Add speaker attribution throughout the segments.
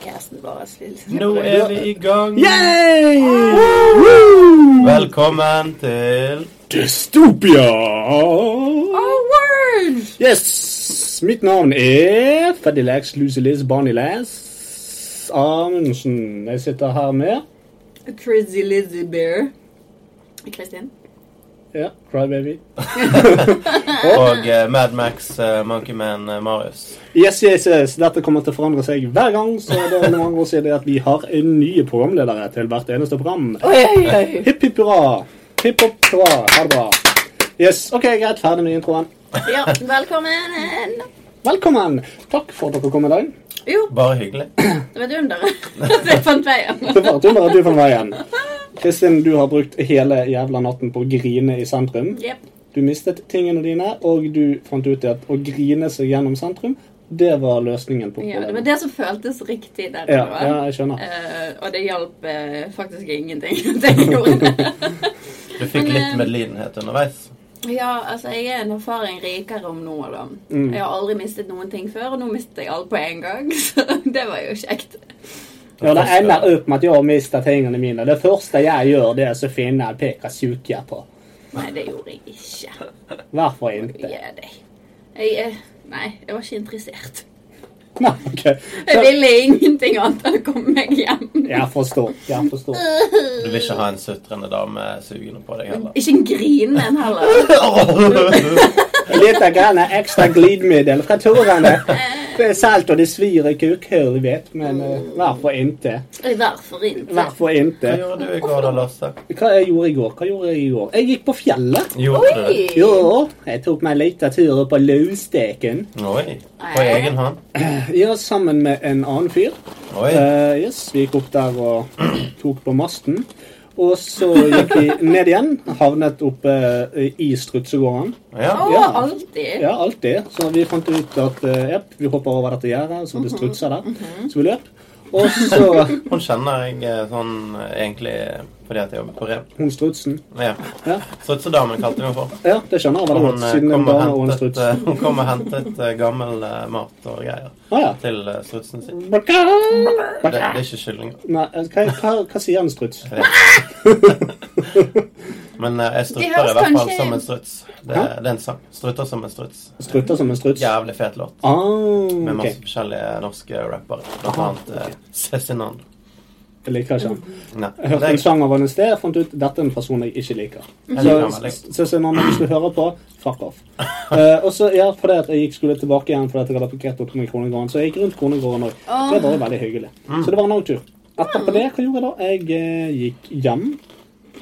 Speaker 1: nesten bare slill.
Speaker 2: Nå er vi i gang. Velkommen til
Speaker 3: Dystopia!
Speaker 1: Oh. Word!
Speaker 3: Yes! Mitt navn er Freddy Lex, Lucy Liz, Barney Lass Amundsen. Jeg sitter her med
Speaker 1: Crazy Lizzie Bear. Kristin?
Speaker 3: ja, Crybaby.
Speaker 2: og eh, Mad Max eh, Monkey Man eh, Marius.
Speaker 3: Yes, yes, yes. Dette kommer til å forandre seg hver gang. Så det er noen ganger siden at vi har nye programledere til hvert eneste program.
Speaker 1: Oi, oi, oi.
Speaker 3: Hipp, hipp hurra. Hipp hopp hurra. Ha det bra. Yes, ok, Greit. Ferdig med introen.
Speaker 1: Ja, velkommen.
Speaker 3: Velkommen. Takk for at dere kom i dag.
Speaker 1: Jo,
Speaker 2: Bare hyggelig.
Speaker 1: det var et under at jeg fant veien.
Speaker 3: Det var dummere at du fant veien. Kristin, du har brukt hele jævla natten på å grine i sentrum.
Speaker 1: Jep.
Speaker 3: Du mistet tingene dine, og du fant ut at å grine seg gjennom sentrum, det var løsningen på
Speaker 1: Ja, det var
Speaker 3: problemet.
Speaker 1: det som føltes riktig der. det
Speaker 3: Ja,
Speaker 1: var.
Speaker 3: ja, jeg skjønner.
Speaker 1: Eh, og det hjalp eh, faktisk ingenting at jeg gjorde det.
Speaker 2: Du fikk
Speaker 1: Men,
Speaker 2: litt
Speaker 1: eh,
Speaker 2: medlidenhet underveis.
Speaker 1: Ja, altså, jeg er en erfaring rikere om nå, da.
Speaker 3: Mm.
Speaker 1: Jeg har aldri mistet noen ting før, og nå mistet jeg alt på en gang. Så det var jo kjekt.
Speaker 3: Ja, det ender opp med at jeg mister tingene mine. Det første jeg gjør, det er å finne en Pekasuki på.
Speaker 1: Nei, det gjorde jeg ikke.
Speaker 3: Hvorfor ikke?
Speaker 1: Gi deg. Jeg eh, Nei, jeg var ikke interessert.
Speaker 3: Nei, ok.
Speaker 1: Jeg ville ingenting annet enn å komme meg hjem.
Speaker 3: Jeg forstår. Jeg forstår.
Speaker 2: Du vil ikke ha en sutrende dame sugende på deg heller.
Speaker 1: Ikke en grinende en heller.
Speaker 3: Litt av grann ekstra glidemiddel fra Torene. Det er salt, og det svir i kukhullet mitt, men eh, hvorfor ikke?
Speaker 1: I hvert fall ikke.
Speaker 3: Hvorfor ikke?
Speaker 2: Hva gjorde du i går da, Lasse?
Speaker 3: Hva jeg gjorde i går? Hva gjorde jeg i går? Jeg gikk på fjellet.
Speaker 2: Gjorde du det?
Speaker 1: Oi!
Speaker 3: Jo, jeg tok meg en liten tur opp på Løvsteken.
Speaker 2: Oi. På egen hånd?
Speaker 3: Ja, sammen med en annen fyr.
Speaker 2: Oi.
Speaker 3: Eh, yes, vi gikk opp der og tok på masten. Og så gikk vi ned igjen. Havnet oppe eh, i strutsegården.
Speaker 2: Ja.
Speaker 1: Å,
Speaker 3: Ja.
Speaker 1: alltid.
Speaker 3: Ja, alt det. Så vi fant ut at eh, jepp, vi hopper over dette gjerdet, så
Speaker 2: Mhm.
Speaker 3: det strutser der. Så vi løp. Og så
Speaker 2: Hun kjenner jeg eh, sånn eh, egentlig fordi at jeg jobber på Rev.
Speaker 3: Hun strutsen.
Speaker 2: Ja.
Speaker 3: Ja,
Speaker 2: Strutsedamen kalte vi henne for.
Speaker 3: ja det skjønner jeg veldig
Speaker 2: Hun
Speaker 3: godt,
Speaker 2: eh,
Speaker 3: siden en
Speaker 2: kom og
Speaker 3: dame og en
Speaker 2: hentet,
Speaker 3: struts.
Speaker 2: eh, hun kom og hentet eh, gammel eh, mat og greier
Speaker 3: Ah, ja.
Speaker 2: til eh, strutsen sin.
Speaker 3: Brrrr.
Speaker 2: Det, det er ikke kyllinger.
Speaker 3: Nei, eh, hva, hva, hva sier en struts?
Speaker 2: Men eh, jeg
Speaker 1: De
Speaker 2: strutter
Speaker 1: høres
Speaker 2: i hvert fall
Speaker 1: kanskje-
Speaker 2: som en struts. Det,
Speaker 3: Hæ?
Speaker 2: det er en sang. Strutter som en struts.
Speaker 3: Strutter som en struts?
Speaker 2: Jævlig fet låt.
Speaker 3: Ah,
Speaker 2: Med
Speaker 3: ok.
Speaker 2: masse forskjellige norske rappere. Blant
Speaker 3: Aha,
Speaker 2: annet eh, Cezinando.
Speaker 3: Jeg liker ikke den.
Speaker 2: Nei.
Speaker 3: Jeg hørte en sang av henne i sted og fant ut dette er en person jeg ikke liker.
Speaker 2: Jeg
Speaker 3: Så
Speaker 2: liker den veldig.
Speaker 3: så- så når du skal høre på, fuck off. Eh, og så, ja, fordi at jeg gikk skulle tilbake igjen fordi at jeg hadde parkert opp med Kronegården, så jeg gikk rundt Kronegården òg. Det var jo veldig hyggelig.
Speaker 2: Mm.
Speaker 3: Så det var en avtur. Etterpå det, hva gjorde jeg da? Jeg eh, gikk hjem,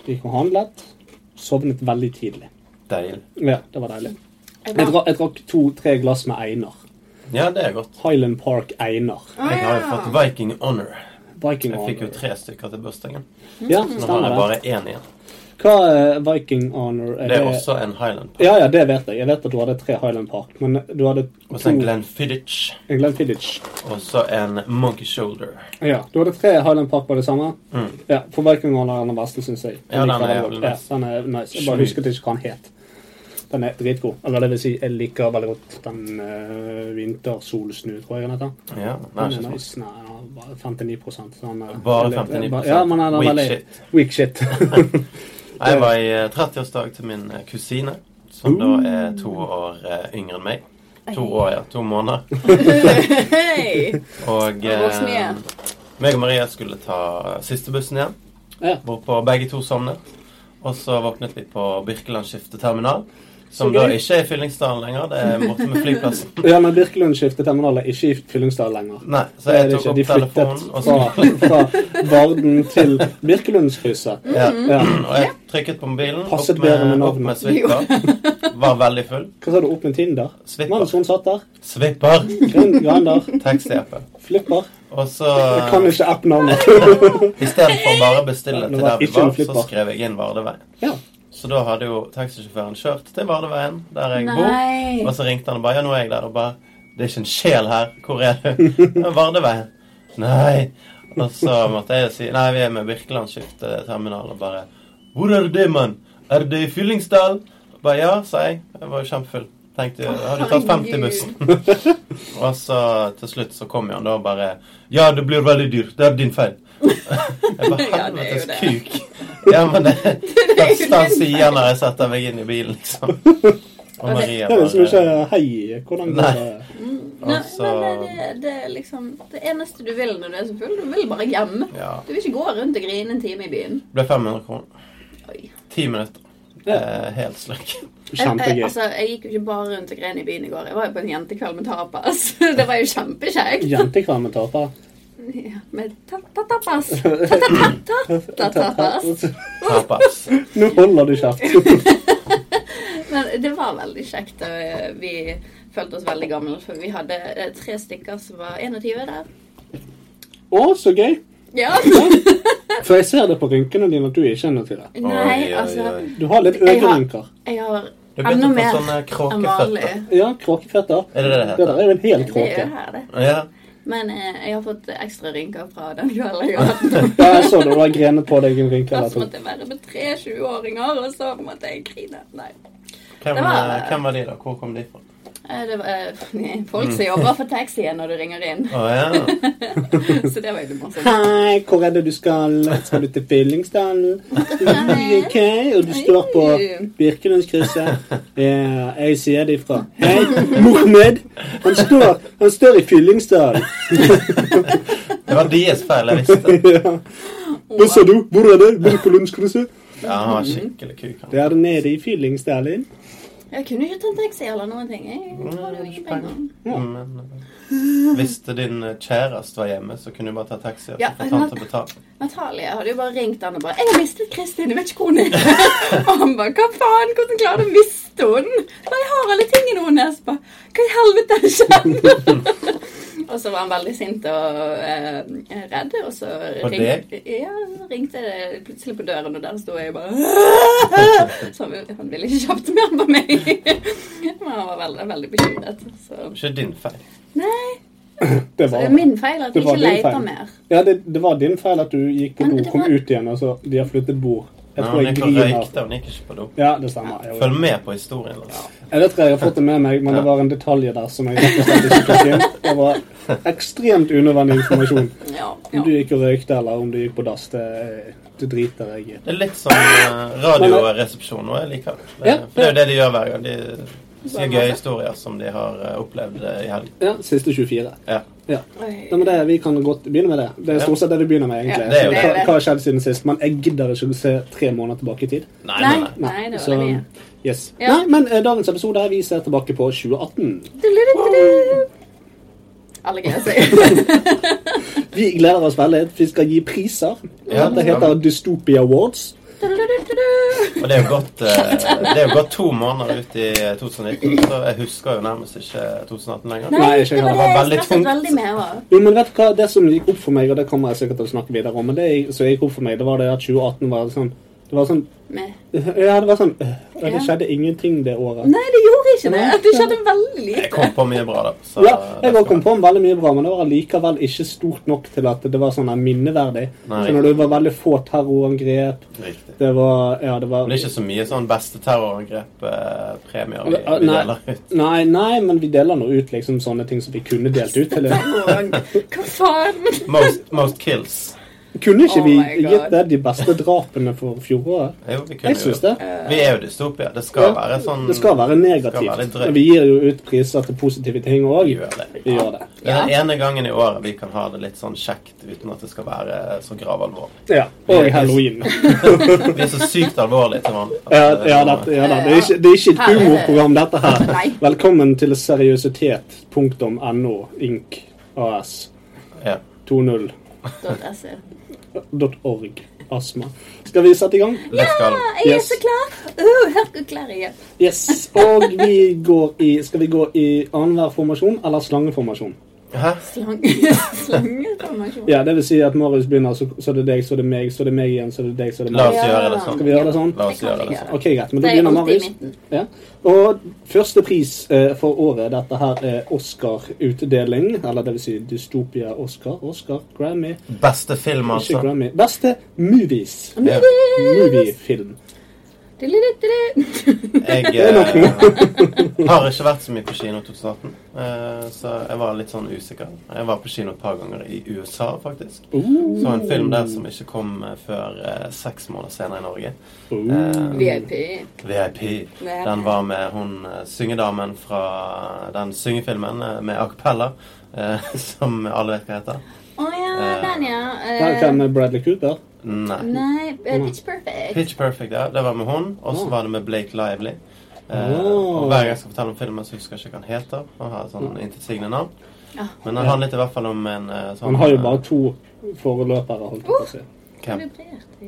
Speaker 3: gikk og handlet, sovnet veldig tidlig.
Speaker 2: Deilig.
Speaker 3: Ja, det var deilig.
Speaker 1: Jeg
Speaker 3: Jeg,
Speaker 1: var-
Speaker 3: dra, jeg drakk to-tre glass med Einar.
Speaker 2: Ja, det er godt.
Speaker 3: Highland Park Einar.
Speaker 1: Ah,
Speaker 2: Jeg har jo fått Viking Honor.
Speaker 3: Viking
Speaker 2: Jeg fikk jo
Speaker 3: Honor.
Speaker 2: tre stykker til bursdagen.
Speaker 3: Ja,
Speaker 2: Nå har
Speaker 3: stemmer
Speaker 2: jeg
Speaker 3: det.
Speaker 2: bare én igjen.
Speaker 3: Hva er Viking Honor?
Speaker 2: Det er også en Highland Park.
Speaker 3: Ja, ja, det vet jeg. Jeg vet at du hadde tre Highland Park, men du hadde to
Speaker 2: Og så en Glenn Fiddich.
Speaker 3: en Glenfiddich.
Speaker 2: Og så en Monkey Shoulder.
Speaker 3: Ja, du hadde tre Highland Park på det samme.
Speaker 2: Mm.
Speaker 3: Ja, For Viking Honor er den verste, syns jeg.
Speaker 2: Ja, den er
Speaker 3: liker
Speaker 2: jævlig
Speaker 3: godt. Ja,
Speaker 2: nice.
Speaker 3: den er nice. Jeg bare husket ikke hva den het. Den er dritgod. Eller det vil si, jeg liker veldig godt den eh, vintersolsnu, tror jeg den heter.
Speaker 2: Ja, den er
Speaker 3: Den
Speaker 2: ikke
Speaker 3: er
Speaker 2: smart.
Speaker 3: nice. Nei, den var 59 sånn, eh,
Speaker 2: Bare
Speaker 3: veldig-
Speaker 2: 59%.
Speaker 3: Ja, men den er
Speaker 2: Weak
Speaker 3: veldig
Speaker 2: shit.
Speaker 3: Weak shit.
Speaker 2: Jeg var i eh, 30-årsdag til min eh, kusine, som da er to år eh, yngre enn meg. To år, ja. To måneder.
Speaker 1: Hei!
Speaker 2: Og
Speaker 1: Det var sne.
Speaker 2: eh, meg og Maria skulle ta siste bussen hjem,
Speaker 3: Ja.
Speaker 2: hvorpå begge to sovnet. Og så våknet vi på Birkeland skifteterminal, som
Speaker 3: Så
Speaker 2: da
Speaker 3: gøy.
Speaker 2: ikke er Fyllingsdalen lenger. Det er borte med flyplassen.
Speaker 3: ja, men Birkelund skifter terminal, er ikke i Fyllingsdal lenger.
Speaker 2: Nei, så
Speaker 3: Det er
Speaker 2: jeg
Speaker 3: det
Speaker 2: tok
Speaker 3: ikke.
Speaker 2: opp
Speaker 3: De flyttet
Speaker 2: telefonen, og,
Speaker 3: fra,
Speaker 2: så,
Speaker 3: fra Varden til Birkelundskrysset.
Speaker 2: ja,
Speaker 3: Ja.
Speaker 2: og jeg trykket på mobilen,
Speaker 3: Passet
Speaker 2: opp
Speaker 3: bedre med
Speaker 2: med, opp
Speaker 3: navnet.
Speaker 2: med Swipper. Var veldig full.
Speaker 3: Hva sa du? Opp med Tinder?
Speaker 2: Swipper.
Speaker 3: Mens hun satt der.
Speaker 2: Swipper.
Speaker 3: Grønn- Grønder.
Speaker 2: Taxi-appen.
Speaker 3: Flipper.
Speaker 2: Og så
Speaker 3: Jeg kan ikke app-navnet.
Speaker 2: Istedenfor bare å bestille
Speaker 3: Ja, det
Speaker 2: til der vi
Speaker 3: var ikke en
Speaker 2: var, så
Speaker 3: flipper.
Speaker 2: skrev jeg inn Vardeveien.
Speaker 3: Ja.
Speaker 2: Så da hadde jo taxisjåføren kjørt til Vardeveien, der jeg
Speaker 1: Nei.
Speaker 2: bor. Og så ringte han og bare 'Ja, nå er jeg der.' Og bare 'Det er ikke en sjel her. Hvor er du?' «Ja, 'Vardeveien.' Nei. Og så måtte jeg si 'Nei, vi er med Birkeland skifteterminal', og bare 'Hvor er det, mann? Er det i Fyllingsdal?' Og Bare 'Ja', sa jeg. Jeg var jo kjempefull. Tenkte jeg, har du tatt 50-bussen? og så til slutt så kom jo han da og bare Ja, det blir veldig dyrt. Det er din feil. Jeg bare
Speaker 1: Ja, det er jo det.
Speaker 2: helvetes kuk. Ja, men det er det første han
Speaker 1: din
Speaker 2: sier når jeg setter meg inn i bilen, liksom. Og
Speaker 1: Og det-
Speaker 2: Maria
Speaker 3: Det er liksom ikke
Speaker 2: bare
Speaker 3: Hei, hvordan går det?
Speaker 1: Nei,
Speaker 2: Altså-
Speaker 1: nei, nei, det, det er liksom Det eneste du vil når du er så full, du vil bare hjem.
Speaker 2: Ja.
Speaker 1: Du vil ikke gå rundt og grine en time i byen.
Speaker 2: Det ble 500 kroner.
Speaker 1: Oi.
Speaker 2: Ti minutter. Eh, helt sløkk.
Speaker 1: Jeg, jeg,
Speaker 3: Kjempegøy.
Speaker 1: altså, jeg gikk jo ikke bare rundt og grein i byen i går. Jeg var jo på en jentekveld med tapas. Det var jo kjempekjekt.
Speaker 3: Jentekveld med taper.
Speaker 1: Ja, med ta-ta-tapas. Ta-ta-ta-ta-tapas.
Speaker 2: Tapas.
Speaker 3: Nå holder du kjeft.
Speaker 1: Men det var veldig kjekt. og Vi følte oss veldig gamle, for vi hadde eh, tre stykker som var 21 der.
Speaker 3: Å, så gøy.
Speaker 1: Ja.
Speaker 3: For jeg ser det på rynkene dine at du ikke er nødt til det.
Speaker 1: Nei,
Speaker 2: Oi, oi,
Speaker 1: altså
Speaker 2: oi.
Speaker 3: Du har litt
Speaker 1: Jeg har-
Speaker 3: øyerynker.
Speaker 1: Jeg har
Speaker 2: Du
Speaker 1: enda
Speaker 2: begynte på
Speaker 1: mer
Speaker 3: sånn,
Speaker 2: sånne
Speaker 3: eh,
Speaker 1: enn vanlig.
Speaker 2: kråkeføtter.
Speaker 3: Ja, kråkefetter.
Speaker 2: Er det det det
Speaker 3: Det
Speaker 2: heter?
Speaker 3: der er jo en hel
Speaker 1: Det er
Speaker 3: kråke.
Speaker 1: jo her, det.
Speaker 2: Ja.
Speaker 1: Men eh, jeg har fått ekstra rynker fra den kvelden. jeg hadde.
Speaker 3: Ja, jeg så det. Du har grenet på deg en rynke eller
Speaker 1: Først
Speaker 3: to.
Speaker 1: måtte jeg være med tre 20-åringer, og så måtte jeg grine. Nei.
Speaker 2: Hvem,
Speaker 1: Det var-
Speaker 2: eh, hvem var de, da? Hvor kom de fra?
Speaker 1: Eh, Det var eh, folk som jobber for taxien når du ringer inn,
Speaker 2: Å ja.
Speaker 1: så det var egentlig morsomt.
Speaker 3: Hei, hvor er det du skal? Skal du til Fyllingsdalen?
Speaker 1: Hei.
Speaker 3: Ok, og du står på Birkelundskrysset. Ja, jeg sier det ifra. Hei, Mohammed! Han står, han står i Fyllingsdalen.
Speaker 2: Det var deres feil, jeg visste.
Speaker 3: Ja. Hva sa du? Hvor er det? Birkelundskrysset?
Speaker 2: Ja, han var skikkelig kuk. Han.
Speaker 3: Det er nede i Fyllingsdalen.
Speaker 1: Jeg kunne ikke tatt taxi eller noen ting. Jeg hadde jo ingen penger.
Speaker 3: Ja.
Speaker 2: Men eh, hvis din eh, kjæreste var hjemme, så kunne du bare ta taxi og
Speaker 1: Ja,
Speaker 2: så få tante
Speaker 1: men-
Speaker 2: betalt.
Speaker 1: Natalie hadde jo bare ringt han og bare 'Jeg har mistet Kristin, jeg vet ikke hvor hun er.' Og han bare 'Hva faen, hvordan klarer du å miste henne?' Nei, 'Jeg har alle tingene hennes.' Bare 'Hva i helvete er det skjedd?' og så var han veldig sint og eh, redd, og så
Speaker 2: Og
Speaker 1: ringte, ja, så ringte det plutselig på døren, og der sto jeg bare «Åh!» Så han ville- han ville ikke kjapt mer på meg. Men han var veldig, veldig bekymret. Så
Speaker 2: Ikke din feil.
Speaker 1: Nei,
Speaker 3: Det
Speaker 1: så det er
Speaker 3: var,
Speaker 1: min feil at
Speaker 3: Det
Speaker 1: jeg
Speaker 3: var
Speaker 1: ikke
Speaker 3: din feil.
Speaker 1: leter mer.
Speaker 3: ja, det, det var din feil at du gikk på
Speaker 1: Men
Speaker 3: do,
Speaker 1: det
Speaker 3: kom
Speaker 1: var-
Speaker 3: ut igjen, og så de har flyttet bord. Jeg
Speaker 2: Ja,
Speaker 3: tror
Speaker 2: hun
Speaker 3: jeg
Speaker 2: gikk og
Speaker 3: griner.
Speaker 2: røykte, hun gikk ikke på do.
Speaker 3: Ja, det stemmer. Jeg,
Speaker 2: Følg med på historien. altså. Lars.
Speaker 3: Jeg vet ikke, jeg har fått det med meg, men det var en detalj der som jeg rett og slett ikke tok inn. Det var ekstremt unødvendig informasjon.
Speaker 1: Ja,
Speaker 3: Om
Speaker 1: ja.
Speaker 3: du gikk og røykte, eller om du gikk på dass, det, det driter jeg i.
Speaker 2: Det er litt som eh, radioresepsjon nå. Jeg liker det. Det,
Speaker 3: Ja.
Speaker 2: for det er jo det de gjør hver gang. De sier gøye historier som de har eh, opplevd eh, i helgen.
Speaker 3: Ja, siste 24.
Speaker 2: Ja.
Speaker 3: Ja.
Speaker 1: Oi.
Speaker 3: Ja, men det, vi kan godt begynne med det. Det er stort sett det vi begynner med, egentlig.
Speaker 1: Ja, det er jo
Speaker 3: Så
Speaker 1: det.
Speaker 3: Hva, hva har skjedd siden sist? Men jeg gidder ikke å se tre måneder tilbake i tid.
Speaker 2: Nei, nei,
Speaker 1: Nei,
Speaker 2: nei.
Speaker 1: nei, det var
Speaker 3: så,
Speaker 1: det mye.
Speaker 3: Yes.
Speaker 1: Ja.
Speaker 3: Nei, men eh, dagens episode her, vi ser tilbake på 2018.
Speaker 1: Alle greier seg.
Speaker 3: Vi gleder oss veldig. Vi skal gi priser.
Speaker 2: Ja,
Speaker 3: det
Speaker 2: det skal
Speaker 3: heter Dystopia Awards.
Speaker 2: Og det er jo gått, eh, det er jo gått to måneder ut i eh, 2019, så jeg husker jo nærmest ikke 2018 lenger.
Speaker 3: Nei,
Speaker 1: det
Speaker 3: ikke heller.
Speaker 1: var det
Speaker 2: Veldig
Speaker 1: jeg stresset
Speaker 2: tungt.
Speaker 1: veldig med òg.
Speaker 3: Jo, men vet du hva, Det som gikk opp for meg, og det kommer jeg sikkert til å snakke videre om, men det som gikk opp for meg, det var det at 2018 var sånn Det var sånn Ja, det var sånn øh, og Det
Speaker 1: Ja.
Speaker 3: skjedde ingenting det året.
Speaker 1: Nei, det gjorde ikke det.
Speaker 3: Nei.
Speaker 1: Det skjedde veldig
Speaker 2: Jeg
Speaker 1: lite.
Speaker 2: kom på mye bra, da. Så
Speaker 3: Ja,
Speaker 2: det
Speaker 3: jeg også
Speaker 2: skal-
Speaker 3: kom på med veldig mye bra, men det var likevel ikke stort nok til at det var sånn her minneverdig.
Speaker 2: Nei.
Speaker 3: Så når det var veldig få terrorangrep
Speaker 2: Riktig.
Speaker 3: Det var Ja, det var
Speaker 2: Men det er ikke så mye sånn beste terrorangrep-premier vi,
Speaker 3: Ja,
Speaker 2: vi
Speaker 3: nei.
Speaker 2: deler ut.
Speaker 3: Nei, nei, men vi deler nå ut liksom sånne ting som vi kunne delt ut til
Speaker 1: Og Hva faen?
Speaker 2: Most, most kills.
Speaker 3: Kunne ikke
Speaker 1: Oh
Speaker 3: vi
Speaker 1: my God.
Speaker 3: gitt det de beste drapene for fjoråret?
Speaker 2: Jo, vi kunne
Speaker 3: Jeg
Speaker 2: jo
Speaker 3: syns det.
Speaker 2: Vi er jo dystopia. Det skal være sånn
Speaker 3: Det skal være
Speaker 2: skal være litt
Speaker 3: negativt.
Speaker 2: drøyt.
Speaker 3: Men vi gir jo ut priser til positive ting òg.
Speaker 2: Vi gjør det.
Speaker 3: Vi gjør det.
Speaker 2: Det er den ene gangen i året vi kan ha det litt sånn kjekt uten at det skal være så gravalvorlig.
Speaker 3: Ja, Og halloween.
Speaker 2: Vi er så sykt alvorlige til vanlig. at,
Speaker 3: Ja,
Speaker 2: eh,
Speaker 3: ja, dette, ja da. Det, er ikke, det er ikke et
Speaker 1: Her er det-
Speaker 3: humorprogram, dette her.
Speaker 1: Nei.
Speaker 3: Velkommen til seriøsitet.no inc. as
Speaker 2: ja.
Speaker 3: 20.org.
Speaker 1: Da leser jeg.
Speaker 3: Astma. Skal vi sette i gang?
Speaker 2: Det skal
Speaker 1: Jeg er
Speaker 3: Yes.
Speaker 1: så klar. Uh, her går klær igjen.
Speaker 3: Yes. Og vi går i Skal vi gå i annenhver formasjon eller slangeformasjon?
Speaker 2: Hæ?
Speaker 1: Slange. Slangeformasjon.
Speaker 3: Ja, det vil si at Marius begynner, så, så er det deg, så er det meg, så er det meg igjen, så er det deg, så er det
Speaker 2: La
Speaker 3: meg.
Speaker 2: oss
Speaker 1: Ja.
Speaker 2: gjøre det
Speaker 3: Skal
Speaker 2: sånn.
Speaker 3: vi gjøre det sånn?
Speaker 1: Det
Speaker 2: La oss
Speaker 1: kan
Speaker 2: gjøre
Speaker 1: vi
Speaker 2: det sånn.
Speaker 3: Ok, greit, men
Speaker 1: Det
Speaker 3: da
Speaker 1: er
Speaker 3: begynner
Speaker 1: alltid i
Speaker 3: Marius.
Speaker 1: midten.
Speaker 3: Ja. Og første pris eh, for året, dette her er Oscar-utdeling. Eller det vil si Dystopia Oscar. Oscar, Grammy,
Speaker 2: Beste film,
Speaker 3: ikke
Speaker 2: altså.
Speaker 3: Grammy. Beste movies.
Speaker 2: Ja.
Speaker 3: Moviefilm.
Speaker 1: Dilidididi.
Speaker 2: Jeg eh, har ikke vært så mye på kino i 2018, eh, så jeg var litt sånn usikker. Jeg var på kino et par ganger i USA, faktisk.
Speaker 3: Uh,
Speaker 2: Så en film der som ikke kom eh, før eh, seks måneder senere i Norge. eh,
Speaker 3: uh.
Speaker 1: VIP.
Speaker 2: VIP. Den var med hun eh, syngedamen fra den syngefilmen eh, med a cappella, eh, som alle vet hva heter.
Speaker 1: Å ja, den, ja.
Speaker 3: Eh, Der
Speaker 1: Eh,
Speaker 3: kan Bradley Cooper.
Speaker 2: Nei.
Speaker 1: nei, eh, Pitch Perfect.
Speaker 2: Pitch Perfect, ja. Det var med hun, og så
Speaker 3: Oh.
Speaker 2: var det med Blake Lively. Eh,
Speaker 3: Oh. Mm.
Speaker 2: og Hver gang jeg skal fortelle om filmen, så husker jeg ikke hva han heter. Han har et sånn intetsigende navn.
Speaker 1: Ja.
Speaker 2: Men han handlet i hvert fall om en eh, sånn
Speaker 3: Han har jo
Speaker 2: eh,
Speaker 3: bare to foreløpere, holdt jeg på å si.
Speaker 2: camp.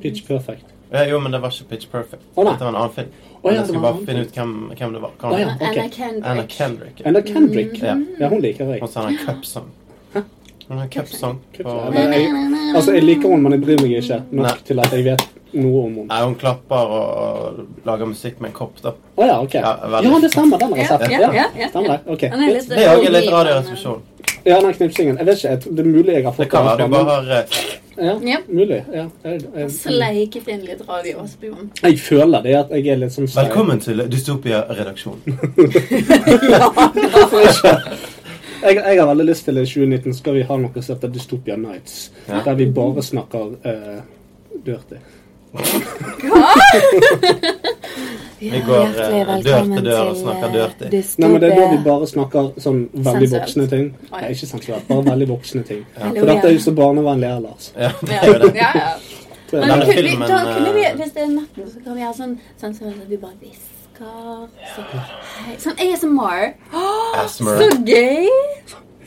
Speaker 3: Pitch perfect.
Speaker 2: Ja, jo, men det var ikke Pitch Perfect.
Speaker 3: Å, nei.
Speaker 2: Dette var en annen film.
Speaker 3: Å, ja,
Speaker 2: Men jeg
Speaker 3: det
Speaker 2: skulle
Speaker 3: var en
Speaker 2: bare
Speaker 3: annen
Speaker 2: finne ut hvem, hvem det var. Hva
Speaker 3: Å, ja.
Speaker 2: han het.
Speaker 1: Anna
Speaker 2: Anna
Speaker 3: Ok.
Speaker 1: Kendrick.
Speaker 2: Kendrick.
Speaker 3: Eller
Speaker 1: Mm.
Speaker 3: Kendrick.
Speaker 2: Ja.
Speaker 3: Ja, hun liker jeg.
Speaker 2: Og så har han en cupsong. Han har en cupsong
Speaker 3: Cup
Speaker 2: på
Speaker 3: song.
Speaker 1: Na,
Speaker 2: Nei,
Speaker 1: na, na, na, na.
Speaker 3: Altså, jeg liker henne, men jeg bryr meg ikke nok
Speaker 2: Nei.
Speaker 3: til at jeg vet noe om henne.
Speaker 2: hun klapper og, og lager musikk med en kopp, da.
Speaker 3: Å ja, ok.
Speaker 2: Ja,
Speaker 3: Ja,
Speaker 2: veldig.
Speaker 3: det stemmer. Den
Speaker 1: Ja,
Speaker 3: resepten.
Speaker 1: ja,
Speaker 3: Ja,
Speaker 1: ja, ja.
Speaker 3: Stemmer det. Ok.
Speaker 1: Han er litt-
Speaker 3: Greit.
Speaker 2: Det er òg litt radioresepsjon.
Speaker 3: Ja, den knipsingen. Jeg vet ikke. Jeg tror det er mulig jeg har
Speaker 2: Det
Speaker 3: fått
Speaker 2: kan være du
Speaker 3: den.
Speaker 2: bare har eh,
Speaker 3: Ja,
Speaker 1: Ja.
Speaker 3: mulig. Ja. Jeg, jeg,
Speaker 1: Sleiket inn litt radio og spyr.
Speaker 3: jeg føler det at jeg er litt sånn sær.
Speaker 2: Velkommen til Dystopia-redaksjonen.
Speaker 3: Hvorfor ikke? Jeg, jeg har veldig lyst til i 2019 skal vi ha noe som heter Dystopia Nights.
Speaker 2: Ja.
Speaker 3: Der vi bare snakker eh, dirty.
Speaker 2: Vi går eh, dør til dør og
Speaker 1: eh,
Speaker 2: snakker dør til.
Speaker 3: Nei, men Det er da vi bare snakker sånn veldig
Speaker 1: Sensuelt.
Speaker 3: voksne ting.
Speaker 1: Oi.
Speaker 3: Nei, ikke sensuelt. Bare veldig voksne ting.
Speaker 1: Hallo,
Speaker 3: For dette er
Speaker 1: ja.
Speaker 3: jo så barnevennlig ellers.
Speaker 2: Ja, det
Speaker 1: Ja,
Speaker 2: er jo det.
Speaker 1: ja, ja.
Speaker 3: Så
Speaker 1: Men
Speaker 3: jeg-
Speaker 2: Denne
Speaker 1: kunne vi,
Speaker 2: filmen,
Speaker 1: da kunne vi,
Speaker 2: eh,
Speaker 1: hvis det er natten, så kan vi ha sånn sånn som at vi bare hvisker. så- Hei. Sånn ASMR.
Speaker 2: Asmer.
Speaker 1: Så gøy!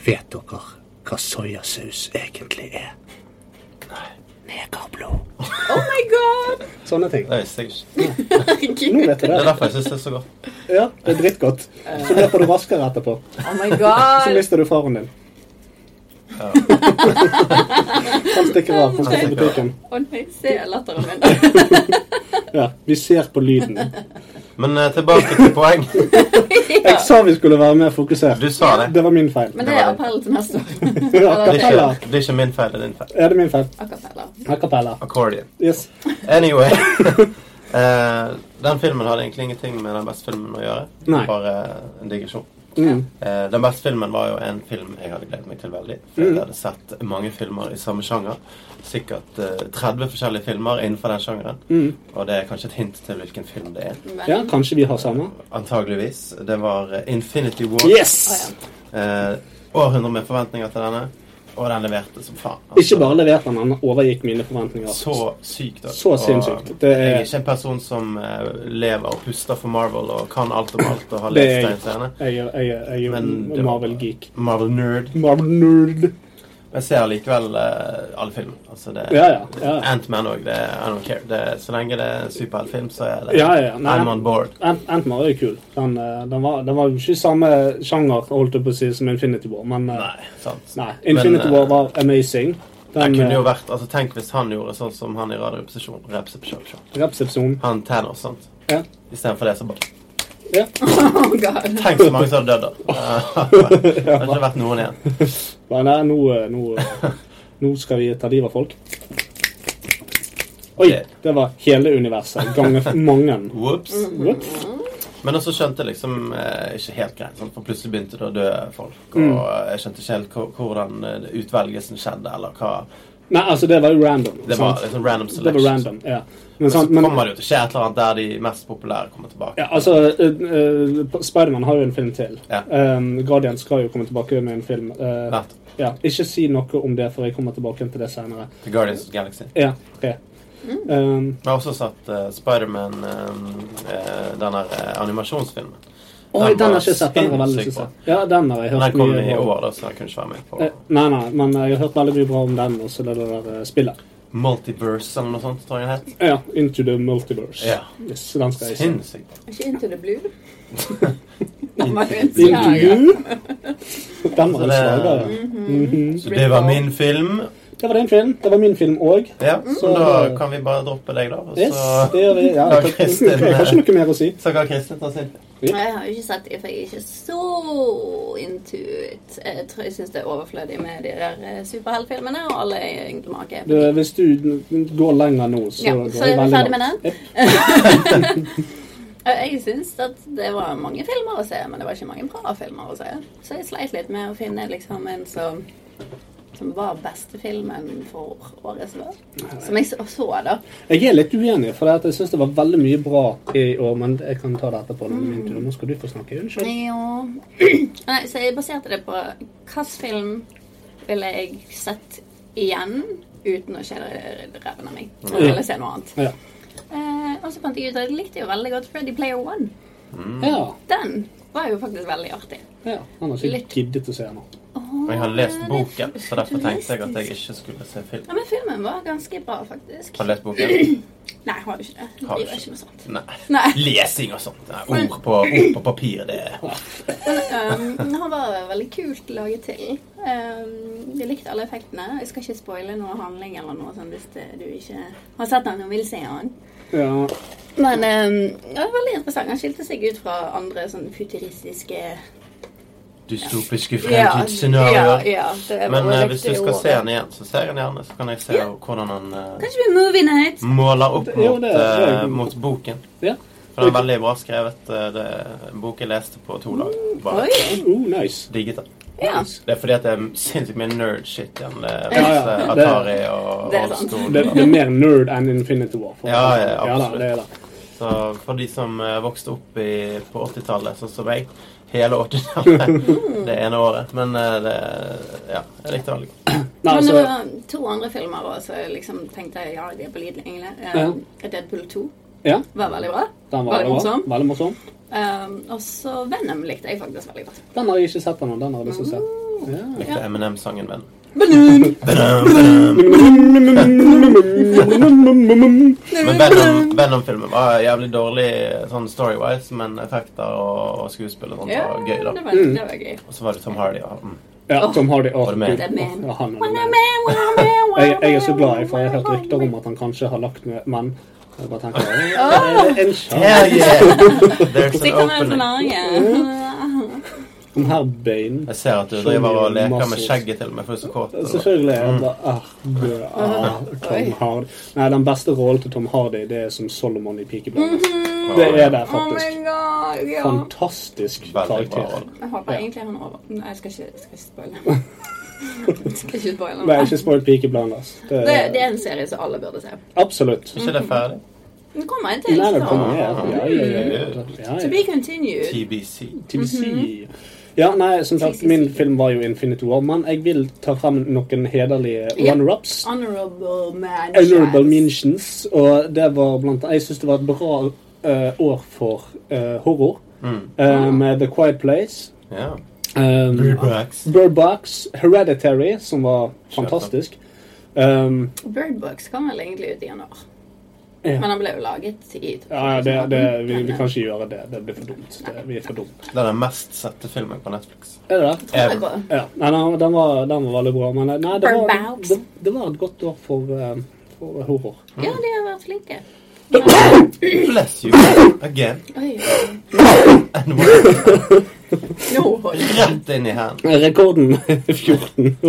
Speaker 4: Vet dere hva soyasaus egentlig er? Negerblod.
Speaker 1: Oh my god!
Speaker 3: Sånne ting.
Speaker 2: Det visste jeg ikke.
Speaker 3: Nå
Speaker 1: Herregud.
Speaker 3: vet du
Speaker 2: Det er
Speaker 3: det.
Speaker 2: derfor jeg syns det er så godt.
Speaker 3: Ja, det er drittgodt. Så løper du raskere etterpå.
Speaker 1: Oh my
Speaker 3: Så
Speaker 1: god!
Speaker 3: mister du faren din.
Speaker 2: Ja.
Speaker 3: Han stikker av. Han skal til butikken.
Speaker 1: Å nei, se latteren min.
Speaker 3: Ja, Vi ser på lyden.
Speaker 2: Men eh, tilbake til poeng.
Speaker 3: Jeg sa vi skulle være mer fokusert.
Speaker 2: Du sa det.
Speaker 3: Det var min feil.
Speaker 1: Men det er appell til neste år.
Speaker 2: Det er ikke,
Speaker 3: Acapella.
Speaker 2: det er ikke min feil, det er din feil.
Speaker 3: Ja, det er min feil.
Speaker 1: Acapella.
Speaker 3: Acapella.
Speaker 2: Accordion.
Speaker 3: Yes.
Speaker 2: Anyway. Eh, den filmen hadde egentlig ingenting med den beste filmen å gjøre.
Speaker 3: Nei.
Speaker 2: Bare en digresjon.
Speaker 3: Mm.
Speaker 2: Eh, den beste filmen var jo en film jeg hadde gledet meg til veldig. For
Speaker 3: Mm.
Speaker 2: jeg hadde sett mange filmer i samme sjanger. Sikkert eh, 30 forskjellige filmer innenfor den sjangeren.
Speaker 3: Mm.
Speaker 2: Og det er kanskje et hint til hvilken film det er.
Speaker 1: Men
Speaker 3: Ja, kanskje vi har samme.
Speaker 2: Antageligvis. Det var eh, Infinity War.
Speaker 3: Yes!
Speaker 2: Eh, århundre med forventninger til denne. Og den leverte som faen. Altså,
Speaker 3: Ikke bare leverte han, han overgikk mine forventninger.
Speaker 2: Så sykt. da.
Speaker 3: Så sinnssykt. Det er-
Speaker 2: Jeg er ikke en person som eh, lever og puster for Marvel og kan alt om alt og har
Speaker 3: Det er jeg.
Speaker 2: lest tegneseriene.
Speaker 3: Jeg er, jeg er, jeg er
Speaker 2: Men
Speaker 3: jo
Speaker 2: det-
Speaker 3: Marvel-geek.
Speaker 2: Marvel-nerd.
Speaker 3: Marvel-nerd.
Speaker 2: Men jeg ser likevel eh, alle filmer. Altså, det
Speaker 3: Ja, ja, ja.
Speaker 2: Ant-Man òg. I don't care. Det, så lenge det er en superheltfilm, så er det
Speaker 3: Ja, ja, ja. Nei.
Speaker 2: I'm on board.
Speaker 3: Ant- Ant-Man er jo kul. Den, eh, den, var, den var jo ikke samme sjanger holdt jeg på å si, som Infinity War, men eh,
Speaker 2: Nei, sant.
Speaker 3: nei. Infinity
Speaker 2: Men, eh,
Speaker 3: War var amazing.
Speaker 2: Det
Speaker 3: Den
Speaker 2: kunne jo
Speaker 3: eh,
Speaker 2: vært, altså Tenk hvis han gjorde sånn som han i Radioresepsjon. Resepsjon.
Speaker 3: Repsepsjon.
Speaker 2: Han Thanos, sant.
Speaker 3: Ja.
Speaker 2: Istedenfor det, så bare
Speaker 3: ja.
Speaker 1: Oh god.
Speaker 2: Tenk så mange som hadde dødd, da. Det hadde ikke vært noen igjen.
Speaker 3: Nei, nei, nå, eh, nå, eh, nå skal vi ta livet av folk. Oi!
Speaker 2: Ok.
Speaker 3: Det var hele universet. Ganger mange.
Speaker 2: Whoops.
Speaker 3: Whoops.
Speaker 2: Men også skjønte jeg liksom eh, ikke helt greit, sånn, for plutselig begynte det å dø folk. Og
Speaker 3: Mm.
Speaker 2: jeg skjønte ikke helt hvor- hvordan eh, utvelgelsen skjedde, eller hva.
Speaker 3: Nei, altså, det var jo random.
Speaker 2: Det var
Speaker 3: sant?
Speaker 2: liksom random
Speaker 3: det
Speaker 2: selection.
Speaker 3: var random, ja. Men,
Speaker 2: Men så
Speaker 3: sant, men
Speaker 2: kommer det jo til å skje et eller annet der de mest populære kommer tilbake.
Speaker 3: ja, altså, uh, uh, Spiderman har jo en film til.
Speaker 2: Ja.
Speaker 3: Um, Guardian skal jo komme tilbake med en film. Uh,
Speaker 2: Nett.
Speaker 3: ja. Ikke si noe om det, for jeg kommer tilbake til det senere.
Speaker 2: The Guardians of the Galaxy.
Speaker 3: Ja, tre.
Speaker 2: Mm.
Speaker 3: Um,
Speaker 2: Jeg har også sett uh, Spiderman, eh, eh, den der eh, animasjonsfilmen.
Speaker 3: oi, den har
Speaker 2: var
Speaker 3: jeg ikke sett. Den har jeg veldig
Speaker 2: sinnssykt
Speaker 3: lyst til å
Speaker 2: bra.
Speaker 3: se. Ja, den har jeg
Speaker 2: Men
Speaker 3: hørt
Speaker 2: den kom
Speaker 3: mye
Speaker 2: i
Speaker 3: bra om.
Speaker 2: år, da, så jeg kunne ikke være med på
Speaker 3: Eh, Nei, nei, men jeg har hørt veldig mye bra om den og så det der eh, spillet.
Speaker 2: Multiverse eller noe sånt, tror jeg det het.
Speaker 3: Ja, Into the Multiverse.
Speaker 2: Ja.
Speaker 3: Yes, så den skal jeg se.
Speaker 2: Sinnssykt bra.
Speaker 1: Ikke Into the Blue. Den var jo en
Speaker 3: Into
Speaker 1: slager.
Speaker 3: you? Den var en
Speaker 2: Så det-
Speaker 3: slager, ja. Mhm.
Speaker 2: Så det var min film,
Speaker 3: Det var din film. Det var min film òg.
Speaker 2: Ja, så
Speaker 3: Så-
Speaker 2: da kan vi bare droppe deg, da. Og
Speaker 3: Mm. Yes,
Speaker 2: så,
Speaker 3: det gjør vi. Ja,
Speaker 2: Ja,
Speaker 3: jeg, jeg,
Speaker 2: Kristin,
Speaker 3: jeg har ikke noe mer å si.
Speaker 2: så kan Kristin ta sin.
Speaker 1: Og Jeg har jo ikke sett dem, for jeg er ikke så into it. Jeg tror jeg syns det er overflødig med de der eh, superheltfilmene, og alle er egentlig make.
Speaker 3: Du, hvis du går lenger nå, så
Speaker 1: Ja,
Speaker 3: går
Speaker 1: så er
Speaker 3: jeg
Speaker 1: vi
Speaker 3: veldig
Speaker 1: ferdig med
Speaker 3: langt.
Speaker 1: den? Og Eh, Jeg syns at det var mange filmer å se, men det var ikke mange bra filmer å se. Så jeg sleit litt med å finne liksom en som, som var beste filmen for året som var. Som jeg så- så, da.
Speaker 3: Jeg er litt uenig, for at jeg syns det var veldig mye bra i år. Men jeg kan ta det etterpå. når det er min tur. Nå skal du få snakke. Unnskyld.
Speaker 1: Ja. Nei, så jeg baserte det på hvilken film ville jeg sett igjen uten å kjede ræven av meg. Og ville se noe annet.
Speaker 3: Ja.
Speaker 1: Eh, og så fant jeg ut at jeg likte jo veldig godt Freddy Player One. Mm.
Speaker 3: ja.
Speaker 1: Den var jo faktisk veldig artig.
Speaker 3: ja. Han har ikke
Speaker 1: Litt.
Speaker 3: giddet å se den.
Speaker 2: Og jeg har lest boken, så derfor tenkte jeg at jeg ikke skulle se film.
Speaker 1: Ja, men filmen var ganske bra, faktisk.
Speaker 2: Har du lest boken?
Speaker 1: Nei, har jo ikke det. Jeg
Speaker 2: Har
Speaker 1: driver
Speaker 2: du ikke?
Speaker 1: ikke med sånt.
Speaker 2: Nei.
Speaker 1: Nei.
Speaker 2: Lesing og sånt. Nei, ord, på, ord på papir, det er
Speaker 1: Um, men han var veldig kult laget til. Um, jeg likte alle effektene. Jeg skal ikke spoile noe handling eller noe sånt hvis det- du ikke har sett han og vil se han.
Speaker 3: Ja.
Speaker 1: Men um, det var veldig interessant. Han skilte seg ut fra andre sånn futuristiske
Speaker 2: dystopiske
Speaker 1: ja,
Speaker 2: fremtidsscenarioer.
Speaker 1: ja, det var
Speaker 2: Men eh,
Speaker 1: riktig
Speaker 2: hvis du skal
Speaker 1: ord.
Speaker 2: se den igjen, så ser jeg den gjerne. Så kan jeg se
Speaker 1: Ja.
Speaker 2: hvordan han eh,
Speaker 1: Kanskje vi movie night?
Speaker 2: måler opp
Speaker 3: Jo,
Speaker 2: mot,
Speaker 3: det- det er
Speaker 2: eh,
Speaker 3: jo-
Speaker 2: mot boken.
Speaker 3: ja.
Speaker 2: For den er veldig bra skrevet. eh, Det er en bok jeg leste på to dager. Bare
Speaker 1: Mm, Oi!
Speaker 3: Oh, nice.
Speaker 2: digget den.
Speaker 1: Ja.
Speaker 2: Det er fordi at det er sinnssykt mye nerd-shit igjen. Det er
Speaker 3: Ja, ja.
Speaker 2: masse
Speaker 3: Det-
Speaker 2: Atari og
Speaker 1: det er sant.
Speaker 3: Det, det
Speaker 2: Allstone.
Speaker 3: er mer nerd enn Infinity War. for-
Speaker 2: Ja, ja,
Speaker 3: da,
Speaker 2: absolutt.
Speaker 3: det er det.
Speaker 2: Så for de som eh, vokste opp i, på 80-tallet, sånn som jeg, hele 80-tallet det ene året. Men eh, det Ja, jeg likte det veldig godt.
Speaker 3: Nei,
Speaker 1: Men eh, det
Speaker 3: altså,
Speaker 1: var to andre filmer også, så jeg liksom tenkte jeg, ja, de er pålitelige engler. Um, Deadpool 2
Speaker 3: ja,
Speaker 1: var veldig bra.
Speaker 3: den
Speaker 1: Veldig
Speaker 3: var veldig bra.
Speaker 1: morsom.
Speaker 3: Veldig morsom.
Speaker 1: Um, og så Venom likte jeg faktisk veldig godt. Mm.
Speaker 3: Den har jeg ikke sett ennå. Den har jeg lyst til å se. Ja.
Speaker 2: Likte Eminem-sangen min. Men Venom- Venom-filmen var jævlig dårlig eh, sånn story-wise, men effekter og, og skuespill og sånt
Speaker 1: Ja,
Speaker 2: var
Speaker 1: det
Speaker 2: gøy, da.
Speaker 1: var, det var gøy.
Speaker 2: Og så var det Tom Hardy. Og, mm.
Speaker 3: Ja, Tom Hardy. Åh,
Speaker 2: Var det med?
Speaker 3: Gud.
Speaker 1: Det er med.
Speaker 3: Ja, han er
Speaker 1: Wanna
Speaker 3: med.
Speaker 1: man, wanna man, wanna
Speaker 3: Jeg, jeg er så
Speaker 1: man,
Speaker 3: glad, for jeg har
Speaker 1: wanna
Speaker 3: hørt
Speaker 1: man.
Speaker 3: rykter om at han kanskje har lagt med menn. Jeg bare tenker, «Åh, er det en sjanse
Speaker 2: Yeah, yeah. There's an
Speaker 1: Sitter med en
Speaker 2: opening.
Speaker 1: scenario.
Speaker 3: om herr Bane?
Speaker 2: Jeg ser at du driver og leker med
Speaker 3: Massive.
Speaker 2: skjegget til meg, for du er så kåt. og-
Speaker 3: Selvfølgelig. Jeg bare, ah, bø, ah, Tom
Speaker 1: Mm. Oi.
Speaker 3: Hardy. Nei, den beste rollen til Tom Hardy, det er som Solomon i Pikebladet. Det er det,
Speaker 1: Mm. Oh my
Speaker 3: faktisk.
Speaker 1: god, ja.
Speaker 3: Fantastisk
Speaker 2: Veldig bra
Speaker 3: karakter.
Speaker 2: rolle.
Speaker 1: Jeg håper
Speaker 3: Ja.
Speaker 1: egentlig han over... Nei, jeg skal ikke, jeg skal ikke spoile. Jeg skal ikke spoile
Speaker 3: Nei,
Speaker 1: noe.
Speaker 3: ikke spoil Pikebladet. ass. Det
Speaker 1: Det,
Speaker 3: er-
Speaker 1: det Mm. er en serie som alle burde se.
Speaker 3: Absolutt.
Speaker 2: Er ikke det ferdig?
Speaker 1: Den kommer en til,
Speaker 3: Nei, det
Speaker 1: så.
Speaker 3: kommer her. Ja, ja, ja, ja. ja,
Speaker 1: Mm. To Mm-hmm.
Speaker 3: ja.
Speaker 1: be continued.
Speaker 2: TBC.
Speaker 3: TBC. Ja, nei, som sagt,
Speaker 1: TBC.
Speaker 3: min film var jo Infinity War, men jeg vil ta frem noen hederlige
Speaker 1: Ja. Ah,
Speaker 3: runner-ups.
Speaker 1: Honorable man.
Speaker 3: Honorable mentions, og det var blant annet Jeg syns det var et bra eh, år for eh, horror.
Speaker 2: Mm.
Speaker 3: Eh, med The Quiet Place.
Speaker 2: Ja.
Speaker 3: Um,
Speaker 2: Rubrax.
Speaker 3: Bird Box. Hereditary, som var fantastisk. Um,
Speaker 1: Bird Box kom vel egentlig ut i januar.
Speaker 3: Ja.
Speaker 1: Men han ble jo laget i
Speaker 3: ja, ja, det, det, vi, vi
Speaker 1: Men, eh,
Speaker 3: kan ikke gjøre det. Det blir for dumt. Det, vi er for dumt.
Speaker 2: Det er den mest sette filmen på Netflix.
Speaker 3: Er det det?
Speaker 1: eh, tror jeg på.
Speaker 3: Ja. Nei, nei, den, var, den var veldig bra, men eh, nei, det
Speaker 1: Bird
Speaker 3: var,
Speaker 1: Box.
Speaker 3: det, det var et godt år for, eh, for horror.
Speaker 1: Ja, de har vært flinke.
Speaker 2: Bless you again.
Speaker 1: Oi, oi.
Speaker 2: And we're
Speaker 1: Nå holder jeg.
Speaker 2: rett inn i hælen.
Speaker 3: Rekorden er 14.
Speaker 1: Åh,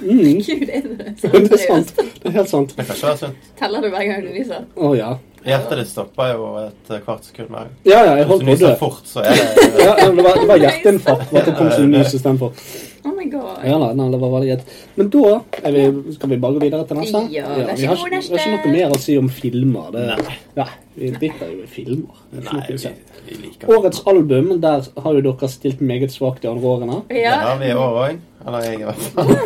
Speaker 1: Gud, er det sant?
Speaker 3: Mm. det er sant. Det er helt sant.
Speaker 2: Det kan ikke være sunt.
Speaker 1: Teller du hver gang du nyser?
Speaker 3: Å ja.
Speaker 2: Hjertet ditt stopper jo et eh, kvart sekund hver gang.
Speaker 3: Ja, ja, jeg
Speaker 2: Hvis du
Speaker 3: holdt på å dø.
Speaker 2: nyser fort, så er det
Speaker 3: Ja, ja, det var, det var hjerteinfarkt. for At det kom som nys istedenfor.
Speaker 1: Oh my god.
Speaker 3: Ja, da, nei, det var veldig greit. Men da er vi, skal vi bare gå videre til neste?
Speaker 1: Ja, vær så
Speaker 3: vi har,
Speaker 1: god,
Speaker 3: ikke-
Speaker 1: neste.
Speaker 3: vi har ikke noe mer å si om filmer. Det,
Speaker 2: Nei.
Speaker 3: nei, vi driter jo i filmer. Det er ikke
Speaker 2: Nei,
Speaker 3: noe å si.
Speaker 2: vi, vi liker det.
Speaker 3: Årets album, der har jo dere stilt meget svakt de andre årene.
Speaker 2: Det
Speaker 1: Ja,
Speaker 2: har vi i år òg. Eller jeg, i hvert fall.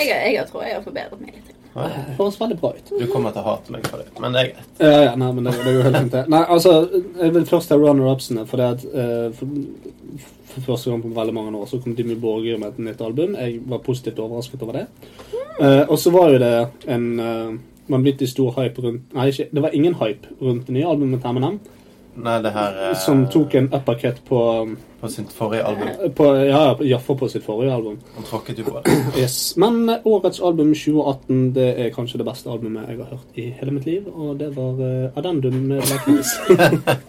Speaker 1: jeg, jeg tror jeg har forbedret meg litt.
Speaker 3: Det høres veldig bra ut.
Speaker 2: Du kommer til å hate meg for det, men det er greit.
Speaker 3: Ja, ja, nei, men det, det er jo helt fint, det. Nei, altså, jeg vil først ta runner-upsene, for det at eh, for, for første gang på veldig mange år så kom Dimmy Borge med et nytt album. Jeg var positivt overrasket over det. Eh, og så var jo det en eh, vanvittig stor hype rundt Nei, ikke, det var ingen hype rundt det nye albumet til M&M.
Speaker 2: Nei, det her eh,
Speaker 3: Som tok en uppercut på,
Speaker 2: På sitt forrige album.
Speaker 3: på Ja, iallfall på sitt forrige album.
Speaker 2: Han tråkket jo på det.
Speaker 3: Yes. Men eh, årets album 2018 det er kanskje det beste albumet jeg har hørt i hele mitt liv, og det var eh, Addendum med Black Keys.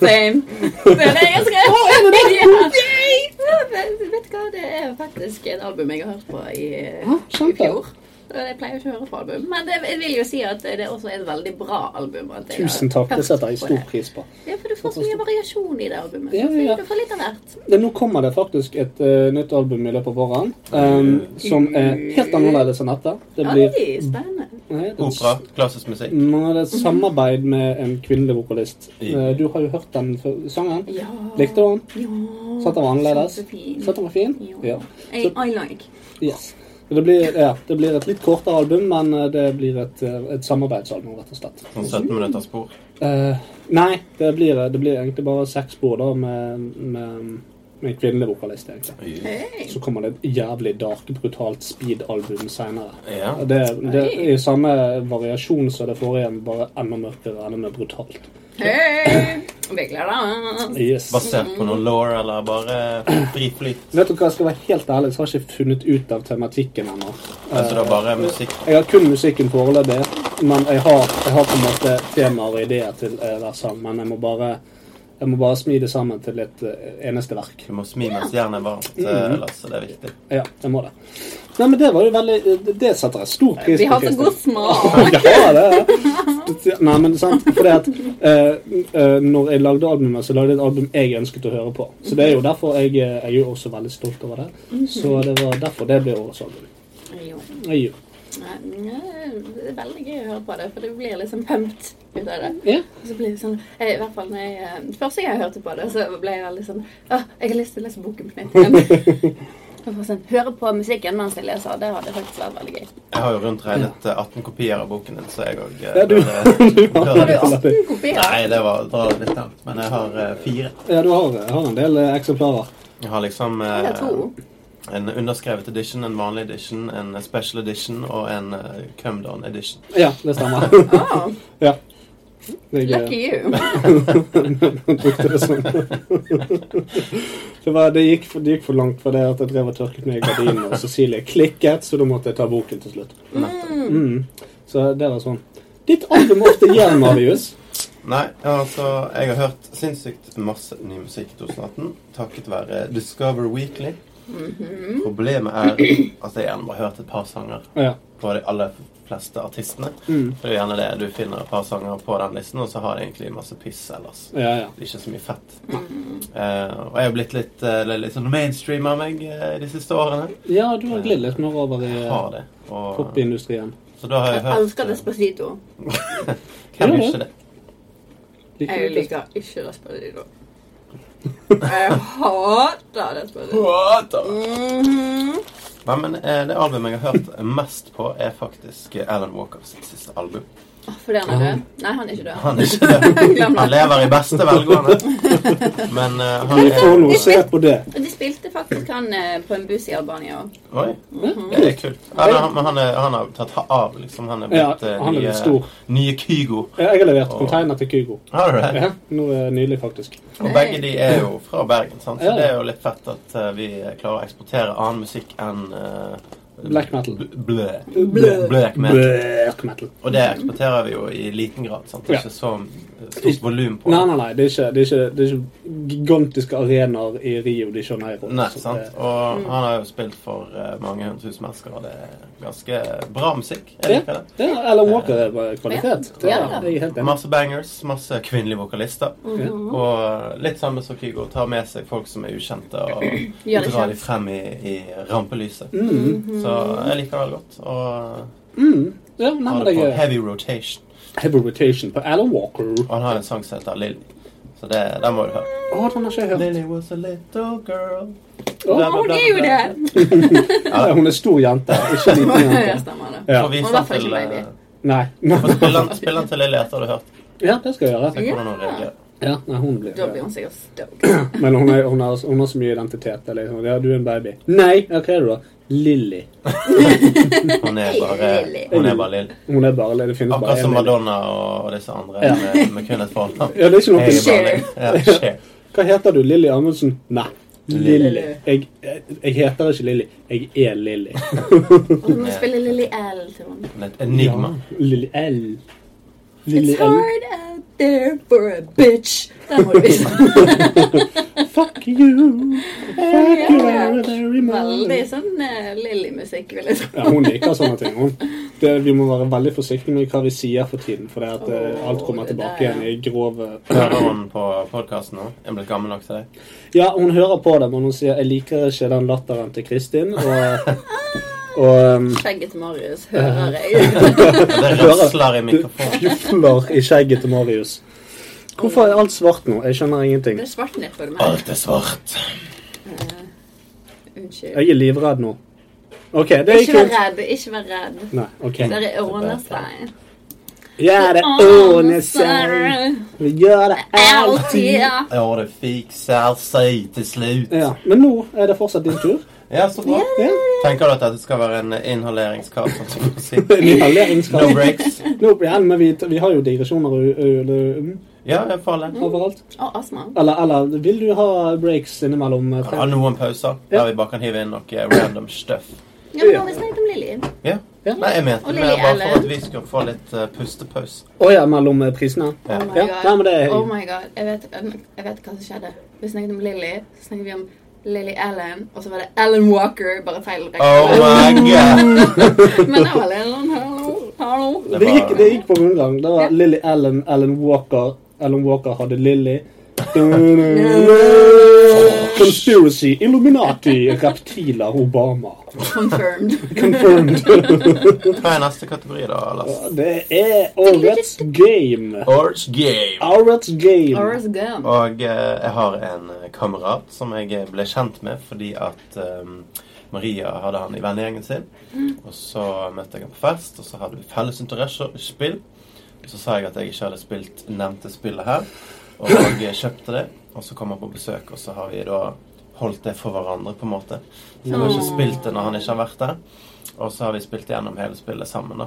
Speaker 1: Same. Det er det jeg skrev. Ja, men Vet du hva, det er faktisk et album jeg har hørt på i, eh,
Speaker 3: Hæ?
Speaker 1: i
Speaker 3: Skjønt det.
Speaker 1: fjor. Og Jeg pleier ikke å høre på album, men det, jeg vil jo si at det er også et veldig bra album. at jeg har
Speaker 3: Tusen takk, det
Speaker 1: hørt
Speaker 3: setter jeg
Speaker 1: på
Speaker 3: stor
Speaker 1: det.
Speaker 3: pris på.
Speaker 1: Ja, for du får så mye variasjon i det albumet.
Speaker 3: Ja, ja, ja.
Speaker 1: Du får litt av hvert.
Speaker 3: Men nå kommer det faktisk et eh, nytt album i løpet av våren eh, som er helt annerledes enn dette. Det
Speaker 1: Oi,
Speaker 3: blir
Speaker 1: spennende.
Speaker 3: nei, det,
Speaker 2: Opera, klassisk musikk.
Speaker 3: Nå er det et samarbeid med en kvinnelig vokalist.
Speaker 2: Ja.
Speaker 3: Eh, du har jo hørt den før- sangen.
Speaker 1: Ja.
Speaker 3: Likte du den?
Speaker 1: Ja.
Speaker 3: Så at den var annerledes?
Speaker 1: Kjempefin.
Speaker 3: Så at den var fin?
Speaker 1: Ja.
Speaker 3: Ja.
Speaker 1: I,
Speaker 3: Så-
Speaker 1: I like.
Speaker 3: Yes. Men Det blir, ja, det blir et litt kortere album, men eh, det blir et, eh, et samarbeidsalbum, rett og slett.
Speaker 2: Sånn 17 minutter spor.
Speaker 3: Eh, nei, det blir, det blir egentlig bare seks spor da, med, med, med en kvinnelig vokalist. egentlig.
Speaker 1: Hey.
Speaker 3: Så kommer det et jævlig dark, brutalt speed-album seinere.
Speaker 2: Ja.
Speaker 3: Det, det er i samme variasjon som det forrige, men bare enda mørkere, enda mer brutalt.
Speaker 1: Hey. Vi gleder oss.
Speaker 3: Yes.
Speaker 2: Basert på noe law eller bare dritflyt.
Speaker 3: Vet du hva, jeg skal være helt ærlig, så har jeg ikke funnet ut av tematikken ennå. Eh,
Speaker 2: Altså det er bare musikk.
Speaker 3: Jeg har kun musikken foreløpig, men jeg har, jeg har på en måte temaer og ideer til eh, hver sang. Men jeg må bare, jeg må bare smi det sammen til et eh, eneste verk.
Speaker 2: Du må smi mens jernet er varmt,
Speaker 3: Mm.
Speaker 2: eh, Lasse. Det er viktig.
Speaker 3: Ja, jeg må det. Nei, men det var jo veldig eh, Det, det setter jeg stor pris på.
Speaker 1: Vi har så
Speaker 3: Kristin.
Speaker 1: god smak.
Speaker 3: Ja, det er Nei, men sant, for det at eh, eh, Når jeg lagde albumet, så lagde jeg et album jeg ønsket å høre på. Så det er jo derfor jeg, eh, jeg er jo også veldig stolt over det. Så det var derfor det ble årets album.
Speaker 1: Jo.
Speaker 3: Jeg, er jo-
Speaker 1: Nei, nei, Det er veldig gøy å høre på det, for det blir liksom pumped ut av det.
Speaker 3: ja.
Speaker 1: Og så blir det sånn, eh, i hvert fall når jeg, eh, Først da jeg hørte på det, så ble jeg veldig sånn Åh, jeg har lyst til å lese boken på nytt igjen. Og bare sånn, Høre på musikken mens jeg leser, det hadde faktisk vært veldig gøy.
Speaker 2: Jeg har jo rundt regnet eh, 18 kopier av boken din, så jeg eh, òg
Speaker 3: Ja, du-
Speaker 1: Har du
Speaker 2: Nei,
Speaker 1: 18 kopier?
Speaker 2: sånn det var dra det litt langt. Men jeg har eh, fire.
Speaker 3: ja, du har, jeg har en del eh, eksemplarer.
Speaker 2: Jeg har liksom
Speaker 1: Eller
Speaker 2: eh,
Speaker 1: to.
Speaker 2: en underskrevet edition, en vanlig edition, en special edition og en eh, come down edition.
Speaker 3: Ja, det stemmer.
Speaker 1: Ah,
Speaker 3: ja. Jeg, eh,
Speaker 1: lucky you.
Speaker 3: brukte det sånn. det, var, det, gikk for, det gikk for langt for det at jeg drev og tørket meg i gardinene, og Cecilie klikket, så da måtte jeg ta boken til slutt.
Speaker 1: Mm-hmm.
Speaker 3: Mm. Så det var sånn. Ditt album ofte gjør, Marius.
Speaker 2: Nei, altså Jeg har hørt sinnssykt masse ny musikk i 2018 takket være Discover Weekly. Problemet er at jeg gjerne bare har hørt et par sanger
Speaker 3: Ja.
Speaker 2: på de aller fleste artistene.
Speaker 3: Mm.
Speaker 2: Det er jo gjerne det du finner et par sanger på den listen, og så har det egentlig masse piss ellers.
Speaker 3: Ja, ja.
Speaker 2: Det er ikke så mye fett.
Speaker 1: Mm.
Speaker 2: Eh, og jeg har blitt litt, eh, litt sånn mainstream av meg eh, de siste årene.
Speaker 3: ja, du har glidd litt mer over i
Speaker 2: Jeg
Speaker 3: eh,
Speaker 2: har det. Og,
Speaker 3: popindustrien.
Speaker 2: så da har jeg
Speaker 1: Jeg
Speaker 2: hørt
Speaker 1: elsker
Speaker 2: eh,
Speaker 1: Despacito.
Speaker 2: Hvem gjør
Speaker 3: Ja, ja.
Speaker 2: ikke det?
Speaker 1: Jeg liker ikke Despacito. Jeg hater Despacito. Mhm.
Speaker 2: Nei, men eh, Det albumet jeg har hørt mest på, er faktisk eh, Alan Walker sitt siste album.
Speaker 1: Åh, Fordi han er død? Nei, han er ikke død.
Speaker 2: Han er ikke død.
Speaker 1: Glem
Speaker 2: Han
Speaker 1: det.
Speaker 2: lever i beste velgående. Men eh, han
Speaker 3: Vi får
Speaker 2: er
Speaker 3: nå se på det.
Speaker 1: Og De spilte faktisk han eh, på en buss i Albania òg.
Speaker 2: Oi, det
Speaker 1: Mm.
Speaker 2: er kult. Ja, men han, men han, er, han har tatt av, liksom. Han er
Speaker 3: Ja,
Speaker 2: blitt eh,
Speaker 3: han er blitt stor.
Speaker 2: nye, nye Kygo.
Speaker 3: Ja, Jeg har levert
Speaker 2: Åh.
Speaker 3: container til Kygo.
Speaker 2: Har du det?
Speaker 3: Ja, nå er det Nydelig, faktisk.
Speaker 2: Og begge de er jo fra Bergen, sant? så
Speaker 3: Ja.
Speaker 2: det er jo litt fett at eh, vi klarer å eksportere annen musikk enn eh,
Speaker 3: Black metal.
Speaker 2: bl- Blø.
Speaker 1: Blø.
Speaker 2: Black metal.
Speaker 3: Black metal.
Speaker 2: Og det eksporterer vi jo i liten grad. sant? Det er
Speaker 3: Ja.
Speaker 2: ikke så stort volum på det.
Speaker 3: Nei, nei, nei. Det er ikke, det er ikke, det er ikke gigantiske arenaer i Rio de Janeiro.
Speaker 2: Nei,
Speaker 3: Så
Speaker 2: sant?
Speaker 3: det-
Speaker 2: Og han har jo spilt for eh, mange hundre tusen mennesker, og det er ganske bra musikk. Jeg
Speaker 3: Ja,
Speaker 2: liker det.
Speaker 3: eh, ja, Alan Walker er bare kvalitet. Det
Speaker 1: Ja,
Speaker 3: er
Speaker 1: ja.
Speaker 3: jeg er helt enig.
Speaker 2: Masse bangers, masse kvinnelige vokalister. Mhm. Og litt samme som Kygo, tar med seg folk som er ukjente, og
Speaker 1: Gjør det
Speaker 2: drar
Speaker 1: kjent.
Speaker 2: dem frem i, i rampelyset. Så
Speaker 1: Mhm.
Speaker 2: jeg liker det godt. Og
Speaker 3: Mm. Ja, nei, men
Speaker 2: har det
Speaker 3: det
Speaker 2: på
Speaker 3: er
Speaker 2: heavy rotation.
Speaker 3: heavy rotation på Alan Walker.
Speaker 2: Og han har en sang som heter Lily. Så det, den må du høre.
Speaker 3: Å, den har ikke jeg hørt.
Speaker 2: Lily was a little girl.
Speaker 3: Å,
Speaker 1: Å, hun er jo det!
Speaker 2: eh,
Speaker 3: Ja, hun er stor jente, ikke liten
Speaker 1: Ja,
Speaker 3: jente.
Speaker 1: stemmer det.
Speaker 3: Ja.
Speaker 2: Og vi
Speaker 1: Hun
Speaker 2: sa
Speaker 1: var faktisk
Speaker 2: til
Speaker 1: baby.
Speaker 2: eh,
Speaker 3: Nei.
Speaker 2: og Spill den- spill den til Lily etter du har hørt.
Speaker 3: Ja, det skal jeg gjøre.
Speaker 2: Se hvordan hun
Speaker 1: Ja.
Speaker 2: reagerer.
Speaker 3: Ja, nei, hun blir
Speaker 1: Da blir hun sikkert stoked.
Speaker 3: Men hun, er, hun, har, hun har så mye identitet. det er Liksom. Ja, du er en baby. Nei! OK, da. Lilly.
Speaker 2: Hun er bare, hun er bare lill.
Speaker 3: Hun er bare Det finnes
Speaker 2: Akkurat
Speaker 3: bare
Speaker 2: som
Speaker 3: én Lilly.
Speaker 2: Madonna og disse andre
Speaker 3: Ja.
Speaker 2: med, med kun et fornavn.
Speaker 3: Ja, det er ikke noe
Speaker 2: Jeg er bare
Speaker 1: Cher.
Speaker 2: lill. Ja, Cher.
Speaker 3: Hva heter du? Lilly Amundsen? Nei. Lilly.
Speaker 1: Lilly.
Speaker 3: Jeg, jeg, jeg heter ikke Lilly. Jeg er Lilly.
Speaker 1: Og så må vi spille Lily L til henne.
Speaker 2: Men Et enigma.
Speaker 3: Ja. Lilly L. Lilly
Speaker 1: It's
Speaker 3: L.
Speaker 1: hard out there for a bitch. Den må du vise.
Speaker 3: Fuck you. Fuck you
Speaker 1: Ja.
Speaker 3: very
Speaker 1: Veldig
Speaker 3: much.
Speaker 1: sånn uh, Lilly-musikk, vil jeg tro.
Speaker 3: Ja, hun liker sånne ting. Hun. Det, vi må være veldig forsiktige med hva vi sier for tiden, for det at eh, alt kommer
Speaker 1: Åh, det
Speaker 3: tilbake
Speaker 1: der,
Speaker 3: igjen i eh, grove
Speaker 2: Hører hun på podkasten nå? Jeg er blitt gammel nok til det.
Speaker 3: Ja, hun hører på det, men hun sier 'jeg liker ikke den latteren til Kristin'. Og, og um,
Speaker 1: Ah! Skjegget til Marius hører jeg.
Speaker 2: Det rasler i mikrofonen.
Speaker 3: fjufler i skjegget til Marius. Hvorfor er alt svart nå? Jeg skjønner ingenting.
Speaker 1: Det er svart ned på det, men eh,
Speaker 2: Alt er svart.
Speaker 1: unnskyld.
Speaker 3: Jeg er livredd nå. OK, det gikk
Speaker 1: Ikke vær
Speaker 3: fint.
Speaker 1: redd, ikke vær redd.
Speaker 3: Nei, OK.
Speaker 1: Der er Ånestein.
Speaker 3: Ja,
Speaker 1: Eh,
Speaker 3: det ordner seg. Vi gjør det alltid.
Speaker 2: Ja, det fikser seg til slutt.
Speaker 3: Ja, Men nå er det fortsatt din tur.
Speaker 2: Ja, så bra.
Speaker 3: Ja.
Speaker 2: Tenker du at dette skal være en inhaleringskar? sånn som du sier?
Speaker 3: En inhaleringskamp.
Speaker 2: No breaks?
Speaker 3: Nå, ja, men vi, vi har jo digresjoner u- u- u-
Speaker 2: Ja, jeg får det.
Speaker 3: overalt.
Speaker 1: Og astma.
Speaker 3: Eller, eller vil du ha breaks innimellom? eh,
Speaker 2: Kan ha noen pauser der vi bare kan hive inn noe random stuff.
Speaker 1: Ja, men nå har vi snakket om Lilly.
Speaker 2: Ja.
Speaker 3: Ja.
Speaker 2: Nei, jeg mente
Speaker 1: Og
Speaker 2: mer
Speaker 1: Lily
Speaker 2: bare
Speaker 1: Allen.
Speaker 2: for at vi skal få litt eh, pustepause.
Speaker 3: Å ja, mellom eh, prisene?
Speaker 2: Ja.
Speaker 1: Oh my
Speaker 3: Ja, nei, men
Speaker 1: god.
Speaker 3: det
Speaker 2: Eh.
Speaker 3: er-
Speaker 1: Oh my god. Jeg vet, jeg vet hva som skjedde. Vi snakket om Lilly, så snakket vi om Lily Allen, og så var det Alan Walker, bare feil
Speaker 2: Oh my god!
Speaker 1: Men det var Lily Allen, hallo, hallo.
Speaker 2: Det
Speaker 3: Det gikk,
Speaker 2: var-
Speaker 3: det gikk på rundgang. Det var Lilly Allen, Alan Walker. Alan Walker hadde Lilly. Conspiracy, Illuminati, reptiler, Obama.
Speaker 1: Confirmed.
Speaker 3: Confirmed.
Speaker 2: Hva er neste kategori, da, Lars?
Speaker 3: Det er årets game.
Speaker 2: Orch game.
Speaker 3: Årets game.
Speaker 1: Horace Gump.
Speaker 2: Og eh, jeg har en eh, kamerat som jeg eh, ble kjent med fordi at eh, Maria hadde han i vennegjengen sin. Og så møtte jeg ham på fest, og så hadde vi felles interesser i spill. Og så sa jeg at jeg ikke hadde spilt nevnte spillet her, og jeg kjøpte det. Og så kom han på besøk, og så har vi da holdt det for hverandre, på en måte. Så jeg har ikke
Speaker 1: Åh.
Speaker 2: spilt det når han ikke har vært der. Og så har vi spilt gjennom hele spillet sammen, da.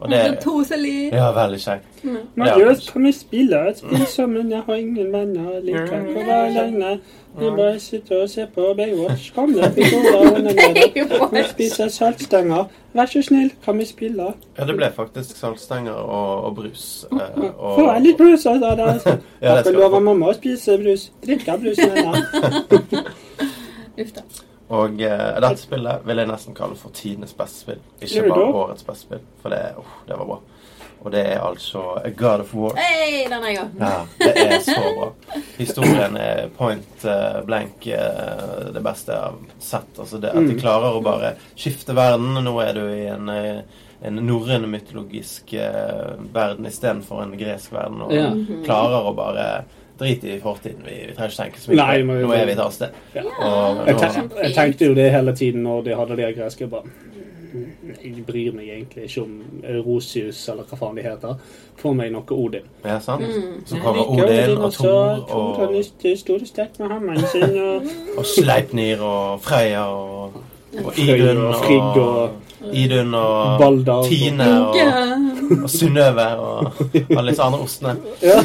Speaker 2: Og det
Speaker 1: Så toselig.
Speaker 2: ja, veldig kjekt.
Speaker 3: Man
Speaker 2: Ja.
Speaker 3: gjør kan vi spille et spill sammen. Jeg har ingen venner. Jeg liker ikke å være alene. Vi bare sitter og ser på Baywatch. Kom deg til gårdene nede. Vi spiser saltstenger. Vær så snill, kan vi spille?
Speaker 2: Ja, det ble faktisk saltstenger og, og brus. eh, og-
Speaker 3: Få litt brus, altså. Da.
Speaker 2: Ja, det skal
Speaker 3: Jeg kan
Speaker 2: du
Speaker 3: love
Speaker 2: få.
Speaker 3: mamma å spise brus. Drikke brus med henne.
Speaker 1: Uff da.
Speaker 2: Og eh, dette spillet vil jeg nesten kalle for tidenes beste spill. Ikke
Speaker 3: Gjør du
Speaker 2: bare
Speaker 3: det?
Speaker 2: årets beste spill, for det, oh, det var bra. Og det er altså A God of War.
Speaker 1: Hei, den er jeg òg.
Speaker 2: Ja, det er så bra. Historien er point eh, blank eh, det beste jeg har sett. Altså det,
Speaker 3: Mm.
Speaker 2: at de klarer å bare skifte verden. Nå er du i en, eh, en norrøn mytologisk eh, verden istedenfor en gresk verden. Og
Speaker 3: Ja.
Speaker 2: klarer å bare drite i fortiden. Vi, vi trenger ikke tenke så mye.
Speaker 3: Nei,
Speaker 2: på det.
Speaker 3: men-
Speaker 2: nå er vi et annet sted.
Speaker 3: Ja.
Speaker 2: Og,
Speaker 3: Jeg,
Speaker 2: nå,
Speaker 3: tenk, jeg tenkte jo det hele tiden når de hadde de her greske. Bare, jeg bryr meg egentlig ikke om Rosius eller hva faen de heter. Få meg noe Odin.
Speaker 2: ja, sant?
Speaker 1: Mm.
Speaker 2: Så
Speaker 3: Jeg
Speaker 2: kommer
Speaker 3: liker Odin
Speaker 2: Odin og
Speaker 3: også.
Speaker 2: Thor
Speaker 3: Thor har
Speaker 2: og,
Speaker 3: lyst til å stå sterkt med hammeren sin. Og
Speaker 2: og Sleipnir og Freya og, og
Speaker 3: Frøy
Speaker 2: Idun
Speaker 3: og Frigg og
Speaker 2: Idun og
Speaker 3: Balder og-
Speaker 2: Tine og, og Synnøve og alle disse andre ostene.
Speaker 3: Ja.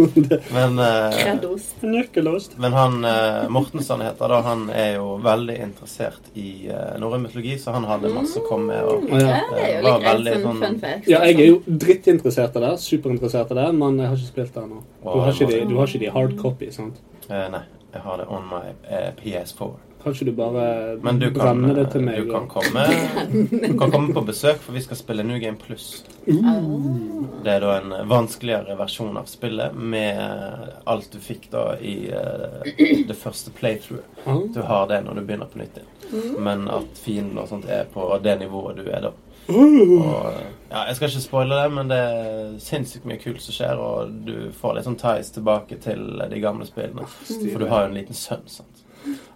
Speaker 2: Men, eh,
Speaker 1: Kredos.
Speaker 3: Nøkkelåst.
Speaker 2: men han eh, Mortensson heter da, han er jo veldig interessert i eh, norrøn mytologi, så han hadde masse å komme med. Og,
Speaker 3: Mm.
Speaker 1: Ja, det er jo
Speaker 2: Var
Speaker 1: litt greit
Speaker 2: veldig
Speaker 1: som
Speaker 2: sånn-
Speaker 1: fun fact.
Speaker 3: Ja, jeg er jo drittinteressert i det. Superinteressert i det, men jeg har ikke spilt det ennå. Du har ikke de, du har ikke de hard copy, sant?
Speaker 2: eh, nei, jeg har det on my eh, PS4.
Speaker 3: Kan ikke du bare
Speaker 2: Men du kan,
Speaker 3: brenne det
Speaker 2: eh,
Speaker 3: til meg?
Speaker 2: du kan komme Du kan komme på besøk, for vi skal spille New Game Plus.
Speaker 3: Uh.
Speaker 1: Mm.
Speaker 2: Det er da en vanskeligere versjon av spillet med eh, alt du fikk da i eh, det første playthrough.
Speaker 3: Ah.
Speaker 2: Du har det når du begynner på nytt igjen.
Speaker 3: Mm.
Speaker 2: Men at fienden og sånt er på det nivået du er da.
Speaker 3: Mm.
Speaker 2: Og, ja, jeg skal ikke spoile det, men det er sinnssykt mye kult som skjer, og du får litt sånn ties tilbake til de gamle spillene. For du har jo en liten sønn, sant.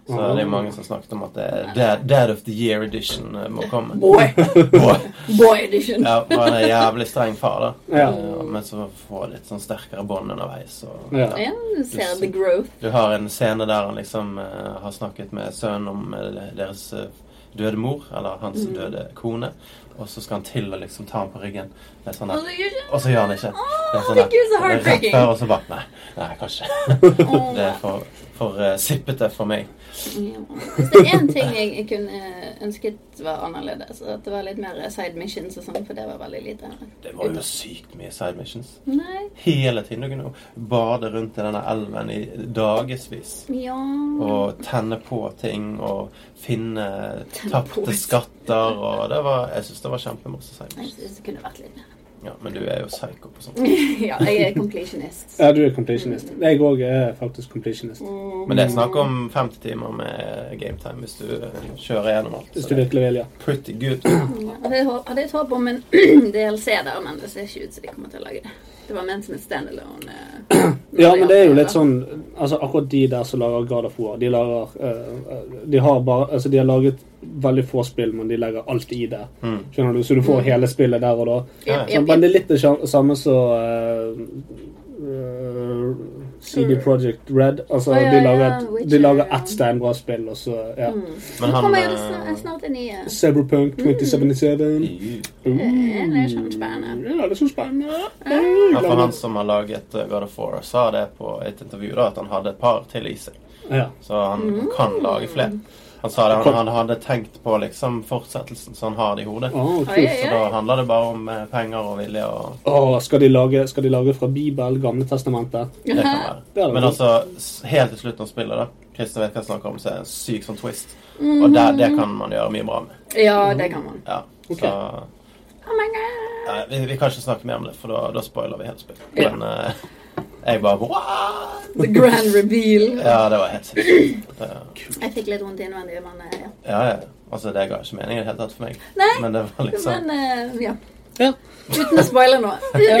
Speaker 2: Så det er mange som snakket om at det er Dad, Dad of the Year Edition eh, må komme.
Speaker 1: Boy.
Speaker 2: Boy.
Speaker 1: Boy edition.
Speaker 2: Ja, og han er jævlig streng far, da.
Speaker 3: Ja.
Speaker 2: Eh, Men så får litt sånn sterkere bånd underveis. Og,
Speaker 3: Ja.
Speaker 1: Ja, du ser the growth.
Speaker 2: du har en scene der han liksom eh, har snakket med sønnen om eh, deres eh, døde mor, eller hans
Speaker 1: Mm.
Speaker 2: døde kone, og så skal han til å liksom ta ham på ryggen. Det er sånn
Speaker 1: Og
Speaker 2: at,
Speaker 1: så gjør ikke-
Speaker 2: og så gjør han ikke. Det er sånn
Speaker 1: Herregud, så
Speaker 2: at, det er rett
Speaker 1: heartbreaking.
Speaker 2: før, og så bare Nei, nei kanskje. Det er for, for eh, sippete for meg.
Speaker 1: Ja. Hvis det er én ting jeg, jeg kunne eh, ønsket var annerledes, at det var litt mer side missions og sånn, for det var veldig lite her.
Speaker 2: Det var jo sykt mye side missions.
Speaker 1: Nei,
Speaker 2: Hele tiden. Du kunne jo bade rundt i denne elven i dagevis.
Speaker 1: ja
Speaker 2: Og tenne på ting og finne
Speaker 1: Tenne på.
Speaker 2: tapte skatter og det var, Jeg syns det var kjempemasse side
Speaker 1: Jeg
Speaker 2: missions.
Speaker 1: synes det kunne vært litt mer.
Speaker 2: Ja, men du er jo psycho på sånt.
Speaker 1: ja, jeg er completionist.
Speaker 3: Ja, du er completionist. Jeg òg er faktisk completionist.
Speaker 2: Men det er snakk om 50 timer med gametime hvis du eh, kjører gjennom alt.
Speaker 3: Hvis
Speaker 2: Så
Speaker 3: du
Speaker 2: det er
Speaker 3: virkelig vil, ja.
Speaker 2: pretty good.
Speaker 1: Ja, hadde jeg hå- hadde jeg et håp om en DLC der, men det ser ikke ut som de kommer til å lage det. Det var ment som et standalone. eh,
Speaker 3: Ja, men det er jo litt sånn altså Akkurat de der som lager God of War, de lager eh, eh, De har bare Altså, de har laget veldig få spill, men de legger alt i det.
Speaker 2: Mm.
Speaker 3: Skjønner du? Så du får hele spillet der og da.
Speaker 1: Jep,
Speaker 3: Sånn,
Speaker 1: jep,
Speaker 3: men
Speaker 1: jep.
Speaker 3: det er litt det sja- samme som eh, eh, CD Projekt Red. Altså,
Speaker 1: Mm. Å, ja,
Speaker 3: de
Speaker 1: ja,
Speaker 3: lager, et,
Speaker 1: Witcher,
Speaker 3: de lager
Speaker 1: ja.
Speaker 3: ett steinbra spill, og så ja.
Speaker 2: Men
Speaker 1: Mm. Nå
Speaker 2: han
Speaker 1: kommer jo det
Speaker 2: eh,
Speaker 1: snart, snart en ny eh,
Speaker 3: Cyberpunk 2077.
Speaker 2: i-
Speaker 1: eh, Det er sånn spennende.
Speaker 3: Ja, det er så spennende.
Speaker 2: Ja, for han som har laget eh, God of War, sa det på et intervju da, at han hadde et par til i seg.
Speaker 3: Ja.
Speaker 2: Så han
Speaker 1: Mm.
Speaker 2: kan lage flere. Han sa det, han, han hadde tenkt på liksom fortsettelsen, så han har det i hodet.
Speaker 3: Å,
Speaker 1: Oi,
Speaker 3: kult.
Speaker 1: oi,
Speaker 2: Så da handler det bare om eh, penger og vilje og
Speaker 3: Å, skal, de lage, skal de lage fra Bibel, Gamle Testamentet?
Speaker 2: det kan være.
Speaker 3: Det er det
Speaker 2: Men
Speaker 3: vel.
Speaker 2: altså, s- helt til slutten av spillet, da. Kristin vet hva jeg snakker om, så er det en syk sånn twist. Og det, det kan man gjøre mye bra med.
Speaker 1: Mm. Ja, det kan man.
Speaker 2: Ja,
Speaker 3: Ok.
Speaker 2: så
Speaker 1: Oh my god.
Speaker 2: Nei, vi, vi kan ikke snakke mer om det, for da, da spoiler vi hele spillet.
Speaker 1: Ja.
Speaker 2: Men eh, jeg bare What?
Speaker 1: The grand reveal.
Speaker 2: Ja, det var helt sykt. Det-
Speaker 1: Jeg fikk litt vondt innvendig, men eh, ja.
Speaker 2: Ja, ja. Altså, det ga ikke mening i det hele tatt for meg.
Speaker 1: Nei.
Speaker 2: Men det var liksom
Speaker 1: Men eh, ja.
Speaker 3: Ja.
Speaker 1: Uten å spoile nå.
Speaker 3: Ja.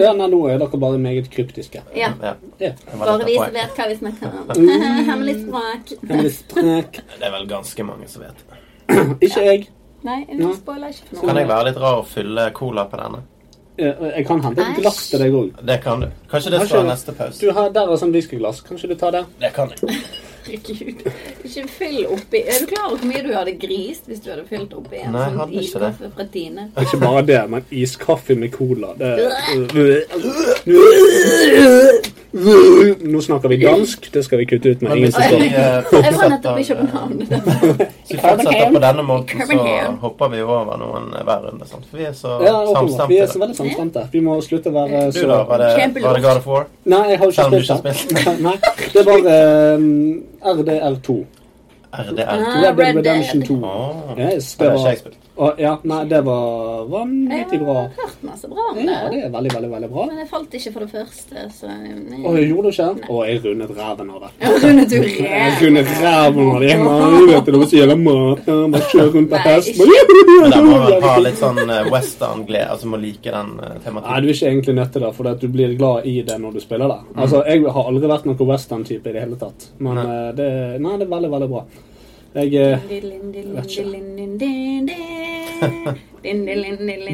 Speaker 3: ja, nei, nå er dere bare meget kryptiske.
Speaker 1: Ja.
Speaker 2: ja,
Speaker 3: Ja.
Speaker 2: det, var
Speaker 1: Bare
Speaker 2: litt
Speaker 1: vi
Speaker 2: av
Speaker 1: som
Speaker 2: poenget.
Speaker 1: vet hva vi snakker om.
Speaker 3: Mm.
Speaker 1: Hemmelig språk.
Speaker 3: Hemmelig strek.
Speaker 2: det er vel ganske mange som vet det.
Speaker 3: Ikke jeg.
Speaker 1: Nei, vi spoiler ikke for
Speaker 2: Kan jeg
Speaker 1: noe.
Speaker 2: være litt rar og fylle cola på denne?
Speaker 3: Eh, Jeg kan hente et glass til deg òg.
Speaker 2: Det kan du. Kanskje det
Speaker 3: Kanskje
Speaker 2: står
Speaker 3: det.
Speaker 2: neste
Speaker 3: Du
Speaker 2: pause.
Speaker 3: har der er sånn whiskyglass. Kanskje du tar det?
Speaker 2: Det kan jeg.
Speaker 1: Herregud. Ikke fyll oppi Er du klar over hvor mye du hadde grist hvis du hadde fylt oppi en
Speaker 2: Nei, hadde
Speaker 1: sånn
Speaker 2: ikke det.
Speaker 1: iskaffe fra Tine?
Speaker 3: Ikke bare det, men iskaffe med cola. Det øh, øh. Nå snakker vi dansk. Det skal vi kutte ut med.
Speaker 2: Men
Speaker 3: Ingen
Speaker 2: hvis
Speaker 3: som
Speaker 2: vi
Speaker 3: står.
Speaker 2: eh,
Speaker 1: Jeg var nettopp i
Speaker 2: fortsetter, eh,
Speaker 1: København.
Speaker 2: hvis vi fortsetter på denne måten, så
Speaker 1: København.
Speaker 2: hopper vi over noen eh, hver runde. Sant? For vi er så
Speaker 3: Ja, åpenbart. Vi er så
Speaker 2: samstemte.
Speaker 3: veldig samstemte. Vi må slutte å være
Speaker 2: Du, da? Var
Speaker 3: så
Speaker 2: det,
Speaker 1: Kjempeloft.
Speaker 2: var det God of War?
Speaker 3: Nei, jeg har
Speaker 2: Selv om
Speaker 3: jo
Speaker 2: du
Speaker 3: ikke
Speaker 2: ikke har
Speaker 3: spilt det. Nei, det var eh, RDR2.
Speaker 2: RDR?
Speaker 1: Ah,
Speaker 3: Red
Speaker 1: Red
Speaker 3: Dead
Speaker 1: Dead.
Speaker 3: Redemption 2.
Speaker 2: Åh.
Speaker 3: Yes,
Speaker 2: Ah. Ja,
Speaker 3: det
Speaker 2: det har ikke
Speaker 3: var,
Speaker 2: jeg spilt.
Speaker 3: og, ja, nei, det var
Speaker 1: Jeg
Speaker 3: vanvittig bra.
Speaker 1: har hørt masse bra om
Speaker 3: Ja,
Speaker 1: det.
Speaker 3: det er veldig, veldig veldig bra.
Speaker 1: Men jeg falt ikke for det første, så nei.
Speaker 3: Og jeg gjorde det ikke? Å, jeg rundet ræven av det.
Speaker 1: Jeg har rundet jo
Speaker 3: Jeg
Speaker 1: ræv.
Speaker 3: rundet ræven av det. Jeg vet det, det var så jævla mat. Jeg Bare kjøre rundt på
Speaker 1: Nei,
Speaker 3: hest.
Speaker 2: Men den må vel ha litt sånn eh, western-glede. Altså må like den eh,
Speaker 3: Nei, du
Speaker 2: tematikken.
Speaker 3: er ikke egentlig nødt til det, for at du blir glad i det når du spiller det.
Speaker 2: Mm.
Speaker 3: Altså, Jeg har aldri vært noen western-type i det hele tatt, men
Speaker 2: Nei.
Speaker 3: eh, det, nei, det er veldig, veldig bra. Jeg eh,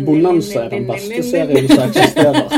Speaker 3: Bonanza er den beste serien som eksisterer.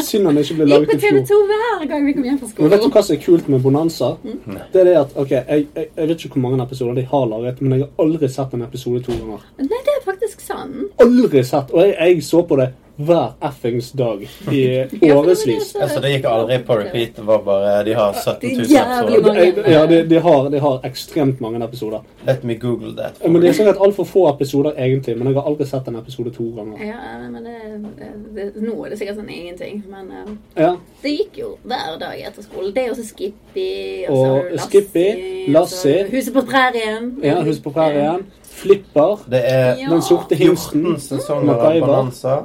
Speaker 3: Synd han ikke ble
Speaker 1: Gikk
Speaker 3: laget
Speaker 1: på
Speaker 3: i
Speaker 1: TV
Speaker 3: fjor.
Speaker 1: 2 hver gang vi kom hjem fra
Speaker 3: Men vet du
Speaker 1: skolen.
Speaker 3: hva som er kult med Bonanza?
Speaker 1: Mm.
Speaker 2: Mm.
Speaker 3: Det er det at, ok, jeg, jeg, jeg vet ikke hvor mange episoder de har laget, men jeg har aldri sett en episode to ganger.
Speaker 1: Nei, det er faktisk sant.
Speaker 3: Aldri sett! Og jeg, jeg så på det hver effings dag i
Speaker 1: det var
Speaker 3: årevis.
Speaker 1: det
Speaker 2: Altså, det gikk aldri på repeat. Det var bare De har 17 000
Speaker 1: Ah, Jævlig
Speaker 2: episoder.
Speaker 1: mange.
Speaker 3: Jeg- Ja, de, de, har, de har ekstremt mange episoder.
Speaker 2: Let me google that. for
Speaker 3: Men Det
Speaker 2: you.
Speaker 3: er sånn sikkert altfor få episoder, egentlig, men jeg har aldri sett en episode to ganger.
Speaker 1: Ja, men det, det, Nå er det sikkert sånn ingenting, men eh,
Speaker 3: Ja,
Speaker 1: det gikk jo hver dag etter skolen. Det er også Skippy og, så
Speaker 3: Og Skippy, Lassie.
Speaker 1: og så Huset på prærien.
Speaker 3: ja Husk på prærien. Flipper.
Speaker 2: Det er
Speaker 1: Ja. Mm.
Speaker 3: Den sorte hingsten.
Speaker 2: 14 sesonger av
Speaker 3: MacGyver.
Speaker 2: Bonanza.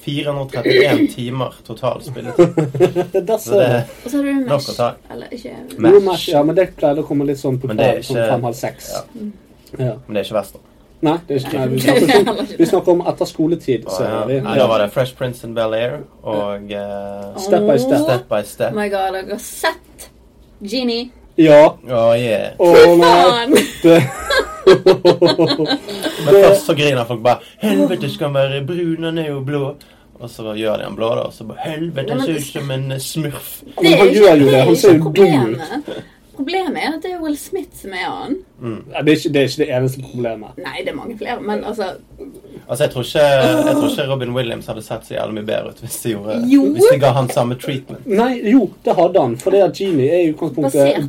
Speaker 2: 431 timer total spilletid.
Speaker 3: Det der
Speaker 2: Så
Speaker 3: ser
Speaker 2: det
Speaker 3: du.
Speaker 2: er
Speaker 1: Og så har du
Speaker 2: Nok å
Speaker 1: Mesh.
Speaker 2: ta.
Speaker 1: Eller ikke
Speaker 2: Mesh.
Speaker 3: Jo, Mesh, ja, men det pleide å komme litt sånn på
Speaker 2: Men det er
Speaker 3: par, sånn
Speaker 2: ikke-
Speaker 3: fem-halv seks.
Speaker 2: Ja.
Speaker 3: Ja.
Speaker 2: Men det er ikke western.
Speaker 3: Nei, det er ikke, nei, vi,
Speaker 1: Det er
Speaker 3: snakker
Speaker 1: heller
Speaker 3: om,
Speaker 1: ikke
Speaker 3: vi snakker om etter skoletid.
Speaker 2: Å,
Speaker 3: Så
Speaker 2: eh, ja.
Speaker 3: vi,
Speaker 2: Nei, da var det Fresh Prince in Bel-Air og eh,
Speaker 3: Step by step.
Speaker 2: Step by Step.
Speaker 1: Oh my god, dere har sett Genie.
Speaker 3: Ja.
Speaker 2: Å, Oh, yeah.
Speaker 3: Å nei!
Speaker 1: Faen!
Speaker 3: Det,
Speaker 2: Men først så griner folk bare 'Helvete skal han være brun, han er jo blå'. Og så gjør de han blå, da, og så bare 'Helvete, han ser ut som en eh, smurf'.
Speaker 1: Det
Speaker 3: men
Speaker 1: er
Speaker 3: han
Speaker 1: ikke-
Speaker 3: gjør jo det.
Speaker 1: er
Speaker 3: Han
Speaker 1: ikke
Speaker 3: ser jo dum ut.
Speaker 1: problemet. Problemet er at det er Will Smith som er han.
Speaker 3: Ja, Det er ikke det, er ikke det eneste problemet.
Speaker 1: Nei, det er mange flere, men altså
Speaker 2: Altså, jeg tror, ikke, jeg tror ikke Robin Williams hadde sett så jævlig mye bedre ut hvis de, gjorde,
Speaker 1: Jo.
Speaker 2: hvis de ga han samme treatment.
Speaker 3: Nei, jo, det hadde han. For det at Genie er i utgangspunktet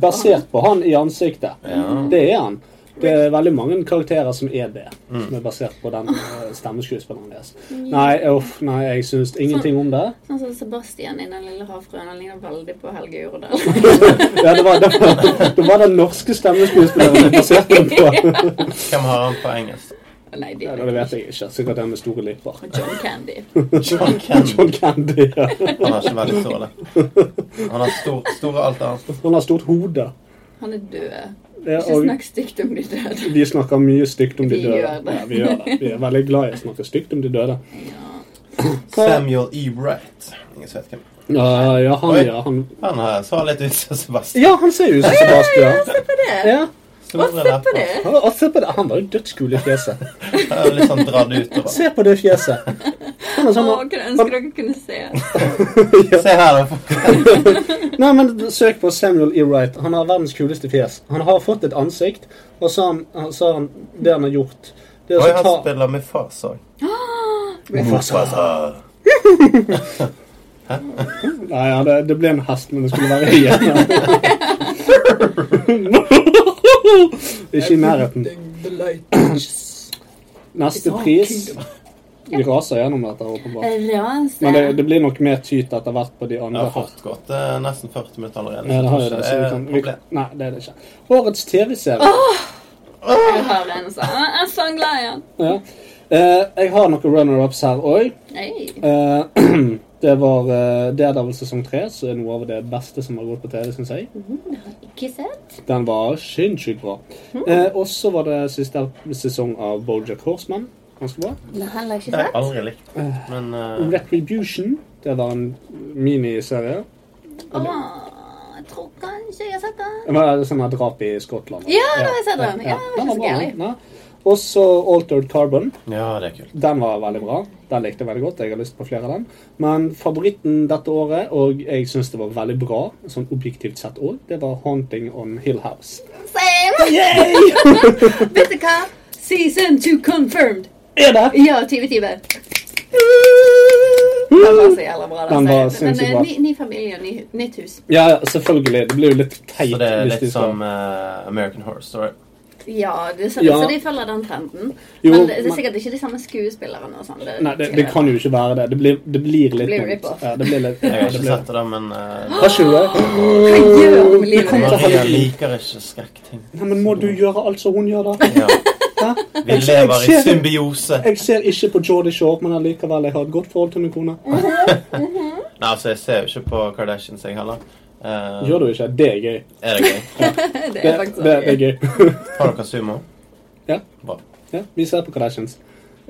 Speaker 1: Basert på
Speaker 3: basert på han i ansiktet.
Speaker 2: Ja.
Speaker 3: Det er han. Det er veldig mange karakterer som er det, som er basert på den eh, stemmeskuespilleren deres. Nei, uff, nei, jeg syns ingenting om det.
Speaker 1: Sånn som Sebastian i Den lille havfruen. Han ligner veldig på Helge Jordal.
Speaker 3: Ja, det, var, det, var, det var den norske stemmeskuespilleren jeg baserte den på.
Speaker 2: Hvem har han på engelsk?
Speaker 1: Nei, de
Speaker 3: Ja, det vet jeg ikke. Sikkert den med store lipper.
Speaker 1: John Candy.
Speaker 2: John Candy.
Speaker 3: John Candy. Ja.
Speaker 2: Han har ikke veldig store Han har stor, store alt annet.
Speaker 3: Han har stort hode.
Speaker 1: Han er død.
Speaker 3: Ja,
Speaker 1: Ikke
Speaker 3: og
Speaker 1: snakk stygt om de døde.
Speaker 3: vi snakker mye stygt om de
Speaker 1: Vi
Speaker 3: døde.
Speaker 1: gjør det.
Speaker 3: Ja, vi gjør det. Vi er veldig glad i å snakke stygt om de døde.
Speaker 2: Samuel E. Wright. Ingen vet hvem.
Speaker 3: Ja, ja, han,
Speaker 2: Oi.
Speaker 3: ja, han
Speaker 2: Han har- så litt ut som Sebastian.
Speaker 3: Ja, han ser jo ut som Sebastian.
Speaker 1: Se på det! altså.
Speaker 3: Ja.
Speaker 1: Og
Speaker 2: Store
Speaker 1: se på det!
Speaker 2: lepper.
Speaker 3: Han, og se på det. han var jo dødskul i fjeset.
Speaker 2: Ja, Litt sånn dratt utover.
Speaker 3: Se på det fjeset. Han er
Speaker 1: Å,
Speaker 3: sånn,
Speaker 1: kunne ønske dere kunne se.
Speaker 2: Se her, da.
Speaker 3: Nei, men Søk på Samuel E. Wright. Han har verdens kuleste fjes. Han har fått et ansikt, og så har han- han, så har han det han har gjort det er
Speaker 2: Oi,
Speaker 3: å
Speaker 2: han
Speaker 3: ta
Speaker 2: spiller med fars òg.
Speaker 3: Nei, ja, det, det ble en hest, men det skulle være igjen. Ikke i nærheten. Neste pris Vi raser gjennom dette, åpenbart.
Speaker 1: Eh,
Speaker 3: Men det,
Speaker 1: Rase.
Speaker 3: det blir nok mer tyt etter hvert på de
Speaker 2: Det har
Speaker 3: andre.
Speaker 2: fått gått eh, nesten 40 minutter allerede.
Speaker 3: Ja, det har jo
Speaker 2: Så
Speaker 3: det.
Speaker 2: det
Speaker 3: Så vi
Speaker 2: er
Speaker 3: kan,
Speaker 2: et
Speaker 3: vi,
Speaker 2: problem.
Speaker 3: nei, det er det ikke. Årets TV-serie.
Speaker 1: Jeg har en sånn. Jeg er så glad i han.
Speaker 3: Ja. Eh, jeg har noen runner-ups her òg.
Speaker 1: Hey.
Speaker 3: det var uh, Daredevil sesong tre, som er noe av det beste som har gått på TV, syns jeg.
Speaker 1: Ikke sett?
Speaker 3: Den var sinnssykt bra.
Speaker 1: Hmm.
Speaker 3: Eh, og så var det siste sesong av Bojack Horseman. Ganske bra.
Speaker 1: Nei, heller ikke
Speaker 2: Det har jeg
Speaker 1: sett.
Speaker 2: aldri likt. Men eh,
Speaker 3: Retribution. Det var en miniserie.
Speaker 1: Å, jeg tror kanskje jeg har sett den.
Speaker 3: Det var sånn her drap i Skottland.
Speaker 1: Ja, da har jeg sett den. Ja, det var ikke så
Speaker 3: bra,
Speaker 1: gærlig.
Speaker 3: ja. Og så Altered Carbon.
Speaker 2: ja, det er kult.
Speaker 3: Den var veldig bra. Den likte jeg veldig godt. Jeg har lyst på flere av den. Men favoritten dette året, og jeg syns det var veldig bra, sånn objektivt sett òg, det var Haunting on Hill House.
Speaker 1: Same! Vet du hva? Season 2 confirmed.
Speaker 3: Er det?
Speaker 1: Ja, 2020. Den var så jævla bra.
Speaker 3: Den var
Speaker 1: sier jeg.
Speaker 3: sinnssykt
Speaker 1: eh,
Speaker 3: bra.
Speaker 1: Ny, ny familie og ny, nytt hus.
Speaker 3: Ja, ja, selvfølgelig. Det blir jo litt teit.
Speaker 2: Så det er
Speaker 3: hvis
Speaker 2: litt
Speaker 3: de skal-
Speaker 2: som eh, American Horror Story.
Speaker 1: Ja, det, så,
Speaker 3: Ja.
Speaker 1: så de følger den trenden.
Speaker 3: Jo,
Speaker 1: men det er
Speaker 3: men-
Speaker 1: sikkert ikke de samme skuespillerne. og sånn.
Speaker 2: eh,
Speaker 3: Nei, det, det kan jo ikke være det. Det blir, det blir litt
Speaker 1: Det blir
Speaker 3: dumt.
Speaker 1: rip-off.
Speaker 3: Ja, det blir litt
Speaker 2: Jeg
Speaker 3: ja,
Speaker 2: har
Speaker 3: det
Speaker 2: ikke
Speaker 3: blir-
Speaker 2: sett det, men eh,
Speaker 3: Har ikke du det?
Speaker 1: Hva gjør med livet
Speaker 3: Kom til
Speaker 1: ditt?
Speaker 2: Maria liker ikke skrekkting.
Speaker 3: Nei, men må du gjøre alt som hun gjør, da?
Speaker 2: Ja.
Speaker 3: Hæ?
Speaker 2: Vi
Speaker 3: Jeg- jeg
Speaker 2: lever i
Speaker 3: ser-
Speaker 2: symbiose.
Speaker 3: Jeg ser ikke på Jordy Shore, men allikevel, jeg har et godt forhold til min kone.
Speaker 2: Nei, altså, jeg ser jo ikke på Kardashians, jeg heller. Eh,
Speaker 3: Gjør du ikke? Det er gøy.
Speaker 2: Er det gøy?
Speaker 1: Det
Speaker 3: Det,
Speaker 1: er faktisk
Speaker 3: det er
Speaker 1: sånn.
Speaker 3: gøy.
Speaker 2: Har dere sumo?
Speaker 3: Ja.
Speaker 2: Bra.
Speaker 3: Ja, vi ser på Kardashians.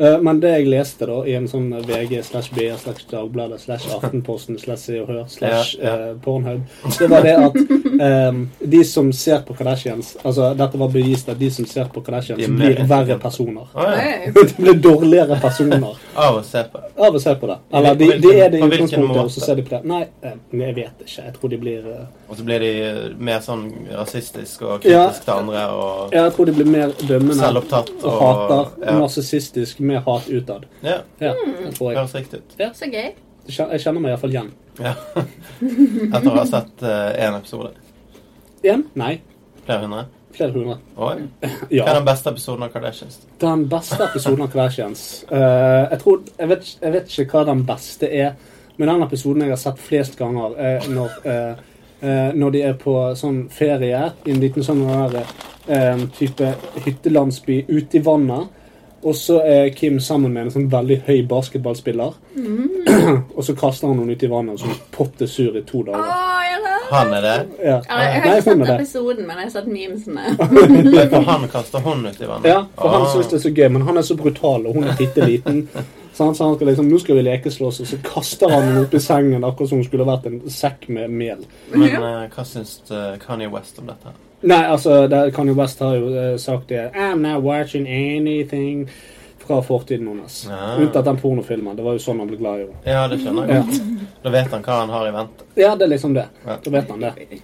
Speaker 3: Eh, Men det jeg leste da i en sånn VG slash BR slash Dagbladet slash Aftenposten slash Se og Hør slash
Speaker 2: Ja,
Speaker 3: eh, Pornhub, det var det at eh, de som ser på Kardashians Altså, dette var bevist at de som ser på
Speaker 2: De
Speaker 3: Kardashians,
Speaker 2: er mer
Speaker 3: blir verre
Speaker 2: intelligente.
Speaker 3: personer.
Speaker 2: Å ja.
Speaker 1: Nei.
Speaker 3: De blir dårligere personer
Speaker 2: Av å se på.
Speaker 3: av å se på det. Eller
Speaker 2: På
Speaker 3: de, de
Speaker 2: hvilken-
Speaker 3: er det i
Speaker 2: på hvilken
Speaker 3: utgangspunktet,
Speaker 2: måte?
Speaker 3: og så ser de på det. Nei, eh, jeg vet ikke. Jeg tror de blir eh,
Speaker 2: Og så blir de eh, mer sånn rasistisk og
Speaker 3: Ja.
Speaker 2: kritisk til andre og
Speaker 3: Ja, jeg tror de blir mer dømmende og,
Speaker 2: selvopptatt og,
Speaker 3: hater.
Speaker 2: ja.
Speaker 3: Narsissistisk med hat utad.
Speaker 2: ja.
Speaker 3: Ja, det tror jeg.
Speaker 2: Høres riktig ut.
Speaker 1: Så gøy.
Speaker 3: Jeg kjen- jeg kjenner meg iallfall igjen.
Speaker 2: Ja. Etter å ha sett én episode.
Speaker 3: Igjen? Nei.
Speaker 2: Flere hundre.
Speaker 3: Flere hundre.
Speaker 2: Oi. Hva er
Speaker 3: Ja.
Speaker 2: den beste episoden av Kardashians?
Speaker 3: Den beste episoden av Kardashians eh, jeg, tror, jeg, vet, ikke- jeg vet ikke hva den beste er, men den episoden jeg har sett flest ganger, er når, eh, eh, når de er på sånn ferie i en liten sånn der, eh, type hyttelandsby ute i vannet. Og så er Kim sammen med en sånn veldig høy basketballspiller.
Speaker 1: Mm.
Speaker 3: og så kaster han henne ut i vannet, og så er hun potte sur i to
Speaker 1: Å,
Speaker 3: dager.
Speaker 1: jeg lar-
Speaker 2: Han er det.
Speaker 3: Ja.
Speaker 1: Eller, Ah. Jeg har
Speaker 3: Nei,
Speaker 1: ikke
Speaker 3: hun er
Speaker 1: sett
Speaker 3: det.
Speaker 1: episoden, men jeg har sett memesene.
Speaker 2: Det er For han kaster hun ut i vannet.
Speaker 3: Ja, for han
Speaker 2: Ah.
Speaker 3: syns det er så gøy, men han er så brutal, og hun er bitte liten. Så han, så han skal liksom, nå skal vi lekeslåss, og så kaster han henne opp i sengen akkurat som hun skulle vært en sekk med mel.
Speaker 2: Men eh, hva syns eh, Kanye West om dette?
Speaker 3: Nei, altså, det, Kanye West har jo eh, sagt det I'm not watching anything fra fortiden hennes.
Speaker 2: Ja.
Speaker 3: Unntatt den pornofilmen. Det var jo sånn han ble glad i henne.
Speaker 2: Ja, det skjønner jeg. Da vet han hva han har i vente.
Speaker 3: Ja, det er liksom det.
Speaker 2: Ja.
Speaker 3: Da vet han det.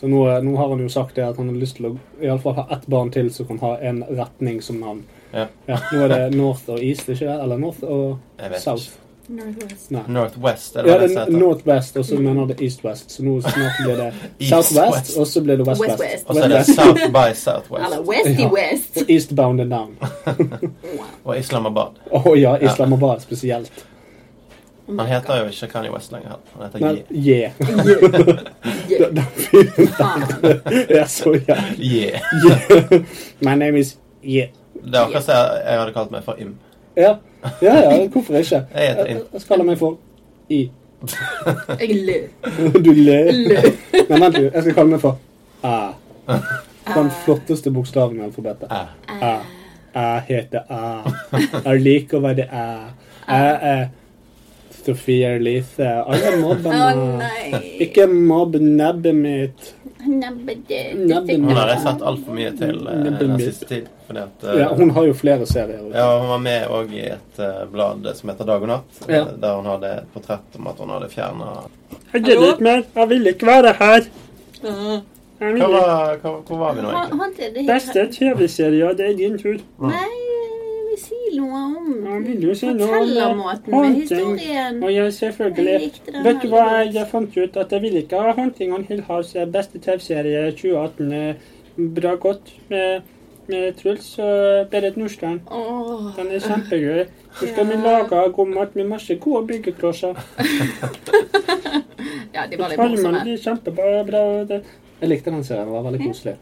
Speaker 3: Så nå, eh, nå har han jo sagt det at han har lyst til å i alle fall ha ett barn til som kan ha en retning som navn.
Speaker 2: Ja.
Speaker 3: Ja, nå er det North og East, ikke det? Eller North og
Speaker 2: Jeg vet
Speaker 3: South.
Speaker 1: Northwest.
Speaker 3: Nei.
Speaker 2: Northwest,
Speaker 3: Ja,
Speaker 2: eller hva
Speaker 3: det
Speaker 2: det
Speaker 3: er
Speaker 2: heter.
Speaker 3: Northwest, og så mener det East-West. Så nå snart blir det
Speaker 2: East
Speaker 3: Southwest,
Speaker 2: West.
Speaker 3: og så blir det West-West.
Speaker 1: West-West.
Speaker 2: Og så er det
Speaker 3: West-West.
Speaker 2: South by Southwest.
Speaker 1: Eller West i
Speaker 3: Ja.
Speaker 1: West.
Speaker 3: Og Eastbound and down.
Speaker 1: Wow.
Speaker 2: Og Islamabad.
Speaker 3: Å ja, Islamabad spesielt.
Speaker 2: Han heter jo ikke Kanye West lenger. Han heter
Speaker 3: Men
Speaker 2: Ye.
Speaker 3: yeah.
Speaker 1: Yeah.
Speaker 3: Den fyren
Speaker 1: Faen.
Speaker 3: er så jævlig.
Speaker 2: Ye.
Speaker 3: Yeah. My name is Yeah.
Speaker 2: Det er akkurat det jeg hadde kalt meg for Im.
Speaker 3: Ja, ja, ja hvorfor ikke?
Speaker 2: Jeg heter
Speaker 3: Jeg,
Speaker 2: Im.
Speaker 3: jeg skal kalle meg for I.
Speaker 1: Jeg lø.
Speaker 3: Du ler.
Speaker 1: Lø.
Speaker 3: Men vent, du. Jeg skal kalle meg for Æ. Den flotteste bokstaven i alfabetet.
Speaker 2: Æ.
Speaker 3: Æ. Æ heter Æ. Jeg liker å være Æ. Æ er Sofie Elise. Alle
Speaker 1: Å
Speaker 3: mobber meg.
Speaker 1: nei.
Speaker 3: Ikke mobb nebbet mitt.
Speaker 1: Nabbe-de.
Speaker 2: Hun har jeg sett altfor mye til eh, den siste tid. Fordi at, eh,
Speaker 3: Ja, hun har jo flere
Speaker 2: ja,
Speaker 3: serier. ute.
Speaker 2: hun var med òg i et eh, blad som heter Dag og natt, eh,
Speaker 3: Ja.
Speaker 2: der hun hadde et portrett om at hun hadde fjerna
Speaker 3: Jeg gidder ikke mer. Jeg vil ikke være her. Jeg vil
Speaker 2: Hvor
Speaker 3: ikke.
Speaker 2: var- hvor- hvor var vi nå, egentlig?
Speaker 3: Beste TV-serie, det er din tur.
Speaker 1: Nei, vi sier noe
Speaker 3: Jeg
Speaker 1: om
Speaker 3: vil jo si noe om
Speaker 1: fortellermåten
Speaker 3: eh,
Speaker 1: med
Speaker 3: håndting.
Speaker 1: historien.
Speaker 3: Og jeg selvfølgelig
Speaker 1: Jeg likte den
Speaker 3: Vet du
Speaker 1: veldig
Speaker 3: hva
Speaker 1: godt.
Speaker 3: jeg fant ut? At jeg vil ikke ha Hunting on Hill House, eh, beste TV-serie 2018. eh, Bra godt med, med Truls og Berit Nordstrand.
Speaker 1: Åh.
Speaker 3: Den er kjempegøy. Så skal vi
Speaker 1: Ja.
Speaker 3: lage god mat med masse gode byggeklosser.
Speaker 1: Ja, de var litt
Speaker 3: Farmen
Speaker 1: morsomme.
Speaker 3: blir kjempebra. Bra, det. Jeg likte den serien. Den var veldig koselig.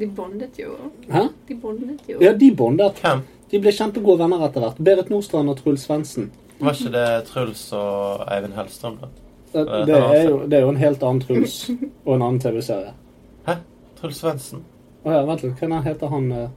Speaker 1: De bondet jo.
Speaker 3: Hæ?
Speaker 1: De bondet jo.
Speaker 3: Ja, de bondet.
Speaker 2: Hvem?
Speaker 3: De ble kjempegode venner etter hvert. Berit Nordstrand og Truls Svendsen.
Speaker 2: Var ikke det Truls og Eivind Hellstrøm? da?
Speaker 3: Det,
Speaker 2: Ja,
Speaker 3: det,
Speaker 2: det var
Speaker 3: er
Speaker 2: det.
Speaker 3: jo, det er jo en helt annen Truls og en annen TV-serie.
Speaker 2: Hæ? Truls Svendsen?
Speaker 3: Å ja, vent litt. Hva heter han eh?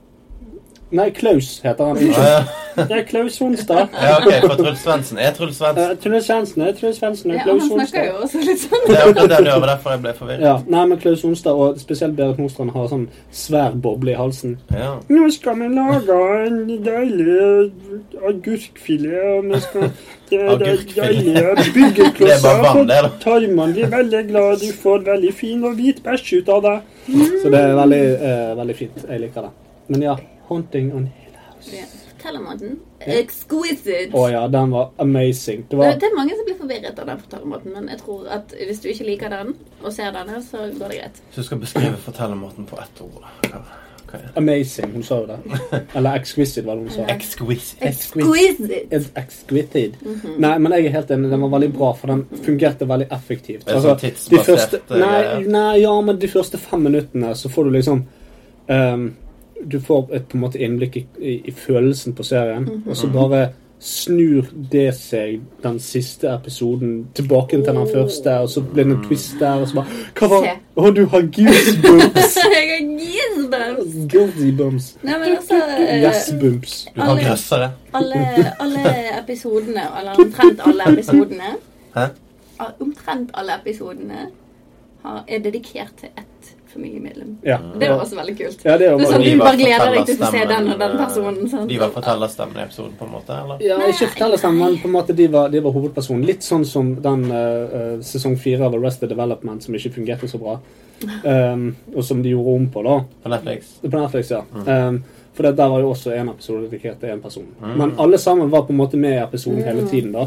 Speaker 3: Nei, Klaus heter han.
Speaker 2: Å,
Speaker 3: Unnskyld.
Speaker 2: ja.
Speaker 3: Det er Klaus Sonstad.
Speaker 2: ja, OK, for Truls Svendsen er Truls Svendsen.
Speaker 3: Eh, Truls Svendsen er Truls Svendsen og
Speaker 1: Ja,
Speaker 3: Klaus
Speaker 1: han snakker
Speaker 3: Sonstad.
Speaker 1: jo også litt sånn.
Speaker 2: Det er akkurat det det var derfor jeg ble forvirret.
Speaker 3: Ja, nei, men Klaus Sonstad og spesielt Berit Nordstrand har sånn svær boble i halsen.
Speaker 2: Ja.
Speaker 3: Nå skal vi lage en deilig agurkfilet. Og vi skal gjøre
Speaker 2: Agurkfilet.
Speaker 3: deilige
Speaker 2: Det er bare
Speaker 3: byggeklosser.
Speaker 2: vann, det, da.
Speaker 3: tarmene blir veldig glad. Du får veldig fin og hvit bæsj ut av det. Mm. Så det er veldig, eh, veldig fint. Jeg liker det. Men ja, 'Haunting on Hill House'.
Speaker 1: Ja, Fortellermåten. Exquisite.
Speaker 3: Å ja, den var amazing. Det
Speaker 1: Det
Speaker 3: var
Speaker 1: det er mange som blir forvirret av den fortellermåten, men jeg tror at hvis du ikke liker den og ser denne, så går det greit.
Speaker 2: Hvis du skal beskrive fortellermåten på ett ord, da. hva- hva er det?
Speaker 3: amazing. Hun sa jo det. Eller exquisite, var det hun sa. Altså,
Speaker 2: Exquisite.
Speaker 1: Exquisite.
Speaker 3: Ex- Exquisite. Nei, men jeg er helt enig. Den var veldig bra, for den fungerte veldig effektivt. Altså,
Speaker 2: Det er sånn
Speaker 3: de
Speaker 2: tidsbasert,
Speaker 3: første,
Speaker 2: eh,
Speaker 3: nei,
Speaker 2: greie.
Speaker 3: nei, ja, men de første fem minuttene så får du liksom ehm, Du får et på en måte innblikk i, i, i følelsen på serien,
Speaker 1: Mhm.
Speaker 3: og så bare snur det seg den siste episoden tilbake til den første, og så blir det en twist der, og så bare Hva var
Speaker 1: Se.
Speaker 3: Å, du har goosebumps!
Speaker 1: Jeg har gisbums.
Speaker 3: Goosebumps.
Speaker 1: Nei, men altså eh,
Speaker 3: Jazzbumps.
Speaker 2: Du har grøssere.
Speaker 1: alle, alle episodene, eller omtrent alle episodene
Speaker 2: Hæ?
Speaker 1: ah, Omtrent alle episodene har, er dedikert til ett familiemedlem.
Speaker 3: Ja.
Speaker 1: Det var også veldig kult.
Speaker 3: ja, det var
Speaker 1: Det er
Speaker 3: bare
Speaker 1: sånn,
Speaker 2: de
Speaker 1: du
Speaker 2: var
Speaker 1: bare gleder deg til å få se
Speaker 2: fortellerstemmen,
Speaker 1: den og den personen.
Speaker 2: eh,
Speaker 1: Sant?
Speaker 2: De var fortellerstemmen i episoden, på en måte? eller?
Speaker 3: Ja,
Speaker 1: Nei,
Speaker 3: ikke fortellerstemmen, men på en måte de var, de var hovedpersonen. Litt sånn som den eh, eh, sesong fire av Arrested Development som ikke fungerte så bra. Um, og som de gjorde om på, da.
Speaker 2: På Netflix?
Speaker 3: På Netflix, ja. Um, for det, der var jo også en episode dedikert til én person. Men alle sammen var på en måte med i
Speaker 1: Mm.
Speaker 3: episoden hele tiden, da.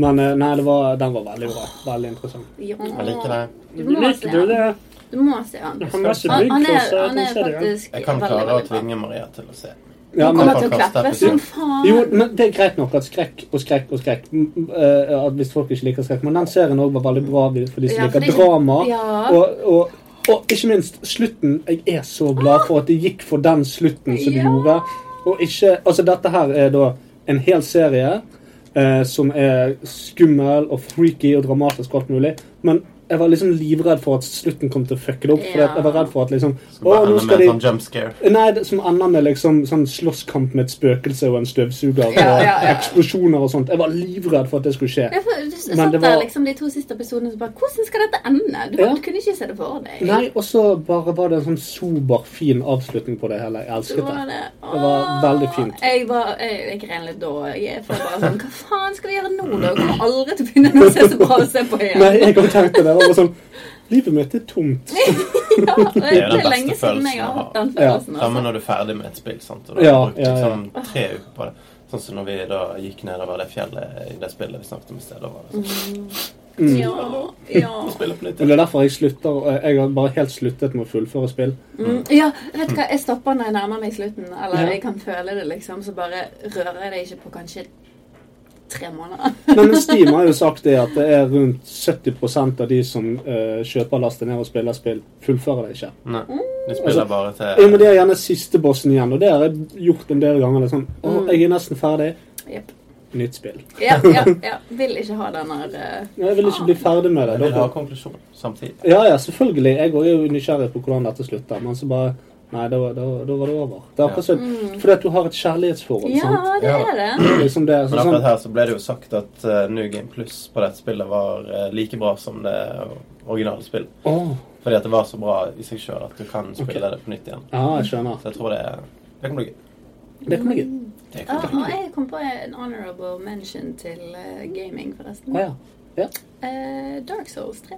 Speaker 3: Men eh, nei, det var, den var veldig bra. Veldig interessant.
Speaker 1: Ja.
Speaker 2: Jeg liker det.
Speaker 1: Du må se den. Du må se den.
Speaker 3: har masse
Speaker 1: Han, han, er,
Speaker 3: byggklosser,
Speaker 1: han
Speaker 3: den
Speaker 1: er
Speaker 3: serien.
Speaker 1: faktisk
Speaker 2: Jeg kan
Speaker 1: veldig,
Speaker 2: klare å
Speaker 1: veldig bra.
Speaker 2: tvinge Maria til å se.
Speaker 3: Ja,
Speaker 1: Hun
Speaker 3: men,
Speaker 1: kommer til å
Speaker 2: Podcast
Speaker 1: klappe
Speaker 2: episode.
Speaker 1: som faen.
Speaker 3: jo, men det er greit nok at skrekk og skrekk og skrekk mm, mm, eh, at Hvis folk ikke liker skrekk. Men den serien også var veldig bra for de som
Speaker 1: Ja, for
Speaker 3: liker
Speaker 1: de-
Speaker 3: drama.
Speaker 1: Ja.
Speaker 3: Og, og, og ikke minst slutten. Jeg er så glad for at det gikk for den slutten som det
Speaker 1: Ja.
Speaker 3: gjorde. Og ikke, altså Dette her er da en hel serie eh, som er skummel og freaky og dramatisk og alt mulig. Men jeg var liksom livredd for at slutten kom til å fucke det opp. For
Speaker 1: Ja.
Speaker 3: jeg var redd for at liksom
Speaker 2: Skal bare
Speaker 3: «Å, nå
Speaker 2: ende
Speaker 3: skal
Speaker 2: med en
Speaker 3: de...
Speaker 2: sånn jump scare.
Speaker 3: Nei, det, som ender med liksom sånn slåsskamp med et spøkelse og en støvsuger
Speaker 1: Ja,
Speaker 3: og
Speaker 1: ja, ja.
Speaker 3: eksplosjoner og sånt. Jeg var livredd for at det skulle skje.
Speaker 1: Jeg får- du s-
Speaker 3: Men
Speaker 1: satt
Speaker 3: det var-
Speaker 1: der liksom de to siste episodene og bare Hvordan skal dette ende? Du,
Speaker 3: Ja.
Speaker 1: du kunne ikke se det for deg.
Speaker 3: Nei, og så bare var det en sånn sober, fin avslutning på det hele. Jeg
Speaker 1: Det
Speaker 3: elsket
Speaker 1: var,
Speaker 3: det.
Speaker 1: det.
Speaker 3: Det var
Speaker 1: Åh,
Speaker 3: veldig fint.
Speaker 1: Jeg, var, jeg, jeg gren litt da. Jeg følte bare sånn Hva faen skal vi gjøre nå, da? Jeg kommer aldri til å finne noe som er så bra å se på igjen.
Speaker 3: Nei, jeg har tenkt det. Og sånn, Livet mitt er tomt.
Speaker 1: Ja, det
Speaker 2: er jo
Speaker 1: er
Speaker 2: den beste
Speaker 1: lenge siden jeg har
Speaker 2: følelsen å
Speaker 1: hatt den
Speaker 3: ha. Ja.
Speaker 1: følelsen.
Speaker 2: Samme
Speaker 1: Altså.
Speaker 2: når du er ferdig med et spill. sant? Og da
Speaker 3: Ja,
Speaker 2: har du brukt
Speaker 3: ja, ja.
Speaker 2: liksom tre uker på det. Sånn som når vi da gikk nedover det fjellet i det spillet vi snakket om i sted. Da var det sånn
Speaker 3: Mm.
Speaker 1: Ja, ja.
Speaker 2: Vi spiller på litt
Speaker 3: Og Det er derfor jeg slutter Jeg har bare helt sluttet med å fullføre spill.
Speaker 1: Mm, ja, vet du hva, jeg stopper når jeg nærmer meg slutten. Eller
Speaker 3: Ja.
Speaker 1: jeg kan føle det, liksom. Så bare rører jeg det ikke på kanskje tre måneder.
Speaker 3: Nei, Men Steam har jo sagt det at det er rundt 70 av de som eh, kjøper, laster ned og spiller spill, fullfører det ikke.
Speaker 2: Nei, de spiller bare
Speaker 3: Altså- Ja,
Speaker 2: til
Speaker 3: men Det er gjerne siste bossen igjen, og det har jeg gjort en del ganger. Det er sånn, å,
Speaker 1: Mm.
Speaker 3: jeg er nesten ferdig.
Speaker 1: Jep.
Speaker 3: Nytt spill.
Speaker 1: Ja, ja, ja. Vil ikke ha den her eh,
Speaker 3: Ja, Jeg vil ikke bli ferdig med det.
Speaker 2: Jeg vil ha
Speaker 3: Dere-
Speaker 2: konklusjon samtidig.
Speaker 3: Ja, ja, selvfølgelig. Jeg også er jo nysgjerrig på hvordan dette slutter, men så bare Nei, da, var- da, var- da var det over. Det er akkurat sånn, Fordi at du har et kjærlighetsforhold,
Speaker 1: Mm. Ja, Mm.
Speaker 3: sant?
Speaker 1: det
Speaker 2: Ja.
Speaker 1: er det.
Speaker 3: Det er Liksom det,
Speaker 2: Men
Speaker 3: så, sånn,
Speaker 2: akkurat her så ble det jo sagt at eh, New Game Plus på dette spillet var eh, like bra som det originale spillet.
Speaker 3: Åh,
Speaker 2: Fordi at det var så bra i seg sjøl at du kan spille det på nytt igjen.
Speaker 3: ja, jeg skjønner.
Speaker 2: Så jeg tror det, det kan bli gøy.
Speaker 3: Det kan jeg
Speaker 2: Det
Speaker 1: Ja,
Speaker 2: kan bli gøy.
Speaker 1: og jeg kom på en honorable mention til eh, gaming, forresten.
Speaker 3: Å ja. ja.
Speaker 1: Eh, Dark Souls 3.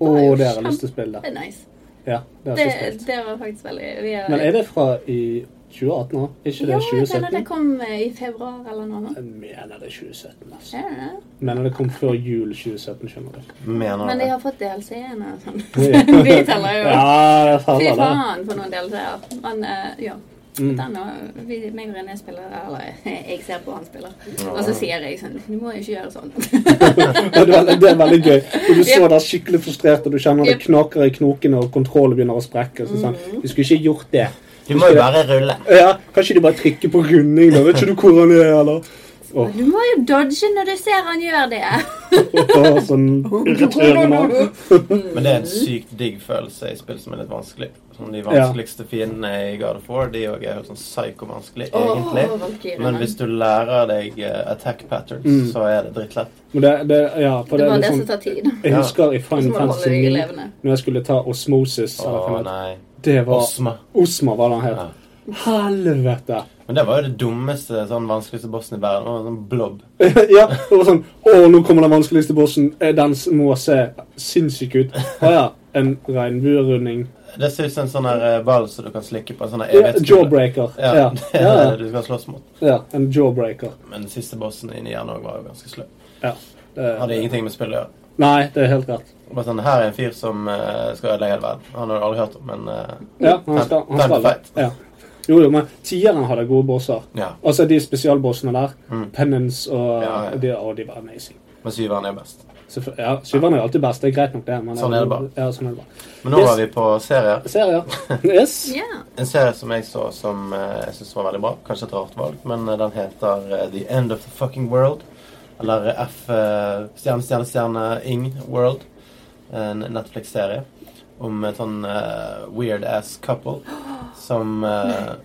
Speaker 3: Å, det har jeg lyst til å spille.
Speaker 1: Det er nice.
Speaker 3: Ja, det har
Speaker 1: Det,
Speaker 3: jeg lyst til å spille.
Speaker 1: det var faktisk veldig vi har-
Speaker 3: Men er det fra i 2018 nå? Ikke
Speaker 1: Ja,
Speaker 3: det
Speaker 1: jeg mener det
Speaker 3: 2017?
Speaker 1: kom eh, i februar eller noe.
Speaker 3: Jeg mener det er 2017, altså.
Speaker 1: Er det det?
Speaker 3: Mener det kom før jul 2017, skjønner du.
Speaker 2: Mener
Speaker 1: Men de
Speaker 2: du det?
Speaker 1: har fått DLC-en og sånn.
Speaker 3: Ja.
Speaker 1: Vi teller jo.
Speaker 3: Ja, det
Speaker 1: Fy
Speaker 3: faller det.
Speaker 1: faen for noen DLC-er. Men eh, ja.
Speaker 3: Mm.
Speaker 1: Den og vi, meg og René spiller, eller jeg ser på han spiller.
Speaker 2: Ja.
Speaker 1: Og så sier jeg sånn Du må ikke gjøre sånn.
Speaker 3: Ja, det er veldig- det er veldig gøy. Og du så der skikkelig frustrert, og du kjenner det knaker i knokene, og kontrollen begynner å sprekke. Så
Speaker 1: Mm.
Speaker 3: sånn, du skulle ikke gjort det.
Speaker 2: Du må jo bare rulle.
Speaker 3: Ja, Kanskje du bare trykker på runding, da. Vet ikke du hvor han er, eller? Åh,
Speaker 1: Du må jo dodge når du ser han gjør det.
Speaker 3: åh, sånn irriterende.
Speaker 1: Mm.
Speaker 2: Men det er en sykt digg følelse i spill som er litt vanskelig. Som de
Speaker 3: Ja.
Speaker 2: vanskeligste fiendene i God of War. De òg er helt sånn psyko-vanskelig,
Speaker 1: Åh,
Speaker 2: egentlig.
Speaker 1: vampyrene.
Speaker 2: Men hvis du lærer deg eh, attack patterns,
Speaker 3: Mm.
Speaker 2: så er det drittlett.
Speaker 3: Men det, det, ja, for
Speaker 1: Det er
Speaker 3: det er
Speaker 1: bare
Speaker 3: litt
Speaker 1: det som
Speaker 3: sånn
Speaker 1: tar tid.
Speaker 3: Jeg
Speaker 2: Ja.
Speaker 3: husker i Final
Speaker 1: Så må du holde
Speaker 3: Fantasy
Speaker 1: deg
Speaker 3: 9,
Speaker 1: levende.
Speaker 3: når jeg skulle ta Osmosis
Speaker 2: Å
Speaker 3: eller hva det
Speaker 2: nei.
Speaker 3: het. Det var
Speaker 2: Osma.
Speaker 3: Osma, var det han
Speaker 2: Ja.
Speaker 3: het. Helvete!
Speaker 2: Men det var jo det dummeste, sånn vanskeligste bossen i verden. Det var en sånn blob.
Speaker 3: ja, det var sånn Å, nå kommer den vanskeligste bossen. Eh, Den må se sinnssyk ut. Å ja. En regnbuerunding.
Speaker 2: Det ser ut som en sånn her eh, ball som du kan slikke på. En sånn her
Speaker 3: Ja,
Speaker 2: evighetskule.
Speaker 3: jawbreaker.
Speaker 2: Ja,
Speaker 3: Ja.
Speaker 2: det
Speaker 3: Ja,
Speaker 2: er det
Speaker 3: ja.
Speaker 2: du skal slåss mot.
Speaker 3: ja, en jawbreaker.
Speaker 2: Men den siste bossen inni hjernen òg var jo ganske sløv.
Speaker 3: Ja. Det-
Speaker 2: Hadde ingenting med spillet å gjøre.
Speaker 3: Eh, Nei, det er helt rett.
Speaker 2: Bare sånn, Her er en fyr som eh, skal ødelegge hele verden. Han har du aldri hørt om, men eh,
Speaker 3: Ja, han skal, han
Speaker 2: Time
Speaker 3: skal
Speaker 2: to fight.
Speaker 3: Ja. Jo, jo, men tieren hadde gode bosser.
Speaker 2: ja.
Speaker 3: Altså de spesialbossene der.
Speaker 2: Mm.
Speaker 3: Penance og
Speaker 2: Ja, ja.
Speaker 3: De, å, de var amazing.
Speaker 2: Men syveren er best.
Speaker 3: Selvfø- Ja, syveren er alltid best. Det er greit nok, det. Men
Speaker 2: Sånn er det bare.
Speaker 3: Ja, sånn er det bare.
Speaker 2: Men nå
Speaker 3: Yes.
Speaker 2: var vi på serier.
Speaker 3: Serier. Yes.
Speaker 1: Ja.
Speaker 2: En serie som jeg så som eh, jeg synes var veldig bra. Kanskje et rart valg, men eh, den heter eh, The End of the Fucking World. Eller F eh, stjerne, stjerne, stjerne Ing World. En Netflix-serie om et sånn eh, weird ass couple som eh,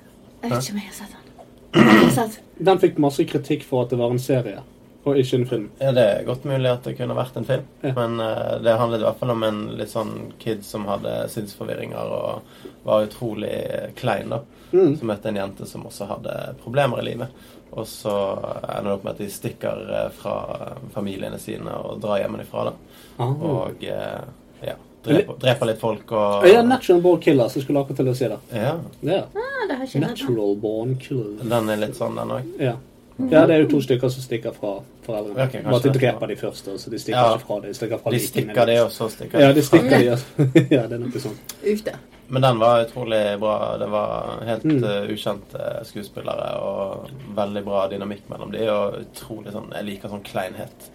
Speaker 1: Jeg vet ikke om jeg har sett den. Jeg har sett.
Speaker 3: Den fikk masse kritikk for at det var en serie, og ikke en film.
Speaker 2: Ja, det er godt mulig at det kunne vært en film,
Speaker 3: Ja.
Speaker 2: men eh, det handlet i hvert fall om en litt sånn kid som hadde sinnsforvirringer og var utrolig klein, da.
Speaker 3: Mm.
Speaker 2: Så møtte jeg en jente som også hadde problemer i livet. Og så ender det opp med at de stikker eh, fra familiene sine og drar hjemmefra, da.
Speaker 3: Ah.
Speaker 2: Og eh, ja, dreper, dreper litt folk og
Speaker 3: Ja, natural born killer, så jeg skulle akkurat til å si det.
Speaker 2: Ja.
Speaker 3: Ja.
Speaker 1: Ah, det har jeg ikke sett den.
Speaker 3: Natural born killer.
Speaker 2: Den er litt sånn, den òg.
Speaker 3: Ja.
Speaker 1: Mhm.
Speaker 3: ja, det er jo to stykker som stikker fra foreldrene.
Speaker 2: Ok, kanskje
Speaker 3: Bare at de
Speaker 2: det.
Speaker 3: dreper de først, så de stikker
Speaker 2: Ja.
Speaker 3: ikke fra det. De stikker fra
Speaker 2: De
Speaker 3: likene.
Speaker 2: stikker, de, og så stikker
Speaker 3: Ja, de stikker de, altså. ja, det er noe sånt.
Speaker 1: Uff da.
Speaker 2: Men den var utrolig bra. Det var helt
Speaker 3: Mm.
Speaker 2: eh, ukjente skuespillere og veldig bra dynamikk mellom de, og utrolig sånn Jeg liker sånn kleinhet.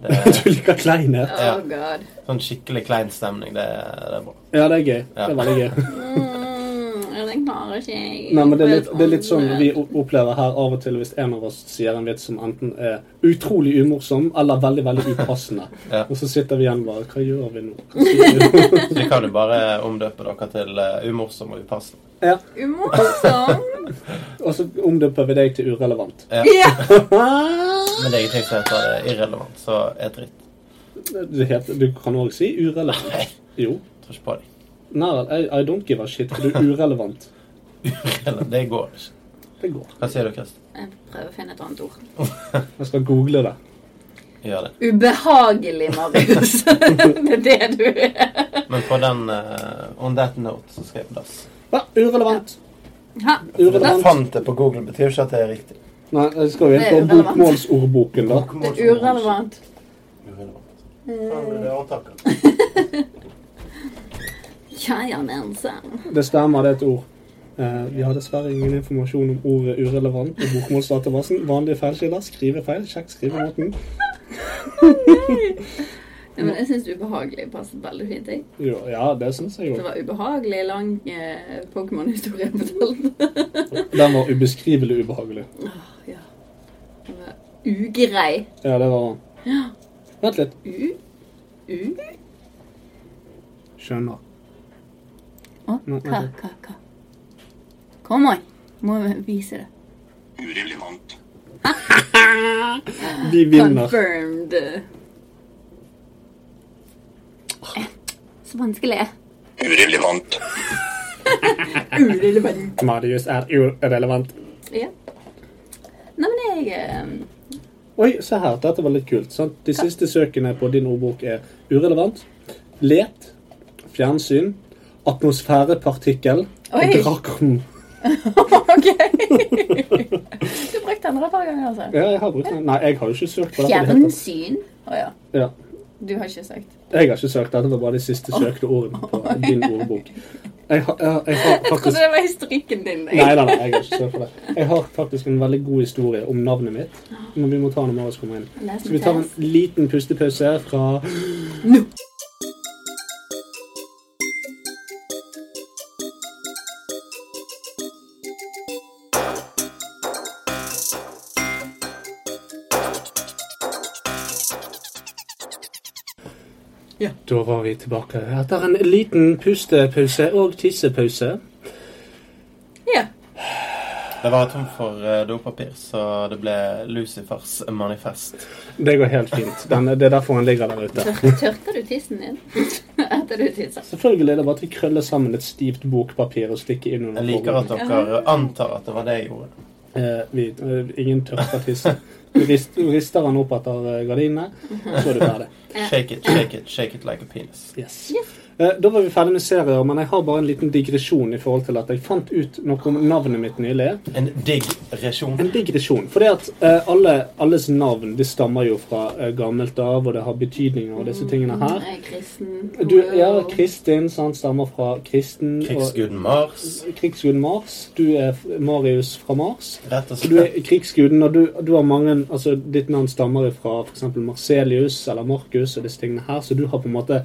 Speaker 2: Det er
Speaker 3: Du liker kleinhet.
Speaker 2: Ja.
Speaker 1: Oh god.
Speaker 2: Sånn skikkelig klein stemning. Det, det er bra.
Speaker 3: Ja, det er gøy. Det
Speaker 2: Ja.
Speaker 3: er veldig gøy.
Speaker 1: Mm, den klarer ikke jeg.
Speaker 3: Nei, men det er, litt, det er litt sånn vi o- opplever her av og til hvis en av oss sier en vits som enten er utrolig umorsom eller veldig, veldig upassende.
Speaker 2: Ja.
Speaker 3: Og så sitter vi igjen bare Hva gjør vi nå? Hva sier vi nå?
Speaker 2: Så vi kan jo bare omdøpe dere til eh, umorsom og upassende.
Speaker 3: Ja.
Speaker 1: Umorsom.
Speaker 3: Og så omdøper vi deg til urelevant.
Speaker 2: Ja.
Speaker 1: Ja.
Speaker 2: Men det er ingenting som heter det irrelevant, så er dritt.
Speaker 3: Du, heter, du kan òg si urelevant.
Speaker 2: Nei,
Speaker 3: Jo.
Speaker 2: tror ikke på dem.
Speaker 3: Nei, I, I don't give a shit, for du er urelevant.
Speaker 2: Eller, Det går ikke.
Speaker 3: Det går.
Speaker 2: Hva sier du, Kristin?
Speaker 1: Jeg prøver å finne et annet ord.
Speaker 3: Jeg skal google det.
Speaker 2: Gjør det.
Speaker 1: Ubehagelig, Marius. det er det du er.
Speaker 2: Men på den eh, On that note så skal jeg på dass.
Speaker 3: Ja, urelevant.
Speaker 1: Ha.
Speaker 2: Jeg
Speaker 3: Urelevant.
Speaker 2: fant det på Google, betyr jo ikke at det er riktig.
Speaker 3: Nei, jeg skal jo inn
Speaker 1: Det
Speaker 3: på
Speaker 1: er urelevant.
Speaker 3: bokmålsordboken, da.
Speaker 1: Det
Speaker 2: sånn
Speaker 1: er urelevant.
Speaker 2: Urelevant. Faen, det er overtaket.
Speaker 1: Kjære Nansen.
Speaker 3: Det stemmer, det er et ord. Eh, vi har dessverre ingen informasjon om ordet urelevant i bokmålsdatabasen. Vanlige feilskiller, skrivefeil, sjekk skrivemåten.
Speaker 1: Ja, Men jeg syns ubehagelig passet veldig fint. Jeg.
Speaker 3: Jo, ja, det syns jeg jo.
Speaker 1: Det var ubehagelig lang eh, Pokémon-historie jeg fortalte.
Speaker 3: Den var ubeskrivelig ubehagelig.
Speaker 1: Ja. Det var ugrei.
Speaker 3: Ja, det var den. Vent litt.
Speaker 1: U... U...
Speaker 3: Skjønner.
Speaker 1: Å,
Speaker 3: Nei,
Speaker 1: hva,
Speaker 3: nei.
Speaker 1: hva, hva? Kom an. Må vi vise det.
Speaker 5: Urelevant.
Speaker 3: Vi vinner.
Speaker 1: Confirmed. Eh, Så vanskelig.
Speaker 5: Urelevant.
Speaker 1: Urelevant.
Speaker 3: Marius er urelevant.
Speaker 1: Ja. Nei, men jeg eh,
Speaker 3: Oi, se her. Dette var litt kult. Sant? De siste søkene på din ordbok er urelevant, let, fjernsyn, atmosfærepartikkel
Speaker 1: Oi.
Speaker 3: og drakm.
Speaker 1: OK. du brukte den et par ganger, altså.
Speaker 3: Ja, jeg har brukt den. Nei, jeg har jo ikke søkt på dette. i det hele tatt.
Speaker 1: Fjernsyn. Å ja.
Speaker 3: Ja.
Speaker 1: Du har ikke sagt.
Speaker 3: Jeg har ikke søkt. Dette var bare de siste søkte ordene på din ordbok. Jeg har, jeg, jeg har
Speaker 1: Jeg
Speaker 3: faktisk
Speaker 1: trodde det var historikken din. jeg.
Speaker 3: Nei, nei, nei, jeg har ikke søkt på det. Jeg har faktisk en veldig god historie om navnet mitt, men vi må ta når Marius kommer inn.
Speaker 1: Les
Speaker 3: Så vi tar en
Speaker 1: notat.
Speaker 3: liten pustepause fra Da var vi tilbake etter en liten pustepause og tissepause.
Speaker 1: Ja.
Speaker 2: Jeg var tom for eh, dopapir, så det ble Lucifers manifest.
Speaker 3: Det går helt fint. Den, det er derfor han ligger der ute.
Speaker 1: Tør- Tørker du tissen din etter du tisser?
Speaker 3: Selvfølgelig er det bare at vi krøller sammen et stivt bokpapir og stikker inn under
Speaker 2: Jeg liker at
Speaker 3: forhuden.
Speaker 2: dere antar at det var det jeg gjorde.
Speaker 3: eh, vi, eh, Ingen tørker tissen. Du rist, du rister han opp etter eh, gardinene, så er du ferdig.
Speaker 2: Shake it, shake it, shake it like a penis.
Speaker 3: Yes.
Speaker 1: Yes.
Speaker 3: Eh, da var vi ferdig med serier, men jeg har bare en liten digresjon i forhold til at jeg fant ut noe om navnet mitt nylig.
Speaker 2: En digg resjon.
Speaker 3: En digresjon. For at eh, alle, alles navn de stammer jo fra eh, gammelt av, og det har betydninger og disse tingene her.
Speaker 1: Jeg er Mm, kristen.
Speaker 3: Du, ja,
Speaker 1: Wow.
Speaker 3: Kristin sant, stammer fra kristen. og-
Speaker 2: Krigsguden Mars.
Speaker 3: krigsguden Mars. Du er f- Marius fra Mars.
Speaker 2: Rett og
Speaker 3: Du er
Speaker 2: slett.
Speaker 3: krigsguden, og du, du har mange altså Ditt navn stammer fra f.eks. Marcelius eller Markus og disse tingene her, så du har på en måte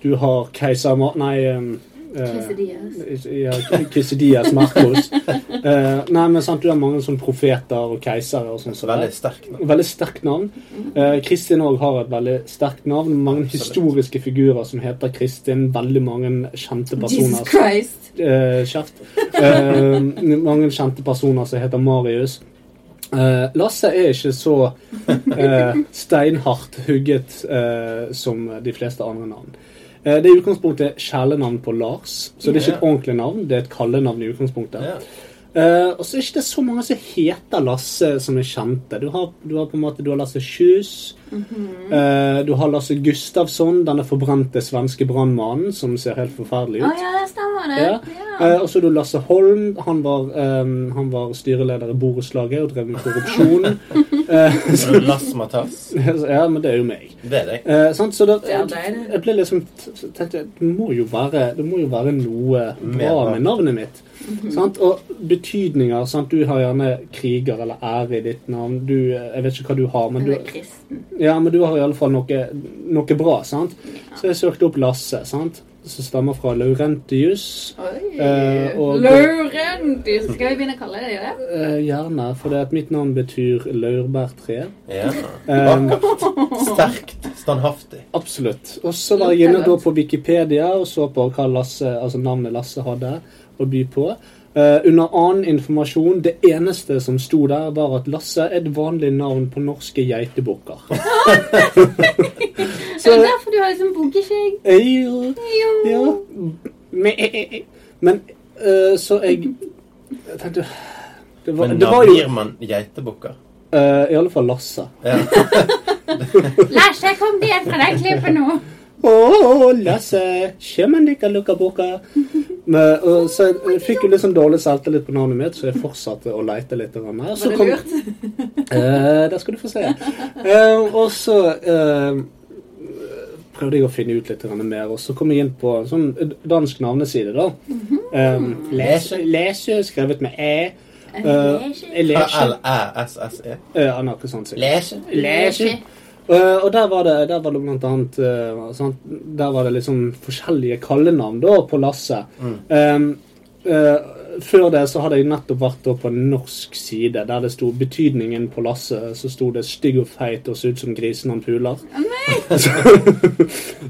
Speaker 3: Du har keiser Mar... Nei um,
Speaker 1: Quesadillas.
Speaker 3: ja, Quesadillas Marcos. Eh, nei, men sant, du har mange sånn profeter og keisere og sånn. som
Speaker 2: Veldig
Speaker 3: det.
Speaker 2: sterk. nå.
Speaker 3: Veldig sterkt navn. Eh, Kristin òg har et veldig sterkt navn. Mange
Speaker 2: Absolutt.
Speaker 3: historiske figurer som heter Kristin. Veldig mange kjente
Speaker 1: Jesus
Speaker 3: personer.
Speaker 1: Christ.
Speaker 3: Eh, kjeft. Eh, mange kjente personer som heter Marius. Eh, Lasse er ikke så eh, steinhardt hugget eh, som de fleste andre navn. Eh, det er i utgangspunktet kjælenavn på Lars, så det er ikke et
Speaker 2: Ja.
Speaker 3: ordentlig navn. Det er et kallenavn i utgangspunktet.
Speaker 2: Ja.
Speaker 3: Eh, og så er ikke det så mange som heter Lasse som er kjente. Du har, du har på en måte du har Lasse Kjus.
Speaker 1: Mhm.
Speaker 3: eh, du har Lasse Gustavsson, denne forbrente svenske brannmannen som ser helt forferdelig
Speaker 1: Å
Speaker 3: ut.
Speaker 1: ja, det stemmer det.
Speaker 3: Ja.
Speaker 1: Ja.
Speaker 3: Eh, og så er det Lasse Holm. Han var, eh, han var styreleder i borettslaget og drev med korrupsjon.
Speaker 2: Lassmatas.
Speaker 3: ja, men det er jo meg.
Speaker 2: Det er deg.
Speaker 3: Eh, sant? Så da,
Speaker 1: Ja,
Speaker 3: jeg,
Speaker 1: det er det.
Speaker 3: jeg ble liksom t- tenkte jeg, det må jo være, det må jo være noe bra
Speaker 2: Mer.
Speaker 3: med navnet mitt. Sant? Og betydninger. Sant? Du har gjerne kriger eller ære i ditt navn. Du, eh, jeg vet ikke hva du har, men
Speaker 1: Han
Speaker 3: du,
Speaker 1: er kristen.
Speaker 3: ja, men du har i alle fall noe, noe bra. Sant? Så jeg søkte opp Lasse, sant? som stammer fra Laurentius.
Speaker 1: Oi.
Speaker 3: Eh, og-
Speaker 1: Laurentis. Skal vi begynne å kalle deg det?
Speaker 3: Eh, gjerne, for det at mitt navn betyr laurbærtre.
Speaker 2: Ja.
Speaker 3: Eh,
Speaker 2: Sterkt. Standhaftig.
Speaker 3: absolutt. Og så var jeg inne da på Wikipedia og så på hva Lasse, altså navnet Lasse hadde å by på. Eh, under annen informasjon, det eneste som sto der, var at Lasse er et vanlig navn på norske geitebukker.
Speaker 1: Er det
Speaker 3: så
Speaker 1: derfor du har liksom bukkeskjegg?
Speaker 3: eh, jo,
Speaker 1: Jo.
Speaker 3: ja. Men, eh, eh, eh. Men eh, så jeg jeg tenkte det Det var,
Speaker 2: Men
Speaker 3: det
Speaker 2: da
Speaker 3: var jo
Speaker 2: blir man geitebukker.
Speaker 3: eh, i alle fall Lasse.
Speaker 2: Ja.
Speaker 1: Lasse, kom ned fra den klippen nå.
Speaker 3: Å, Lasse, kjømmen dikka lukka boka. Men, og, så jeg fikk jo liksom dårlig selvtillit på navnet mitt, så jeg fortsatte å leite litt. grann Mer. Så
Speaker 1: Var det
Speaker 3: kom-
Speaker 1: lurt?
Speaker 3: Eh, det skal du få se. Eh, og så eh, prøvde jeg å finne ut litt grann mer, og så kom jeg inn på en sånn dansk navneside. da.
Speaker 1: Mhm.
Speaker 3: Eh, lese, lese, skrevet med æ. Eh, lese.
Speaker 2: L-æ-s-s-e.
Speaker 3: Eh, han har ikke sånn sikkert.
Speaker 2: Lese.
Speaker 3: Lese. Eh, og der var, det, der var det blant annet eh, sånn, Der var det liksom forskjellige kallenavn da på Lasse. Eh, eh, før det så hadde jeg nettopp vært da på en norsk side der det sto betydningen på Lasse. Så sto det 'stygg og feit og så ut som grisen han puler'.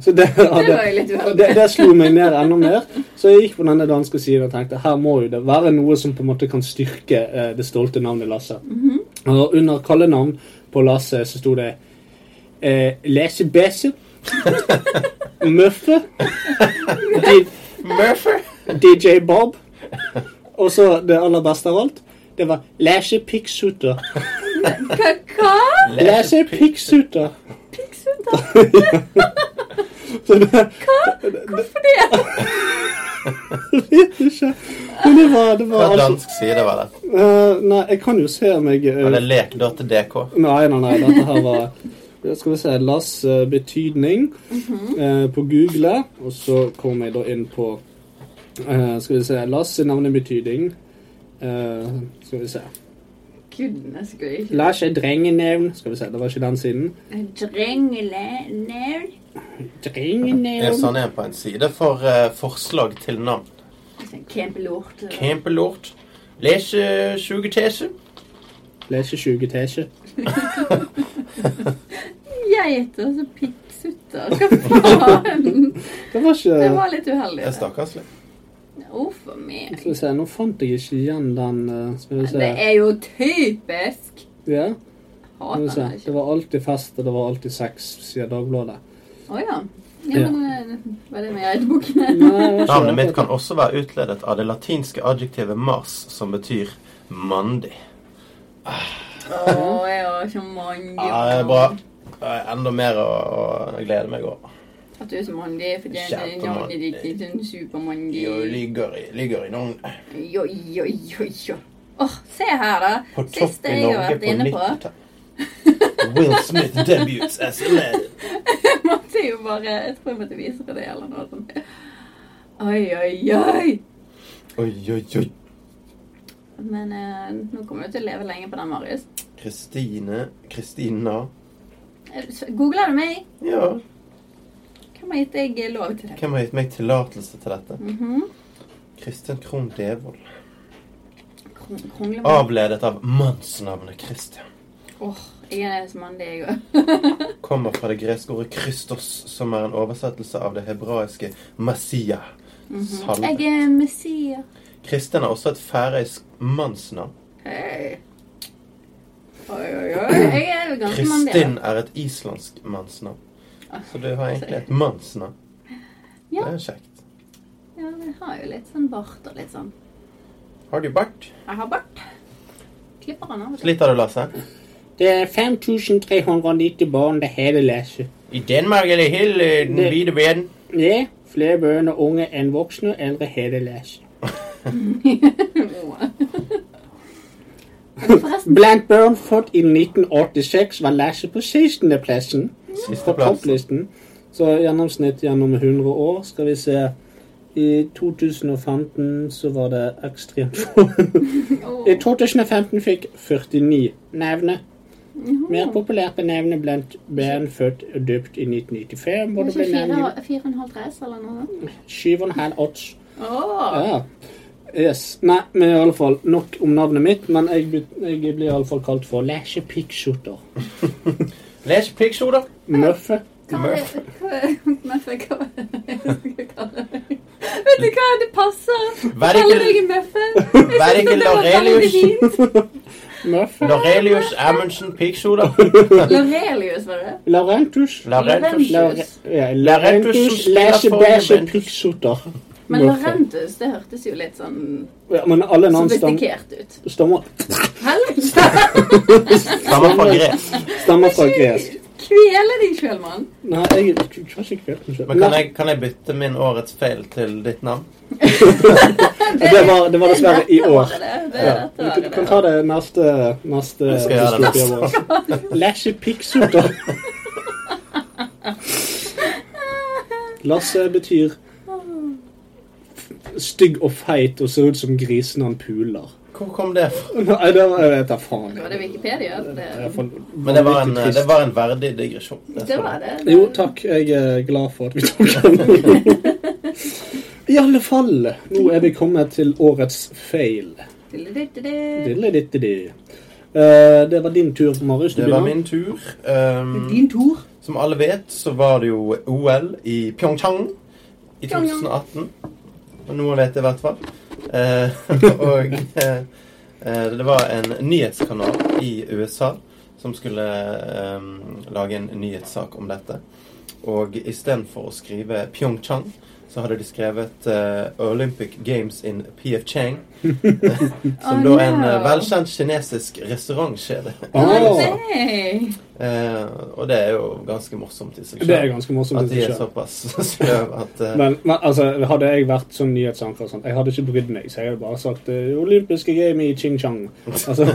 Speaker 3: så det, hadde,
Speaker 1: Det var jo litt uheldig.
Speaker 3: det, det slo meg ned enda mer. Så jeg gikk på denne danske siden og tenkte her må jo det være noe som på en måte kan styrke eh, det stolte navnet Lasse. Og under kallenavn på Lasse så sto det eh, Lesebese. Møffe. D-
Speaker 2: Murphy.
Speaker 3: DJ Bob. Og så det aller beste av alt. Det var Lesjepikksuter.
Speaker 1: Hva? hva?
Speaker 3: Lesjepikksuter.
Speaker 1: Pikksutter?
Speaker 3: Så det
Speaker 1: Hvorfor det?
Speaker 3: vet jeg ikke. Men det var, det var
Speaker 2: Fra
Speaker 3: altså
Speaker 2: dansk side var det.
Speaker 3: Eh, Nei, jeg kan jo se om jeg eh,
Speaker 2: Var det lek da til DK?
Speaker 3: Nei, nei, nei, dette her var Skal vi se Lass eh, betydning
Speaker 1: Mhm.
Speaker 3: eh, på Google. Og så kom jeg da inn på eh, Skal vi se Lass navnebetydning. Eh, skal vi se
Speaker 1: Goodness gracious.
Speaker 3: Lars er drengenevn. Skal vi se, det var ikke den siden.
Speaker 1: Drengelenevn.
Speaker 2: Ja,
Speaker 3: Drengenevn.
Speaker 2: sånn er han på en side for eh, forslag til navn.
Speaker 1: Altså, Kjempelort.
Speaker 2: Campelort. Lese sugetese.
Speaker 3: Lesje 20 tesje.
Speaker 1: Geiter som pikksutter. altså Hva faen?
Speaker 3: Det var ikke
Speaker 1: Det var litt uheldig.
Speaker 2: Det er stakkarslig.
Speaker 1: Å, for meg.
Speaker 3: Skal vi se, nå fant jeg ikke igjen den eh, Skal vi
Speaker 1: Det
Speaker 3: se.
Speaker 1: er jo typisk.
Speaker 3: Ja, skal vi
Speaker 1: Hater
Speaker 3: se.
Speaker 1: det
Speaker 3: Det
Speaker 1: ikke.
Speaker 3: var alltid fest, og det var alltid sex, sier Dagbladet.
Speaker 1: Å ja. Ja, men eh, var det med i geitebukene?
Speaker 3: Nei, det var ikke
Speaker 2: Navnet mitt
Speaker 3: akkurat
Speaker 2: kan også være utledet av det latinske adjektivet mars, som betyr mandig.
Speaker 1: Å ja, så mange.
Speaker 2: Ja, det er bra. Det er enda mer å, å glede meg over.
Speaker 1: At du er så mandig, for det er
Speaker 2: Kjempemandig.
Speaker 1: navnet ditt er sånn supermandig.
Speaker 2: Jo, ligger i, ligger i navnet.
Speaker 1: Jo, jo, jo, jo. Åh, se her, da.
Speaker 2: På topp
Speaker 1: Siste
Speaker 2: i
Speaker 1: jeg har
Speaker 2: Norge
Speaker 1: vært
Speaker 2: på
Speaker 1: inne på.
Speaker 2: 90-tallet. Will Smith debuts as a lad.
Speaker 1: Jeg måtte jo bare Jeg tror jeg måtte vise deg det eller noe sånt. Oi, oi, oi.
Speaker 2: Oi, oi, oi.
Speaker 1: Men eh, nå kommer du til å leve lenge på den, Marius.
Speaker 2: Kristine Kristina.
Speaker 1: Eh, så Googler du meg?
Speaker 2: Ja,
Speaker 1: Hvem har gitt deg eh, lov til det?
Speaker 2: hvem har gitt meg tillatelse til dette?
Speaker 1: Mhm.
Speaker 2: Kristin Krohn Devold.
Speaker 1: Kron- Kronglevåg.
Speaker 2: Avledet av mannsnavnet Kristian.
Speaker 1: Åh, jeg er så mandig, jeg òg.
Speaker 2: Kommer fra det greske ordet Kristos, som er en oversettelse av det hebraiske Masia.
Speaker 1: Mhm. Jeg
Speaker 2: Salve.
Speaker 1: er Messias.
Speaker 2: Kristin er også et færøysk mannsnavn.
Speaker 1: Hei. Oi, oi, oi. Jeg er jo ganske mandig. da.
Speaker 2: Kristin er et islandsk mannsnavn. Så du har egentlig et mannsnavn. Det
Speaker 1: Ah, altså, Ja.
Speaker 2: er kjekt.
Speaker 1: Ja, jeg har jo litt sånn bart og litt sånn.
Speaker 2: Har du bart?
Speaker 1: Jeg har bart. Klipper han av og til.
Speaker 2: Sliter du, Lasse?
Speaker 3: Det er 5390 barn det hele leser.
Speaker 2: I Danmark er det hele den
Speaker 3: Det-
Speaker 2: hvite verden.
Speaker 3: Det er flere barn og unge enn voksne og eldre hele leser.
Speaker 1: Men Forresten,
Speaker 3: Blant barn født i 1986 var leser på 16.-plassen på
Speaker 2: Siste plass.
Speaker 3: topplisten. Så gjennomsnitt gjennom 100 år, skal vi se. I 2015 så var det ekstremt få.
Speaker 1: Åh.
Speaker 3: I 2015 fikk 49 nevne. Mer populært enn nevne blant barn født og døpt i 1995. Hvor det
Speaker 1: Kanskje
Speaker 3: ble nevnt
Speaker 1: fire- fire og en halv dress eller noe sånt?
Speaker 3: 7,5 odds.
Speaker 1: Åh,
Speaker 3: Ja. Yes. Nei, men i alle fall nok om navnet mitt. Men jeg, blir- jeg blir i alle fall kalt for Lesje Pikkshooter.
Speaker 2: Les pikksoda.
Speaker 3: Møffe.
Speaker 1: hva er det- hva- Møffe, hva var det jeg skulle kalle deg? Vet du hva, det passer!
Speaker 2: Vær
Speaker 1: Kaller
Speaker 2: ikke,
Speaker 1: deg en Møffe. Jeg
Speaker 2: Vær
Speaker 1: synes
Speaker 2: ikke
Speaker 1: det var veldig
Speaker 2: Larelius.
Speaker 1: fint.
Speaker 3: Møffe.
Speaker 2: Lorelius Amundsen pikksoda.
Speaker 1: Larelius, var det?
Speaker 3: Laurentus.
Speaker 2: Larentus.
Speaker 1: Laurentus.
Speaker 3: Laurentus Lesje Bæsje Pikkshooter.
Speaker 1: Men
Speaker 3: Hvorfor?
Speaker 1: Laurentus, det hørtes jo litt sånn
Speaker 3: Ja, men alle navn stammer,
Speaker 1: sofistikert ut.
Speaker 3: stammer,
Speaker 1: Helvete!
Speaker 2: Stammer fra gresk.
Speaker 3: stammer fra gresk.
Speaker 1: Kvele deg sjøl, mann.
Speaker 3: Nei, jeg jeg har ikke kvelt meg selv.
Speaker 2: Men kan
Speaker 3: Nei,
Speaker 2: jeg, kan jeg bytte min årets feil til ditt navn?
Speaker 3: Det var, det var dessverre i
Speaker 1: Dette
Speaker 3: år.
Speaker 1: året, det. Det
Speaker 3: Ja.
Speaker 1: er dette
Speaker 3: Du kan-
Speaker 1: året,
Speaker 3: du kan ta det neste neste
Speaker 2: Jeg skal gjøre det
Speaker 3: historie vår. Lashy Pixoter. Lasse betyr stygg og feit og ser ut som grisen han puler.
Speaker 2: Hvor kom det fra?
Speaker 3: Nei, det var, jeg vet da faen.
Speaker 1: Var det Wikipedia?
Speaker 3: Det er
Speaker 1: Det,
Speaker 3: for-
Speaker 2: Men det var en,
Speaker 3: vanvittig trist.
Speaker 2: det var en verdig digresjon.
Speaker 1: det var det.
Speaker 3: Jo, takk. Jeg er glad for at vi tok den. I alle fall, nå er vi kommet til årets feil.
Speaker 1: Det
Speaker 3: Diddelididdidi. Eh, Det var din tur, Marius. Du
Speaker 2: Det var
Speaker 3: begynner.
Speaker 2: min tur. Ehm,
Speaker 1: Din tur.
Speaker 2: som alle vet, så var det jo OL i Pyeongchang i
Speaker 1: Pyeongchang.
Speaker 2: 2018. Og noen vet det i hvert fall. Eh, og eh, eh, det var en nyhetskanal i USA som skulle eh, lage en nyhetssak om dette. Og istedenfor å skrive Pyeongchang, så hadde de skrevet eh, Olympic Games in PF Chang. som
Speaker 1: Oh,
Speaker 2: da er en eh,
Speaker 1: no.
Speaker 2: velkjent kinesisk restaurantkjede.
Speaker 3: Ah,
Speaker 2: altså.
Speaker 1: Nei.
Speaker 2: Eh, og det er jo ganske morsomt i seg
Speaker 3: det er
Speaker 2: selv.
Speaker 3: ganske morsomt. i
Speaker 2: At de
Speaker 3: seg
Speaker 2: er
Speaker 3: selv.
Speaker 2: såpass sløve at eh,
Speaker 3: Men, men altså, hadde jeg vært sånn nyhetsanker og sånt, jeg hadde ikke brydd meg, så jeg hadde bare sagt eh, 'Olympiske game i Ching-chang'. Altså,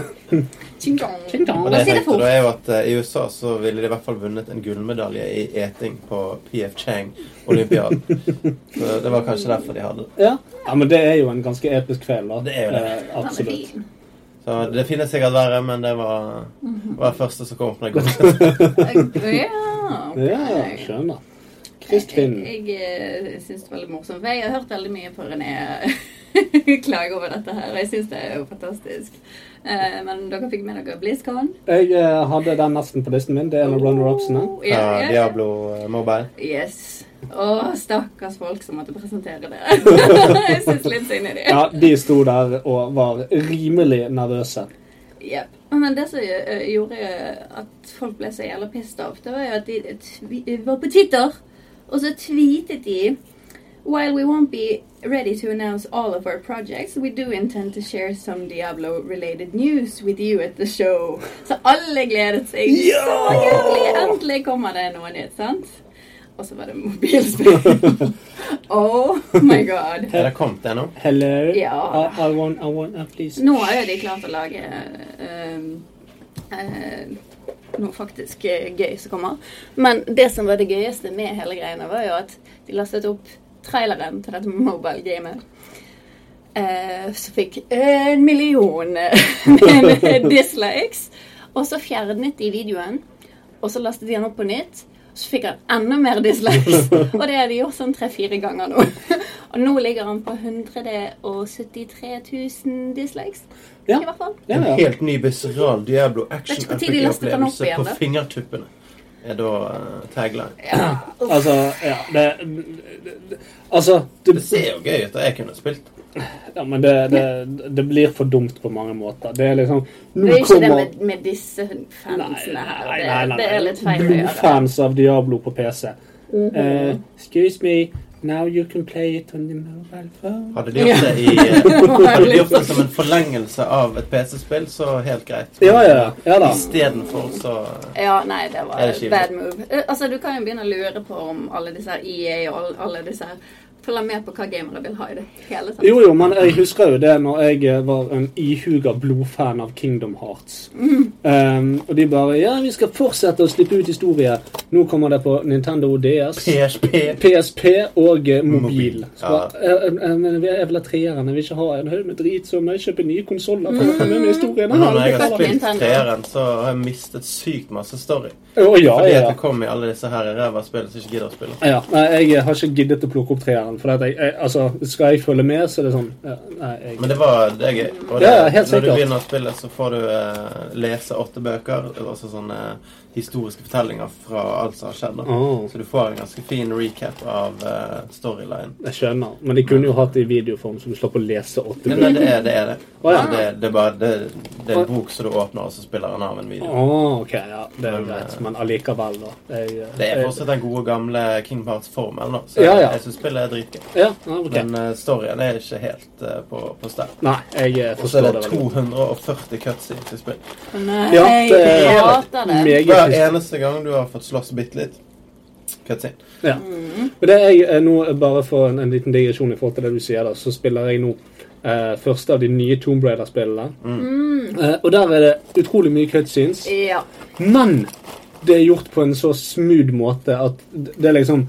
Speaker 1: Ching-chong.
Speaker 3: Ching-chong.
Speaker 2: Og det
Speaker 1: Si det
Speaker 2: jeg tenkte
Speaker 1: fort.
Speaker 2: da er jo at eh, I USA så ville de i hvert fall vunnet en gullmedalje i eting på PF Chang Olympiad. så det var kanskje derfor de hadde det.
Speaker 3: ja. ja, men det er jo en ganske episk feil, da.
Speaker 2: Det er jo det.
Speaker 3: Eh,
Speaker 1: Han er
Speaker 3: absolutt.
Speaker 1: fin.
Speaker 2: Så det finnes sikkert verre, men det var, var første som kom på den gode.
Speaker 1: Ja, ok.
Speaker 3: Ja, skjønner. Kristfinn.
Speaker 1: Jeg, jeg eh, syns det var veldig morsomt. For jeg har hørt veldig mye på René klage over dette her, og jeg syns det er jo fantastisk. Eh, Men dere fikk med dere BlizzCon?
Speaker 3: Jeg eh, hadde den nesten på listen min. Det er en av runner-upsene.
Speaker 1: Oh, ja,
Speaker 2: Ja,
Speaker 1: ja, ja.
Speaker 2: Diablo eh, Mobile.
Speaker 1: Yes. Å, stakkars folk som måtte presentere det. jeg syns litt synd i dem.
Speaker 3: Ja, de sto der og var rimelig nervøse.
Speaker 1: Jep. Men det som eh, gjorde at folk ble så jævla pissed off, det var jo at de tvi- eh, var på Twitter, og så tweetet de While we won't be ready to announce all of our projects, we do intend to share some Diablo-related news with you at the show. Så alle gledet seg så jævlig. Endelig kommer det noe nytt, sant? Og så var det mobilspill. oh my god.
Speaker 2: Er det kommet ennå?
Speaker 3: Hello.
Speaker 1: Ja.
Speaker 3: I, I want, I want, uh, please.
Speaker 1: Nå har jo de klart å lage ehm, eh, noe faktisk eh, gøy som kommer. Men det som var det gøyeste med hele greiene, var jo at de lastet opp traileren til dette mobile-gamet. eh, som fikk en million eh, dislikes. Og så fjernet de videoen, og så lastet de den opp på nytt. Så fikk han enda mer dislikes. Og det har de gjort sånn tre-fire ganger nå. Og nå ligger han på 173 000 dislikes.
Speaker 3: Ja.
Speaker 1: I hvert fall.
Speaker 3: Ja,
Speaker 2: En
Speaker 3: ja.
Speaker 2: helt ny visceral Diablo
Speaker 1: Det er ikke på tide de laster den opp
Speaker 2: action-opplevelse
Speaker 1: igjen,
Speaker 2: på
Speaker 1: da.
Speaker 2: fingertuppene. Er da eh, tagline.
Speaker 3: Altså, ja, det, det Altså, det,
Speaker 2: Det ser jo gøy ut. da Jeg kunne spilt.
Speaker 3: ja, men det, det, det blir for dumt på mange måter. Det er liksom
Speaker 1: Det
Speaker 3: Nå
Speaker 1: er jo ikke det
Speaker 3: kommer
Speaker 1: med, med disse fansene her.
Speaker 3: Nei,
Speaker 1: Det,
Speaker 3: nei, nei,
Speaker 1: det er
Speaker 3: nei.
Speaker 1: litt feil å gjøre.
Speaker 3: Blodfans av Diablo på PC.
Speaker 1: Mhm.
Speaker 3: Eh, excuse me, now you can play it on the mobile phone.
Speaker 2: Hadde de gjort det i eh, Hadde de gjort det som en forlengelse av et PC-spill, så helt greit.
Speaker 3: Ja, ja, ja, ja da.
Speaker 2: Istedenfor så
Speaker 1: Ja, nei, det var
Speaker 2: Er det kjipt?
Speaker 1: bad move. Eh, Altså, Du kan jo begynne å lure på om alle disse her EA og alle- alle disse her Følger med på hva gamere vil ha i det hele tatt.
Speaker 3: Jo, jo, men jeg husker jo det når jeg eh, var en ihuga blodfan av Kingdom Hearts.
Speaker 2: Mm.
Speaker 3: Um, og de bare Ja, vi skal fortsette å slippe ut historie. Nå kommer det på Nintendo DS.
Speaker 2: PSP
Speaker 3: PSP og eh, mobil.
Speaker 2: Mobil,
Speaker 3: Så bare, eh, eh, eh, men vi er vel av treerne. Vi ikke har en haug med drit, så må jeg kjøpe nye konsoller. for å få denne historien.
Speaker 2: Mm. Men når jeg
Speaker 3: Å,
Speaker 2: har spilt
Speaker 1: Nintendo.
Speaker 2: treeren, så har jeg mistet sykt masse story.
Speaker 3: ja,
Speaker 2: Fordi
Speaker 3: ja,
Speaker 2: at
Speaker 3: ja.
Speaker 2: det kom i alle disse her ræva spillene som ikke gidder å spille.
Speaker 3: Ja, nei, jeg har ikke giddet å plukke opp treeren. For at jeg, jeg, altså, skal jeg følge med, så er det sånn ja, Nei, jeg,
Speaker 2: Men det var det er gøy. Og det,
Speaker 3: Ja, ja,
Speaker 2: når du
Speaker 3: helt sikkert.
Speaker 2: begynner å spille, så får du eh, lese åtte bøker. Altså sånne historiske eh, fortellinger fra alt som har skjedd. da.
Speaker 3: Ah.
Speaker 2: Så du får en ganske fin recap av eh, storyline.
Speaker 3: Jeg skjønner, men de kunne jo hatt det i videoform, så du slapp å lese åtte
Speaker 2: Men nei,
Speaker 3: bøker.
Speaker 2: det er det. er Det
Speaker 3: Å, ja.
Speaker 2: Altså, det, det, er bare, det, det er en bok som du åpner, og så spiller den av en video.
Speaker 3: Ah, ok, ja, det er jo
Speaker 2: Men,
Speaker 3: greit,
Speaker 2: eh,
Speaker 3: men allikevel, da. Jeg, eh,
Speaker 2: Det er
Speaker 3: jeg-
Speaker 2: fortsatt den gode, gamle Kingdom Hearts-formelen. da. Så
Speaker 3: Ja, ja.
Speaker 2: jeg syns spillet er dritgøy.
Speaker 3: Ja, ja, ok.
Speaker 2: Men eh, storyen er ikke helt eh, på, på stell.
Speaker 3: Nei, jeg eh,
Speaker 2: Og så
Speaker 3: forstår
Speaker 2: er
Speaker 3: det
Speaker 2: det
Speaker 3: veldig godt.
Speaker 2: 240 cutscenes i spill.
Speaker 1: Nei,
Speaker 3: Ja, det
Speaker 1: jeg
Speaker 3: er
Speaker 1: hater det.
Speaker 3: meget
Speaker 2: Hver
Speaker 3: trist.
Speaker 2: eneste gang du har fått slåss bitte litt, cutscene.
Speaker 3: Ja. Men det jeg eh, nå, eh, bare for en, en liten digresjon i forhold til det du sier, da, så spiller jeg nå eh, første av de nye Tomb Raider-spillene.
Speaker 2: Mm.
Speaker 3: Eh, og der er det utrolig mye cutscenes,
Speaker 1: Ja.
Speaker 3: men det er gjort på en så smooth måte at det det er liksom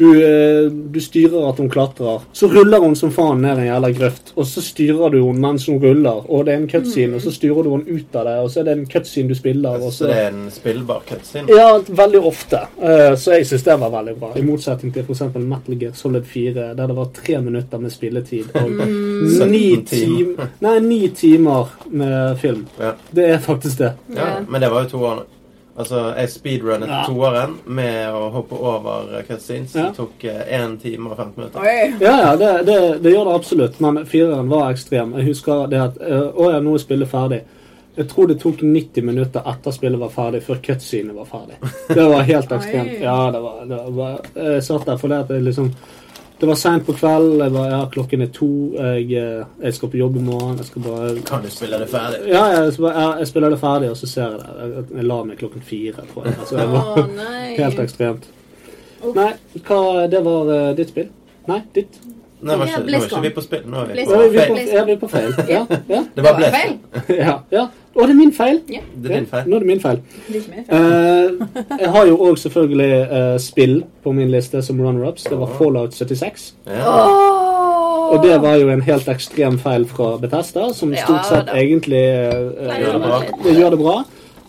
Speaker 3: du, eh, du styrer at hun klatrer, så ruller hun som faen ned en jævla grøft. Og så styrer du henne mens hun ruller, og det er en cutscene, og så styrer du henne ut av det, og så er det en cutscene du spiller. Og
Speaker 2: Så det er en spillbar cutscene.
Speaker 3: Ja, veldig ofte. Eh, så jeg syns det var veldig bra. I motsetning til f.eks. Metal Gear Solid 4, der det var tre minutter med spilletid og ni,
Speaker 2: 17
Speaker 3: tim
Speaker 2: timer.
Speaker 3: nei, ni timer med film.
Speaker 2: Ja.
Speaker 3: Det er faktisk det.
Speaker 2: Ja,
Speaker 1: Ja.
Speaker 2: men det var jo toerne. Altså, jeg speedrunnet
Speaker 3: Ja.
Speaker 2: toeren med å hoppe over eh, cutscenes.
Speaker 3: Ja.
Speaker 2: Det tok én time og 15 minutter.
Speaker 1: Oi.
Speaker 3: Ja, ja, det, det, det gjør det absolutt, men fireren var ekstrem. Jeg husker det at eh, Å ja, nå er spillet ferdig. Jeg tror det tok 90 minutter etter spillet var ferdig, før cutscenet var ferdig. Det var helt ekstremt.
Speaker 1: Oi.
Speaker 3: Ja, det var, det var Jeg satt der fordi at jeg liksom Det var seint på kvelden. Jeg var, ja, klokken er to. Jeg, eh, jeg skal på jobb i morgen. Jeg skal bare
Speaker 2: Kan du spille det ferdig?
Speaker 3: ja, jeg, skal bare- ja, jeg spiller det ferdig, og så ser jeg det. Jeg, jeg la meg klokken fire, tror jeg. Altså, jeg
Speaker 1: Å
Speaker 3: var
Speaker 1: nei.
Speaker 3: helt ekstremt.
Speaker 1: Uff.
Speaker 3: Nei, hva, det var eh, ditt spill? Nei, ditt.
Speaker 1: Ja,
Speaker 2: Nei, var ikke, nå er ikke
Speaker 1: BlizzCon.
Speaker 2: vi på spill. Nå er vi
Speaker 3: Ja,
Speaker 2: på
Speaker 1: BlizzCon.
Speaker 3: vi er på,
Speaker 2: feil.
Speaker 1: Feil.
Speaker 3: ja, vi er på feil. Ja, ja,
Speaker 2: Det var BlizzCon.
Speaker 3: ja, ja. Å, det er min feil!
Speaker 1: Ja,
Speaker 2: Det er din feil.
Speaker 3: Nå er det min feil.
Speaker 1: det er ikke meg.
Speaker 3: Eh, jeg har jo òg selvfølgelig eh, spill på min liste som runner-ups. Det var Fallout 76.
Speaker 2: Ja.
Speaker 1: Åh!
Speaker 3: Og det var jo en helt ekstrem feil fra Bethesda, som
Speaker 1: Ja,
Speaker 3: stort sett
Speaker 1: da.
Speaker 3: egentlig eh,
Speaker 1: Nei,
Speaker 2: det var
Speaker 3: eh,
Speaker 1: litt-
Speaker 3: det gjør det bra.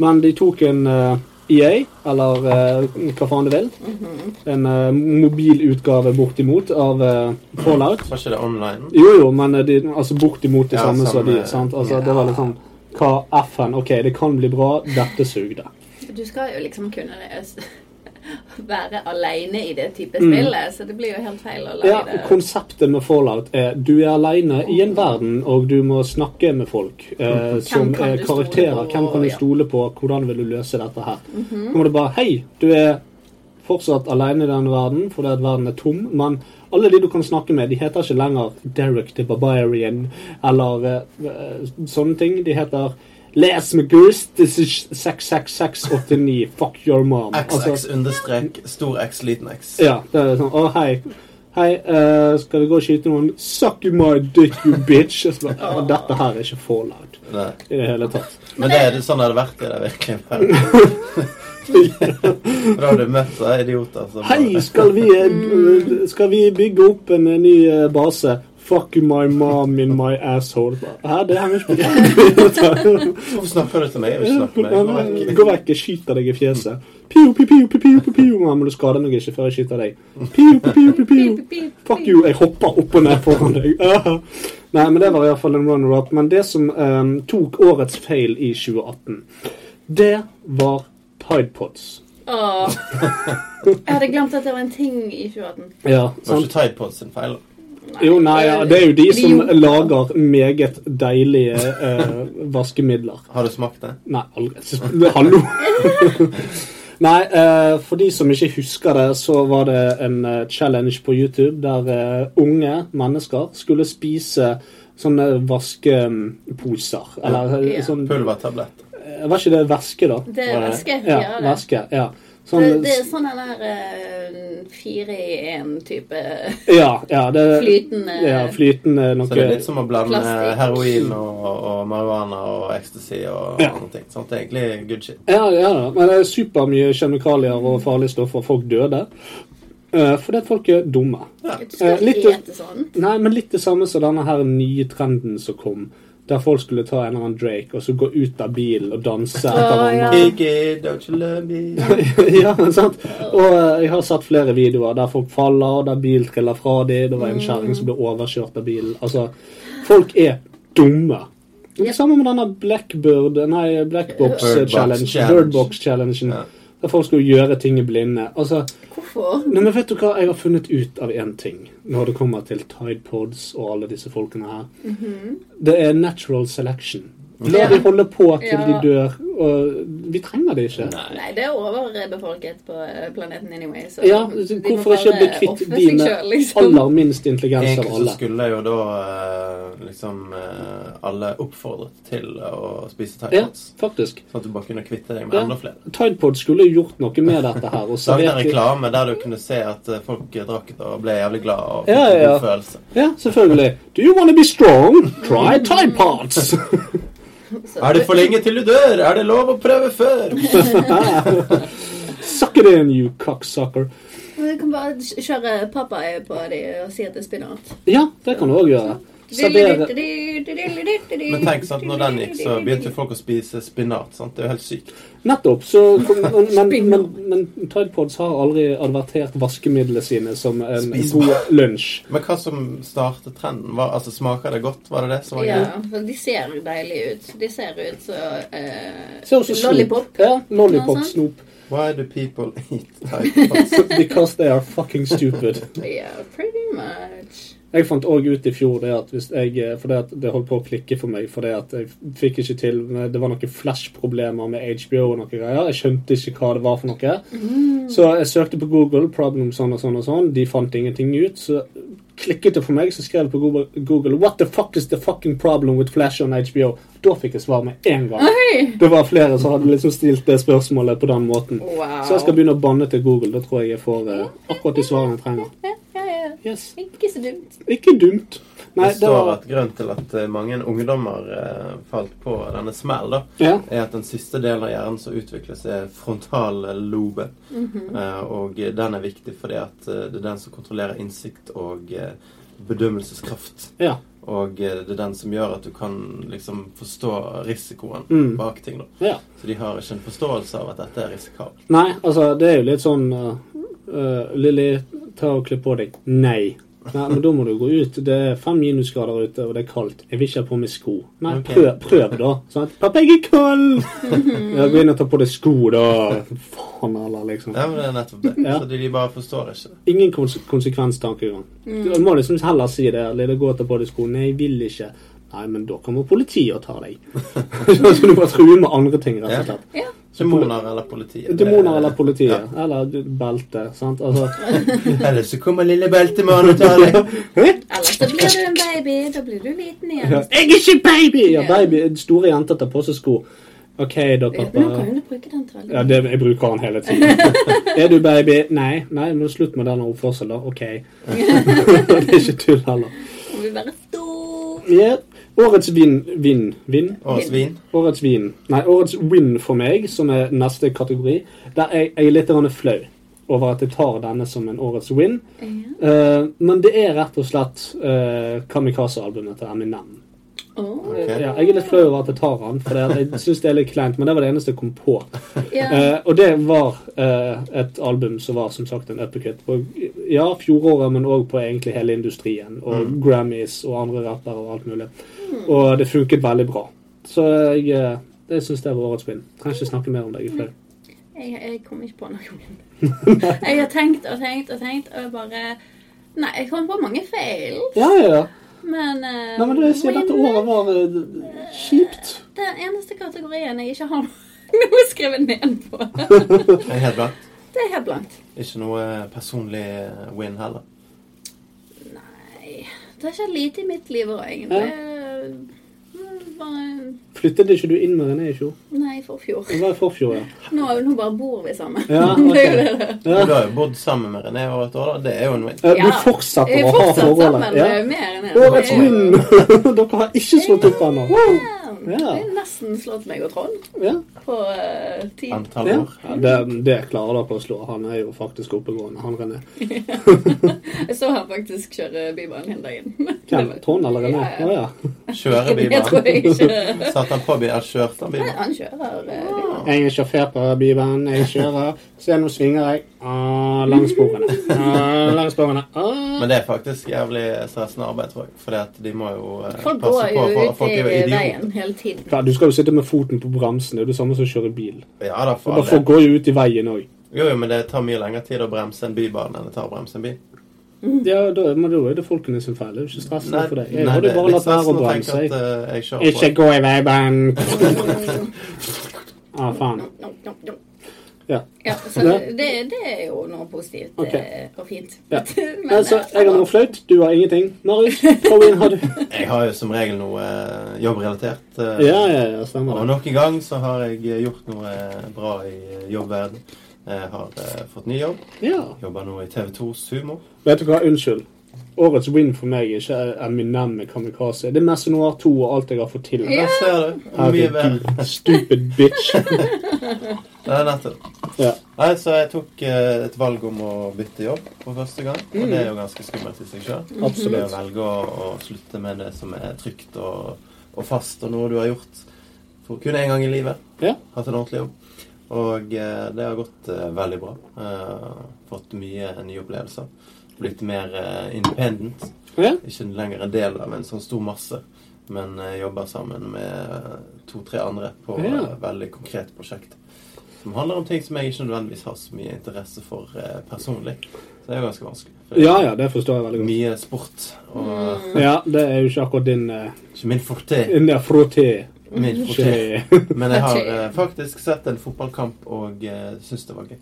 Speaker 3: Men de tok en eh, EA, eller eh, hva faen du vil, en eh, mobilutgave bortimot av eh, Fallout.
Speaker 2: Var ikke det online?
Speaker 3: Jo, jo, men eh, de, altså bortimot det
Speaker 2: Ja,
Speaker 3: samme som
Speaker 2: samme-
Speaker 3: de. sant? Altså, Det var liksom Hva F-en? OK, det kan bli bra. Dette sugde.
Speaker 1: Du skal jo liksom kunne det, s- være alene i det type spillet, så det blir jo helt feil å lage
Speaker 3: Mm. Ja,
Speaker 1: det.
Speaker 3: Konseptet med Fallout er du er aleine i en verden, og du må snakke med folk eh, som
Speaker 1: kan
Speaker 3: er
Speaker 1: du stole
Speaker 3: karakterer.
Speaker 1: på,
Speaker 3: Hvem kan du
Speaker 1: ja. Mhm.
Speaker 3: stole på? Hvordan vil du løse dette her? Kommer det bare Hei, du er fortsatt aleine i den verden fordi at verden er tom, men alle de du kan snakke med, de heter ikke lenger Derek the Barbarian eller eh, eh, sånne ting. De heter Les McGurst, this is 66689, fuck your mom. Altså-
Speaker 2: XX understrek stor X liten X.
Speaker 3: ja, det er sånn Å, hei. Hei, eh, skal vi gå og skyte noen? Suck my dick, you bitch! Og så bare, «Å, Dette her er ikke fallout
Speaker 2: Nei.
Speaker 3: i det hele tatt.
Speaker 2: Men det er det- sånn det hadde vært i det virkelige verden. Da hadde du møtt sånne idioter som
Speaker 3: Hei, skal vi, eh, d- skal vi bygge opp en eh, ny eh, base? Fuck my mom in my asshole. Bare, Hæ, det henger ikke
Speaker 2: Hvorfor snakker du til meg? Jeg vil ikke snakke med deg.
Speaker 3: Gå vekk, jeg skyter deg i fjeset. Pio, pio, pio, pio, pio, pio, pio. Mamma, du skader meg ikke før jeg skyter deg. Pio, pio, pio, pio, pio. Fuck you, jeg hopper opp og ned foran deg. Ah. Nei, men det var iallfall en runner-up. Men det som ehm, tok årets feil i 2018, det var Tide Pods.
Speaker 1: Åh. Jeg hadde glemt at det var en ting i 2018.
Speaker 3: Ja,
Speaker 2: Det var
Speaker 3: sant?
Speaker 2: ikke Tide Pods sin feil.
Speaker 3: Jo, nei, ja, det er jo de
Speaker 1: De
Speaker 3: som
Speaker 1: gjorde det.
Speaker 3: lager meget deilige eh, vaskemidler.
Speaker 2: Har du smakt det?
Speaker 3: Nei, aldri. Hallo! Nei, eh, for de som ikke husker det, så var det en eh, challenge på YouTube der eh, unge mennesker skulle spise sånne vaskeposer. Eller eh,
Speaker 1: Ja.
Speaker 3: sånn
Speaker 2: Pulvertablett.
Speaker 3: eh, Var ikke det væske, da?
Speaker 1: Det er væske,
Speaker 3: Ja.
Speaker 1: ja, det.
Speaker 3: væske, ja. Sånn,
Speaker 1: Det, det er sånn den der eh, fire i én type
Speaker 3: ja, ja, det,
Speaker 1: flytende
Speaker 3: Eh, Ja, flytende noe
Speaker 2: Så det er litt som å blande
Speaker 1: Plastikk.
Speaker 2: heroin og, og marihuana og ecstasy og
Speaker 3: Ja.
Speaker 2: andre ting. Sånn at det er egentlig good shit.
Speaker 3: Ja, ja, da. men det er supermye kjemikalier og farlige stoffer, og folk døde. Eh, fordi at folk er dumme.
Speaker 1: Du skal
Speaker 3: Eh, litt-
Speaker 1: ikke ete sånn.
Speaker 3: Nei, men litt det samme som denne her nye trenden som kom. Der folk skulle ta en eller annen Drake og så gå ut av bilen og danse. etter
Speaker 1: Å,
Speaker 3: hverandre.
Speaker 2: Kiki, don't you love me?
Speaker 3: ja, sant? Og eh, jeg har sett flere videoer der folk faller, og der bil triller fra dem. Det var en kjerring som ble overkjørt av bilen. Altså, folk er dumme. Det samme med denne Blackbird Nei,
Speaker 2: Bird Box
Speaker 3: Blackbox-challenge.
Speaker 2: Challenge.
Speaker 3: Birdbox-challengen.
Speaker 2: Ja.
Speaker 3: Der folk skulle gjøre ting i blinde. Altså,
Speaker 1: Hvorfor?
Speaker 3: Nei, men vet du hva? Jeg har funnet ut av én ting når det kommer til Tide Pods og alle disse folkene her.
Speaker 1: Mhm.
Speaker 3: Det er natural selection. La
Speaker 1: Ja.
Speaker 3: de holde på til
Speaker 1: Ja.
Speaker 3: de dør. Og vi trenger det ikke.
Speaker 2: Nei.
Speaker 1: Nei, det er overbefolket på eh, planeten anyway. Så
Speaker 3: Ja,
Speaker 1: de må
Speaker 3: hvorfor ikke
Speaker 1: bare
Speaker 3: bli kvitt
Speaker 1: ofre
Speaker 3: de
Speaker 1: seg
Speaker 3: med
Speaker 1: selv, liksom.
Speaker 3: aller minst intelligens av
Speaker 2: Egentlig så
Speaker 3: alle?
Speaker 2: skulle jo da eh, liksom eh, alle oppfordret til å spise
Speaker 3: Ja,
Speaker 2: thaipods.
Speaker 3: faktisk.
Speaker 2: Sånn at du bare kunne kvitte deg med
Speaker 3: Ja.
Speaker 2: enda flere.
Speaker 3: Tide Pod skulle jo gjort noe med dette her. Og
Speaker 2: Lagde en
Speaker 3: servert-
Speaker 2: reklame der du kunne se at eh, folk drakk det og ble jævlig glad og fikk
Speaker 3: Ja, ja,
Speaker 2: en
Speaker 3: ja.
Speaker 2: god følelse.
Speaker 3: Ja, selvfølgelig. Do you wanna be strong? Try Tide Pods!
Speaker 1: Så-
Speaker 2: Er det for lenge til du dør? Er det lov å prøve før?
Speaker 3: Suck it in, you cocksucker.
Speaker 1: Vi kan bare kj- kjøre pappaøye på dem og si at det er spinat.
Speaker 3: Ja, det kan du òg gjøre. Servere
Speaker 2: Men
Speaker 1: Men
Speaker 2: tenk sånn at når den gikk, så begynte folk å spise spinat. sant? Det er jo helt sykt.
Speaker 3: Nettopp. Så, men, men, men, men Tide Pods har aldri advertert vaskemidlene sine som en
Speaker 2: Spis
Speaker 3: god lunsj.
Speaker 2: Men hva som startet trenden? Var, altså, Smaker det godt? Var det det som var
Speaker 1: Ja,
Speaker 2: greia?
Speaker 1: for de ser deilige ut. De ser ut så eh,
Speaker 3: Ser også snop.
Speaker 1: Lollipop.
Speaker 3: Ja, sånn.
Speaker 1: Noe
Speaker 3: lollipop
Speaker 1: sånt.
Speaker 3: snop.
Speaker 2: Why do people eat thaipods?
Speaker 3: Because they are fucking stupid.
Speaker 1: Yeah, pretty much.
Speaker 3: Jeg fant òg ut i fjor det at hvis jeg eh, For det, at det holdt på å klikke for meg. For det at jeg fikk ikke til men Det var noen flash-problemer med HBO og noe greier. Jeg skjønte ikke hva det var for noe. Så jeg søkte på Google, problem sånn og sånn og sånn. De fant ingenting ut. Så klikket det for meg, så skrev jeg på Google, Google What the fuck is the fucking problem with flash on HBO? Da fikk jeg svar med en gang.
Speaker 1: Oi!
Speaker 3: Det var flere som hadde liksom stilt det spørsmålet på den måten.
Speaker 1: Wow.
Speaker 3: Så jeg skal begynne å banne til Google. Da tror jeg jeg får eh, akkurat de svarene jeg trenger.
Speaker 1: Ja, ja, ja.
Speaker 3: Yes.
Speaker 1: Ikke så dumt.
Speaker 3: Ikke dumt. Nei,
Speaker 2: Det står at grunnen til at eh, mange ungdommer eh, falt på denne smell, da,
Speaker 3: Ja.
Speaker 2: er at den siste delen av hjernen som utvikles, er frontalloben.
Speaker 3: Mhm.
Speaker 2: Eh, og den er viktig fordi at eh, det er den som kontrollerer innsikt og eh, bedømmelseskraft.
Speaker 3: ja.
Speaker 2: Og eh, det er den som gjør at du kan liksom forstå risikoen
Speaker 3: Mm.
Speaker 2: bak ting. da.
Speaker 3: ja.
Speaker 2: Så de har ikke en forståelse av at dette er risikabelt.
Speaker 3: Nei, altså, det er jo litt sånn uh, uh, Lilly, ta og kle på deg. Nei. Nei, men da må du gå ut. Det er fem minusgrader ute, og det er kaldt. Jeg vil ikke ha på meg sko. Nei,
Speaker 2: Ok.
Speaker 3: prøv, prøv da. Sant? Pappa, jeg er kald! ja, gå inn og ta på deg sko, da. Faen heller, liksom.
Speaker 2: Ja, men det er nettopp det.
Speaker 3: Ja.
Speaker 2: Så de, de bare forstår ikke det.
Speaker 3: Ingen kons konsekvenstankegang. Du må liksom heller si det. Lille, gå og ta på deg sko. Nei, jeg vil ikke. Nei, men da kommer politiet og tar deg. Så du bare truer med andre ting, rett og
Speaker 2: Ja.
Speaker 3: slett.
Speaker 1: Ja.
Speaker 2: Demoner eller politiet.
Speaker 3: Demoner eller politiet. Eller belte. sant? Altså,
Speaker 2: Eller så kommer lille beltemann og tar deg.
Speaker 1: Ellers så blir du en baby. Da blir du liten igjen.
Speaker 3: jeg er ikke baby! Eh, Ja,
Speaker 1: Ja.
Speaker 3: baby, Store jenter tar på seg sko. OK, da,
Speaker 1: Nå
Speaker 3: pappa.
Speaker 1: kan du bruke den trallen.
Speaker 3: Ja, det, jeg bruker den hele tiden. er du baby? Nei. nei, men Slutt med den oppførselen, da. OK. det er ikke tull heller.
Speaker 1: Må vi være stor.
Speaker 3: Ja, Årets vin, vin, vin?
Speaker 2: Og svin.
Speaker 3: Årets vin. Nei, årets win for meg, som er neste kategori. Der jeg, jeg er litt grann flau over at jeg tar denne som en årets win. Eh, men det er rett og slett eh, Kamikaze-albumet til Eminem.
Speaker 1: Åh,
Speaker 2: Ok.
Speaker 3: Ja, jeg er litt flau over at jeg tar den, for det, jeg syns det er litt kleint. Men det var det eneste jeg kom på.
Speaker 1: ja.
Speaker 3: Eh, og det var eh, et album som var som sagt en uppercut på ja, fjoråret, men òg på egentlig hele industrien. Og Grammys og andre rappere og alt mulig. Og det funket veldig bra. Så jeg, eh, jeg syns det var årets win. Trenger ikke snakke mer om det. Jeg er flau.
Speaker 1: Jeg, jeg kom ikke på noe. Jeg har tenkt og tenkt og tenkt, og jeg bare Nei, jeg kom på mange feil,
Speaker 3: Ja, ja, ja.
Speaker 1: men eh,
Speaker 3: Nei, men det, jeg sier dette
Speaker 1: win-
Speaker 3: året var eh, kjipt.
Speaker 1: Den eneste kategorien jeg ikke har noe skrevet ned på.
Speaker 2: Det er Helt blankt.
Speaker 1: Det er helt blankt.
Speaker 2: Ikke noe eh, personlig eh, win heller.
Speaker 1: Nei, det har skjedd lite i mitt liv òg, egentlig. Det var en-
Speaker 3: Flyttet ikke du inn med René i fjor?
Speaker 1: Nei, i forfjor.
Speaker 3: Det var i forfjor, ja.
Speaker 1: Nå, nå bare bor vi sammen.
Speaker 3: Ja,
Speaker 1: Det er jo
Speaker 3: ok.
Speaker 1: det.
Speaker 2: Du
Speaker 3: Ja.
Speaker 2: har jo bodd sammen med René over et år, da. Det er jo en win.
Speaker 3: Eh, Du
Speaker 1: Ja. Vi
Speaker 3: fortsetter
Speaker 1: er
Speaker 3: å ha
Speaker 1: fortsatt sammen
Speaker 3: forholdet. Ja.
Speaker 1: eh, mer enn en.
Speaker 3: Årets
Speaker 1: Det er jo-
Speaker 3: win! Dere har ikke slått opp ennå.
Speaker 1: Ja.
Speaker 3: Ja.
Speaker 1: Jeg har nesten slått meg og Trond
Speaker 3: Ja.
Speaker 1: på eh, tid.
Speaker 2: Antall
Speaker 3: Ja.
Speaker 2: år.
Speaker 3: Det, det klarer dere å slå. Han er jo faktisk oppegående, han René.
Speaker 1: Jeg så han faktisk kjøre Bybanen hele dagen. Det
Speaker 3: Hvem?
Speaker 1: var-
Speaker 3: Trond eller René?
Speaker 1: Ja,
Speaker 3: Å
Speaker 1: ja.
Speaker 3: ja.
Speaker 2: Kjøre
Speaker 1: Jeg tror
Speaker 2: Bibelen.
Speaker 1: jeg ikke
Speaker 2: Satt han på bilen? Kjørte han
Speaker 1: Nei,
Speaker 2: bilen?
Speaker 1: Han kjører eh, Bybanen.
Speaker 3: Jeg er sjåfør på Bybanen, jeg kjører. Se, nå svinger jeg. Ah, langsporene. Ah, langsporene. Ah.
Speaker 2: Men det er faktisk jævlig stressende arbeid, tror jeg. Fordi at de må jo eh,
Speaker 1: Folk
Speaker 2: passe
Speaker 1: går
Speaker 2: på
Speaker 1: jo
Speaker 2: for
Speaker 1: ut
Speaker 2: folk
Speaker 1: i
Speaker 2: er jo idioter.
Speaker 1: veien hele tiden.
Speaker 3: Ja, du skal jo sitte med foten på bremsen. Det er jo det samme som å kjøre bil.
Speaker 2: Ja, da, for
Speaker 3: Og da
Speaker 2: all
Speaker 3: folk
Speaker 2: del.
Speaker 3: går jo ut i veien òg.
Speaker 2: Jo, jo, men det tar mye lengre tid å bremse en bybane enn det tar å bremse en bil.
Speaker 3: Ja, da, men da er det folkene sin feil. Det er jo ikke stressende for deg. Jeg
Speaker 2: nei,
Speaker 3: hadde
Speaker 2: det er
Speaker 3: bare
Speaker 2: litt
Speaker 3: latt være å
Speaker 2: stressende å tenke
Speaker 3: bremse.
Speaker 2: at
Speaker 3: jeg.
Speaker 2: eh, jeg kjører
Speaker 3: Ikke
Speaker 2: på.
Speaker 3: gå i veibanen. ah, faen. Ja.
Speaker 1: Ja, så
Speaker 3: Ja.
Speaker 1: det, det er jo noe positivt
Speaker 3: Ok.
Speaker 1: eh, og fint.
Speaker 3: Ja.
Speaker 1: Men,
Speaker 3: Altså,
Speaker 1: eh,
Speaker 3: jeg har noe flaut, du har ingenting. Marius, prøv inn, har du?
Speaker 2: Jeg har jo som regel noe eh, jobbrelatert. eh,
Speaker 3: Ja, ja, ja,
Speaker 2: Og
Speaker 3: stemmer det.
Speaker 2: nok en gang så har jeg eh, gjort noe eh, bra i eh, jobbverden. Jeg har eh, fått ny jobb.
Speaker 3: Ja.
Speaker 2: Jobber nå i TV2 Sumo.
Speaker 3: Vet du hva, unnskyld. Årets win for meg er ikke Eminem med Kamikaze. Det er mest noir 2 og alt jeg har fått til.
Speaker 2: Der ser du. Mye
Speaker 3: Herregud,
Speaker 2: bedre.
Speaker 3: stupid bitch.
Speaker 2: Det er nettopp.
Speaker 3: Ja.
Speaker 2: Nei, så jeg tok eh, et valg om å bytte jobb for første gang. Og det er jo ganske skummelt i seg sjøl. Det å
Speaker 3: Absolutt.
Speaker 2: velge å, å slutte med det som er trygt og, og fast, og noe du har gjort for kun én gang i livet.
Speaker 3: Ja.
Speaker 2: Hatt en ordentlig jobb. Og eh, det har gått eh, veldig bra. Eh, fått mye nye opplevelser. Blitt mer eh, independent.
Speaker 3: Ja.
Speaker 2: Ikke lenger en del av en sånn stor masse, men eh, jobber sammen med eh, to-tre andre på et
Speaker 3: Ja.
Speaker 2: veldig konkret prosjekt. Som handler om ting som jeg ikke nødvendigvis har så mye interesse for eh, personlig. Så det er jo ganske vanskelig. For det er
Speaker 3: ja, ja, det forstår jeg veldig godt.
Speaker 2: Mye sport. Og
Speaker 3: Ja, det er jo ikke akkurat din uh,
Speaker 2: ikke min forte.
Speaker 3: frotté.
Speaker 2: Min forte.
Speaker 3: Ikke-
Speaker 2: Men jeg har
Speaker 1: Forte.
Speaker 2: eh, faktisk sett en fotballkamp og uh, syns det var gøy.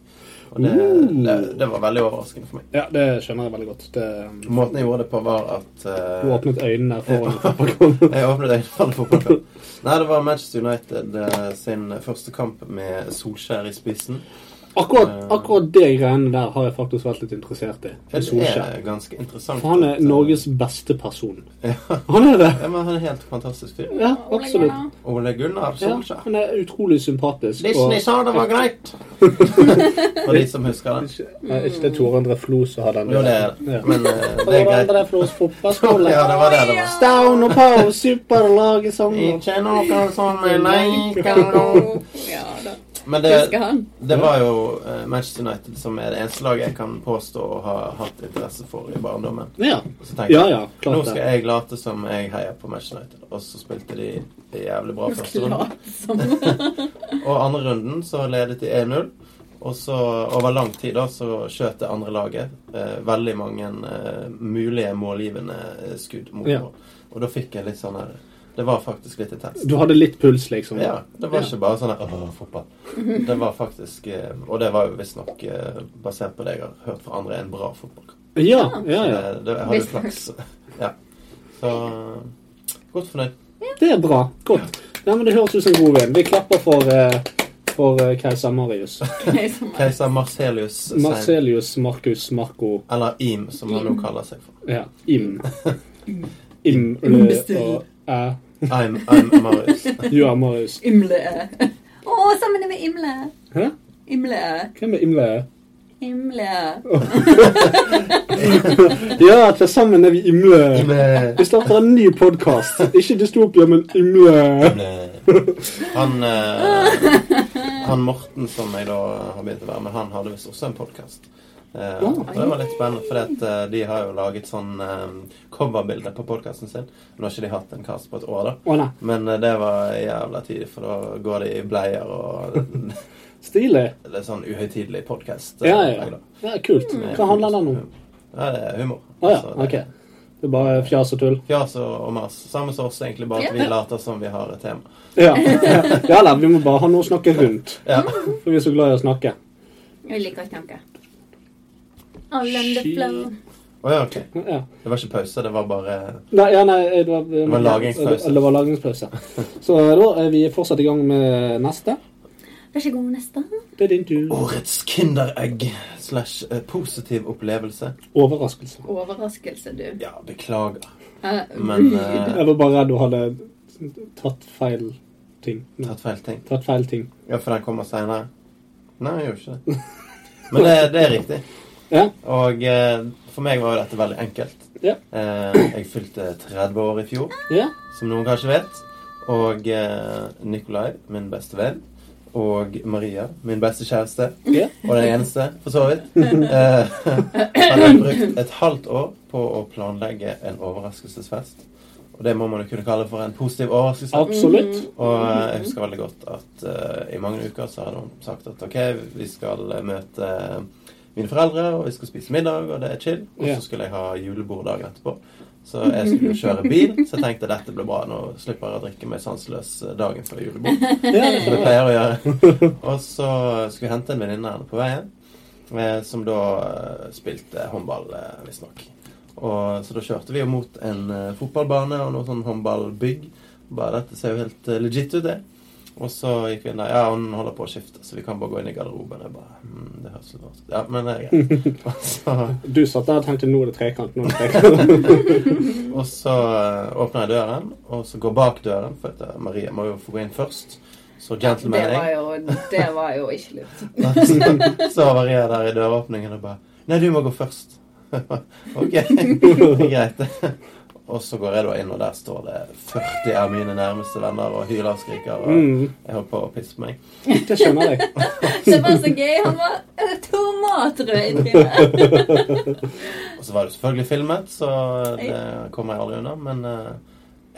Speaker 2: Og det,
Speaker 3: Uh.
Speaker 2: det, det var veldig overraskende for meg.
Speaker 3: Ja, det skjønner jeg veldig godt. Det, eh,
Speaker 2: Måten jeg gjorde det på, var at eh,
Speaker 3: du åpnet øynene foran
Speaker 2: Jeg åpnet øynene for en fotballkamp. Nei, det var Manchester United eh, sin første kamp med Solskjær i spissen.
Speaker 3: akkurat, akkurat det greiene der har jeg faktisk vært litt interessert i.
Speaker 2: Eh. Det
Speaker 3: Solskjær.
Speaker 2: er ganske interessant.
Speaker 3: For han
Speaker 2: at,
Speaker 3: er
Speaker 2: eh,
Speaker 3: Norges beste person.
Speaker 2: ja,
Speaker 3: Han er det!
Speaker 2: ja, men han er helt fantastisk fyr.
Speaker 3: Ja,
Speaker 1: Ole
Speaker 3: absolutt.
Speaker 1: Gunnar.
Speaker 2: Ole Gunnar
Speaker 3: Ja,
Speaker 2: Solskjær.
Speaker 3: han er utrolig sympatisk.
Speaker 2: Disney sa det var greit! For de som husker det.
Speaker 3: Ikke, nei, Eh, ikke det Tore André Flo som har den?
Speaker 2: Jo, det er det.
Speaker 3: Ja.
Speaker 2: Men eh, det
Speaker 3: Tore
Speaker 2: er greit.
Speaker 3: André Flos fotballskole.
Speaker 2: Ja, det var det det var.
Speaker 3: Down og Pow, superlaget sammen.
Speaker 2: Ikke noe som er
Speaker 1: Ja,
Speaker 2: leikende
Speaker 1: ja da.
Speaker 2: Men
Speaker 1: Husker
Speaker 2: det,
Speaker 1: han.
Speaker 2: det var jo eh, Manchester United som er det eneste laget jeg kan påstå å ha hatt interesse for i barndommen.
Speaker 3: Ja.
Speaker 2: Og Så tenkte
Speaker 3: ja,
Speaker 2: jeg
Speaker 3: ja,
Speaker 2: nå
Speaker 3: klart
Speaker 2: skal
Speaker 3: det.
Speaker 2: jeg late som jeg heier på Manchester United. Og så spilte de jævlig bra første runde.
Speaker 1: Klart som
Speaker 2: Og andre runden så ledet de 1-0. Og så over lang tid da så skjøt det andre laget eh, veldig mange eh, mulige målgivende eh, skudd mot
Speaker 3: Ja.
Speaker 2: mål. Og da fikk jeg litt sånn her Det var faktisk litt intenst.
Speaker 3: Du hadde litt puls, liksom?
Speaker 2: Ja, det var ikke bare sånn her, Åh, fotball. Det var faktisk eh, Og det var jo visstnok eh, basert på det jeg har hørt fra andre, en bra fotballkamp.
Speaker 3: Ja, ja, ja.
Speaker 2: Det, det, jeg hadde
Speaker 1: Visst.
Speaker 2: flaks. Ja. Så godt fornøyd.
Speaker 3: Det er bra. Godt. Ja, men Det høres ut som en god vin. Vi klapper for, eh, for eh, Keiser Marius.
Speaker 1: jeg som er.
Speaker 2: Keiser Marcelius Sein-
Speaker 3: Marcelius Marcus Marco
Speaker 2: Eller Im, som han nå kaller seg for.
Speaker 3: ja, Im. Im Lø og Æ.
Speaker 2: I'm, I'm Marius.
Speaker 3: Du er Marius.
Speaker 1: Imle. Å, sammen med Imle.
Speaker 3: Hæ?
Speaker 1: Imle.
Speaker 3: Hvem er Imle?
Speaker 1: Imle.
Speaker 3: Ja, til sammen er vi Imle. Vi
Speaker 2: Imle.
Speaker 3: starter en ny podkast. Ikke Dystopia, men Imle.
Speaker 2: Han eh, Han Morten som jeg da har begynt å være med, han hadde visst også en podkast. Eh,
Speaker 3: Ja.
Speaker 2: og det var litt spennende, for eh, de har jo laget sånn eh, coverbilder på podkasten sin. Nå har ikke de hatt en cast på et år, da.
Speaker 3: Å nei.
Speaker 2: Men eh, det var jævla tidlig, for da går de i bleier og
Speaker 3: Stilig.
Speaker 2: Det er sånn uhøytidelig eh, podkast.
Speaker 3: Ja, ja. ja kult. Hva handler den om?
Speaker 2: Ja, det er humor.
Speaker 3: Å ja,
Speaker 2: Altså, det-
Speaker 3: ok. Det er bare fjas og tull?
Speaker 2: Fjas og, og mas. Samme som oss, egentlig, bare at vi later som vi har et tema.
Speaker 3: Ja. ja da, vi må bare ha noe å snakke rundt.
Speaker 2: Ja.
Speaker 3: For vi er så glad i å snakke.
Speaker 1: Jeg liker å snakke. All on the flow.
Speaker 2: Å ja, ok.
Speaker 3: Ja.
Speaker 2: Det var ikke pause, det var bare
Speaker 3: Nei, ja, nei det var, det
Speaker 2: var lagringspause.
Speaker 3: Det var lagringspause. Så eh, da er vi fortsatt i gang med neste.
Speaker 1: Vær så god, neste.
Speaker 3: Det er din tur.
Speaker 2: Årets Kinderegg slash eh, positiv opplevelse.
Speaker 3: Overraskelse.
Speaker 1: Overraskelse, du.
Speaker 2: Ja, beklager,
Speaker 1: Eh,
Speaker 2: men eh,
Speaker 3: Jeg var bare redd du hadde tatt feil ting. Nei,
Speaker 2: Tatt feil ting.
Speaker 3: tatt feil ting.
Speaker 2: Ja, for den kommer seinere. Nei, jeg gjorde ikke det. Men det, det er riktig.
Speaker 3: Ja.
Speaker 2: Og eh, for meg var jo dette veldig enkelt.
Speaker 3: Ja.
Speaker 2: Eh, jeg fylte 30 år i fjor,
Speaker 3: Ja.
Speaker 2: som noen kanskje vet. Og eh, Nikolai, min beste venn, og Maria, min beste kjæreste,
Speaker 3: Ja.
Speaker 2: og den eneste, for så vidt, eh, hadde brukt et halvt år på å planlegge en overraskelsesfest. Og det må man jo kunne kalle for en positiv overraskelse.
Speaker 3: Absolutt.
Speaker 2: Og eh, jeg husker veldig godt at eh, i mange uker så hadde hun sagt at ok, vi skal eh, møte mine foreldre, og vi skal spise middag, og det er chill. Og
Speaker 3: Ja.
Speaker 2: så skulle jeg ha julebord dagen etterpå. Så jeg skulle jo kjøre bil, så jeg tenkte dette blir bra. Nå slipper jeg å drikke meg sanseløs eh, dagen før julebord.
Speaker 3: Ja,
Speaker 2: Som jeg pleier å gjøre. Og så skulle vi hente en venninne her på veien, eh, som da eh, spilte håndball, eh, visstnok. Og Så da kjørte vi jo mot en eh, fotballbane og noe sånn håndballbygg. Bare dette ser jo helt eh, legit ut, det. Og så gikk vi inn der. Ja, hun holder på å skifte, så vi kan bare gå inn i garderoben. Jeg bare, «Hm, det høres litt rart ut. Ja, men det er greit. Og så
Speaker 3: Du satt der og tenkte nå er det trekant. nå er det trekant.
Speaker 2: Og så eh, åpner jeg døren, og så går bak døren, for at eh, Maria må jo få gå inn først. Så
Speaker 6: Det
Speaker 2: gentleman eh?
Speaker 6: var
Speaker 2: jeg.
Speaker 6: jo, det var jo ikke lurt.
Speaker 2: Så- så var Maria der i døråpningen og bare Nei, du må gå først. ok, det er greit. Og så går jeg da inn, og der står det 40 av mine nærmeste venner og hyler og skriker. Og
Speaker 3: Mm.
Speaker 2: jeg holdt på å pisse på meg.
Speaker 3: Det skjønner jeg.
Speaker 1: Det var så gøy. Han var eh, tomatrød i trynet.
Speaker 2: Og så var det selvfølgelig filmet, så det kommer jeg aldri unna. Men eh,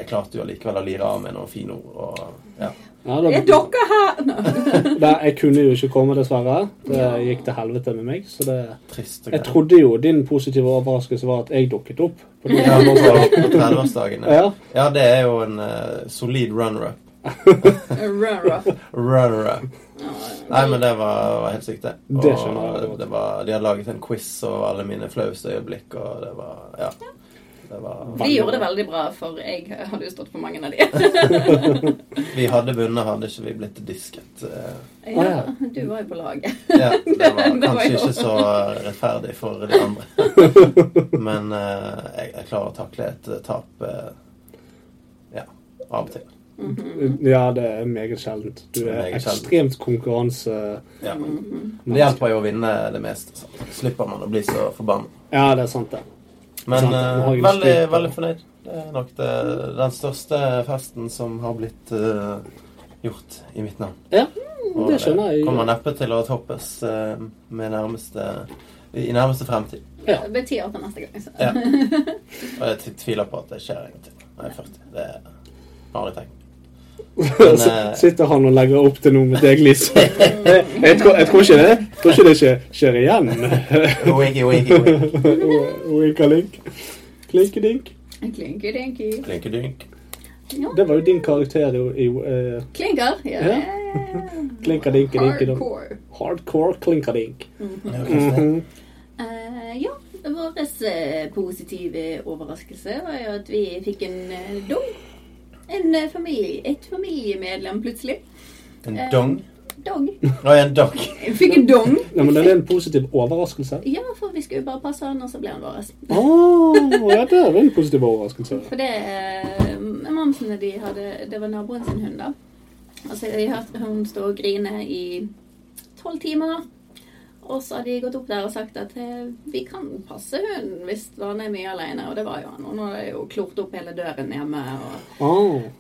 Speaker 2: jeg klarte jo allikevel å lire av med noen fine ord. Og, ja.
Speaker 3: Ja,
Speaker 1: Er
Speaker 3: da,
Speaker 1: dere her? Nå.
Speaker 3: da, jeg kunne jo ikke komme, dessverre. Det gikk til helvete med meg. Så det,
Speaker 2: Trist og
Speaker 3: jeg trodde jo din positive overraskelse var at jeg dukket opp. På din
Speaker 2: Ja, på
Speaker 3: nærmeste.
Speaker 2: 30-årsdagen. Ja.
Speaker 3: Ja.
Speaker 2: ja, det er jo en eh, solid runner-up.
Speaker 1: Rara.
Speaker 2: Runner-up. Nei, men det var, var helt sykt, det. Og
Speaker 3: Det skjønner jeg godt.
Speaker 2: det var, de hadde laget en quiz over alle mine flaueste øyeblikk, og det var Ja. Det var,
Speaker 1: De gjorde det veldig bra, for jeg hadde jo stått på mange av de.
Speaker 2: vi hadde vunnet, hadde ikke vi blitt disket. eh.
Speaker 1: Ja, du var jo på laget.
Speaker 2: Ja, det var
Speaker 1: Det var
Speaker 2: kanskje
Speaker 1: jo-
Speaker 2: ikke så rettferdig for de andre. Men eh, jeg, jeg klarer å takle et tap eh, ja, av og til.
Speaker 3: Ja, det er meget sjeldent. Du
Speaker 2: Det er
Speaker 3: er
Speaker 2: meget sjeldent.
Speaker 3: ekstremt konkurranse...
Speaker 2: Ja. Men det hjelper jo å vinne det meste. Så slipper man å bli så forbanna.
Speaker 3: Ja, det er sant, det.
Speaker 2: Men
Speaker 3: Sant, nå
Speaker 2: eh,
Speaker 3: har jeg jo
Speaker 2: veldig,
Speaker 3: spilt, da.
Speaker 2: veldig fornøyd. Det er nok det, den største festen som har blitt eh, gjort i mitt navn.
Speaker 3: Ja,
Speaker 2: Og eh,
Speaker 3: det skjønner jeg.
Speaker 2: kommer neppe til å toppes eh, med nærmeste, i nærmeste fremtid.
Speaker 3: Ja.
Speaker 1: Det blir ti år til neste gang. Så.
Speaker 2: Ja. Og jeg t- tviler på at det skjer en gang til når jeg er 40. Det har jeg tenkt. Men, eh,
Speaker 3: Sitter han og legger opp til noe med deg, Lise? Jeg, jeg, tror, jeg tror ikke det. Jeg tror ikke det skjer, skjer igjen.
Speaker 2: Winky, winky, winky.
Speaker 3: Winkalink. Klinkedink.
Speaker 1: Klinky-dinky.
Speaker 2: Klinkedynk.
Speaker 1: Ja.
Speaker 3: Det var jo din karakter i, i eh,
Speaker 1: Klinker. Ja.
Speaker 3: Ja. Klinkadinkedinkedonk.
Speaker 1: Hardcore.
Speaker 3: Hardcore klinkadink. Mhm.
Speaker 2: Ja,
Speaker 3: Mm-hmm.
Speaker 2: Kristin.
Speaker 1: Eh, ja, vår eh, positive overraskelse var jo at vi fikk en uh, dong. En eh, familie, et familiemedlem plutselig.
Speaker 2: En dong.
Speaker 1: Dong.
Speaker 2: Nå er jeg en dong.
Speaker 1: Vi Fikk en dong.
Speaker 3: Ja, men det er en positiv overraskelse.
Speaker 1: Ja, for vi skulle jo bare passe han, og så ble han vår.
Speaker 3: Å, Ah, ja, det er en positiv overraskelse.
Speaker 1: For det eh, Mamsene de hadde Det var naboen sin hund, da. Altså, jeg hørte hun stå og grine i tolv timer. Og så hadde de gått opp der og sagt at eh, vi kan passe hunden hvis han er mye alene. Og det var jo han. Og nå har jeg jo klort opp hele døren hjemme og
Speaker 3: Å,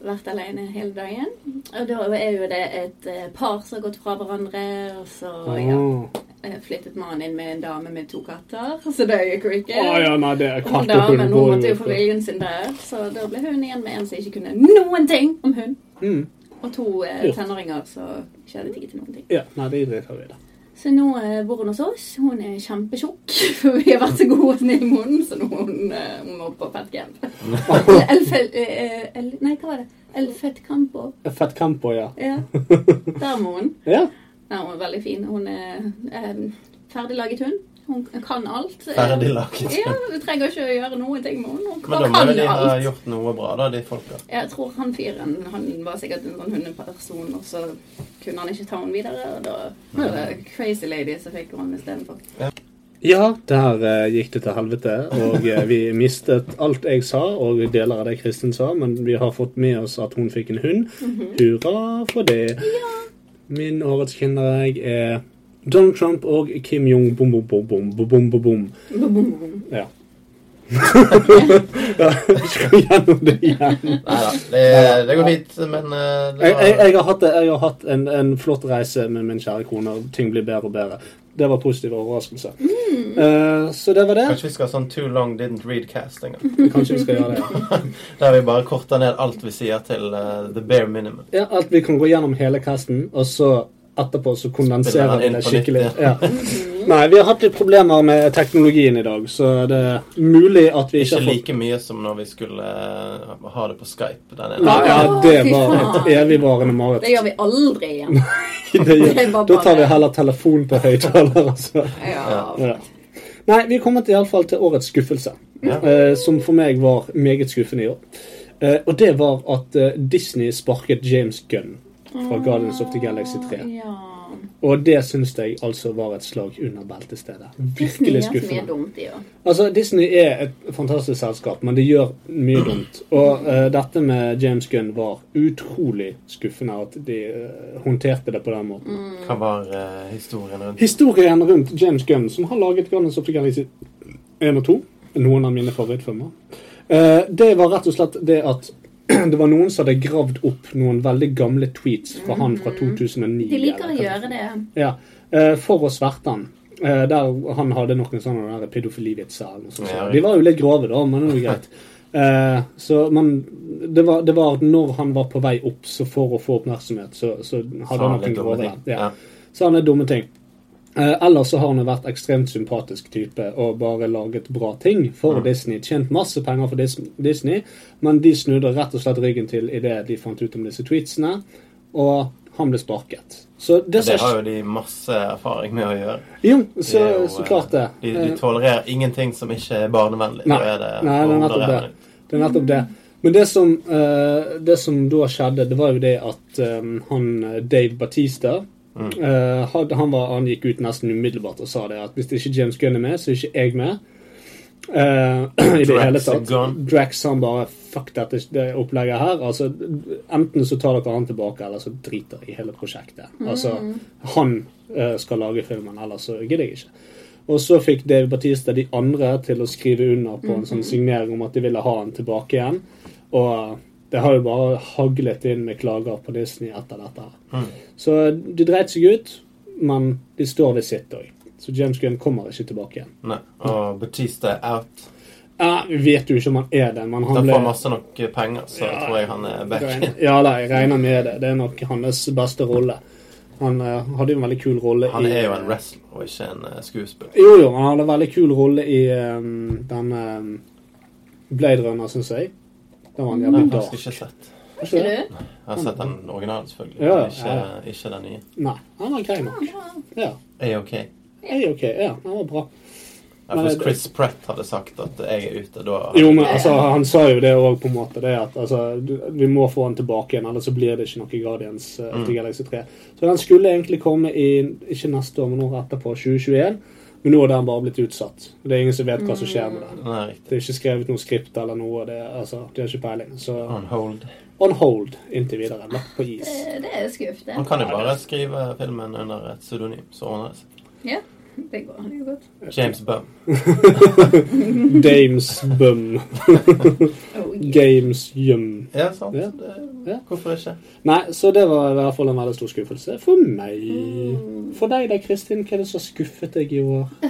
Speaker 1: vært alene hele dagen. Og da er jo det et eh, par som har gått fra hverandre, og så ja,
Speaker 3: å.
Speaker 1: eh, flyttet mannen inn med en dame med to katter. Så det gikk jo ikke.
Speaker 3: Å ja, nei, det er
Speaker 1: Hun
Speaker 3: katt og
Speaker 1: da, men
Speaker 3: hund.
Speaker 1: hun måtte jo få viljen sin der, så da ble hun igjen med en som ikke kunne noen ting om hund.
Speaker 3: Mm.
Speaker 1: Og to eh,
Speaker 3: Lurt.
Speaker 1: tenåringer som ikke hadde tid til noen ting.
Speaker 3: Ja, nei, det driter vi i. da.
Speaker 1: Så nå eh, bor hun hos oss. Hun er kjempetjukk, for vi har vært så gode og snille med hunden, så nå hun, eh, hun må på fettcamp. Eller Elfel... eh, El, nei, hva var det? Elfettcampo.
Speaker 3: Fett Campo, ja.
Speaker 1: Ja. Der må hun.
Speaker 3: Ja,
Speaker 1: Nei, hun er veldig fin. Hun er eh, ferdiglaget hund. Hun kan alt.
Speaker 2: Ferdig laget.
Speaker 1: Ja, du trenger ikke å gjøre noen ting med henne. Hun
Speaker 2: Men da
Speaker 1: kan
Speaker 2: må jo
Speaker 1: alt.
Speaker 2: de ha gjort noe bra, da, de folka.
Speaker 1: Jeg tror han fyren han var sikkert en sånn hundeperson, og så kunne han ikke ta henne videre. Og da var det crazy lady som fikk henne istedenfor.
Speaker 3: Ja, der eh, gikk det til helvete, og eh, vi mistet alt jeg sa, og deler av det Kristin sa, men vi har fått med oss at hun fikk en hund.
Speaker 1: Mhm.
Speaker 3: Hurra for det. Min årets kinderegg er Donald Trump og Kim Jong-bom-bom-bom-bom-bom-bom. Ja. Ja, vi skal gjennom det igjen.
Speaker 2: Nei da, det, det går fint, men eh, det
Speaker 3: Jeg, jeg,
Speaker 2: var,
Speaker 3: jeg har hatt, det- jeg har hatt en, en flott reise med min kjære kone. og Ting blir bedre og bedre. Det var positiv overraskelse.
Speaker 6: Mm.
Speaker 3: Eh, så det var det.
Speaker 2: Kanskje vi skal ha sånn too long didn't read cast en gang.
Speaker 3: Kanskje vi skal gjøre det.
Speaker 2: Der vi bare korter ned alt vi sier til eh, the bare minimum.
Speaker 3: Ja, at vi kan gå gjennom hele casten, og så etterpå så
Speaker 2: Spiller
Speaker 3: kondenserer
Speaker 2: den
Speaker 3: vi det
Speaker 2: inn på nytt,
Speaker 3: skikkelig. Ja.
Speaker 6: Mm.
Speaker 3: Nei, vi har hatt litt problemer med teknologien i dag, så det er mulig at vi ikke
Speaker 2: Ikke
Speaker 3: har fått
Speaker 2: like mye som når vi skulle eh, ha det på Skype. Den ene.
Speaker 3: Nei, ja,
Speaker 1: Å,
Speaker 3: det
Speaker 1: fy
Speaker 3: var
Speaker 1: faen.
Speaker 3: et evigvarende mareritt.
Speaker 6: Det gjør vi aldri igjen.
Speaker 3: Det gjør-
Speaker 6: Det var
Speaker 3: Da tar vi
Speaker 6: bare-
Speaker 3: heller telefon på høyttaler, altså.
Speaker 6: Ja.
Speaker 3: Ja. Nei, vi kommer til, i alle fall til årets skuffelse,
Speaker 2: Ja.
Speaker 3: eh, som for meg var meget skuffende i år. Eh, og det var at eh, Disney sparket James Gunn fra Guardians of the Galaxy 3.
Speaker 1: Ja.
Speaker 3: Og det syns jeg altså var et slag under beltestedet.
Speaker 6: Disney
Speaker 3: Virkelig
Speaker 6: gjør så mye
Speaker 3: skuffende.
Speaker 6: dumt, de òg.
Speaker 3: Altså, Disney er et fantastisk selskap, men de gjør mye dumt. Og eh, dette med James Gunn var utrolig skuffende at de eh, håndterte det på den måten.
Speaker 2: Hva var eh, historien rundt?
Speaker 3: Historien rundt James Gunn, som har laget Guardians of the Galaxy 1 og 2, noen av mine favorittfilmer, eh, det var rett og slett det at det var noen som hadde gravd opp noen veldig gamle tweets fra han fra 2009.
Speaker 6: Mm. De liker å
Speaker 3: eller hva
Speaker 6: gjøre det.
Speaker 3: ja, eh, for å sverte han. Eh, der han hadde noen sånne der pedofilivitser. eller noe sånt.
Speaker 2: Ja, ja.
Speaker 3: sånn. De var jo litt grove, da, men det var jo greit. Eh, så man, det, var, det var at når han var på vei opp så for å få oppmerksomhet, så, så hadde
Speaker 2: Sa
Speaker 3: han
Speaker 2: han
Speaker 3: noen
Speaker 2: litt dumme
Speaker 3: grove
Speaker 2: ting.
Speaker 3: ja.
Speaker 2: Ja.
Speaker 3: Så han er dumme ting. Eh, ellers så har han jo vært ekstremt sympatisk type og bare laget bra ting for
Speaker 2: Mm.
Speaker 3: Disney. Tjent masse penger for Dis- Disney, men de snudde rett og slett ryggen til idet de fant ut om disse tweetsene, og han ble sparket. Så det, som
Speaker 2: Det har jo de masse erfaring med å gjøre. De
Speaker 3: jo,
Speaker 2: er jo,
Speaker 3: så,
Speaker 2: eh,
Speaker 3: så klart det.
Speaker 2: De, de tolererer ingenting som ikke er barnevennlig.
Speaker 3: Nei,
Speaker 2: Da er det,
Speaker 3: nei, det er nettopp eh, det.
Speaker 2: overrevne.
Speaker 3: Det er nettopp det. Men det som, eh, det som da skjedde, det var jo det at eh, han eh, Dave Batista eh, hadde, han, var, han gikk ut nesten umiddelbart og sa det at hvis det ikke James Gunn er med, så er ikke jeg med. Eh, I det
Speaker 2: Drax
Speaker 3: hele
Speaker 2: er
Speaker 3: tatt.
Speaker 2: gone.
Speaker 3: Drax han bare Fuck dette det opplegget her. Altså, enten så tar dere han tilbake, eller så driter jeg i hele prosjektet. Altså, han eh, skal lage filmen, ellers så gidder jeg ikke. Og så fikk Dave Batista de andre til å skrive under på en sånn signering om at de ville ha han tilbake igjen. Og eh, det har jo bare haglet inn med klager på Disney etter dette.
Speaker 2: Mm.
Speaker 3: her. Så de dreit seg ut, men de står ved sitt òg. Så James Gunn kommer ikke tilbake igjen.
Speaker 2: Nei. Og Batista er out.
Speaker 3: Ja, vi vet jo ikke om han er det, men han
Speaker 2: Han
Speaker 3: ble
Speaker 2: får masse nok eh, penger, så
Speaker 3: Ja.
Speaker 2: tror jeg han er back.
Speaker 3: Regner- Ja da, jeg regner med det. Det er nok hans beste rolle. Han eh, hadde jo en veldig kul rolle
Speaker 2: Han
Speaker 3: i
Speaker 2: er jo en wrestler og ikke en eh, skuespiller.
Speaker 3: Jo, jo, han hadde en veldig kul rolle i um, den um, Blade Runner, syns jeg. Den var en
Speaker 2: Nei,
Speaker 3: jævlig
Speaker 2: jeg har
Speaker 3: dark.
Speaker 2: ikke sett.
Speaker 6: Ikke du?
Speaker 2: Jeg har sett den originale, selvfølgelig.
Speaker 3: Ja, ja.
Speaker 2: men Ikke, ikke den nye.
Speaker 3: Nei, han var grei nok. Ja.
Speaker 2: A-OK.
Speaker 3: Jeg er ok. Ja, han var bra.
Speaker 2: Ja,
Speaker 3: Men
Speaker 2: Hvis
Speaker 3: det-
Speaker 2: Chris Pratt hadde sagt at jeg er ute, da
Speaker 3: Jo, men altså, han sa jo det òg, på en måte. Det at altså, du- vi må få han tilbake igjen, ellers så blir det ikke noe Guardians eh, of the Galaxy 3. Så den skulle egentlig komme i ikke neste år, men året etterpå, 2021. Men nå er den bare blitt utsatt. Det er ingen som vet hva som skjer med den.
Speaker 2: Den er riktig.
Speaker 3: Det er ikke skrevet noe skript eller noe. Det, er- altså, de har ikke peiling. Så
Speaker 2: On hold.
Speaker 3: on hold inntil videre. Lagt på is.
Speaker 6: Eh, Det er skuff, det.
Speaker 2: Han kan jo bare skrive filmen under et pseudonym, så ordner det seg.
Speaker 6: Ja, det går det går godt.
Speaker 2: James Bum.
Speaker 3: Dames bum.
Speaker 6: Oh, yeah.
Speaker 3: Games yum.
Speaker 2: Ja, sant.
Speaker 3: Ja. Ja.
Speaker 2: Det, hvorfor ikke?
Speaker 3: Nei, så det var i hvert fall en veldig stor skuffelse for meg.
Speaker 1: Mm.
Speaker 3: For deg da, Kristin, hva er det som har skuffet deg i år?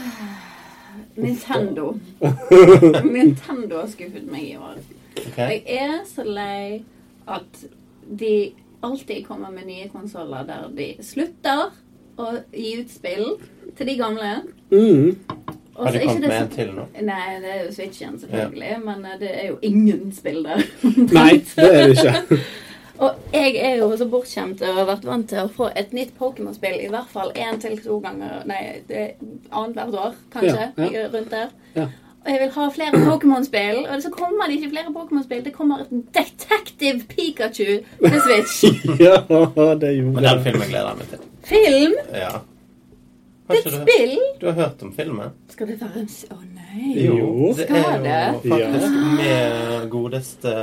Speaker 6: Nintendo. Nintendo har skuffet meg i år.
Speaker 2: Ok?
Speaker 6: Jeg er så lei at de alltid kommer med nye konsoller der de slutter å gi ut spill til de gamle.
Speaker 3: Mm.
Speaker 6: Og så
Speaker 2: Har de
Speaker 6: er ikke
Speaker 2: kommet
Speaker 6: det
Speaker 2: med
Speaker 6: så-
Speaker 2: en til nå?
Speaker 6: Nei, det er jo Switchen, selvfølgelig. Men eh, det er jo ingen spill der.
Speaker 3: Nei, det er det ikke.
Speaker 6: Og jeg er jo så bortskjemt og har vært vant til å få et nytt Pokémon-spill i hvert fall én til to ganger Nei, det- annethvert år, kanskje.
Speaker 3: Ja, ja.
Speaker 6: Rundt der.
Speaker 3: Ja.
Speaker 6: Og jeg vil ha flere Pokémon-spill, og så kommer det ikke flere Pokémon-spill. Det kommer et Detective Pikachu til Switch.
Speaker 3: Ja, det gjorde
Speaker 2: Men den
Speaker 3: jeg.
Speaker 2: filmen gleder jeg meg til.
Speaker 6: Film!
Speaker 2: Ja.
Speaker 6: Det
Speaker 2: Har
Speaker 6: er et
Speaker 2: ikke du,
Speaker 6: spill!
Speaker 2: du har hørt om filmen?
Speaker 6: Skal det være en s- Å nei.
Speaker 3: Jo.
Speaker 2: det
Speaker 6: Skal
Speaker 2: er jo
Speaker 6: det?
Speaker 2: faktisk med godeste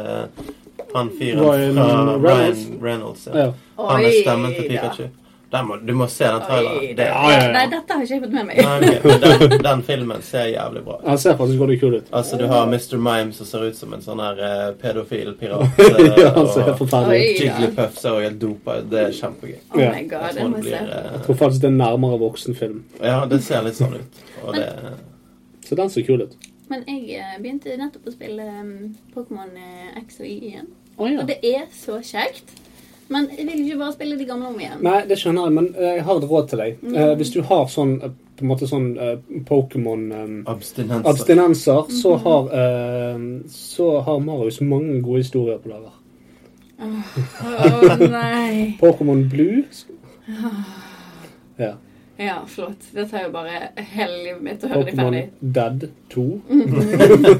Speaker 2: han fyren
Speaker 3: Ryan
Speaker 2: fra
Speaker 3: Reynolds.
Speaker 2: Ryan Reynolds.
Speaker 3: Ja.
Speaker 2: Han er stemmen til
Speaker 6: Oi, da.
Speaker 2: Pikachu. Den må, du må se den traileren.
Speaker 7: Oi,
Speaker 2: Det,
Speaker 3: Ja, ja, ja.
Speaker 1: Nei, dette har ikke jeg fått med meg.
Speaker 2: nei, ok, men den, den filmen ser jævlig bra ut.
Speaker 3: Han ser faktisk veldig kul ut.
Speaker 2: Altså, du har Mr. Mime som ser ut som en sånn her eh, pedofil pirat. eh,
Speaker 3: ja, han ser helt
Speaker 2: og
Speaker 3: forferdelig ut.
Speaker 1: Oi.
Speaker 2: Jigglypuff ser også helt dopa ut. Det er kjempegøy.
Speaker 1: Oh my
Speaker 3: Ja.
Speaker 1: god,
Speaker 2: Jeg
Speaker 1: jeg
Speaker 2: tror
Speaker 1: må
Speaker 2: det
Speaker 1: se.
Speaker 2: blir
Speaker 3: Jeg tror
Speaker 2: eh,
Speaker 3: faktisk det er nærmere voksenfilm.
Speaker 2: Ja, det ser litt sånn ut. Og det
Speaker 3: Så den ser kul ut.
Speaker 1: Men jeg eh, begynte nettopp å spille um, Pokémon eh, X og Y igjen.
Speaker 3: Å, ja.
Speaker 1: Og det er så kjekt. Men jeg vil ikke bare spille de gamle om igjen.
Speaker 3: Nei, det skjønner jeg, men eh, jeg har et råd til deg.
Speaker 1: Mm.
Speaker 3: Eh, Hvis du har sånn eh, på en måte sånn eh, Pokémon eh,
Speaker 2: Abstinenser.
Speaker 3: Abstinenser, så
Speaker 1: Mm.
Speaker 3: har, eh, så har Marius mange gode historier på lager.
Speaker 1: Å nei.
Speaker 3: Pokémon Blue ja.
Speaker 1: Ja, flott. Det tar jo bare hele livet mitt å høre de
Speaker 3: Pokémon
Speaker 1: ferdig. Mm.
Speaker 3: Dead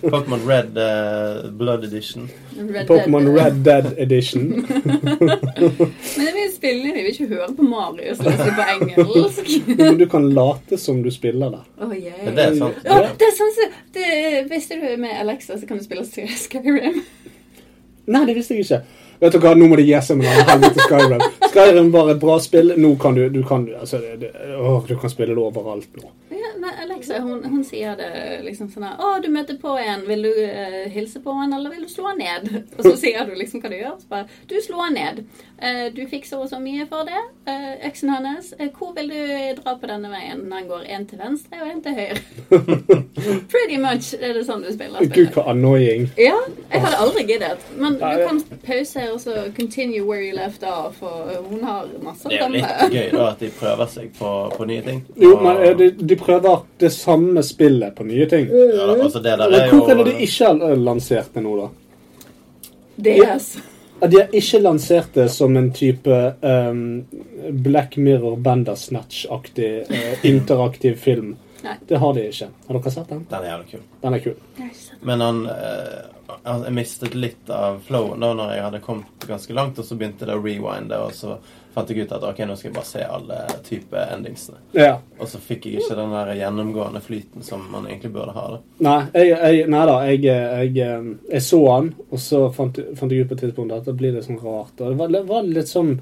Speaker 3: 2.
Speaker 2: Pokémon Red eh, Blood Edition.
Speaker 1: Red
Speaker 3: Pokémon
Speaker 1: Dead.
Speaker 3: Red Dead Edition.
Speaker 1: Men jeg vil spille, jeg vil ikke høre på Marius lese på engelsk.
Speaker 3: Men du kan late som du spiller det.
Speaker 1: Å, yeah.
Speaker 2: Men det er sant.
Speaker 1: Å, det er sånn som det, Visste du med Alexa så kan du spille Sky- Skyrim?
Speaker 3: Nei, det visste jeg ikke. Vet du hva, Nå må de gi seg med denne helvete Skyrim. Skyrim var et bra spill. Nå kan du du kan, altså, det, det, åh, du kan spille det overalt nå.
Speaker 1: Ja, nei, Alexa hun, hun sier det liksom sånn her Å, du møter på en. Vil du eh, hilse på han, eller vil du slå han ned? Og så sier du liksom hva du gjør. Så bare Du slår han ned. Eh, du fikk så og så mye for det. Eh, øksen hans. Eh, hvor vil du dra på denne veien? Den går én til venstre og én til høyre. Pretty much er det sånn du spiller.
Speaker 3: Gud, hva annoying.
Speaker 1: Ja, jeg hadde aldri giddet. Men du
Speaker 3: Nei, det-
Speaker 1: kan pause og så continue where you left off, og hun har masse
Speaker 2: Det er jo litt gøy da at de prøver seg på, på nye ting.
Speaker 3: Jo,
Speaker 2: Og-
Speaker 3: men eh, de, de prøver det samme spillet på nye ting.
Speaker 2: ja, da, altså, det der
Speaker 3: Men
Speaker 2: er jo
Speaker 3: hvor er det de ikke har eh, lansert det nå, da?
Speaker 1: DS.
Speaker 3: Ja, De har ikke lansert det som en type ehm, Black Mirror Bandersnatch-aktig eh, interaktiv film.
Speaker 1: Nei.
Speaker 3: Det har de ikke. Har dere sett den?
Speaker 2: Den er jævlig kul.
Speaker 3: Den er kul.
Speaker 1: Jeg har ikke sett
Speaker 2: Men han, eh, han jeg mistet litt av flowen da når jeg hadde kommet ganske langt, og så begynte det å rewinde, og så fant jeg ut at ok, nå skal jeg bare se alle type endingsene.
Speaker 3: Ja.
Speaker 2: Og så fikk jeg ikke den der gjennomgående flyten som man egentlig burde ha. da.
Speaker 3: Nei, jeg, jeg, nei da. Jeg, jeg, ehm, jeg så den, og så fant, fant jeg ut på et tidspunkt at det blir litt sånn rart. Og det var, det var litt sånn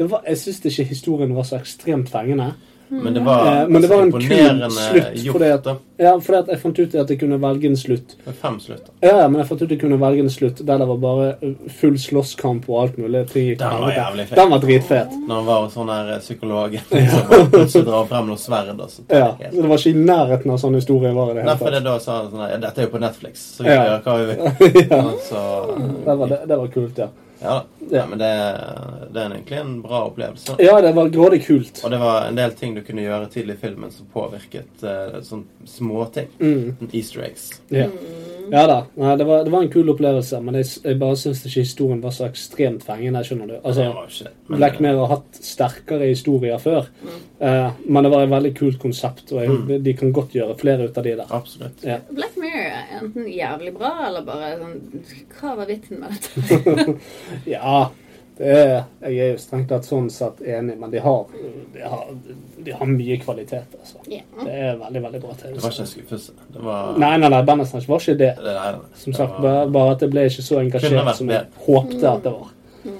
Speaker 3: det var, Jeg syns ikke historien var så ekstremt fengende.
Speaker 1: Mm.
Speaker 2: Men det var,
Speaker 3: Eh, men
Speaker 2: altså,
Speaker 3: det var en
Speaker 2: imponerende
Speaker 3: kul slutt.
Speaker 2: gjort,
Speaker 3: Fordi at,
Speaker 2: da.
Speaker 3: ja, fordi at jeg fant ut at jeg kunne velge en slutt.
Speaker 2: Med fem slutter.
Speaker 3: Ja, ja, men jeg fant ut at jeg kunne velge en slutt der det var bare eh, full slåsskamp og alt mulig. Ting gikk
Speaker 2: Den
Speaker 3: til
Speaker 2: var
Speaker 3: helvete.
Speaker 2: jævlig fet.
Speaker 3: Den var dritfet.
Speaker 2: Når han var hos sånn her eh, psykologen, så bare plutselig drar han frem noe sverd. og så tar
Speaker 3: Ja,
Speaker 2: det helt-
Speaker 3: så det var ikke i nærheten av sånn historie var i det hele
Speaker 2: Derfor er
Speaker 3: tatt.
Speaker 2: det da sa han sånn her, ja, Dette er jo på Netflix, så vi
Speaker 3: Ja.
Speaker 2: kan gjøre hva vi vil. Og Så, eh,
Speaker 3: Det var, det, det var kult, ja.
Speaker 2: ja da. Ja, men det, det er egentlig en bra opplevelse.
Speaker 3: Ja, det var grådig kult.
Speaker 2: Og det var en del ting du kunne gjøre tidlig i filmen som påvirket eh, sånn småting.
Speaker 3: Mm.
Speaker 2: Sånn Easter eggs.
Speaker 3: Ja, Mm. ja da. Nei, det, var, det var en kul opplevelse, men jeg, s- jeg bare syns ikke historien var så ekstremt fengende. skjønner du.
Speaker 2: Det
Speaker 3: Altså,
Speaker 2: var jo ikke det. Men,
Speaker 3: Black Mirror har hatt sterkere historier før, eh, men det var et veldig kult konsept, og jeg,
Speaker 2: Mm.
Speaker 3: de kan godt gjøre flere ut av de der.
Speaker 2: Absolutt.
Speaker 3: Ja.
Speaker 1: Black Mirror er enten jævlig bra, eller bare sånn Hva var vitsen med dette?
Speaker 3: Ja, det er, jeg er jo strengt tatt sånn sett enig, men de har, de har, de har mye kvalitet, altså.
Speaker 1: Ja.
Speaker 3: Det er veldig, veldig bra
Speaker 2: Det var
Speaker 3: TV.
Speaker 2: ikke en skuffelse. Det var
Speaker 3: Nei, nei, nei, Bandersnatch var ikke det.
Speaker 2: det der,
Speaker 3: Som
Speaker 2: det
Speaker 3: sagt,
Speaker 2: var-
Speaker 3: bare, bare at jeg ble ikke så
Speaker 2: Kunne vært
Speaker 3: engasjert som jeg
Speaker 2: bedre.
Speaker 3: håpte at det var.
Speaker 1: Mm.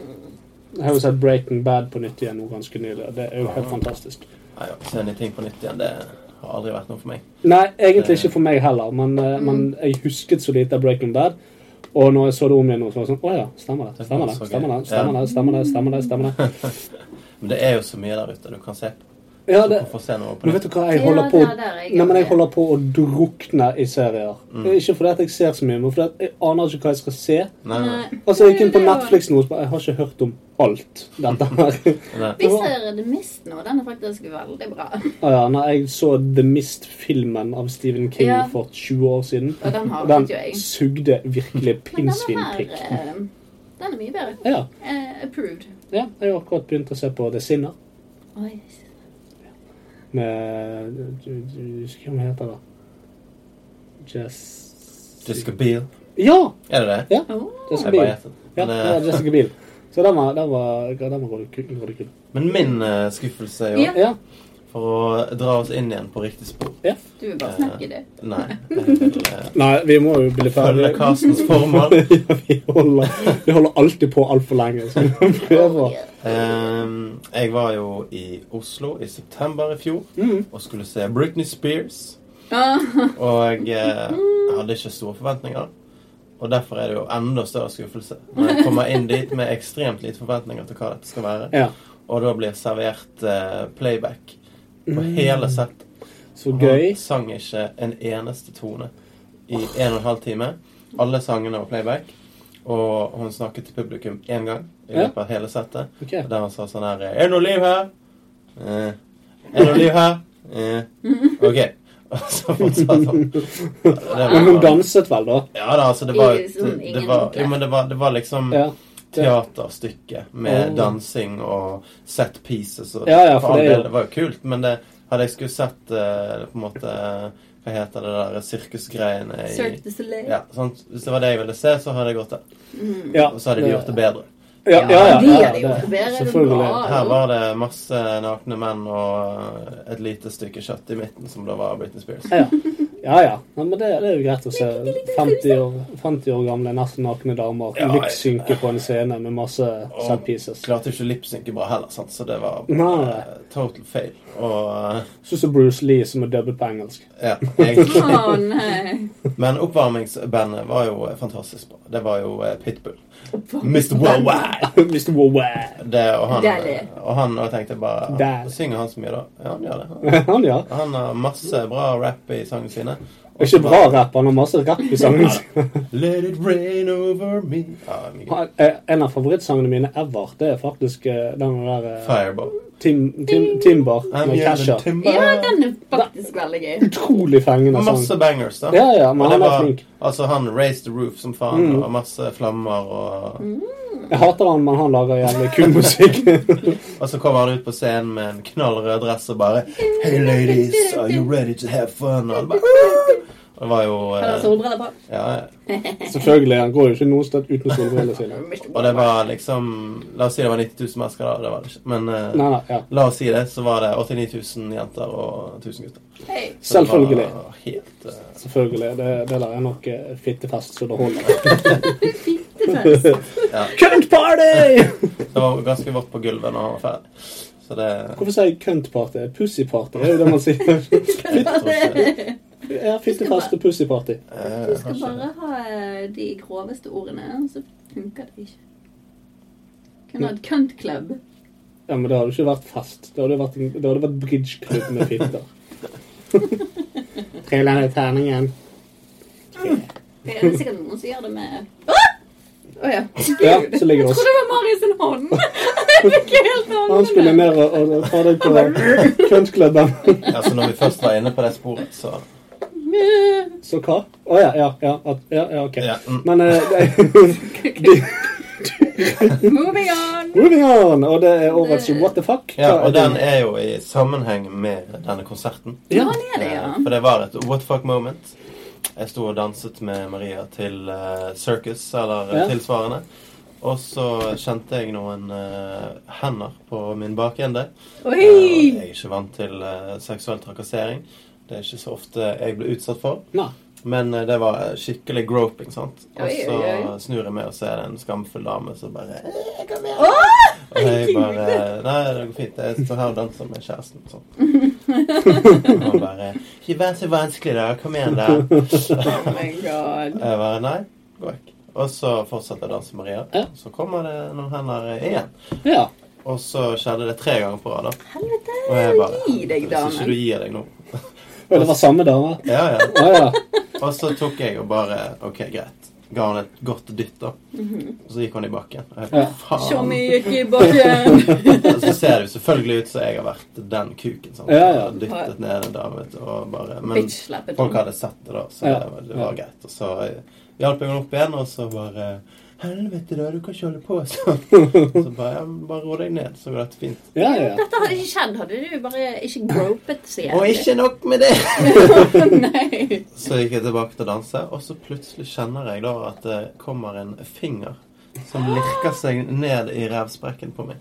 Speaker 3: Jeg har jo sett Breaking Bad på nytt igjen nå ganske nylig, og det er jo helt fantastisk.
Speaker 2: Nei, å se nye ting på nytt igjen, det har aldri vært noe for meg.
Speaker 3: Nei, egentlig ikke for meg heller, men,
Speaker 1: Mm.
Speaker 3: eh, men jeg husket så lite av Breaking Bad. Og når jeg så det om igjen nå, så var det sånn Å ja, stemmer det. Stemmer det. Stemmer det. Stemmer det. Stemmer det. Stemmer det. Stemmer det.
Speaker 2: Men det er jo så mye der ute du kan se på.
Speaker 3: Ja, det,
Speaker 2: Hvorfor se noe på
Speaker 3: Men vet
Speaker 2: nytt?
Speaker 3: du hva, jeg
Speaker 1: Ja,
Speaker 3: holder på,
Speaker 1: der- der er jeg
Speaker 3: nei, men jeg
Speaker 1: enig.
Speaker 3: holder på å drukne i serier. Eh, Ikke fordi at jeg ser så mye, men fordi at jeg aner ikke hva jeg skal se.
Speaker 2: Nei, nei,
Speaker 3: Altså, Jeg gikk inn på
Speaker 1: Det var-
Speaker 3: Netflix nå og bare, jeg har ikke hørt om alt dette her.
Speaker 2: nei.
Speaker 1: Vi ser The Mist nå. Den er faktisk veldig bra.
Speaker 3: Ah, ja, nei, jeg så The Mist-filmen av Stephen King
Speaker 1: Ja.
Speaker 3: for 20 år siden.
Speaker 1: Og den har
Speaker 3: Og den
Speaker 1: ikke jeg.
Speaker 3: sugde virkelig
Speaker 1: Men denne her
Speaker 3: pinnsvinprikk.
Speaker 1: eh, Den er mye bedre.
Speaker 3: Ja,
Speaker 1: Eh, approved.
Speaker 3: ja, jeg har akkurat begynt å se på The Sinner
Speaker 1: Oi.
Speaker 3: med du- du- du husker Hva hun heter da? Jess...
Speaker 2: Jessica Biel.
Speaker 3: Ja!
Speaker 2: Er det det?
Speaker 3: ja
Speaker 1: Oh.
Speaker 3: Jessica
Speaker 2: Jeg bare
Speaker 3: Biel.
Speaker 2: gjettet.
Speaker 3: Ja,
Speaker 2: Men,
Speaker 3: det var
Speaker 2: eh,
Speaker 3: Jessica Biel. Så den var, den var, ja, den var rådig kul. rådig kul.
Speaker 2: men min eh, skuffelse i år
Speaker 1: Ja.
Speaker 3: Ja.
Speaker 2: For å dra oss inn igjen på riktig spor.
Speaker 3: Ja.
Speaker 6: Du vil bare snakke, du.
Speaker 2: Nei. Jeg vil eh,
Speaker 3: Nei, vi må jo bli ferdig.
Speaker 2: følge Carstens formål.
Speaker 3: ja, vi, holder, vi holder alltid på altfor lenge. Så vi må
Speaker 1: Oh,
Speaker 3: prøve. å-
Speaker 2: Ehm, jeg var jo i Oslo i september i fjor
Speaker 3: Mm,
Speaker 2: og skulle se Britney Spears.
Speaker 1: Ah,
Speaker 2: Og eh, jeg hadde ikke store forventninger. Og derfor er det jo enda større skuffelse når jeg kommer inn dit med ekstremt lite forventninger til hva dette skal være.
Speaker 3: Ja,
Speaker 2: Og da blir jeg servert eh, playback på hele settet.
Speaker 3: så
Speaker 2: Han
Speaker 3: gøy.
Speaker 2: sang ikke en eneste tone i en og en halv time. Alle sangene var playback. Og hun snakket til publikum én gang i
Speaker 3: Ja.
Speaker 2: løpet av hele settet.
Speaker 3: Ok.
Speaker 2: Og Der han sa sånn her Er det noe liv her? Eh. Er det noe liv her? Eh. Ok. Og så fortsatte han. Det
Speaker 3: Men hun
Speaker 2: var-
Speaker 3: danset vel, da?
Speaker 2: Ja da, altså, det var,
Speaker 6: I- som ingen
Speaker 2: det var,
Speaker 6: ordentlig.
Speaker 2: jo, men det var, det var liksom
Speaker 3: Ja.
Speaker 2: teaterstykke med
Speaker 3: Åh.
Speaker 2: dansing og set pieces. Og,
Speaker 3: Ja, ja, for
Speaker 2: all
Speaker 3: det er jo-
Speaker 2: del, det var jo kult, men det hadde jeg skulle sett eh, på en måte Hva heter det der sirkusgreiene i
Speaker 6: Cirque du Soleil.
Speaker 2: ja, sant? Hvis det var det jeg ville se, så hadde jeg gått der.
Speaker 1: Mm.
Speaker 3: ja.
Speaker 2: Og så hadde de gjort det bedre.
Speaker 3: Ja, ja, ja,
Speaker 6: de
Speaker 3: ja,
Speaker 6: er det jo.
Speaker 3: det-
Speaker 6: Der er det
Speaker 3: selvfølgelig.
Speaker 6: bra.
Speaker 2: Her var det masse nakne menn og et lite stykke kjøtt i midten, som da var Britney Spears.
Speaker 3: Ja, ja. ja. Nei, men det, det er jo greit å se 50 år, 50 år gamle nesten nakne damer
Speaker 2: Ja,
Speaker 3: lykssynke på en scene med masse
Speaker 2: Og
Speaker 3: set pieces.
Speaker 2: klarte jo ikke å lipsynke bra heller, sant? så det var
Speaker 3: Nei.
Speaker 2: eh, total fail. Og eh,
Speaker 3: Sånn som Bruce Lee som er dubbet på engelsk.
Speaker 2: ja, egentlig.
Speaker 6: Å nei.
Speaker 2: Men oppvarmingsbandet var jo eh, fantastisk bra. Det var jo eh, Pitbull. Mr. Worldwide!
Speaker 3: Mr. Wow.
Speaker 2: Det, og, han, eh,
Speaker 6: Det er det.
Speaker 2: og han og jeg tenkte bare
Speaker 3: Der.
Speaker 2: Synger han så mye, da? Ja, han gjør det.
Speaker 3: Han, ja.
Speaker 2: Han har masse bra rap i sangene sine.
Speaker 3: Det er Ikke bra rapp, han har masse rapp i sangen sin.
Speaker 2: Let it rain over me ja, mye gøy.
Speaker 3: Han- eh, En av favorittsangene mine ever, det er faktisk eh, den der eh,
Speaker 2: Fireball.
Speaker 3: Tim, Tim, Timber
Speaker 2: I'm
Speaker 3: med
Speaker 2: here
Speaker 3: Kesha.
Speaker 2: to timber.
Speaker 6: Ja, den er faktisk veldig gøy.
Speaker 3: Utrolig fengende
Speaker 2: Og masse
Speaker 3: sang.
Speaker 2: bangers, da.
Speaker 3: Ja, ja, men
Speaker 2: Og det
Speaker 3: han er
Speaker 2: var-
Speaker 3: flink. Mm.
Speaker 2: Altså, han raised the roof som faen, og masse flammer og
Speaker 3: Jeg hater han, men han lager jævlig kul musikk.
Speaker 2: Og så kommer han ut på scenen med en knallrød dress og bare Hey ladies, are you ready to have fun? Og alle bare «Woo!» Og det var jo
Speaker 6: Han har
Speaker 2: eh,
Speaker 6: solbriller på.
Speaker 2: ja, ja.
Speaker 3: Selvfølgelig, han går jo ikke noe sted uten solbriller sine.
Speaker 2: Og det var liksom La oss si det var 90 000 mennesker, da. Det var det ikke. Men eh,
Speaker 3: Nei, nei, ja.
Speaker 2: la oss si det, så var det 89 000 jenter og 1000 gutter. Så
Speaker 6: Hei.
Speaker 2: det var
Speaker 3: Selvfølgelig.
Speaker 2: Helt eh,
Speaker 3: Selvfølgelig. Det, det der er nok eh, fittefest, så det holder.
Speaker 2: Ja.
Speaker 3: Cunt party!
Speaker 2: Det var ganske vått på gulvet når han var ferdig. Så det
Speaker 3: Hvorfor sier jeg cunt party? Pussy party det er jo det man sier.
Speaker 2: jeg tror ikke-
Speaker 3: Ja, fittefest og pussy party.
Speaker 2: eh,
Speaker 6: eh, Du skal
Speaker 2: kanskje-
Speaker 6: bare ha eh, de groveste ordene, så funker det ikke. Kunne hatt cunt club.
Speaker 3: Ja, men det hadde jo ikke vært fest. Det hadde vært, en- det hadde vært bridgeklubb med fitter. Triller i terningen.
Speaker 6: Det er sikkert noen som gjør det med Å Å ja.
Speaker 3: Ja, så ligger
Speaker 6: Jeg
Speaker 3: det oss.
Speaker 6: trodde det var Marius sin hånd. Jeg fikk helt
Speaker 3: Han skulle
Speaker 6: hånden.
Speaker 3: ned og, og, og ta deg på cuntklubben.
Speaker 2: Ja, så når vi først var inne på det sporet, så
Speaker 3: Så hva? Å ja, ja, ja, at, ja, ja, ok.
Speaker 2: Ja, mm.
Speaker 3: Men eh, det, de,
Speaker 6: Moving on.
Speaker 3: Moving on! Og det er årets What the fuck.
Speaker 2: Ja,
Speaker 3: Hva er
Speaker 2: og
Speaker 3: det?
Speaker 2: den er jo i sammenheng med denne konserten.
Speaker 6: Ja, han er det, ja.
Speaker 2: Eh, For det var et what the fuck moment. Jeg sto og danset med Maria til eh, Circus eller eh,
Speaker 3: Ja.
Speaker 2: tilsvarende. Og så kjente jeg noen eh, hender på min bakende. Eh, og jeg
Speaker 6: Oi!
Speaker 2: er ikke vant til eh, seksuell trakassering. Det er ikke så ofte jeg blir utsatt for.
Speaker 3: Nei.
Speaker 2: Men eh, det var eh, skikkelig groping, sant. Og
Speaker 6: Oi,
Speaker 2: så
Speaker 6: oi, oi.
Speaker 2: snur jeg meg og ser en skamfull dame som bare «Eh, Kom igjen!
Speaker 6: Åh!
Speaker 2: Og jeg bare Nei, det går fint. Jeg står her og danser med kjæresten. Sånn. Og han bare Ikke vær så vanskelig, da. Kom igjen, da.
Speaker 6: Oh my god.
Speaker 2: Jeg bare Nei, gå vekk. Og så fortsetter jeg å danse Maria.
Speaker 3: Ja.
Speaker 2: Så kommer det noen hender igjen.
Speaker 3: Ja.
Speaker 2: Og så skjedde det tre ganger på rad. da.
Speaker 6: Helvete.
Speaker 2: Og jeg bare
Speaker 6: Gi deg,
Speaker 2: Hvis ikke
Speaker 6: damen.
Speaker 2: du gir deg nå
Speaker 3: Og det var samme dame.
Speaker 2: Ja, ja.
Speaker 3: Ja, ja.
Speaker 2: Og så tok jeg og bare Ok, greit. Ga han et godt dytt, da. Og så gikk han i bakken. Og jeg
Speaker 3: Ja.
Speaker 2: bare, faen.
Speaker 6: Tommy gikk i bakken.
Speaker 2: Og så ser det jo selvfølgelig ut som jeg har vært den kuken. Sant?
Speaker 3: Ja, ja.
Speaker 2: Dyttet ned en dame vet du, og bare Men
Speaker 6: Bitch slappet
Speaker 2: folk
Speaker 6: han.
Speaker 2: hadde sett det, da, så
Speaker 3: Ja.
Speaker 2: det, var- det var greit. Og så eh, hjalp jeg henne opp igjen, og så bare eh, Helvete, da. Du kan ikke holde på sånn. Så bare, ja, men bare ro deg ned, så går dette fint.
Speaker 3: ja, ja.
Speaker 6: Dette hadde ikke skjedd, hadde du bare ikke gropet så
Speaker 2: Og
Speaker 6: jævlig.
Speaker 2: ikke nok med det!
Speaker 6: Nei.
Speaker 2: Så gikk jeg tilbake til å danse, og så plutselig kjenner jeg da at det kommer en finger som lirker seg ned i revsprekken på meg.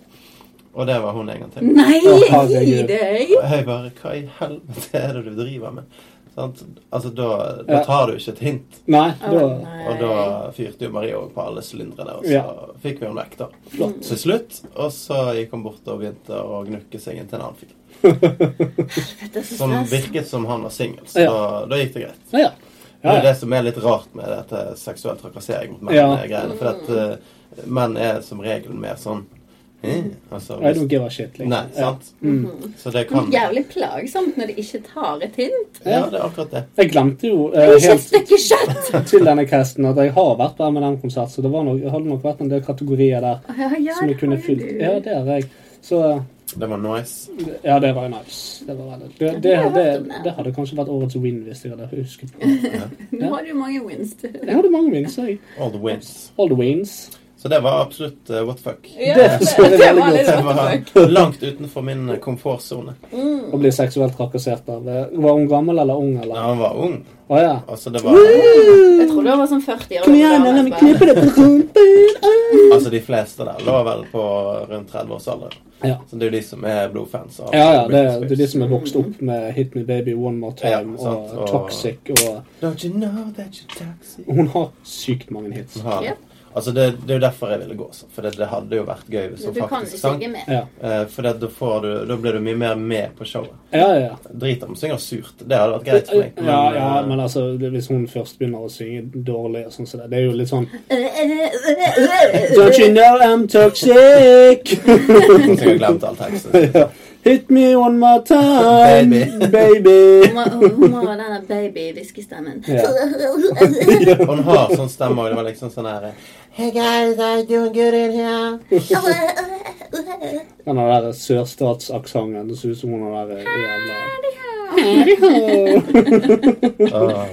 Speaker 2: Og det var hun en gang til.
Speaker 1: Nei,
Speaker 3: Å,
Speaker 1: gi
Speaker 3: herregud.
Speaker 1: deg!
Speaker 2: Og jeg bare Hva i helvete er det du driver med? Sant? Altså, da, da
Speaker 3: Ja.
Speaker 2: tar du ikke et hint.
Speaker 3: Nei,
Speaker 1: Å,
Speaker 3: da
Speaker 1: nei.
Speaker 2: Og da fyrte jo Maria over på alle sylindere der, og så
Speaker 3: Ja.
Speaker 2: fikk vi henne vekk, da.
Speaker 3: Flott.
Speaker 2: Til slutt. Og så gikk hun bort og begynte å gnukke seg inn til en annen fyr.
Speaker 1: Dette er så
Speaker 2: Som
Speaker 1: stress.
Speaker 2: virket som han var singel, så
Speaker 3: Ja.
Speaker 2: da gikk det greit.
Speaker 3: Ja, ja.
Speaker 2: Det
Speaker 3: Ja,
Speaker 2: er
Speaker 3: ja.
Speaker 2: det som er litt rart med dette seksuell trakassering mot menn.
Speaker 3: Ja.
Speaker 2: eh, greiene, for at eh, menn er som regel mer sånn eh, altså,
Speaker 3: I don't give a shit. liksom.
Speaker 2: Nei, sant? Så det kan
Speaker 6: Sånn Jævlig plagsomt når de ikke tar et hint.
Speaker 2: Ja, det er akkurat det.
Speaker 3: Ja. Jeg glemte jo
Speaker 6: Det
Speaker 3: eh,
Speaker 6: er ikke et
Speaker 3: helt
Speaker 6: stykke kjøtt!
Speaker 3: til denne casten at jeg har vært på M&M-konsert, så det var nok, hadde nok vært en del kategorier der
Speaker 6: Ja, ja,
Speaker 3: som
Speaker 6: det
Speaker 3: jeg kunne
Speaker 6: har jo du.
Speaker 3: fylt. Ja, det er jeg. Så eh,
Speaker 2: Det var nice.
Speaker 3: Ja, det var jo nice. Det, var veldig, det, det,
Speaker 6: har jeg
Speaker 3: det,
Speaker 6: hørt om det.
Speaker 3: det hadde kanskje vært årets win hvis jeg hadde husket på det.
Speaker 6: Nå har du mange wins. du.
Speaker 3: Jeg hadde mange wins, jeg.
Speaker 2: All the wins.
Speaker 3: All the wins.
Speaker 2: Så det var absolutt eh, what the fuck.
Speaker 6: Ja,
Speaker 3: Det forstår jeg
Speaker 6: var litt
Speaker 2: Det
Speaker 3: veldig godt.
Speaker 6: what the fuck.
Speaker 2: var langt utenfor min eh, komfortsone.
Speaker 3: Å bli seksuelt trakassert av eh, Var hun gammel eller ung,
Speaker 2: Da
Speaker 3: eller?
Speaker 2: han var ung.
Speaker 3: Å ja.
Speaker 2: Altså, det var
Speaker 1: Jeg tror det var sånn 40 år.
Speaker 3: Kom igjen, la meg knippe deg på rumpen! Ah!
Speaker 2: Altså, de fleste der lå vel på rundt 30-årsalderen.
Speaker 3: Ja.
Speaker 2: Så det er jo de som er blodfans av
Speaker 3: Ja, ja, det,
Speaker 2: Britney
Speaker 3: det er de som
Speaker 2: Spears.
Speaker 3: er vokst opp med Hit Me Baby One More Time
Speaker 2: Ja, sant,
Speaker 3: og
Speaker 2: og-
Speaker 3: Toxic og
Speaker 2: Don't you know that you're toxic?
Speaker 3: Hun har sykt mange hits.
Speaker 2: Som har-
Speaker 6: Yep.
Speaker 2: Altså, det, det er jo derfor jeg ville gå sånn. For det, det hadde jo vært gøy hvis hun
Speaker 6: Du kan
Speaker 2: faktisk
Speaker 6: ikke
Speaker 2: sang.
Speaker 6: synge med.
Speaker 3: Ja,
Speaker 2: Eh, For det, da, får du, da blir du mye mer med på showet.
Speaker 3: ja, ja.
Speaker 2: Drit om hun synger surt. Det hadde vært greit for meg.
Speaker 3: Ja, ja,
Speaker 2: eh,
Speaker 3: men altså, det- hvis hun først begynner å synge dårlig og sånn som det, det er jo litt sånn Don't you know I'm toxic?
Speaker 2: Hun har glemt all teksten.
Speaker 3: Hit me one more time,
Speaker 2: Baby.
Speaker 3: baby.
Speaker 6: Hun må- Hun må ha den der baby-hviskestemmen.
Speaker 3: Ja.
Speaker 2: Hun har sånn stemme òg. Det var liksom sånn her Hey guys, I doing good in here.
Speaker 3: Den der sørstatsaksangen. Det ser ut som hun har der jævla
Speaker 2: Åh. Ah.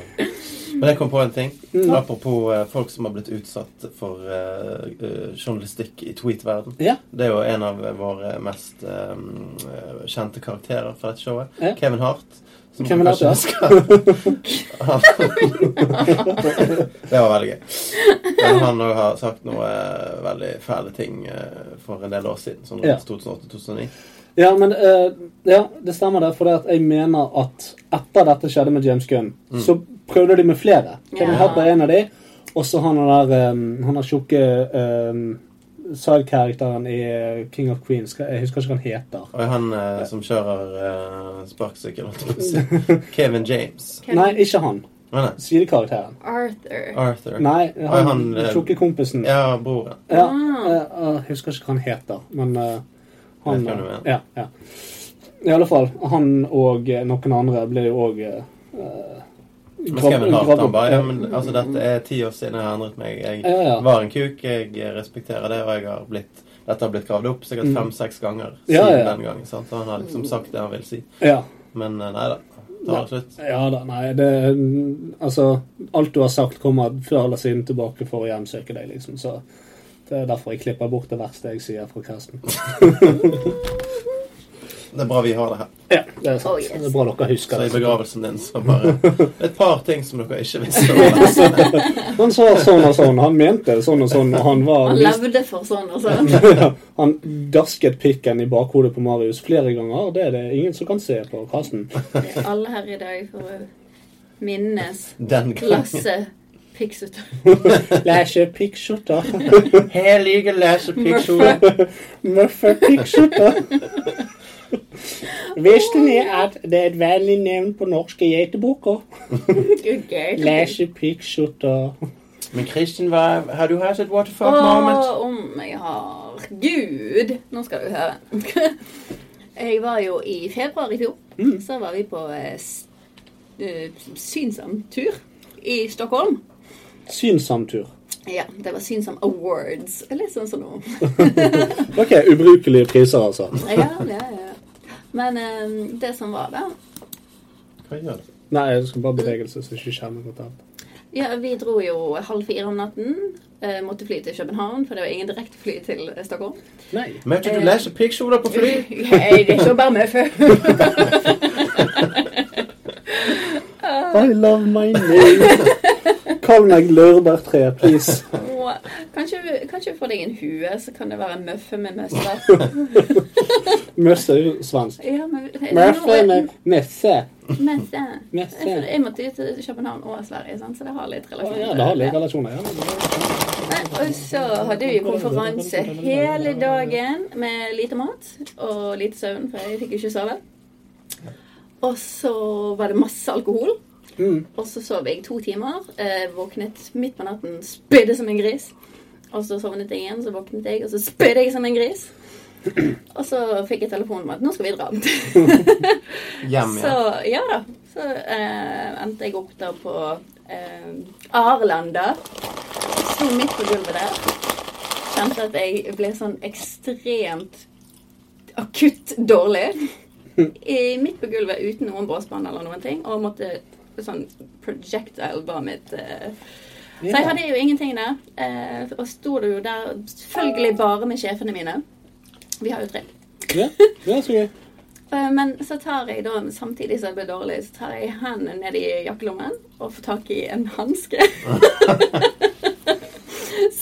Speaker 2: Men jeg kom på en ting.
Speaker 3: Mm.
Speaker 2: Apropos eh, folk som har blitt utsatt for eh, eh, journalistikk i tweet-verden.
Speaker 3: Ja.
Speaker 2: Det er jo en av våre mest eh, eh, kjente karakterer fra dette showet.
Speaker 3: Ja.
Speaker 2: Kevin Hart. som
Speaker 3: Kevin Hart,
Speaker 2: kanskje
Speaker 3: ja.
Speaker 2: husker- Han- det var veldig gøy. Men han òg har sagt noe eh, veldig fæle ting eh, for en del år siden. Sånn
Speaker 3: Ja.
Speaker 2: rundt 2008-2009.
Speaker 3: Ja, men eh, ja, det stemmer det. For det at jeg mener at etter dette skjedde med James Gunn,
Speaker 2: Mm.
Speaker 3: så prøvde de med flere. Kevin
Speaker 6: Ja.
Speaker 3: Hart var en av de. Og så han der um, Han der tjukke um, sidekarakteren i eh, King of Queens. hva- Jeg husker ikke hva han heter.
Speaker 2: Og han eh, som kjører eh, sparkesykkel, holdt jeg på
Speaker 3: Mm.
Speaker 2: å si. Kevin James.
Speaker 3: Nei, ikke han.
Speaker 2: Nei, nei.
Speaker 3: Sidekarakteren.
Speaker 6: Arthur.
Speaker 2: Arthur.
Speaker 3: Nei,
Speaker 2: Oi,
Speaker 3: han
Speaker 2: han, eh,
Speaker 3: tjukke kompisen.
Speaker 2: Ja, broren.
Speaker 3: Ja,
Speaker 6: Ah.
Speaker 3: eh, jeg husker ikke hva han heter, men eh,
Speaker 2: Jeg
Speaker 3: han
Speaker 2: vet hva du mener.
Speaker 3: ja, ja. I alle fall, han og eh, noen andre ble jo eh, òg
Speaker 2: Men Kevin Hart, han bare ja, men, altså, Dette er ti år siden jeg har endret meg. Jeg
Speaker 3: Ja, ja.
Speaker 2: var en kuk, jeg respekterer det, og jeg har blitt dette har blitt gravd opp sikkert fem-seks ganger siden
Speaker 3: Mm. Ja, ja.
Speaker 2: den gangen. sant? Så han har liksom sagt det han vil si.
Speaker 3: ja,
Speaker 2: Men eh, nei da. Da var det slutt.
Speaker 3: ja da, nei, det Altså, alt du har sagt, kommer før eller siden tilbake for å hjemsøke deg, liksom, så det er derfor jeg klipper bort det verste jeg sier fra casten.
Speaker 2: Det er bra vi har det her.
Speaker 3: Ja, det er sant.
Speaker 6: Oh, yes.
Speaker 3: Det er bra dere
Speaker 2: Så
Speaker 3: husker
Speaker 2: i
Speaker 3: det.
Speaker 2: begravelsen din så bare Et par ting som dere ikke visste. om oss.
Speaker 3: Han sa sånn og sånn, han mente sånn og sånn, og han var
Speaker 6: Han levde for sånn og sånn.
Speaker 3: Han dasket pikken i bakhodet på Marius flere ganger. Det er det ingen som kan se på kassen.
Speaker 6: Det er alle her i dag for å minnes
Speaker 2: Den gangen.
Speaker 6: klasse Pixut.
Speaker 3: Læsje pikkskjorter.
Speaker 2: Her ligger læsjepikkjolen.
Speaker 3: Muffe pikkskjorter. Visste ni at det er et vanlig navn på norske geitebukker? Læsje pikkskjorter.
Speaker 2: Men Christian, hva, har du hatt et what the fuck moment?
Speaker 6: Å, om jeg har Gud! Nå skal du høre. Jeg var jo i februar i fjor. Så var vi på eh, s- eh, Synsam tur i Stockholm.
Speaker 3: Synsam tur.
Speaker 6: Ja, det var Synsam Awards. Litt sånn som nå.
Speaker 3: Ok, ubrukelige priser, altså.
Speaker 6: Ja, ja, ja. Men eh, det som var da
Speaker 2: Hva gjør du?
Speaker 3: Nei, jeg skal bare bevegelse, så ikke skjermen går tapt.
Speaker 6: Ja, vi dro jo halv fire om natten. eh, måtte fly til København, for det var ingen direktefly til eh, Stockholm.
Speaker 3: Nei.
Speaker 2: Møtte du læsjepikkjoler på fly?
Speaker 6: Nei, det er ikke bare med før.
Speaker 3: I love my name. Kall meg Laurbærtre, please.
Speaker 6: Åh, Kanskje, kanskje få deg en hue, så kan det være møffe med møster.
Speaker 3: Møssesvans.
Speaker 1: Ja, men,
Speaker 6: eh,
Speaker 3: Møffe
Speaker 1: nå-
Speaker 3: med messe.
Speaker 1: Messe.
Speaker 3: Messe.
Speaker 1: Jeg måtte jo til København og Sverige, sant? så det har litt
Speaker 3: Å,
Speaker 1: relasjon.
Speaker 3: Ja, det har
Speaker 1: til det.
Speaker 3: legerelasjoner. Ja, det har det.
Speaker 1: Nei, Og så hadde vi konferanse hele dagen med lite mat og lite søvn, for jeg fikk jo ikke sove. Og så var det masse alkohol.
Speaker 3: Mm.
Speaker 1: Og så sov jeg to timer. Eh, våknet midt på natten, spydde som en gris. Og så sovnet jeg igjen, så våknet jeg, og så spydde jeg som en gris. Og så fikk jeg telefon om at nå skal vi dra.
Speaker 2: Hjem
Speaker 1: Så
Speaker 2: igjen.
Speaker 1: ja da. Så eh, endte jeg opp da på eh, Arlanda. Sto midt på gulvet der. Kjente at jeg ble sånn ekstremt akutt dårlig. I, midt på gulvet uten noen båsbånd eller noen ting. Og måtte sånn projectile bare mitt eh. Så jeg hadde jo ingenting der. Eh, og sto det jo der selvfølgelig bare med sjefene mine. Vi har jo tre.
Speaker 3: Ja, det er så gøy.
Speaker 1: Eh, Men så tar jeg da, samtidig som jeg blir dårlig, så tar jeg hendene ned i jakkelommen og får tak i en hanske.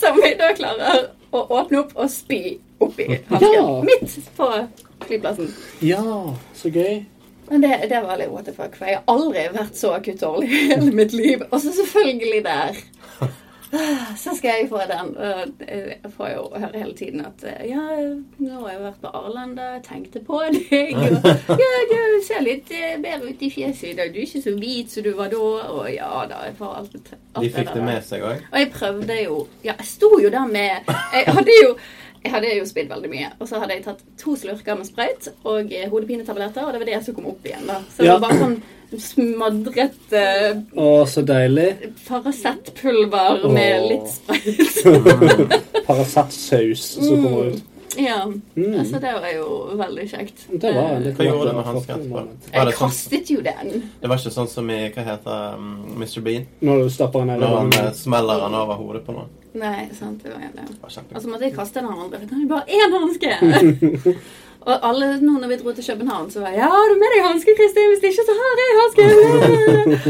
Speaker 1: som jeg da klarer å åpne opp og spy oppi hansken.
Speaker 3: Ja.
Speaker 1: Midt på flyplassen.
Speaker 3: Ja, så gøy.
Speaker 1: Men det, det var litt what the fuck, for jeg har aldri vært så akutt dårlig i hele mitt liv. Og så selvfølgelig der. Ah, Så skal jeg få den. og Jeg får jo høre hele tiden at eh, ja, nå har jeg vært på Arlanda, jeg tenkte på deg. Og ja, du ser litt eh, bedre ut i fjeset i dag. Du er ikke så hvit som du var da. Og ja da, jeg får alt, det- alt
Speaker 2: De fikk
Speaker 1: der,
Speaker 2: det
Speaker 1: da.
Speaker 2: med seg òg.
Speaker 1: Og jeg prøvde jo Ja, jeg sto jo der med Jeg hadde jo jeg hadde jo spydd veldig mye, og så hadde jeg tatt to slurker med sprøyt og eh, hodepinetabletter, og det var det som kom opp igjen. da. Så det
Speaker 3: Ja.
Speaker 1: var bare sånn smadret eh,
Speaker 3: Å, så deilig.
Speaker 1: Paracet-pulver med
Speaker 3: Åh.
Speaker 1: litt sprøyt.
Speaker 3: Paracetsaus
Speaker 1: Mm.
Speaker 3: som kommer ut.
Speaker 1: ja, så det var jo veldig kjekt.
Speaker 3: Mm.
Speaker 1: Eh,
Speaker 3: Det var en litt
Speaker 2: Hva gjorde du med
Speaker 3: vakker
Speaker 2: hansken etterpå?
Speaker 3: moment.
Speaker 2: Var det,
Speaker 1: Jeg
Speaker 2: sånn,
Speaker 1: kastet jo den.
Speaker 2: det var ikke sånn som i hva heter um, Mr. Bean?
Speaker 3: Når du stapper den ned i
Speaker 2: Når han eh,
Speaker 3: vannet.
Speaker 2: smeller han over hodet på noen.
Speaker 1: Nei, sant, det var jo det.
Speaker 2: Det var
Speaker 1: Og
Speaker 2: kjempegøy.
Speaker 1: så måtte jeg kaste den andre. for Den er jo bare én hanske! og alle nå når vi dro til København, så var jeg, ja, har du med deg hanske, Kristin? Hvis ikke, så har jeg hanske!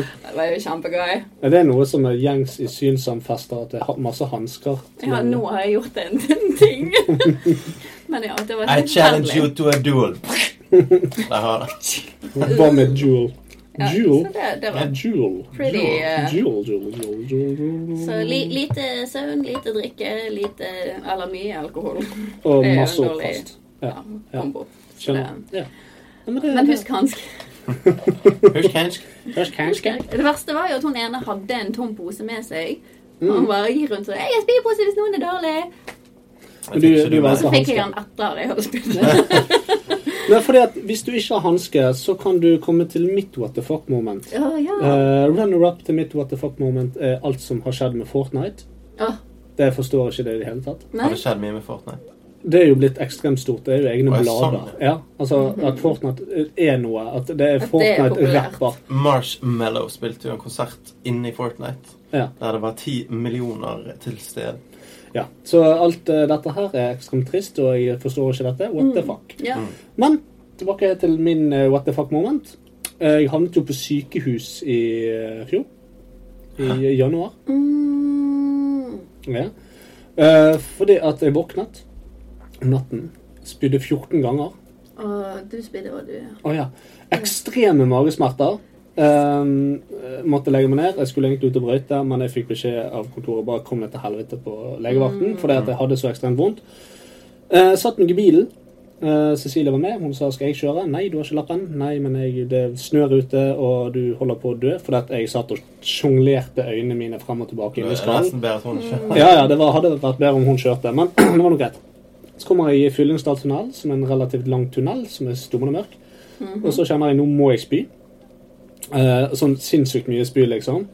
Speaker 1: det var jo kjempegøy.
Speaker 3: Er det noe som er gjengs i Synsam-fester? At det er ha- masse hansker?
Speaker 1: Ja, nå har jeg gjort en en ting. Men ja, det var
Speaker 2: I
Speaker 1: helt
Speaker 2: challenge you
Speaker 1: forferdelig.
Speaker 2: to a duel. Der har han.
Speaker 3: Vomit jewel.
Speaker 1: Ja,
Speaker 3: Jewel?
Speaker 1: så det, det var
Speaker 3: Jewel.
Speaker 1: pretty eh,
Speaker 3: Jewel, jewel, jewel, jewel, jewel.
Speaker 1: Så li, lite søvn, lite drikke, lite eller mye alkohol.
Speaker 3: Og
Speaker 1: det er jo
Speaker 3: masse
Speaker 1: en dårlig-
Speaker 3: oppkast.
Speaker 1: Ja,
Speaker 3: Ja, ja.
Speaker 1: kombo. Så
Speaker 3: Skjønner.
Speaker 1: det-
Speaker 3: Ja. Ja, men det-
Speaker 1: Men husk hanske.
Speaker 2: Husk hansk.
Speaker 3: Husk hansker.
Speaker 1: Det verste var jo at hun ene hadde en tom pose med seg. Og hun bare gikk rundt og 'Jeg har spypose hvis noen er dårlig'.
Speaker 2: Jeg
Speaker 3: Du-
Speaker 2: fikk ikke det
Speaker 3: du
Speaker 2: med.
Speaker 3: var så-
Speaker 1: Så fikk jeg den etter jeg hadde spydd.
Speaker 3: Nei, fordi at hvis du ikke har hansker, så kan du komme til mitt what the fuck-moment.
Speaker 1: Å ja.
Speaker 3: Eh, Runner-up til mitt what the fuck-moment er alt som har skjedd med Fortnite.
Speaker 1: Åh,
Speaker 3: Det forstår jeg ikke det i det hele tatt.
Speaker 1: nei.
Speaker 2: Har det skjedd mye med Fortnite?
Speaker 3: Det er jo blitt ekstremt stort. Det er jo egne
Speaker 2: Å, er det
Speaker 3: blader.
Speaker 2: sant?
Speaker 3: Ja, altså At Fortnite er noe. At det er
Speaker 1: er
Speaker 3: Fortnite-rapper.
Speaker 2: Marshmallow spilte jo en konsert inne i Fortnite
Speaker 3: Ja,
Speaker 2: der det var ti millioner til stede.
Speaker 3: ja. Så alt eh, dette her er ekstremt trist, og jeg forstår ikke dette. What the fuck.
Speaker 1: Ja.
Speaker 3: Men tilbake til min eh, what the fuck-moment. Eh, jeg havnet jo på sykehus i eh, fjor. I januar.
Speaker 1: Mm.
Speaker 3: Ja. Eh, fordi at jeg våknet om natten, spydde 14 ganger.
Speaker 1: Og du spydde, og du
Speaker 3: Å ja. Ekstreme magesmerter. Ehm, måtte legge meg ned. Jeg skulle egentlig ut og brøyte, men jeg fikk beskjed av kontoret bare kom ned til helvete på legevakten fordi at jeg hadde så ekstremt vondt. Eh, satt meg i bilen. Eh, Cecilie var med. Hun sa 'skal jeg kjøre'? Nei, du har ikke lappen. Nei, men jeg, det snør ute, og du holder på å dø. Fordi at jeg satt og sjonglerte øynene mine frem og tilbake
Speaker 2: Det
Speaker 3: inni
Speaker 2: er
Speaker 3: skallen.
Speaker 2: nesten bedre at hun
Speaker 1: Mm.
Speaker 2: ikke
Speaker 3: Ja, ja, det var, hadde vært bedre om hun kjørte, men det var nå greit. Så kommer jeg i Fyllingsdal tunnel, som er en relativt lang tunnel, som er stummende mørk. Og så kjenner jeg nå må jeg spy. Eh, sånn sinnssykt mye spy, liksom.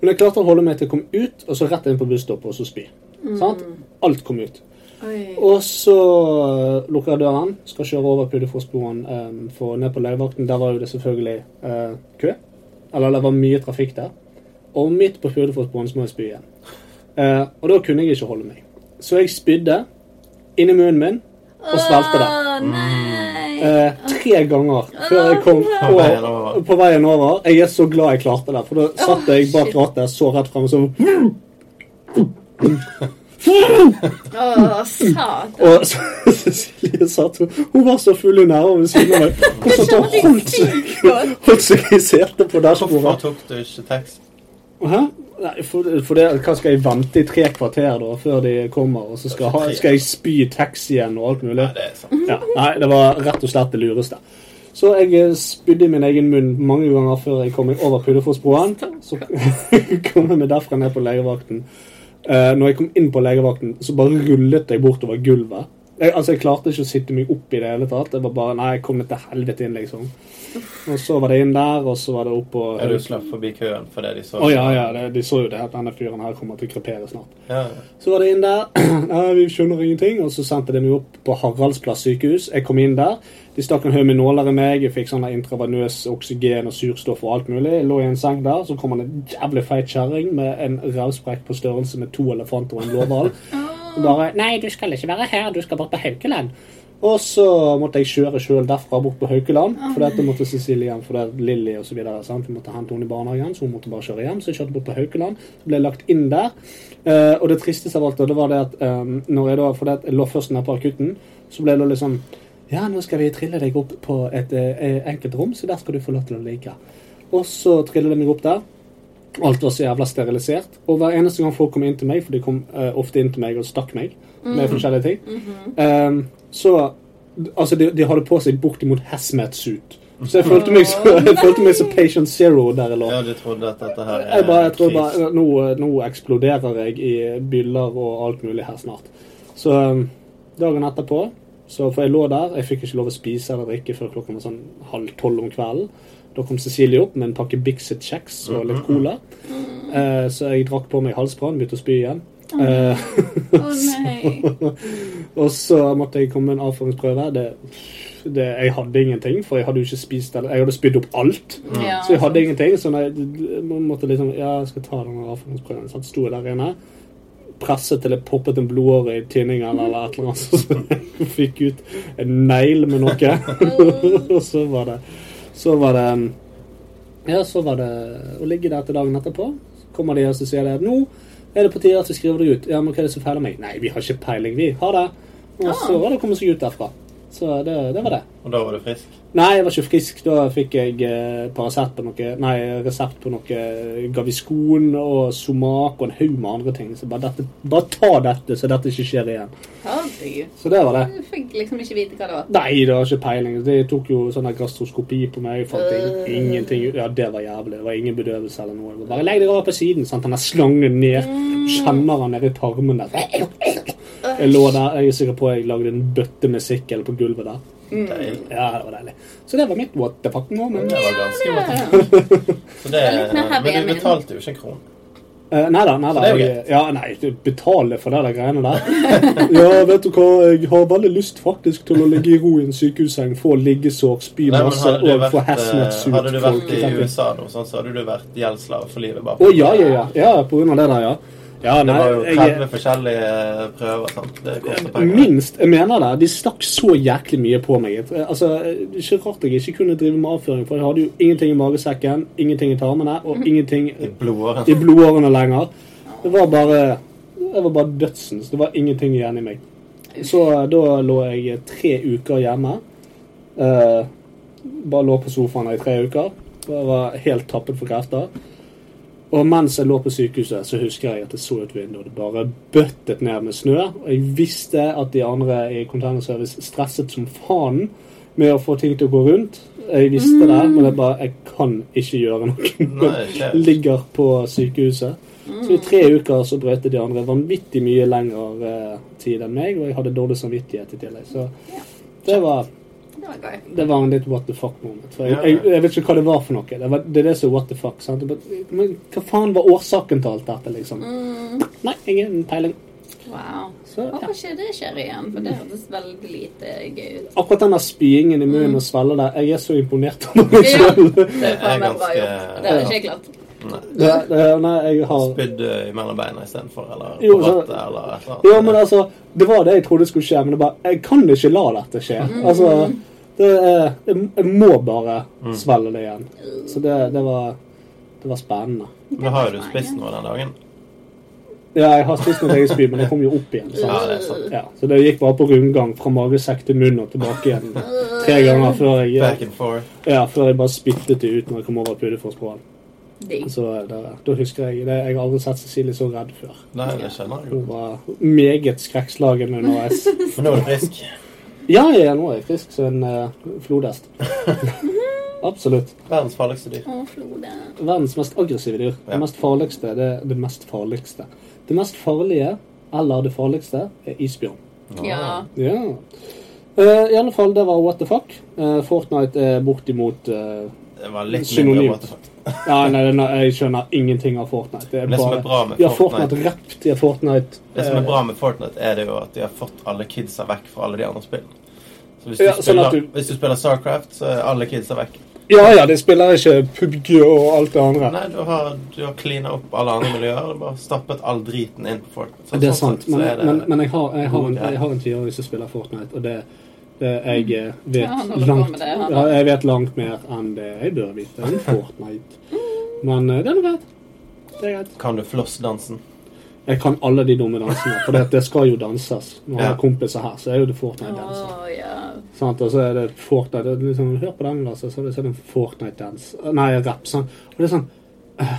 Speaker 3: Men jeg klarte å holde meg til å komme ut, og så rett inn på busstoppet, og så spy. Sant? Alt kom ut.
Speaker 1: Oi.
Speaker 3: Og så eh, lukker jeg døren, skal kjøre over Pudefossbroen um, for ned på legevakten. Der var jo det selvfølgelig eh, kø. Eller det var mye trafikk der. Og midt på Pudefossbroen så må jeg spy igjen. Eh, og da kunne jeg ikke holde meg. Så jeg spydde inni munnen min og svelgte det.
Speaker 1: Å nei.
Speaker 3: Eh, tre ganger før jeg kom
Speaker 2: På veien
Speaker 3: på,
Speaker 2: over.
Speaker 3: på veien over. Jeg er så glad jeg klarte det, for da satt jeg bak rattet, så rett frem og så
Speaker 6: Å, satan.
Speaker 3: Og så- Cecilie satt hun Hun var så full i nerver ved siden av meg. Hun satt og holdt seg, holdt seg i setet på
Speaker 2: Hvorfor
Speaker 3: dashbordet.
Speaker 2: tok du ikke tekst?
Speaker 3: Hæ? Nei, for, for det, hva skal jeg vente i tre kvarter da før de kommer, og så skal, ha- skal jeg spy taxien og alt mulig?
Speaker 2: Nei, det er
Speaker 1: Mm-hmm.
Speaker 2: sant.
Speaker 3: Ja, nei, det var rett og slett det lureste. Så jeg eh, spydde i min egen munn mange ganger før jeg kom meg over Pudderfossbroen. Så kom jeg meg derfra ned på legevakten. Eh, når jeg kom inn på legevakten, så bare rullet jeg bortover gulvet. Jeg, altså, jeg klarte ikke å sitte meg opp i det hele tatt. Det var bare, nei, jeg kom litt til helvete inn, liksom. Og så var det inn der, og så var det opp på
Speaker 2: Er du slapp forbi køen fordi de så
Speaker 3: Å ja, ja, det, de så jo det at denne fyren her kommer til å krepere snart.
Speaker 2: Ja.
Speaker 3: Så var det inn der. Nei, vi skjønner ingenting. Og så sendte de meg opp på Haraldsplass sykehus. Jeg kom inn der. De stakk en haug med nåler i meg. Jeg fikk sånn der intravenøs oksygen og surstoff og alt mulig. Jeg lå i en seng der. Så kom han en jævlig feit kjerring med en rævsprekk på størrelse med to elefanter og en blåhval. Og Bare 'Nei, du skal ikke være her. Du skal bort på Haukeland'. Og så måtte jeg kjøre sjøl derfra bort på Haukeland. For dette måtte Cecilie hjem, for det er Lilly osv. Vi måtte hente henne i barnehagen, så hun måtte bare kjøre hjem. Så jeg kjørte bort på Haukeland. Ble lagt inn der. Eh, og det tristeste av alt da, det var det at eh, når jeg da, for det at jeg lå først nede på akutten, så ble det liksom Ja, nå skal vi trille deg opp på et eh, enkelt rom, så der skal du få lov til å ligge. Og så triller de meg opp der. Alt var så jævla sterilisert. Og hver eneste gang folk kom inn til meg, for de kom eh, ofte inn til meg og stakk meg med forskjellige ting, eh, så Altså, de, de hadde på seg bortimot hazmat-suit. Så jeg følte meg så, jeg følte meg så Patient Zero der jeg lå.
Speaker 2: ja, du trodde at dette her er
Speaker 3: Jeg, bare, jeg tror
Speaker 2: kris.
Speaker 3: bare nå, nå eksploderer jeg i byller og alt mulig her snart. Så um, dagen etterpå så For jeg lå der. Jeg fikk ikke lov å spise eller drikke før klokken var sånn halv tolv om kvelden. Da kom Cecilie opp med en pakke Bixit kjeks og litt cola. Eh, så jeg drakk på meg halsbrann, begynte å spy igjen. Eh,
Speaker 6: Å nei.
Speaker 3: og så måtte jeg komme med en avføringsprøve. Det, det, jeg hadde ingenting, for jeg hadde jo ikke spist eller, Jeg hadde spydd opp alt.
Speaker 6: Ja,
Speaker 3: Så jeg hadde ingenting, så når jeg jeg måtte liksom Ja, jeg skal ta denne avføringsprøven. Så sto jeg der inne, presset til jeg poppet en blodåre i tinningen eller et eller annet, så- så jeg fikk ut en negl med noe. Og så var det Så var det um, Ja, så var det å ligge der til dagen etterpå. Så kommer de og så sier de at nå er det på tide at vi skriver deg ut. Ja, men hva er det som feiler meg? Nei, vi har ikke peiling, vi. Ha det. Og så var det å komme seg ut derfra. Så det, det var det.
Speaker 2: Og da var du frisk?
Speaker 3: Nei, jeg var ikke frisk. Da fikk jeg eh, Paracet på noe Nei, resept på noe eh, Gaviscon og Somac og en haug med andre ting. Så bare, dette, bare ta dette, så dette ikke skjer igjen.
Speaker 6: Herregud.
Speaker 3: Så det var det.
Speaker 6: Du fikk liksom ikke vite hva det var.
Speaker 3: Nei, det var ikke peiling. De tok jo sånn her gastroskopi på meg. Jeg Fant ing-
Speaker 2: Øh.
Speaker 3: ingenting ut. Ja, det var jævlig. Det var ingen bedøvelse eller noe. Det var Bare legg deg over på siden. Sant? Den der slangen ned.
Speaker 2: Mm.
Speaker 3: Kjenner han nede i tarmen der.
Speaker 2: Øh.
Speaker 3: Jeg lå der. Jeg er sikker på jeg lagde en bøtte med sikkel på gulvet der.
Speaker 6: Mm.
Speaker 2: Deilig.
Speaker 3: Ja, det var deilig. Så det var mitt what the fuck nå, men
Speaker 2: Det var ganske godt. Så det,
Speaker 6: litt mer her ved
Speaker 2: men du
Speaker 6: min.
Speaker 2: betalte jo ikke en krone.
Speaker 3: Uh, nei da, nei da.
Speaker 2: det er jo
Speaker 3: Jeg, ja, nei, du betaler for det der greiene der. ja, vet du hva, jeg har veldig lyst faktisk til å ligge i ro i en sykehusseng, få liggesår, spy
Speaker 2: Nei, men
Speaker 3: masse
Speaker 2: hadde, du
Speaker 3: og få
Speaker 2: vært,
Speaker 3: hazmat
Speaker 2: eh,
Speaker 3: suit.
Speaker 2: hadde du vært i
Speaker 3: folk.
Speaker 2: USA nå, sånn, så hadde du vært gjeldsslave for livet. bare.
Speaker 3: Å ja, ja, ja, ja. På grunn av det der, ja. Ja,
Speaker 2: Det
Speaker 3: nei,
Speaker 2: var jo
Speaker 3: jeg,
Speaker 2: 30 forskjellige eh, prøver. Sant? Det koster penger.
Speaker 3: Minst. Jeg mener det. De stakk så jæklig mye på meg. Jeg- Altså, det er Ikke rart jeg ikke kunne drive med avføring, for jeg hadde jo ingenting i magesekken, ingenting i tarmene og ingenting
Speaker 2: I blodåren.
Speaker 3: i blodårene lenger. Det var bare det var bare dødsens. Det var ingenting igjen i meg. Så eh, da lå jeg tre uker hjemme. Eh, bare lå på sofaen i tre uker. Bare var helt tappet for krefter. Og mens jeg lå på sykehuset, så husker jeg at jeg så ut vinduet. Det bare bøttet ned med snø. Og jeg visste at de andre i Container Service stresset som faen med å få ting til å gå rundt. Jeg visste det, men jeg bare Jeg kan ikke gjøre noe.
Speaker 2: Nei, ikke.
Speaker 3: Ligger på sykehuset. Så i tre uker så brøyte de andre vanvittig mye lengre eh, tid enn meg, og jeg hadde dårlig samvittighet i tillegg. Så det var
Speaker 6: Det var gøy.
Speaker 3: det var en litt what the fuck moment. For jeg,
Speaker 2: Ja, ja.
Speaker 3: jeg, jeg vet ikke hva det var for noe. Det, var, det er det som er what the fuck. Sant? Men- Men hva faen var årsaken til alt dette, liksom?
Speaker 1: Mm.
Speaker 3: Nei, ingen peiling.
Speaker 6: Mm. Wow.
Speaker 3: Så, ja.
Speaker 6: Håper ikke det skjer igjen, for det hørtes veldig lite gøy ut.
Speaker 3: Akkurat den der spyingen i munnen og svelget der, jeg er så imponert over meg
Speaker 6: Ja.
Speaker 3: selv.
Speaker 6: Det er faen meg bra
Speaker 2: ganske-
Speaker 6: gjort. Det hadde ikke jeg klart.
Speaker 3: Det- det- Nei, jeg har
Speaker 2: sånn. Spydd eh, mellom beina istedenfor, eller
Speaker 3: Jo,
Speaker 2: på
Speaker 3: så-
Speaker 2: rattet, eller et eller annet.
Speaker 3: Ja, men altså, det var det jeg trodde skulle skje, men det bare, jeg kan ikke la dette skje. Altså, det er, jeg jeg må bare svelge det igjen. Så det, det, var, det var spennende.
Speaker 2: Men har jo du spist noe den dagen?
Speaker 3: Ja, jeg har spist mitt eget spy, men jeg kom jo opp igjen.
Speaker 2: Ja,
Speaker 3: Sant?
Speaker 2: det er sant.
Speaker 3: Ja, så det gikk bare på rundgang fra magesekk til munn og tilbake igjen tre ganger før
Speaker 2: Back
Speaker 3: jeg,
Speaker 2: and forth.
Speaker 3: ja, før jeg bare spyttet det ut når jeg kom over Pudefossbroen.
Speaker 1: Digg.
Speaker 3: Så det, da husker jeg det. Jeg har aldri sett Cecilie så redd før.
Speaker 2: Nei, det skjønner jeg
Speaker 3: Hun
Speaker 2: jo.
Speaker 3: var meget skrekkslagen underveis.
Speaker 2: Men nå er du frisk.
Speaker 3: Ja, jeg er nå er jeg frisk som en eh, flodhest. Absolutt.
Speaker 2: Verdens farligste dyr.
Speaker 1: Å, Frode.
Speaker 3: Verdens mest aggressive dyr.
Speaker 2: Ja.
Speaker 3: Det mest farligste det er det mest farligste. Det mest farlige, eller det farligste, er isbjørn.
Speaker 1: Ja.
Speaker 3: Ja. Eh, I alle fall, det var what the fuck. Eh, Fortnite er bortimot eh,
Speaker 2: Det var litt
Speaker 3: Synonym.
Speaker 2: mindre what the fuck.
Speaker 3: Ja, nei, nei, nei, jeg skjønner ingenting av Fortnite. Det er
Speaker 2: Det som
Speaker 3: bare,
Speaker 2: er bra med
Speaker 3: de har
Speaker 2: Fortnite-
Speaker 3: Fortnite rapt, de har Fortnite
Speaker 2: Det som
Speaker 3: eh,
Speaker 2: er bra med Fortnite, er det jo at de har fått alle kidsa vekk fra alle de andre spillene. Så hvis du,
Speaker 3: Ja, sånn
Speaker 2: spiller,
Speaker 3: at du-
Speaker 2: hvis du spiller Starcraft, så er alle kidsa vekk.
Speaker 3: Ja ja, de spiller ikke PubG og alt det andre.
Speaker 2: Nei, du har, du har cleana opp alle andre miljøer og bare stappet all driten inn på Fortnite. Så
Speaker 3: det er
Speaker 2: sånn
Speaker 3: sant,
Speaker 2: sett så
Speaker 3: men,
Speaker 2: er det-
Speaker 3: men, men jeg har, jeg har en,
Speaker 2: Ja.
Speaker 3: jeg har en tiåring som spiller Fortnite, og det, det jeg eh,
Speaker 2: Mm.
Speaker 1: Ja, han
Speaker 3: vet
Speaker 1: holder på
Speaker 3: langt
Speaker 1: med det, han.
Speaker 3: ja, Jeg vet langt mer enn det jeg bør vite om Fortnite.
Speaker 1: Mm.
Speaker 3: Men eh, det er nå greit. Det er greit.
Speaker 2: Kan du flossdansen?
Speaker 3: Jeg kan alle de dumme dansene, for det, det skal jo danses. Når jeg
Speaker 2: Ja.
Speaker 3: har kompiser her, så er jo det Fortnite-danser.
Speaker 1: Å, ja.
Speaker 3: Sant? Og så er det Fortnite det er liksom, Hør på den, Lasse, så er det, så er det en Fortnite-dans. Nei, rapp. Sånn. Og det er sånn øh,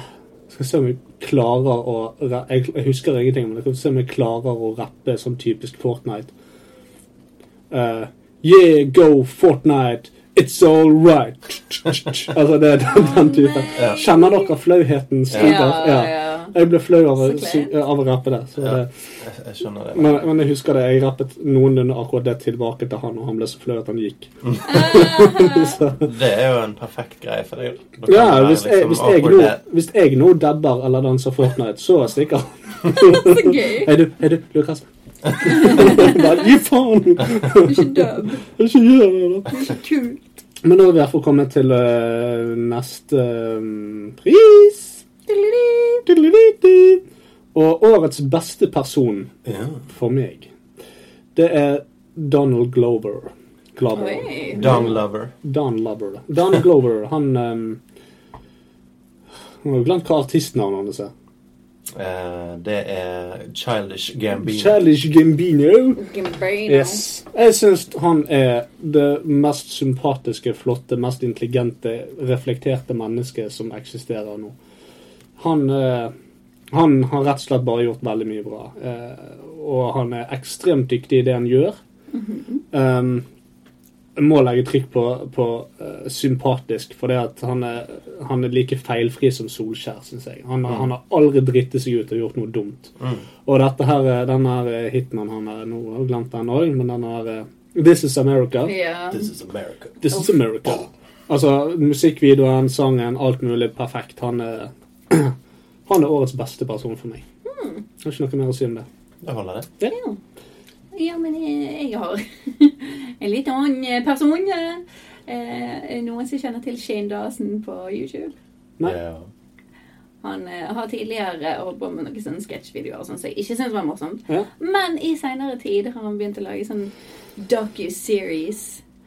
Speaker 3: Skal se om jeg klarer å ra- Jeg, jeg husker ingenting, men jeg kan se om jeg klarer å rappe sånn typisk Fortnite. Eh, yeah, go Fortnite! It's all right! Altså, det er den, den typen.
Speaker 2: Ja.
Speaker 3: Kjenner dere flauheten?
Speaker 1: Ja,
Speaker 3: skriver?
Speaker 1: ja.
Speaker 3: Jeg ble flau av, å
Speaker 1: Så
Speaker 3: sy- av å rappe det. Så
Speaker 2: Ja.
Speaker 3: det
Speaker 2: Jeg, jeg skjønner det.
Speaker 3: men, men jeg husker det, jeg rappet noenlunde akkurat det tilbake til han, og han ble så flau at han gikk. så,
Speaker 2: Det er jo en perfekt greie for deg. Da kan
Speaker 3: ja,
Speaker 2: du være
Speaker 3: hvis jeg,
Speaker 2: liksom
Speaker 3: hvis, jeg
Speaker 2: awkward
Speaker 3: nå,
Speaker 2: dad.
Speaker 3: hvis jeg nå dabber eller danser Fortnite, så stikker han.
Speaker 1: Så gøy.
Speaker 3: Hei du, hei du, Lukas. Bare, Gi faen!
Speaker 1: Du er ikke døv.
Speaker 3: Ikke gjør det, da.
Speaker 1: Du er ikke kul.
Speaker 3: Men nå er vi i hvert fall kommet til eh, neste eh, pris. Tudelidu. Og årets beste person
Speaker 2: Ja.
Speaker 3: for meg, det er Donald Glover. Glover.
Speaker 1: Oi.
Speaker 2: Dung lover.
Speaker 3: Don Lover. Don Glover, han um, Jeg har jo glemt hva artistnavnet hans er.
Speaker 2: Eh, det er Childish Gambino.
Speaker 3: Challenge Gambino.
Speaker 1: Gimbrino.
Speaker 3: Yes. Jeg syns han er det mest sympatiske, flotte, mest intelligente, reflekterte mennesket som eksisterer nå. Han, eh, han har rett og slett bare gjort veldig mye bra. Eh, og han er ekstremt dyktig i det han gjør. Um, jeg må legge trykk på, på eh, sympatisk, for det at han er, han er like feilfri som Solskjær, syns jeg. Han, har- han har aldri driti seg ut og gjort noe dumt.
Speaker 2: Mm.
Speaker 3: Og dette her, eh, den her eh, hitman han er nå, jeg har glemt den òg, men den her eh, This is America.
Speaker 1: Ja.
Speaker 2: This is America.
Speaker 3: This is America. Altså, musikkvideoen, sangen, alt mulig perfekt. Han er, han er årets beste person for meg.
Speaker 1: Hmm.
Speaker 3: Har ikke noe mer å si om det.
Speaker 2: Det holder, det.
Speaker 1: ja, men eh, jeg, jeg har en litt annen person. Eh, noen som kjenner til Shane Dawson på YouTube.
Speaker 3: Nei.
Speaker 2: Ja.
Speaker 1: Han eh, har tidligere holdt på med noen sånne sketsjvideoer og sånn, som jeg ikke syntes var morsomt.
Speaker 3: Ja.
Speaker 1: Men i seinere tid har han begynt å lage sånn docu-series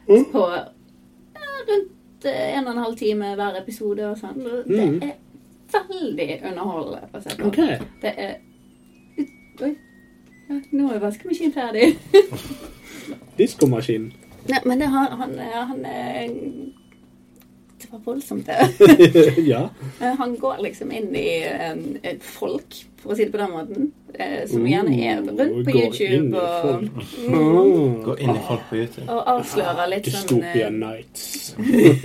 Speaker 3: Mm.
Speaker 1: på eh, rundt eh, en og en halv time hver episode og sånn. Det
Speaker 3: Mm.
Speaker 1: er veldig underholdende å se på.
Speaker 3: OK.
Speaker 1: Det er ut- Oi. Ja, Nå er vaskemaskinen ferdig.
Speaker 3: Diskomaskinen.
Speaker 1: Nei, men det har han, eh, han eh, Det var voldsomt, det.
Speaker 3: ja.
Speaker 1: Eh, Han går liksom inn i eh, et folk, for å si det på den måten, eh, som
Speaker 3: Mm,
Speaker 1: gjerne er rundt på
Speaker 3: går inn i
Speaker 1: YouTube og, Mm.
Speaker 3: folk. Ah.
Speaker 2: Gå inn i folk på YouTube.
Speaker 1: og avslører litt sånn
Speaker 3: Dystopia
Speaker 1: eh,
Speaker 3: Nights.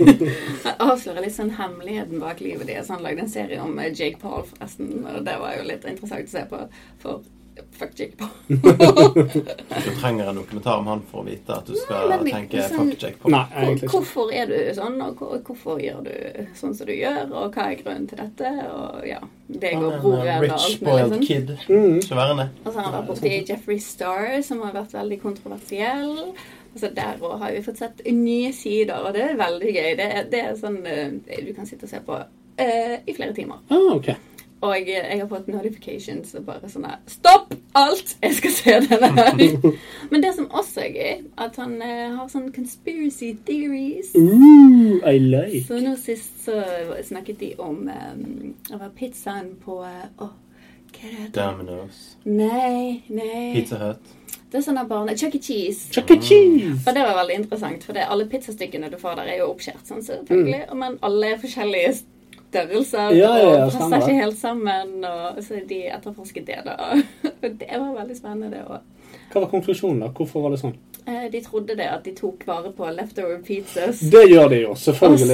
Speaker 1: avslører litt sånn hemmeligheten bak livet deres. Han lagde en serie om eh, Jake Paul, forresten, og det var jo litt interessant å se på. For fuck Jake Paul.
Speaker 2: Du trenger en dokumentar om han for å vite at du skal
Speaker 1: Nei, men
Speaker 2: tenke
Speaker 1: liksom-
Speaker 2: fuck Jack Pop.
Speaker 3: Nei, egentlig ikke.
Speaker 1: hvorfor er du sånn, og hvor- hvorfor gjør du sånn som du gjør, og hva er grunnen til dette, og ja Det
Speaker 2: Han
Speaker 1: går
Speaker 2: er
Speaker 1: broren og
Speaker 2: en Ah, rich
Speaker 1: alt mulig
Speaker 2: spoiled
Speaker 1: sånn.
Speaker 2: kid.
Speaker 3: Mm.
Speaker 2: Ikke verre enn det.
Speaker 1: Og så har han vært borti Jeffrey Star, som har vært veldig kontroversiell. Og så Der òg har vi fått sett nye sider, og det er veldig gøy. Det er, det er sånn eh, du kan sitte og se på eh, i flere timer.
Speaker 3: Ah, OK.
Speaker 1: Og jeg, jeg har fått notifications og bare sånn her Stopp alt! Jeg skal se denne her. Men det som også er gøy, at han eh, har sånn conspiracy theories.
Speaker 3: Ooh, I like.
Speaker 1: Så nå sist så snakket de om eh, det var pizzaen på eh, åh,
Speaker 8: Hva er det?
Speaker 2: Domino's.
Speaker 8: Nei, nei.
Speaker 2: Pizza Hut.
Speaker 8: Det
Speaker 1: sånn
Speaker 8: er sånne barne... Chuck E. Cheese.
Speaker 3: Chuck E. Cheese!
Speaker 1: For det var veldig interessant, for det, alle pizzastykkene du får der, er jo oppskjært, sånn, selvfølgelig. Men alle er forskjellige størrelser
Speaker 3: Mm. Ja, ja, ja,
Speaker 1: og passer
Speaker 3: stemmer.
Speaker 1: ikke helt sammen. Og, så de etterforsket det, da. Og det var veldig spennende. Og,
Speaker 3: Hva var konklusjonen, da? Hvorfor var det sånn?
Speaker 1: eh, de trodde det at de tok vare på leftover pizzas.
Speaker 3: Det gjør de jo,
Speaker 1: Og
Speaker 3: selvfølgelig.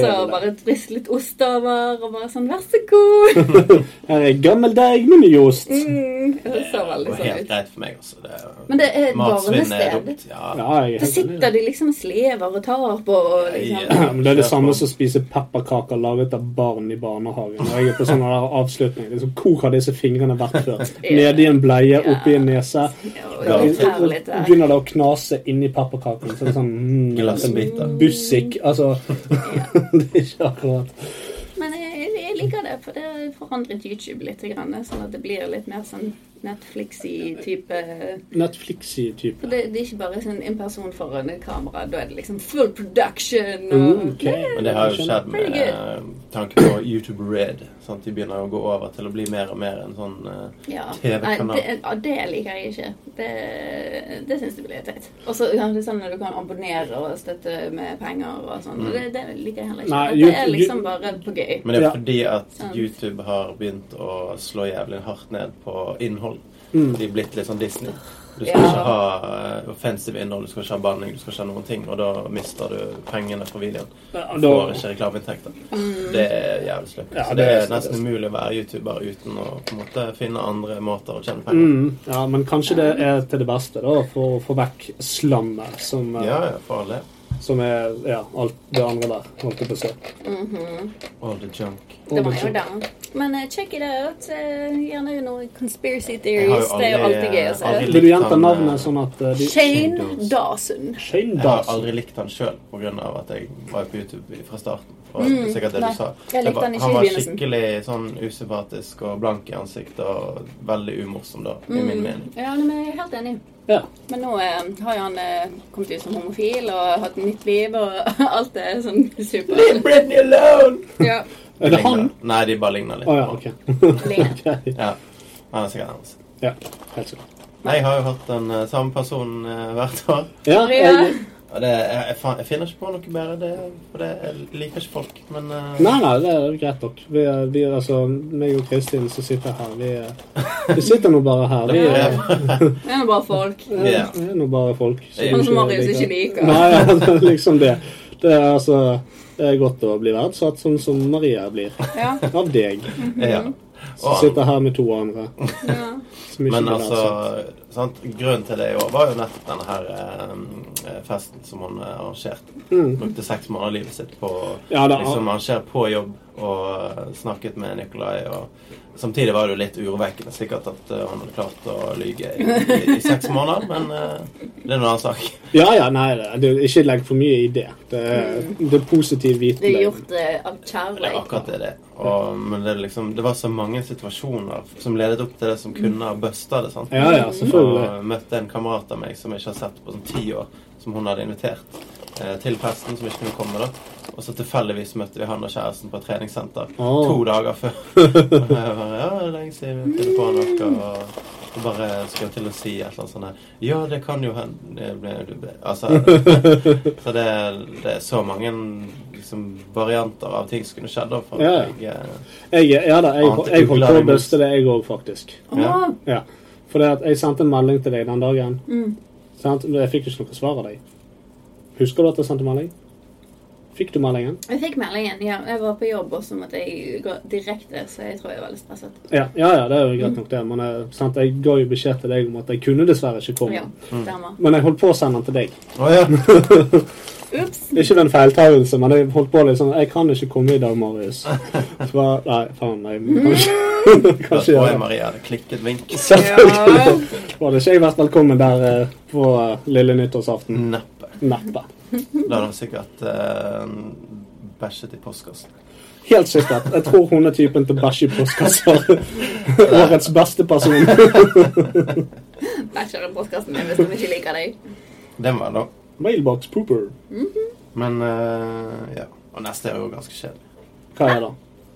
Speaker 1: så
Speaker 3: gjør de det.
Speaker 1: bare dryss litt ost over, og bare sånn 'vær så god'.
Speaker 3: Her er gammeldeig med ny ost.
Speaker 1: Mm, det så
Speaker 2: Det
Speaker 1: veldig
Speaker 2: går
Speaker 1: sånn
Speaker 2: helt
Speaker 1: ut.
Speaker 2: greit for meg, altså. Det er,
Speaker 1: Men det er et
Speaker 2: Matsvinn er
Speaker 1: barnested.
Speaker 2: dumt. Ja.
Speaker 3: Ja, jeg er
Speaker 1: Så
Speaker 3: helt enig.
Speaker 1: sitter de liksom og slever og tar på og liksom
Speaker 3: Ja, men Det er det samme som å spise pepperkaker laget av barn i barnehagen. Og jeg er på sånn avslutning. Liksom, hvor har disse fingrene vært før? Nede i en bleie, oppi en nese.
Speaker 1: og
Speaker 2: Ja.
Speaker 3: Så
Speaker 1: tær litt der.
Speaker 3: Begynner det å knase inni pepperkaken. Så det er sånn mm,
Speaker 2: Glassbiter.
Speaker 3: Bussik. Altså Det er ikke akkurat
Speaker 1: Men jeg, jeg liker det, for det har forandret YouTube litt. Grann, sånn at det blir litt mer sånn Netflix-y type
Speaker 3: Netflix-y type.
Speaker 1: For det, det er ikke bare sånn en person foran et kamera. Da er det liksom full production
Speaker 2: Oh,
Speaker 1: og
Speaker 3: Mm, ok.
Speaker 2: Men det har jo skjedd med
Speaker 1: Veldig gøy.
Speaker 2: eh, tanke på YouTube Red. Sant? De begynner å gå over til å bli mer og mer en sånn eh,
Speaker 1: Ja. Nei,
Speaker 2: TV-kanal.
Speaker 1: det, ja, det liker jeg ikke. Det, det syns jeg blir teit. Og så kan det sånn når du kan abonnere og støtte med penger og sånn. og Det, det liker jeg heller ikke.
Speaker 3: Nei,
Speaker 1: At det
Speaker 3: YouTube-
Speaker 1: er liksom bare på gøy.
Speaker 2: Men det
Speaker 3: Ja.
Speaker 2: er fordi at
Speaker 1: Sant.
Speaker 2: YouTube har begynt å slå jævlig hardt ned på innhold.
Speaker 3: Mm.
Speaker 2: De er blitt litt sånn Disney. Du skal
Speaker 1: Ja.
Speaker 2: ikke ha eh, offensive innhold, du skal ikke ha banning, du skal ikke ha noen ting. Og da mister du pengene fra videoen.
Speaker 3: Ja,
Speaker 2: Du
Speaker 3: da,
Speaker 2: får ikke reklameinntekter.
Speaker 1: Mm.
Speaker 2: Det er jævlig sløpt.
Speaker 3: Ja,
Speaker 2: Så
Speaker 3: det
Speaker 2: det
Speaker 3: er-
Speaker 2: er nesten umulig å være YouTuber uten å på en måte finne andre måter å tjene penger på.
Speaker 3: mm, ja, men kanskje det er til det beste, da. For å få vekk slammet som, eh,
Speaker 2: Ja, ja, for all del.
Speaker 3: som er ja, alt det andre der. Holdt jeg på å si.
Speaker 2: All the junk.
Speaker 1: Mhm. Det var jo den. Men eh, check it out. eh, gjerne noen conspiracy
Speaker 2: Jeg har jo
Speaker 1: theories. Det er jo
Speaker 2: aldri- eh,
Speaker 1: alltid gøy å se.
Speaker 2: aldri
Speaker 3: Vil du
Speaker 2: likt
Speaker 3: gjenta
Speaker 2: han,
Speaker 3: navnet
Speaker 2: eh,
Speaker 3: sånn at eh, de
Speaker 1: Shane
Speaker 2: Shane
Speaker 1: Dawson.
Speaker 3: Shane
Speaker 2: Jeg har
Speaker 3: Dawson.
Speaker 2: aldri likt han sjøl pga. at jeg var på YouTube fra starten. Og
Speaker 1: Mm,
Speaker 2: det er sikkert det
Speaker 1: nei.
Speaker 2: du sa.
Speaker 1: Jeg likte
Speaker 2: var-
Speaker 1: han ikke
Speaker 2: han
Speaker 1: i
Speaker 2: var
Speaker 1: begynnelsen.
Speaker 2: skikkelig sånn usympatisk og blank i ansiktet og veldig umorsom, da,
Speaker 1: Mm.
Speaker 2: i min mening.
Speaker 1: Ja, nei, men jeg er helt enig.
Speaker 3: Ja.
Speaker 1: Men nå eh, har jo han eh, kommet ut som homofil og hatt nytt liv og alt det er sånn super.
Speaker 2: Britney alone!
Speaker 1: Ja.
Speaker 3: Er det han?
Speaker 2: Nei, de bare ligner litt.
Speaker 3: Å ja,
Speaker 2: på han.
Speaker 3: ok.
Speaker 1: Lenge.
Speaker 3: Ok.
Speaker 2: Ja, han er sikkert hans.
Speaker 3: ja, helt sikkert.
Speaker 2: Nei, Jeg har jo hatt den eh, samme personen eh, hvert år.
Speaker 3: Ja, jeg,
Speaker 2: Og det, jeg, jeg, fa- jeg finner ikke på noe bedre. Det, for det, jeg liker ikke folk, men eh,
Speaker 3: nei, nei, det er greit nok. Vi, er- vi, er altså, meg og Kristin som sitter her, vi, er- vi sitter nå bare her. Vi, er-
Speaker 1: Det er nå bare folk.
Speaker 3: vi
Speaker 2: Ja.
Speaker 3: er nå bare folk. som
Speaker 2: Ja.
Speaker 1: Sånn
Speaker 3: ikke
Speaker 1: som Marius
Speaker 3: liker-
Speaker 1: ikke liker.
Speaker 3: Nei, ja, det er liksom det. Det er altså det er godt å bli verdsatt sånn som Maria blir.
Speaker 1: Ja.
Speaker 3: Av deg.
Speaker 2: ja.
Speaker 3: Som
Speaker 2: Og
Speaker 3: sitter her med to andre.
Speaker 1: Ja.
Speaker 3: Som ikke
Speaker 2: Men
Speaker 3: blir
Speaker 2: altså,
Speaker 3: verdsatt.
Speaker 2: sant? grunnen til det i år var jo nettopp denne her eh, festen som hun eh, arrangerte. Brukte seks måneder av livet sitt på å
Speaker 3: Mm. Ja, da-
Speaker 2: liksom, arrangere på jobb og eh, snakket med Nikolai. Og samtidig var det jo litt urovekkende sikkert at eh, hun hadde klart å lyge i, i, i seks måneder, men eh, det er en annen sak.
Speaker 3: Ja, ja, nei, det- det, ikke legg for mye i det. Det, er- det er positiv
Speaker 1: Mm. Det er
Speaker 3: hvitløgn.
Speaker 1: gjort eh, av
Speaker 2: Det er
Speaker 1: kjærlighet.
Speaker 2: akkurat det det er. Og, men det, er liksom, det var så mange situasjoner som ledet opp til det som kunne ha busta det. sant?
Speaker 3: Ja, ja, selvfølgelig.
Speaker 2: Og møtte en kamerat av meg som jeg ikke har sett på sånn ti år, som hun hadde invitert eh, til festen, som ikke kunne komme. da. Og så tilfeldigvis møtte vi han og kjæresten på et treningssenter
Speaker 3: Åh.
Speaker 2: to dager før. Og jeg bare, ja, det er lenge siden vi kunne få noe. Og, og bare skulle til å si et eller annet sånt her Ja, det kan jo hende det ble- det ble- Altså Så det, det er så mange liksom, varianter av ting som kunne skjedd. da, for at
Speaker 3: Ja, ja.
Speaker 2: jeg, eh,
Speaker 3: Jeg, ja da, jeg,
Speaker 2: Ante
Speaker 3: jeg holdt på å
Speaker 2: ugler i
Speaker 3: buste det, jeg òg, faktisk.
Speaker 2: Ja.
Speaker 1: Åh,
Speaker 3: Ja. For det at jeg sendte en melding til deg den dagen.
Speaker 1: mm.
Speaker 3: Sant? Men Jeg fikk ikke noe svar av deg. Husker du at jeg sendte melding? Fikk du meldingen?
Speaker 1: Jeg fikk meldingen. Ja, jeg var på jobb, og så måtte jeg gå direkte, så jeg tror jeg var litt stresset.
Speaker 3: Ja, ja, ja det er jo
Speaker 1: Mm.
Speaker 3: greit nok, det. Men jeg, sant? jeg ga jo beskjed til deg om at jeg kunne dessverre ikke
Speaker 2: Oh.
Speaker 3: komme.
Speaker 1: Ja,
Speaker 2: Mm.
Speaker 1: stemmer.
Speaker 3: Men jeg holdt på å sende den til deg.
Speaker 2: Å ja.
Speaker 1: Ups.
Speaker 3: Ikke ved en feiltagelse, men jeg holdt på litt sånn Jeg kan ikke komme i dag, Marius. Så bare, nei, faen. Jeg kan ikke,
Speaker 2: Da
Speaker 3: kan ikke
Speaker 2: tror
Speaker 3: gjøre
Speaker 2: jeg
Speaker 3: det.
Speaker 2: Maria hadde klikket vink.
Speaker 1: Ja.
Speaker 3: Hadde ikke jeg vært velkommen der eh, på eh, lille nyttårsaften?
Speaker 2: Neppe.
Speaker 3: Neppe.
Speaker 2: Da hadde hun sikkert eh, bæsjet i postkassen.
Speaker 3: Helt sikkert. Jeg tror hun er typen til å bæsje i postkasser. Årets beste person.
Speaker 1: Bæsjer i postkassen min hvis de ikke liker deg.
Speaker 2: Den var da.
Speaker 3: Mailbox pooper.
Speaker 2: Men eh, ja. Og neste er jo ganske kjedelig.
Speaker 3: Hva er det?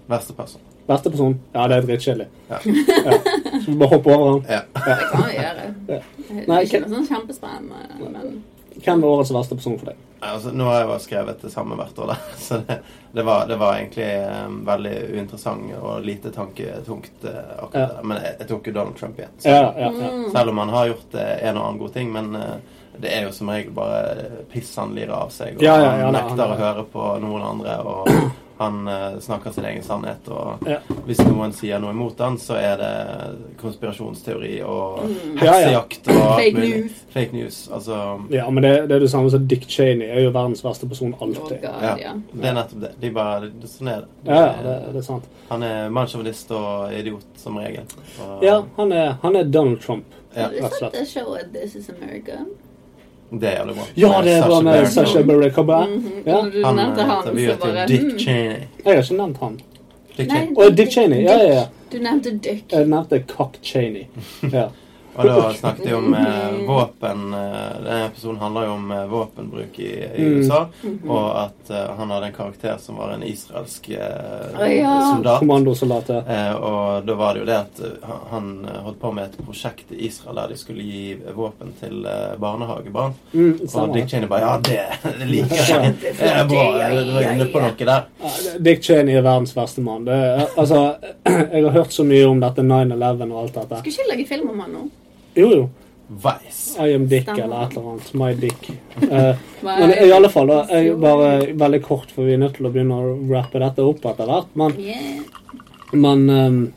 Speaker 2: Verste person.
Speaker 3: Verste person? Ja, det er dritkjedelig.
Speaker 2: Ja.
Speaker 3: Ja. Så vi bare hopper over den.
Speaker 2: Ja.
Speaker 1: Det kan vi gjøre.
Speaker 3: Ja.
Speaker 1: Det
Speaker 3: Nei,
Speaker 1: er ikke
Speaker 3: ikke-
Speaker 1: noe sånn kjempespennende, men
Speaker 3: Hvem var årets verste person for deg?
Speaker 2: Altså, nå har jeg bare skrevet det samme hvert år, da. Så det, det, var, det var egentlig eh, veldig uinteressant og lite tanketungt eh, akkurat
Speaker 3: Ja.
Speaker 2: det der. Men jeg, jeg tok jo Donald Trump igjen. Så.
Speaker 3: Ja, ja, ja.
Speaker 1: Mm.
Speaker 2: Selv om han har gjort eh, en og annen god ting, men eh, det er jo som regel bare eh, piss han lirer av seg. Og
Speaker 3: Ja, ja, ja,
Speaker 2: han
Speaker 3: da,
Speaker 2: nekter
Speaker 3: han-
Speaker 2: å høre på noen andre, og han eh, snakker sin egen sannhet. Og
Speaker 3: Ja.
Speaker 2: hvis noen sier noe imot han, så er det konspirasjonsteori og
Speaker 3: Mm. Ja, ja.
Speaker 2: heksejakt og alt
Speaker 1: Fake
Speaker 2: mulig.
Speaker 1: news.
Speaker 2: Fake news. Altså
Speaker 3: ja men det, det er det samme som Dick Cheney. Er jo verdens verste person
Speaker 1: oh
Speaker 3: alltid.
Speaker 1: god,
Speaker 2: Ja,
Speaker 1: ja.
Speaker 2: det er nettopp det. De bare, det- sånn er det.
Speaker 3: Ja, ja, det, det er sant.
Speaker 2: Han er mannssjåvinist og idiot, som regel. Og,
Speaker 3: Ja, han er, han er Donald Trump.
Speaker 2: Ja.
Speaker 1: Is
Speaker 3: Rett og
Speaker 1: that
Speaker 3: slett.
Speaker 1: the show at This is America?
Speaker 2: Det er jævlig bra.
Speaker 3: Ja, det er bra med
Speaker 2: Baron
Speaker 3: Sasha
Speaker 2: Cohen.
Speaker 3: Baron
Speaker 1: Mm.
Speaker 3: Cohen. Ja,
Speaker 1: Mhm. Når du
Speaker 2: Han
Speaker 1: nevnte
Speaker 2: eh,
Speaker 1: han, så
Speaker 2: intervjuet jo
Speaker 1: bare
Speaker 2: Dick
Speaker 1: hmm.
Speaker 2: Cheney.
Speaker 3: jeg har ikke nevnt han.
Speaker 2: Dick
Speaker 1: Nei,
Speaker 2: Cheney.
Speaker 3: Og Dick Cheney, ja, ja, Eh, ja.
Speaker 1: Du nevnte Dick.
Speaker 3: Jeg nevnte Cock Cheney. Ja.
Speaker 2: Og da snakket de om eh,
Speaker 1: Mm.
Speaker 2: våpen eh, Denne episoden handler jo om eh, våpenbruk i, i
Speaker 3: Mm.
Speaker 2: USA.
Speaker 1: Mhm.
Speaker 2: Og at eh, han hadde en karakter som var en israelsk eh,
Speaker 1: Å, ja.
Speaker 2: soldat.
Speaker 3: Kommandosoldater.
Speaker 2: Eh, og da var det jo det at eh, han- han eh, holdt på med et prosjekt i Israel der de skulle gi våpen til eh, barnehagebarn.
Speaker 3: Mm,
Speaker 2: Og
Speaker 3: stemmer.
Speaker 2: Dick Cheney bare Ja, det, det liker jeg.
Speaker 3: Skjønt,
Speaker 2: Det er bra. Du var inne på noe der.
Speaker 3: Ja, Dick Cheney er verdens verste mann. Det, er- altså, jeg har hørt så mye om dette 9-11 og alt dette.
Speaker 1: Skal ikke lage film om han nå?
Speaker 3: Jo, jo.
Speaker 2: Veis.
Speaker 3: I am Dick
Speaker 1: Stemmer.
Speaker 3: eller et eller annet. My Dick. Eh,
Speaker 1: Hva
Speaker 3: men
Speaker 1: er-
Speaker 3: i alle fall, da, jeg bare veldig kort, for vi er nødt til å begynne å rappe dette opp etter hvert. Men,
Speaker 1: Yeah.
Speaker 3: men ehm,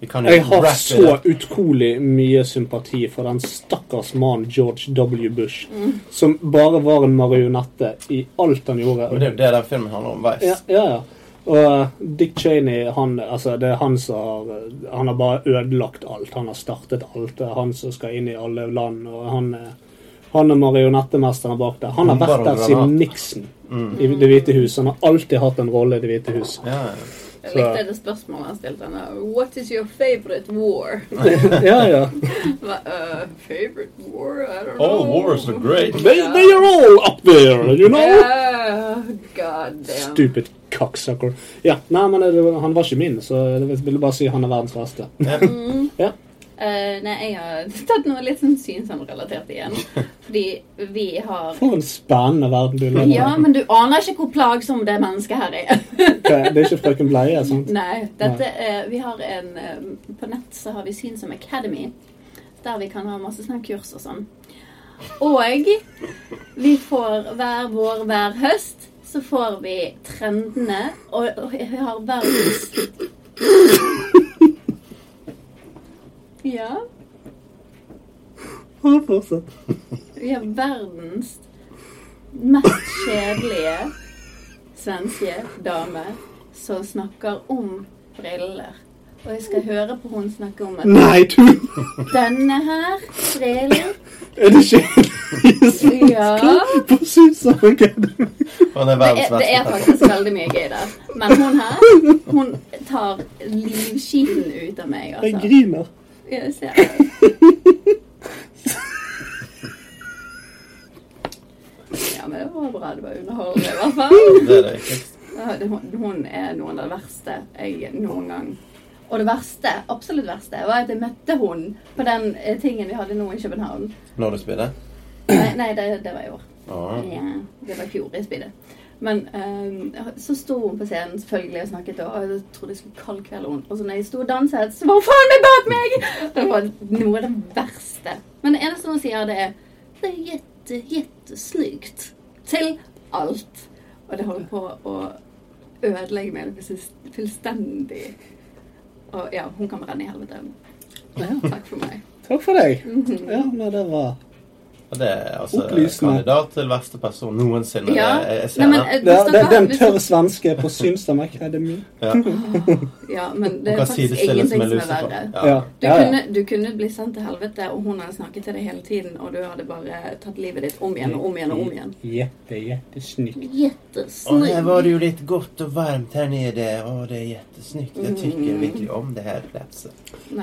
Speaker 2: Vi kan jo
Speaker 3: jeg har
Speaker 2: rappe
Speaker 3: så
Speaker 2: det.
Speaker 3: utrolig mye sympati for den stakkars mannen George W. Bush, som bare var en marionette i alt han gjorde.
Speaker 2: Og det er jo det den filmen handler om. Veis.
Speaker 3: Ja, ja, ja. Og eh, Dick Cheney, han, altså, det er han som har eh, Han har bare ødelagt alt. Han har startet alt. Det er han som skal inn i alle land. Og han, eh, han er marionettemesteren bak der. Han har
Speaker 2: Bomber
Speaker 3: vært
Speaker 2: og
Speaker 3: der siden
Speaker 2: granater.
Speaker 3: Nixon i Det hvite hus. Han har alltid hatt en rolle i Det hvite hus.
Speaker 2: Ja, ja.
Speaker 1: Jeg
Speaker 3: Så-
Speaker 1: likte det spørsmålet han stilte. han der, What is your favorite war?
Speaker 3: ja, ja.
Speaker 1: Hva, uh, favorite war? I don't know.
Speaker 3: Oh,
Speaker 2: All wars are great.
Speaker 3: They, they are all up there, you know!
Speaker 1: Yeah, God damn.
Speaker 3: Stupid cocksucker. Ja, nei, men det, han var ikke min, så jeg ville bare si han er verdens verste. Ja.
Speaker 1: Eh, nei, jeg har tatt noe litt sånn synsanrelatert igjen. Fordi vi har
Speaker 3: For en spennende verden du lever i.
Speaker 1: Ja, men du aner ikke hvor plagsom det mennesket her er.
Speaker 3: Det er ikke frøken Bleie, sant?
Speaker 1: Nei. Dette er, vi har en eh, På nett så har vi Synsam Academy. Der vi kan ha masse sånne kurs og sånn. Og vi får hver vår, hver høst, så får vi trendene, og, og jeg har verdens Ja.
Speaker 3: Ja, fortsett.
Speaker 1: Vi har verdens mest kjedelige svenske dame som snakker om briller. Og jeg skal høre på hun snakke om at
Speaker 3: Nei, du!
Speaker 1: denne her brillen
Speaker 3: Er det kjedelig?
Speaker 1: Ja.
Speaker 3: På Susan Academy.
Speaker 2: Og det er
Speaker 1: det, det
Speaker 2: verdens
Speaker 1: er
Speaker 2: verste person.
Speaker 1: faktisk veldig mye gøy der. Men hun her, hun tar livskiten ut av meg,
Speaker 3: Jeg
Speaker 1: altså.
Speaker 3: griner.
Speaker 1: Ja, jeg ser det. Ja, men det var bra. Det var underholdende, i hvert fall.
Speaker 2: Det er det viktigste.
Speaker 1: Ja, det- Hun hun er noen av det verste jeg noen gang Og det verste, absolutt verste, var at jeg møtte hun på den eh, tingen vi hadde nå i København.
Speaker 2: Når du spiller?
Speaker 1: Nei, nei det, det var i år.
Speaker 2: Åh.
Speaker 1: Ja, det var i fjor jeg spydde. Men eh, så sto hun på scenen selvfølgelig og snakket, og jeg trodde jeg skulle kaldkvelde henne. Og så når jeg sto og danset, så var hun faen meg bak meg! Det var noe av det verste. Men det eneste hun sier, det er Det er jette, jettesnygt. Til alt. Og det holder på å ødelegge meg det fullst- fullstendig. Og ja, hun kan brenne i helvete. Takk for meg. Mhm.
Speaker 3: Takk for deg. Ja, men det var
Speaker 2: Og det er altså
Speaker 3: Opplysende.
Speaker 2: kandidat til verste person noensinne.
Speaker 1: Ja.
Speaker 2: Det- Jeg, jeg ser
Speaker 1: Nei, men, eh,
Speaker 2: det.
Speaker 3: det,
Speaker 1: hvis
Speaker 3: det,
Speaker 1: dere-
Speaker 3: Den
Speaker 1: hvis-
Speaker 3: tørre svenske på Synstam Academy.
Speaker 2: Ja.
Speaker 1: Ja, men det
Speaker 2: Man
Speaker 1: er
Speaker 2: kan
Speaker 1: faktisk
Speaker 2: sidestille som
Speaker 1: ingenting
Speaker 2: en
Speaker 1: som er
Speaker 2: lucifer.
Speaker 1: verre.
Speaker 3: Ja.
Speaker 1: Du,
Speaker 3: ja, ja.
Speaker 1: Kunne, du kunne bli sendt til helvete, og hun hadde snakket til deg hele tiden, og du hadde bare tatt livet ditt om igjen og om igjen og om igjen.
Speaker 3: Jette, jettesnykt.
Speaker 2: Og her
Speaker 1: Jettesnøy.
Speaker 2: var det jo litt godt og varmt her nede. Å, det er jettesnykt. Jeg tykker virkelig om det her plasset.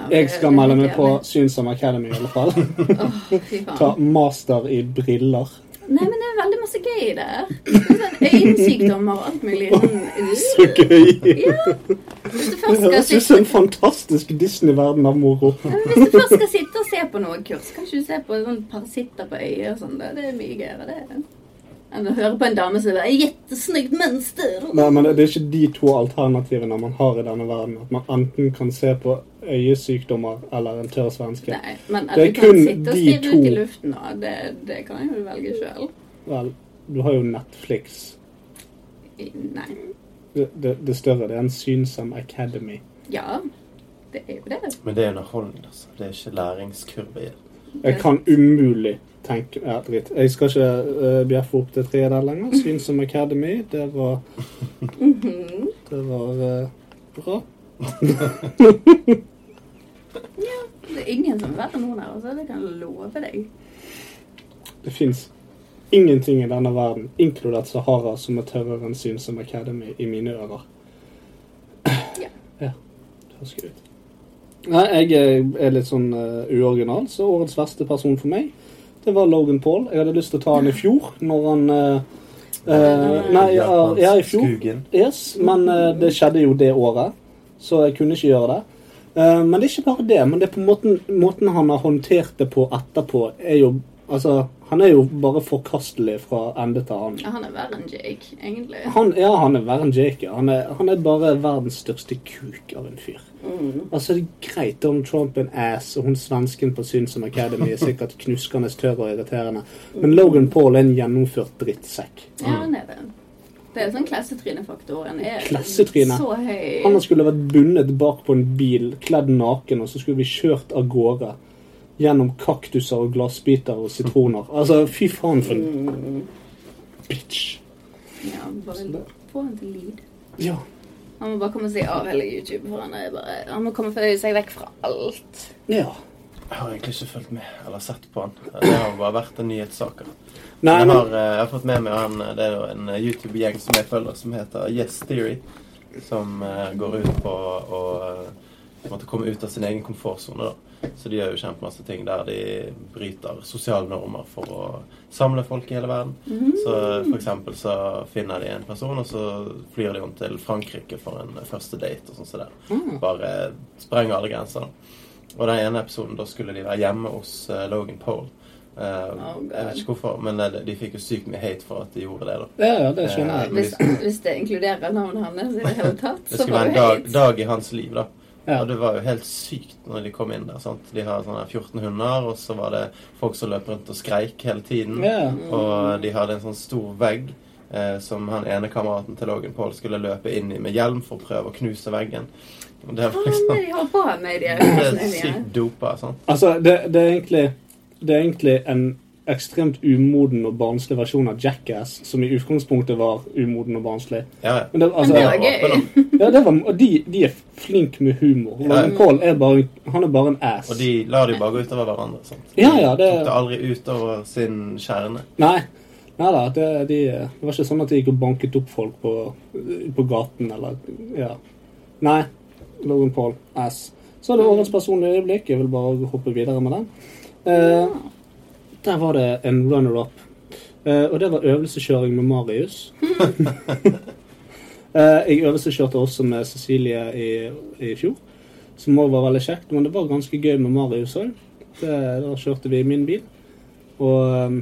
Speaker 3: Jeg skal melde meg på Synstam Academy i alle fall.
Speaker 1: Åh, fy
Speaker 3: Ta
Speaker 1: faen.
Speaker 3: master i briller.
Speaker 6: Nei, men det er veldig masse gøy der. Det er Sånn Øyensykdommer og alt mulig. Sånn,
Speaker 3: Så gøy!
Speaker 6: ja. Hvis du
Speaker 3: Det
Speaker 6: først skal
Speaker 3: høres ut
Speaker 6: sitte
Speaker 3: som en fantastisk Disney-verden av moro.
Speaker 6: Ja, men Hvis du først skal sitte og se på noe kurs, kan ikke du se på sånn parasitter på øyet og sånn. Det, det er mye gøyere, det. Enn å høre på en dame som bare 'Jettesnygt mønster'.
Speaker 3: Nei, men det er ikke de to alternativene man har i denne verden. At man enten kan se på øyesykdommer eller en tørr svenske.
Speaker 6: Nei, men at
Speaker 3: Det
Speaker 6: du
Speaker 3: er
Speaker 6: kan
Speaker 3: kun
Speaker 6: sitte og stirre
Speaker 3: de
Speaker 6: ut i
Speaker 3: to.
Speaker 6: luften, da, det, det kan jo du velge sjøl.
Speaker 3: Vel, du har jo Netflix.
Speaker 6: Nei.
Speaker 3: Det, det, det større. Det er en Synsam Academy.
Speaker 6: Ja, det er jo det.
Speaker 2: Men det er underholdning, altså. Det er ikke læringskurve i det.
Speaker 3: Jeg kan umulig tenke ja, drit. Jeg skal ikke eh, bjeffe opp det treet der lenger. Synsam Academy, det var
Speaker 6: Mhm.
Speaker 3: Det var eh, bra.
Speaker 6: Det er ingen som er verre enn hun her, altså. Det kan jeg love deg.
Speaker 3: Det fins ingenting i denne verden, inkludert Sahara, som er tørrere enn Synsam Academy i mine ører.
Speaker 6: Ja.
Speaker 3: Ja. Det høres gøy ut. Nei, jeg eh, er litt sånn eh, uoriginal, så årets verste person for meg, det var Logan Paul. Jeg hadde lyst til å ta han i fjor, når han eh, eh, Nei, ja, ja, i fjor.
Speaker 2: Skogen.
Speaker 3: Yes, men eh, det skjedde jo det året, så jeg kunne ikke gjøre det. Eh, men det er ikke bare det, men det er på måten, måten han har håndtert det på etterpå, er jo Altså, han er jo bare forkastelig fra ende til annen.
Speaker 6: Ja, han er verre enn Jake, egentlig.
Speaker 3: Han, ja, han er verre enn Jake. ja. Han er, han er bare verdens største kuk av en fyr. Altså, det er greit Donald Trump er en ass, og hun svensken på Synsam Academy er sikkert knuskende tørr og irriterende, men Logan Paul er en gjennomført drittsekk.
Speaker 6: Ja, han er det. Det er sånn klassetrynefaktor. Han er
Speaker 3: Klassetryne?
Speaker 6: så høy.
Speaker 3: Han skulle vært bundet bak på en bil, kledd naken, og så skulle vi kjørt av gårde gjennom kaktuser og glassbiter og sitroner. Altså, fy faen for en bitch.
Speaker 6: Ja, bare få han til lyd.
Speaker 3: Ja.
Speaker 6: Han må bare komme seg av hele YouTube, for han er bare Han må komme seg vekk fra alt.
Speaker 3: ja.
Speaker 2: Jeg har egentlig ikke fulgt med eller sett på han. Det har bare vært en nyhetssak.
Speaker 3: Nei,
Speaker 2: Jeg har,
Speaker 3: men,
Speaker 2: eh, jeg har fått med meg han, eh, det er jo en eh, YouTube-gjeng som jeg følger, som heter Yes Theory. Som eh, går ut på å eh, måtte komme ut av sin egen komfortsone. da. Så de gjør jo kjempemasse ting der de bryter sosiale normer for å samle folk i hele verden.
Speaker 3: Mhm.
Speaker 2: Så for eksempel så finner de en person, og så flyr de om til Frankrike for en eh, første date. og sånn som det.
Speaker 6: Mm.
Speaker 2: Bare sprenger alle grenser. da. Og den ene episoden, da skulle de være hjemme hos eh, Logan Pole. Eh,
Speaker 6: Oh, God.
Speaker 2: jeg vet ikke hvorfor, men eh, de fikk jo sykt mye hate for at de gjorde det. da.
Speaker 3: ja, ja, det skjønner jeg.
Speaker 6: Hvis, hvis det inkluderer navnet hans i det hele tatt,
Speaker 2: Det
Speaker 6: så
Speaker 2: skulle
Speaker 6: var det
Speaker 2: være en dag,
Speaker 6: høyt.
Speaker 2: dag i hans liv, da.
Speaker 3: Ja.
Speaker 2: Og det var jo helt sykt når de kom inn der. sant? De har sånne 14 hunder, og så var det folk som løp rundt og skreik hele tiden.
Speaker 3: Ja.
Speaker 2: Og de hadde en sånn stor vegg eh, som han ene kameraten til Logan Paul skulle løpe inn i med hjelm for å prøve å knuse veggen. Og Det var
Speaker 6: Hva er det
Speaker 2: liksom
Speaker 6: de har på med de
Speaker 2: det er
Speaker 6: øyeblikene dine?
Speaker 2: sykt dopa. sant?
Speaker 3: Altså, det, det, er egentlig, det er egentlig en ekstremt umoden og barnslig versjon av Jackass, som i utgangspunktet var umoden og barnslig.
Speaker 2: Ja, ja.
Speaker 3: Men det, altså,
Speaker 6: det var gøy.
Speaker 2: da.
Speaker 3: ja, det var, og de, de er flink med humor. Logan Paul er bare, han er bare en ass.
Speaker 2: Og de la de bare gå utover hverandre. sant?
Speaker 3: Ja, ja,
Speaker 2: De
Speaker 3: det-
Speaker 2: tok det aldri utover sin kjerne.
Speaker 3: Nei. Nei da, det, de, det var ikke sånn at de gikk og banket opp folk på, på gaten eller Ja. Nei. Logan Paul. Ass. Så er det årets personlige øyeblikk. Jeg vil bare hoppe videre med den. Eh, der var det en runner-up. Eh, og det var øvelseskjøring med Marius. eh, jeg øvelseskjørte også med Cecilie i, i fjor, som òg var veldig kjekt. Men det var ganske gøy med Marius òg. Da kjørte vi i min bil. Og eh,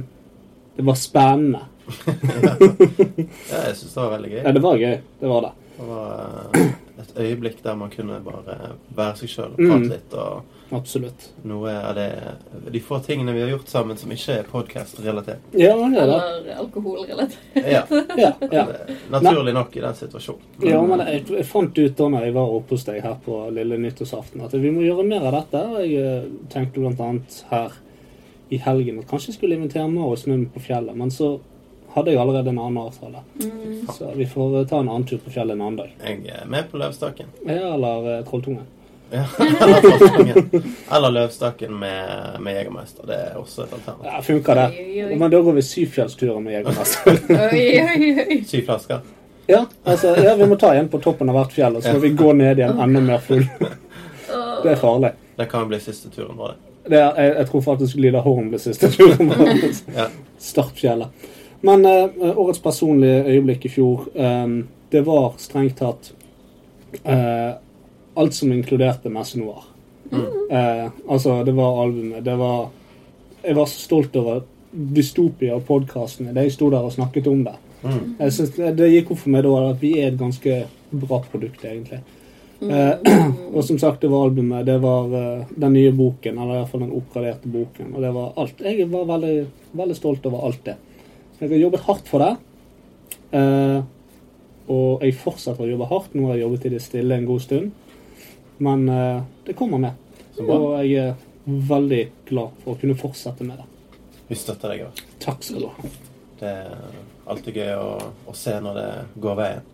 Speaker 3: det var spennende.
Speaker 2: Ja, jeg syns det var veldig gøy.
Speaker 3: Ja, det var gøy. Det var det.
Speaker 2: Det var eh, et øyeblikk der man kunne bare være seg sjøl og prate
Speaker 3: Mm.
Speaker 2: litt. Og
Speaker 3: Absolutt.
Speaker 2: noe av det De få tingene vi har gjort sammen som ikke er podkast-relatert.
Speaker 3: Ja, det er det.
Speaker 6: Eller alkoholrelatert.
Speaker 2: Ja,
Speaker 3: Ja, ja.
Speaker 2: det- naturlig nok i den situasjonen.
Speaker 3: ja men jeg, jeg fant ut da når jeg var oppe hos deg her på lille nyttårsaften, at vi må gjøre mer av dette. Og jeg eh, tenkte blant annet her i helgen at kanskje jeg skulle invitere Marius med meg på fjellet, men så hadde jeg allerede en annen avtale.
Speaker 6: Mm.
Speaker 3: Så vi får eh, ta en annen tur på fjellet en annen dag.
Speaker 2: Jeg er med på Løvstakken.
Speaker 3: Ja, eller eh, Trolltungen.
Speaker 2: Ja, eller Trolltungen. Eller Løvstakken med, med Jegermeister. Det er også et alternativ.
Speaker 3: Ja, funker det.
Speaker 6: Oi, oi, oi.
Speaker 3: Men da går vi syvfjellsturer med Jegermester.
Speaker 6: Oi, oi, oi.
Speaker 2: Syv flasker.
Speaker 3: ja, altså, ja, vi må ta en på toppen av hvert fjell, og så må vi gå ned igjen enda mer full. det er farlig.
Speaker 2: Det kan bli siste turen vår. det.
Speaker 3: Det er, jeg, jeg tror faktisk Lida Horn ble siste turen vår.
Speaker 2: Ja.
Speaker 3: Skarp sjele. Men eh, årets personlige øyeblikk i fjor, eh, det var strengt tatt eh, alt som inkluderte Messe Noir. Eh, altså, det var albumet, det var Jeg var så stolt over Dystopia og podkastene. De sto der og snakket om det.
Speaker 2: Mm.
Speaker 3: Jeg synes, det- det gikk opp for meg da at vi er et ganske bra produkt, egentlig. Eh, og som sagt, det var albumet, det var eh, den nye boken, eller iallfall den oppgraderte boken, og det var alt. Jeg var veldig, veldig stolt over alt det. Jeg har jobbet hardt for det, eh, og jeg fortsetter å jobbe hardt. Nå har jeg jobbet i det stille en god stund, men eh, det kommer med. Og jeg er veldig glad for å kunne fortsette med det.
Speaker 2: Vi støtter deg. Også.
Speaker 3: Takk skal du ha.
Speaker 2: Det er alltid gøy å, å se når det går veien.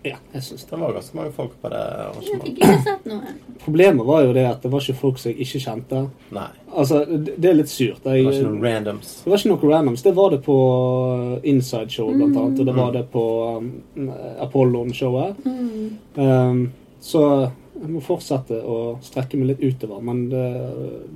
Speaker 3: Ja, jeg synes det.
Speaker 2: Det var ganske mange folk på det
Speaker 3: sånn.
Speaker 6: Jeg fikk
Speaker 2: arrangementet.
Speaker 6: ikke sett noe.
Speaker 3: Problemet var jo det at det var ikke folk som jeg ikke kjente.
Speaker 2: Nei.
Speaker 3: Altså, det det er litt surt.
Speaker 2: Det
Speaker 3: Jeg,
Speaker 2: var ikke noen randoms.
Speaker 3: det var ikke noe randoms. Det var det på eh, Inside Show, blant annet, og det var det på um, Apollon-showet.
Speaker 6: Mm.
Speaker 3: Um, så jeg må fortsette å strekke meg litt utover, men det,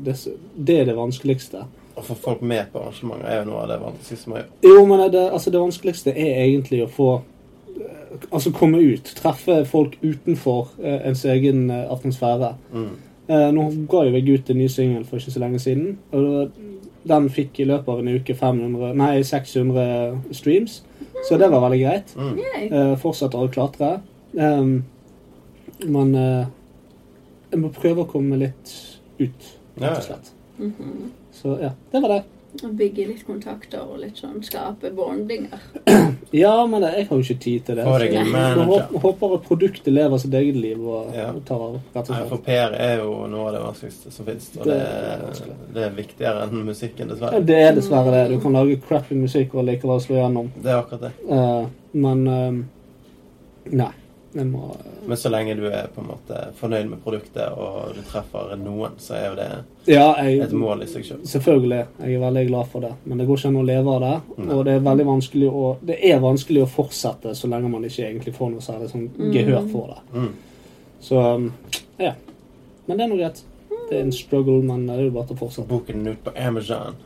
Speaker 3: det, det er det vanskeligste.
Speaker 2: Å få folk med på arrangementer er jo noe av det vanskeligste man gjør.
Speaker 3: Jo, men det, altså det vanskeligste er egentlig å få eh, Altså komme ut. Treffe folk utenfor eh, ens egen eh, atmosfære.
Speaker 2: Mm.
Speaker 3: Eh, nå ga jo jeg ut en ny singel for ikke så lenge siden. Og da, den fikk i løpet av en uke 500, nei, 600 streams, så det var veldig greit.
Speaker 2: Mm.
Speaker 3: Eh, fortsetter å klatre. Ehm, men eh, jeg må prøve å komme litt ut, rett
Speaker 2: Ja, ja.
Speaker 3: og slett. Så ja, det var det.
Speaker 6: Mm-hmm. Bygge litt kontakter og litt sånn skape bondinger.
Speaker 3: Ja, men det, jeg har jo ikke tid til det.
Speaker 2: Får
Speaker 3: så
Speaker 2: deg en
Speaker 3: jeg håper,
Speaker 2: manager.
Speaker 3: håper at produktet lever sitt eget liv og,
Speaker 2: Ja.
Speaker 3: og tar av, rett og
Speaker 2: Nei,
Speaker 3: slett.
Speaker 2: for PR er jo noe av det vanskeligste som fins. Og
Speaker 3: Det
Speaker 2: det,
Speaker 3: er vanskelig.
Speaker 2: det er viktigere enn musikken,
Speaker 3: Ja,
Speaker 2: dessverre.
Speaker 3: Det er dessverre det. Du kan lage crappy musikk og likevel slå gjennom.
Speaker 2: Det er akkurat det.
Speaker 3: Eh, men eh, Nei. Jeg må eh,
Speaker 2: Men så lenge du er på en måte fornøyd med produktet, og du treffer noen, så er jo det
Speaker 3: Ja,
Speaker 2: et
Speaker 3: jeg
Speaker 2: mål i seg sjøl.
Speaker 3: Selvfølgelig. Jeg er veldig glad for det. Men det går ikke an å leve av det.
Speaker 2: Nei.
Speaker 3: Og det er veldig vanskelig å Det er vanskelig å fortsette så lenge man ikke egentlig får noe særlig sånn gehør for det.
Speaker 2: Mm.
Speaker 3: Så eh, ja. Men det er nå greit. Det er en struggle, men det er jo bare til å fortsette.
Speaker 2: Boken er ute på Amazon.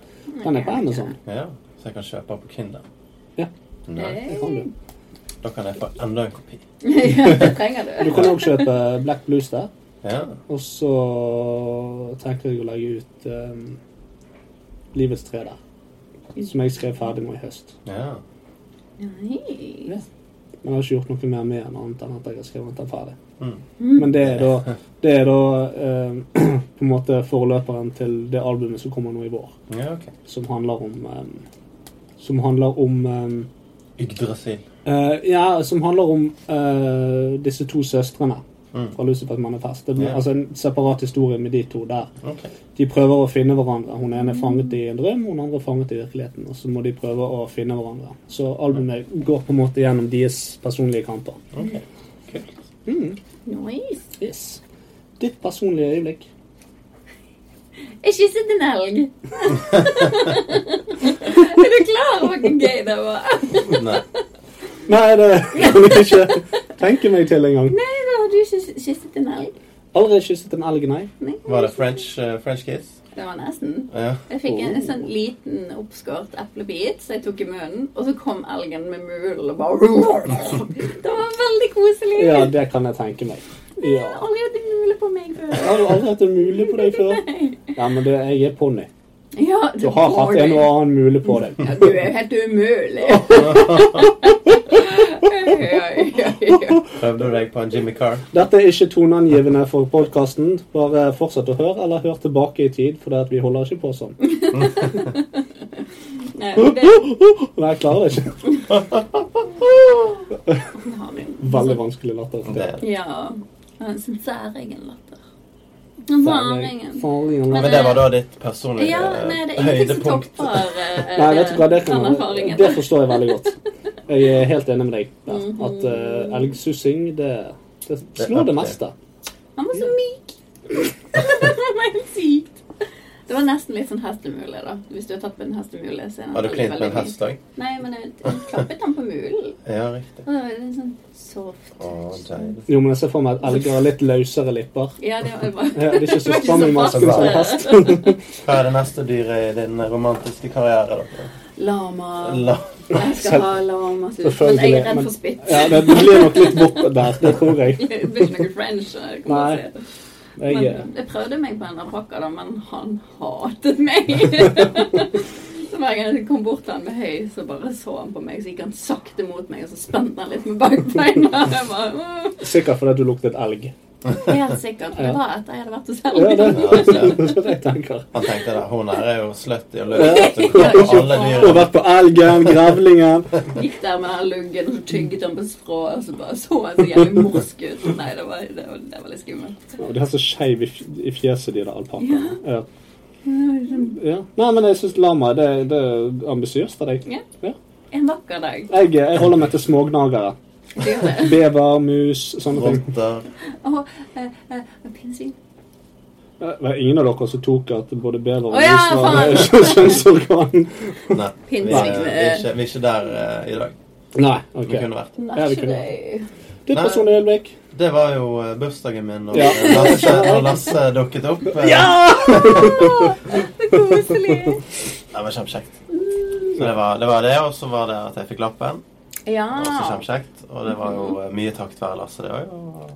Speaker 3: Den er på Amazon.
Speaker 2: Ja, så jeg kan kjøpe den på Kinder.
Speaker 3: Ja.
Speaker 2: Nei,
Speaker 3: Det kan du.
Speaker 2: da kan jeg få enda en kopi.
Speaker 6: Ja, det trenger du.
Speaker 3: Du kan òg kjøpe Black Blues der.
Speaker 2: Ja.
Speaker 3: Og så tenker jeg å legge ut ehm, Livets tre der. Som jeg skrev ferdig nå i høst.
Speaker 2: ja.
Speaker 6: Nei.
Speaker 3: Men jeg har ikke gjort noe mer med den annet enn at jeg har skrevet den ferdig.
Speaker 2: Mm.
Speaker 3: Men det er da, det er da ehm, på en måte forløperen til det albumet som kommer nå i vår.
Speaker 2: ja, ok.
Speaker 3: Som handler om ehm, Som handler om ehm,
Speaker 2: Yggdrasil.
Speaker 3: eh, Ja, som handler om eh, disse to søstrene
Speaker 2: Mm.
Speaker 3: fra Lucifers manifest. Det blir
Speaker 2: Ja.
Speaker 3: altså en separat historie med de to der.
Speaker 2: Ok.
Speaker 3: De prøver å finne hverandre. Hun ene er fanget i en drøm, hun andre er fanget i virkeligheten. Og så må de prøve å finne hverandre. Så albumet går på en måte gjennom deres personlige kamper.
Speaker 2: ok. Kult.
Speaker 6: Nice.
Speaker 3: Yes. Ditt personlige øyeblikk.
Speaker 6: Jeg kysset en elg. er du klar over hvor gøy det var?
Speaker 2: Nei.
Speaker 3: Nei, det kan jeg ikke tenke meg til engang.
Speaker 6: Nei, da har du kyss- kysset en elg.
Speaker 3: Aldri kysset en elg, nei.
Speaker 6: Nei.
Speaker 2: Var det French, eh, French kiss?
Speaker 6: Det var nesten.
Speaker 2: Ja.
Speaker 6: Jeg fikk
Speaker 3: Oh.
Speaker 6: en, en sånn liten oppskåret eplebit som jeg tok i munnen, og så kom elgen med mul og bare Det var veldig koselig.
Speaker 3: Ja, det kan jeg tenke meg. Ja.
Speaker 6: Aldri hatt mule på meg før.
Speaker 3: Har du aldri hatt en mule på deg før? Ja, men det, jeg er ponni.
Speaker 6: Ja,
Speaker 3: Du har hatt en og annen mule på deg.
Speaker 6: Ja, du er jo helt umulig. ja, ja, ja.
Speaker 2: Prøvde du deg på en Jimmy Carr?
Speaker 3: Dette er ikke toneangivende for podkasten. Bare fortsett å høre, eller hør tilbake i tid, for det at vi holder ikke på sånn.
Speaker 6: Nei, men det
Speaker 3: Nei, jeg klarer det ikke.
Speaker 6: har vi.
Speaker 3: Veldig vanskelig latter.
Speaker 2: Det er det.
Speaker 6: Ja. En sånn særegen latter. Den Særingen.
Speaker 3: Faringen.
Speaker 2: Men det var da ditt personlige
Speaker 6: Ja,
Speaker 2: eh,
Speaker 6: nei, det er ingenting som
Speaker 2: høydepunkt.
Speaker 6: topper eh,
Speaker 3: Nei, vet du hva, det, kan
Speaker 6: den
Speaker 3: jeg,
Speaker 6: erfaringen.
Speaker 3: det forstår jeg veldig godt. Jeg er helt enig med deg der. At uh, elgsussing, det, det slår det meste.
Speaker 6: Han var så myk. det var helt sykt. Det
Speaker 1: var nesten litt sånn hestemule, da. Hvis du har tatt på en hestemule. Så er den
Speaker 2: Har du
Speaker 1: veldig,
Speaker 2: klint med en
Speaker 1: veldig
Speaker 2: hest òg?
Speaker 1: mjuk. Nei, men jeg, jeg klappet den på mulen.
Speaker 2: Ja, riktig.
Speaker 1: Og det var litt sånn soft.
Speaker 2: Å, deilig.
Speaker 3: Jo, men jeg ser for meg at elger har litt løsere lipper.
Speaker 1: Ja, det var bare
Speaker 3: Ja, det er ikke så stram
Speaker 1: fast.
Speaker 3: i
Speaker 1: eh,
Speaker 3: masken som en hest.
Speaker 2: Hva er det neste dyret i din romantiske karriere, da?
Speaker 1: Lama.
Speaker 2: La.
Speaker 1: Jeg skal ha lama. Men jeg
Speaker 3: Selvfølgelig,
Speaker 1: er redd
Speaker 3: men-
Speaker 1: for spytt.
Speaker 3: Ja, det blir nok litt bort der, det tror jeg.
Speaker 1: Det blir ikke noe french. Jeg, kan bare
Speaker 3: Nei.
Speaker 1: si det.
Speaker 3: jeg eh,
Speaker 1: Men jeg prøvde meg på en alpakka, da, men han hatet meg. så hver gang jeg kom bort til han med høy, så bare så han på meg, så gikk han sakte mot meg, og så spente han litt med bakbeina. Jeg bare, «Åh».
Speaker 3: Sikkert fordi du luktet elg.
Speaker 1: Helt sikkert. Det var etter jeg hadde vært hos
Speaker 3: Ja, det
Speaker 1: Helge.
Speaker 2: Ja, så-
Speaker 3: det er det jeg tenker.
Speaker 2: Han tenkte det. Hun her er jo slutty og løs. Du kan
Speaker 1: Ja,
Speaker 2: ta alle
Speaker 3: Du har
Speaker 2: dyrene.
Speaker 3: vært på elgen, grevlingen
Speaker 1: Gikk der med den luggen, og så tygget han på strå, og så bare så han så jævlig morsk ut. Nei, det var, det var, det var litt skummelt.
Speaker 3: Og De har så skeiv i fj- i fjeset, de der alpakkaene. Ja.
Speaker 1: En
Speaker 3: Ja. Nei, men jeg syns lama det, det er ambisiøst av deg.
Speaker 1: Ja.
Speaker 3: Ja.
Speaker 1: vakker dag.
Speaker 3: Jeg, jeg holder meg til smågnagere.
Speaker 1: Det gjør det.
Speaker 3: Bever, mus, sånne ting.
Speaker 2: Rotter.
Speaker 1: Åh, eh, eh, pinnsvin.
Speaker 3: Det Eh, var ingen av dere som tok at både bever og
Speaker 1: Å ja,
Speaker 3: mus var
Speaker 1: faen!
Speaker 3: eh, kjønnsorgan?
Speaker 2: Nei, vi, vi,
Speaker 1: Pinnsvin.
Speaker 2: er ikke, vi er ikke der eh, i dag.
Speaker 3: Nei.
Speaker 2: Vi
Speaker 3: ok.
Speaker 2: kunne vært.
Speaker 3: Ja, vi kunne-
Speaker 1: Nasjerøy.
Speaker 3: Ditt personlige øyeblikk.
Speaker 2: Det var jo eh, bursdagen min, og
Speaker 3: Ja.
Speaker 2: eh, Lasse, og Lasse dukket opp. eh,
Speaker 1: Så koselig.
Speaker 2: Det var kjempekjekt. Så det var, det var det, og så var det at jeg fikk lappen. Det var Også
Speaker 1: Ja.
Speaker 2: kjempekjekt. Og det var jo eh, mye takket være Lasse, det òg.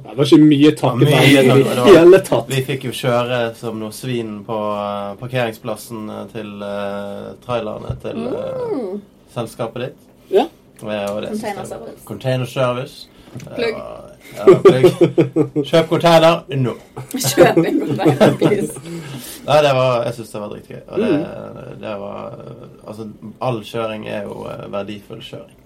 Speaker 3: Det var ikke mye takket
Speaker 2: Ja, mye
Speaker 3: være i
Speaker 2: takket
Speaker 3: det
Speaker 2: være.
Speaker 3: hele tatt.
Speaker 2: Vi fikk jo kjøre som noe svin på eh, parkeringsplassen eh, til eh, trailerne til eh,
Speaker 3: Mm.
Speaker 2: selskapet ditt.
Speaker 3: Ja.
Speaker 2: Eh, og det synes jeg var-
Speaker 1: Containerservice.
Speaker 2: Container service. Eh,
Speaker 1: Plugg.
Speaker 2: og- Ja, plugg. Kjøp container nå!
Speaker 1: Mm. Kjøp en container, please.
Speaker 2: Nei, det var, jeg syns det var dritgøy. Og det,
Speaker 3: Mm.
Speaker 2: det var Altså, all kjøring er jo eh, verdifull kjøring.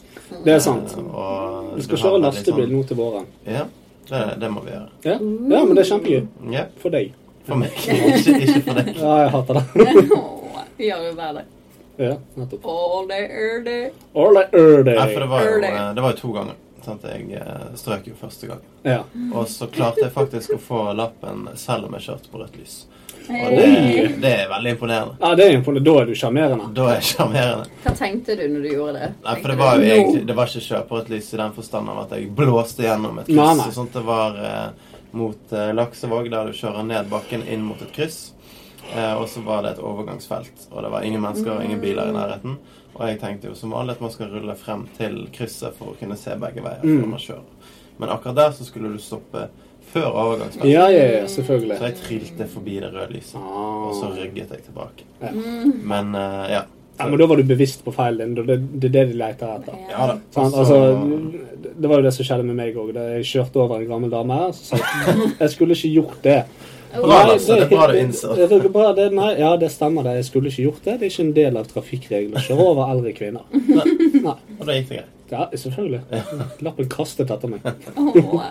Speaker 3: Det er sant.
Speaker 2: Eh, Og
Speaker 3: Vi skal
Speaker 2: du har
Speaker 3: kjøre
Speaker 2: veldig
Speaker 3: lastebil
Speaker 2: sånn-
Speaker 3: nå til våren.
Speaker 2: Ja, det, det må vi gjøre.
Speaker 3: Ja, ja men det er kjempegøy.
Speaker 2: Ja,
Speaker 3: For deg.
Speaker 2: for meg. ikke, ikke for deg.
Speaker 3: Ja, jeg hater det.
Speaker 1: Åh, Vi gjør jo hver dag.
Speaker 3: Ja, nettopp.
Speaker 1: All day, all day.
Speaker 3: All I earn
Speaker 2: Nei, for det
Speaker 3: day.
Speaker 2: var jo,
Speaker 1: Early.
Speaker 2: eh, det var jo to ganger. Sant? Jeg eh, strøk jo første gang.
Speaker 3: Ja.
Speaker 2: Og så klarte jeg faktisk å få lappen selv om jeg kjørte på rødt lys. Og det,
Speaker 3: Oi.
Speaker 2: det er veldig imponerende.
Speaker 3: ja, det er imponerende. Da er du sjarmerende.
Speaker 2: Da er jeg sjarmerende.
Speaker 1: Hva tenkte du når du gjorde det?
Speaker 2: Nei, for det var jo
Speaker 1: Tenkte du,
Speaker 2: egentlig Det var ikke kjøre på rødt lys i den forstand av at jeg blåste gjennom et
Speaker 3: Nei,
Speaker 2: kryss.
Speaker 3: nei.
Speaker 2: og Sånt det var eh, mot eh, Laksevåg, der du kjører ned bakken inn mot et kryss. Eh, og så var det et overgangsfelt, og det var ingen mennesker og ingen biler i nærheten. Og jeg tenkte jo som vanlig at man skal rulle frem til krysset for å kunne se begge veier.
Speaker 3: Mm.
Speaker 2: før man kjører. Men akkurat der så skulle du stoppe før overgangsfeltet.
Speaker 3: Ja, ja, ja,
Speaker 2: Så
Speaker 3: selvfølgelig.
Speaker 2: jeg trilte forbi det røde lyset, og så
Speaker 3: Ah.
Speaker 2: rygget jeg tilbake.
Speaker 3: Ja.
Speaker 1: Mm.
Speaker 2: Men eh, ja.
Speaker 3: Ja, men da var du bevisst på feilen din. og Det, det er det de leter etter.
Speaker 1: Ja.
Speaker 2: Ja da.
Speaker 3: Sant?
Speaker 2: Og
Speaker 3: Altså,
Speaker 2: så-
Speaker 3: det var jo det som skjedde med meg òg. Jeg kjørte over en gammel dame. her, Så sa jeg jeg skulle ikke gjort det.
Speaker 2: Bra, Lasse. Det er bra du innså.
Speaker 3: det, det, er bra, det, nei, ja, det stemmer. det. Jeg skulle ikke gjort det. Det er ikke en del av trafikkreglene. Kjøre over eldre kvinner. Nei.
Speaker 2: Og da gikk det greit.
Speaker 3: Ja, selvfølgelig. Lappen kastet etter meg.
Speaker 1: Åh,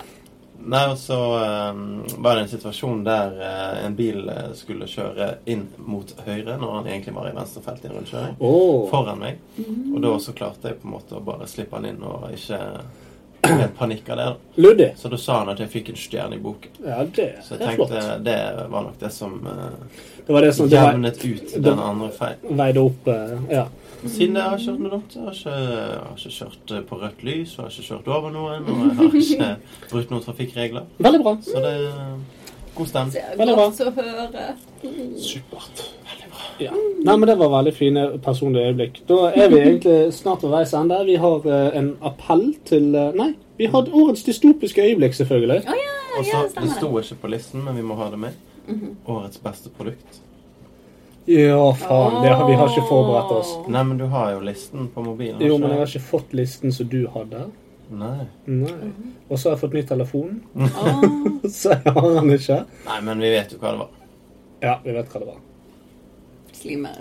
Speaker 2: Nei, og så eh, var det en situasjon der eh, en bil eh, skulle kjøre inn mot høyre når han egentlig var i venstrefelt i en rundkjøring.
Speaker 3: Åh.
Speaker 2: Foran meg. Og da så klarte jeg på en måte å bare slippe han inn og ikke helt panikk av det. da.
Speaker 3: Luddy.
Speaker 2: Så da sa han at jeg fikk en stjerne i boken.
Speaker 3: Ja, det
Speaker 2: Så
Speaker 3: er
Speaker 2: jeg tenkte
Speaker 3: flott.
Speaker 2: det var nok det som eh,
Speaker 3: Det var det som det var,
Speaker 2: jevnet ut den andre feil.
Speaker 3: veide opp eh, Ja.
Speaker 2: Siden jeg har kjørt noe dumt. Jeg har ikke, jeg har ikke kjørt eh, på rødt lys, og jeg har ikke kjørt over noen, og jeg har ikke brutt noen trafikkregler.
Speaker 3: Veldig bra.
Speaker 2: Så det er god stemning.
Speaker 1: det er
Speaker 3: Veldig bra.
Speaker 1: godt å høre.
Speaker 3: Supert. Ja. Nei, men Det var veldig fine personlige øyeblikk. Da er vi egentlig snart ved veis ende. Vi har eh, en appell til eh, Nei, vi har årets dystopiske øyeblikk, selvfølgelig.
Speaker 1: Å ja, ja,
Speaker 2: Og så, det
Speaker 1: stemmer det. Mhm.
Speaker 2: sto ikke på listen, men vi må ha det med. Årets beste produkt.
Speaker 3: Ja, faen. Det, har- vi har ikke forberedt oss.
Speaker 2: Nei, men du har jo listen på mobilen. har
Speaker 3: Jo,
Speaker 2: ikke
Speaker 3: men jeg har
Speaker 2: du?
Speaker 3: ikke fått listen som du hadde.
Speaker 2: Nei.
Speaker 3: Nei. Og så har jeg fått ny telefon,
Speaker 1: Åh,
Speaker 3: så jeg har den ikke.
Speaker 2: Nei, men vi vet jo hva det var.
Speaker 3: Ja, vi vet hva det var.
Speaker 1: slimer.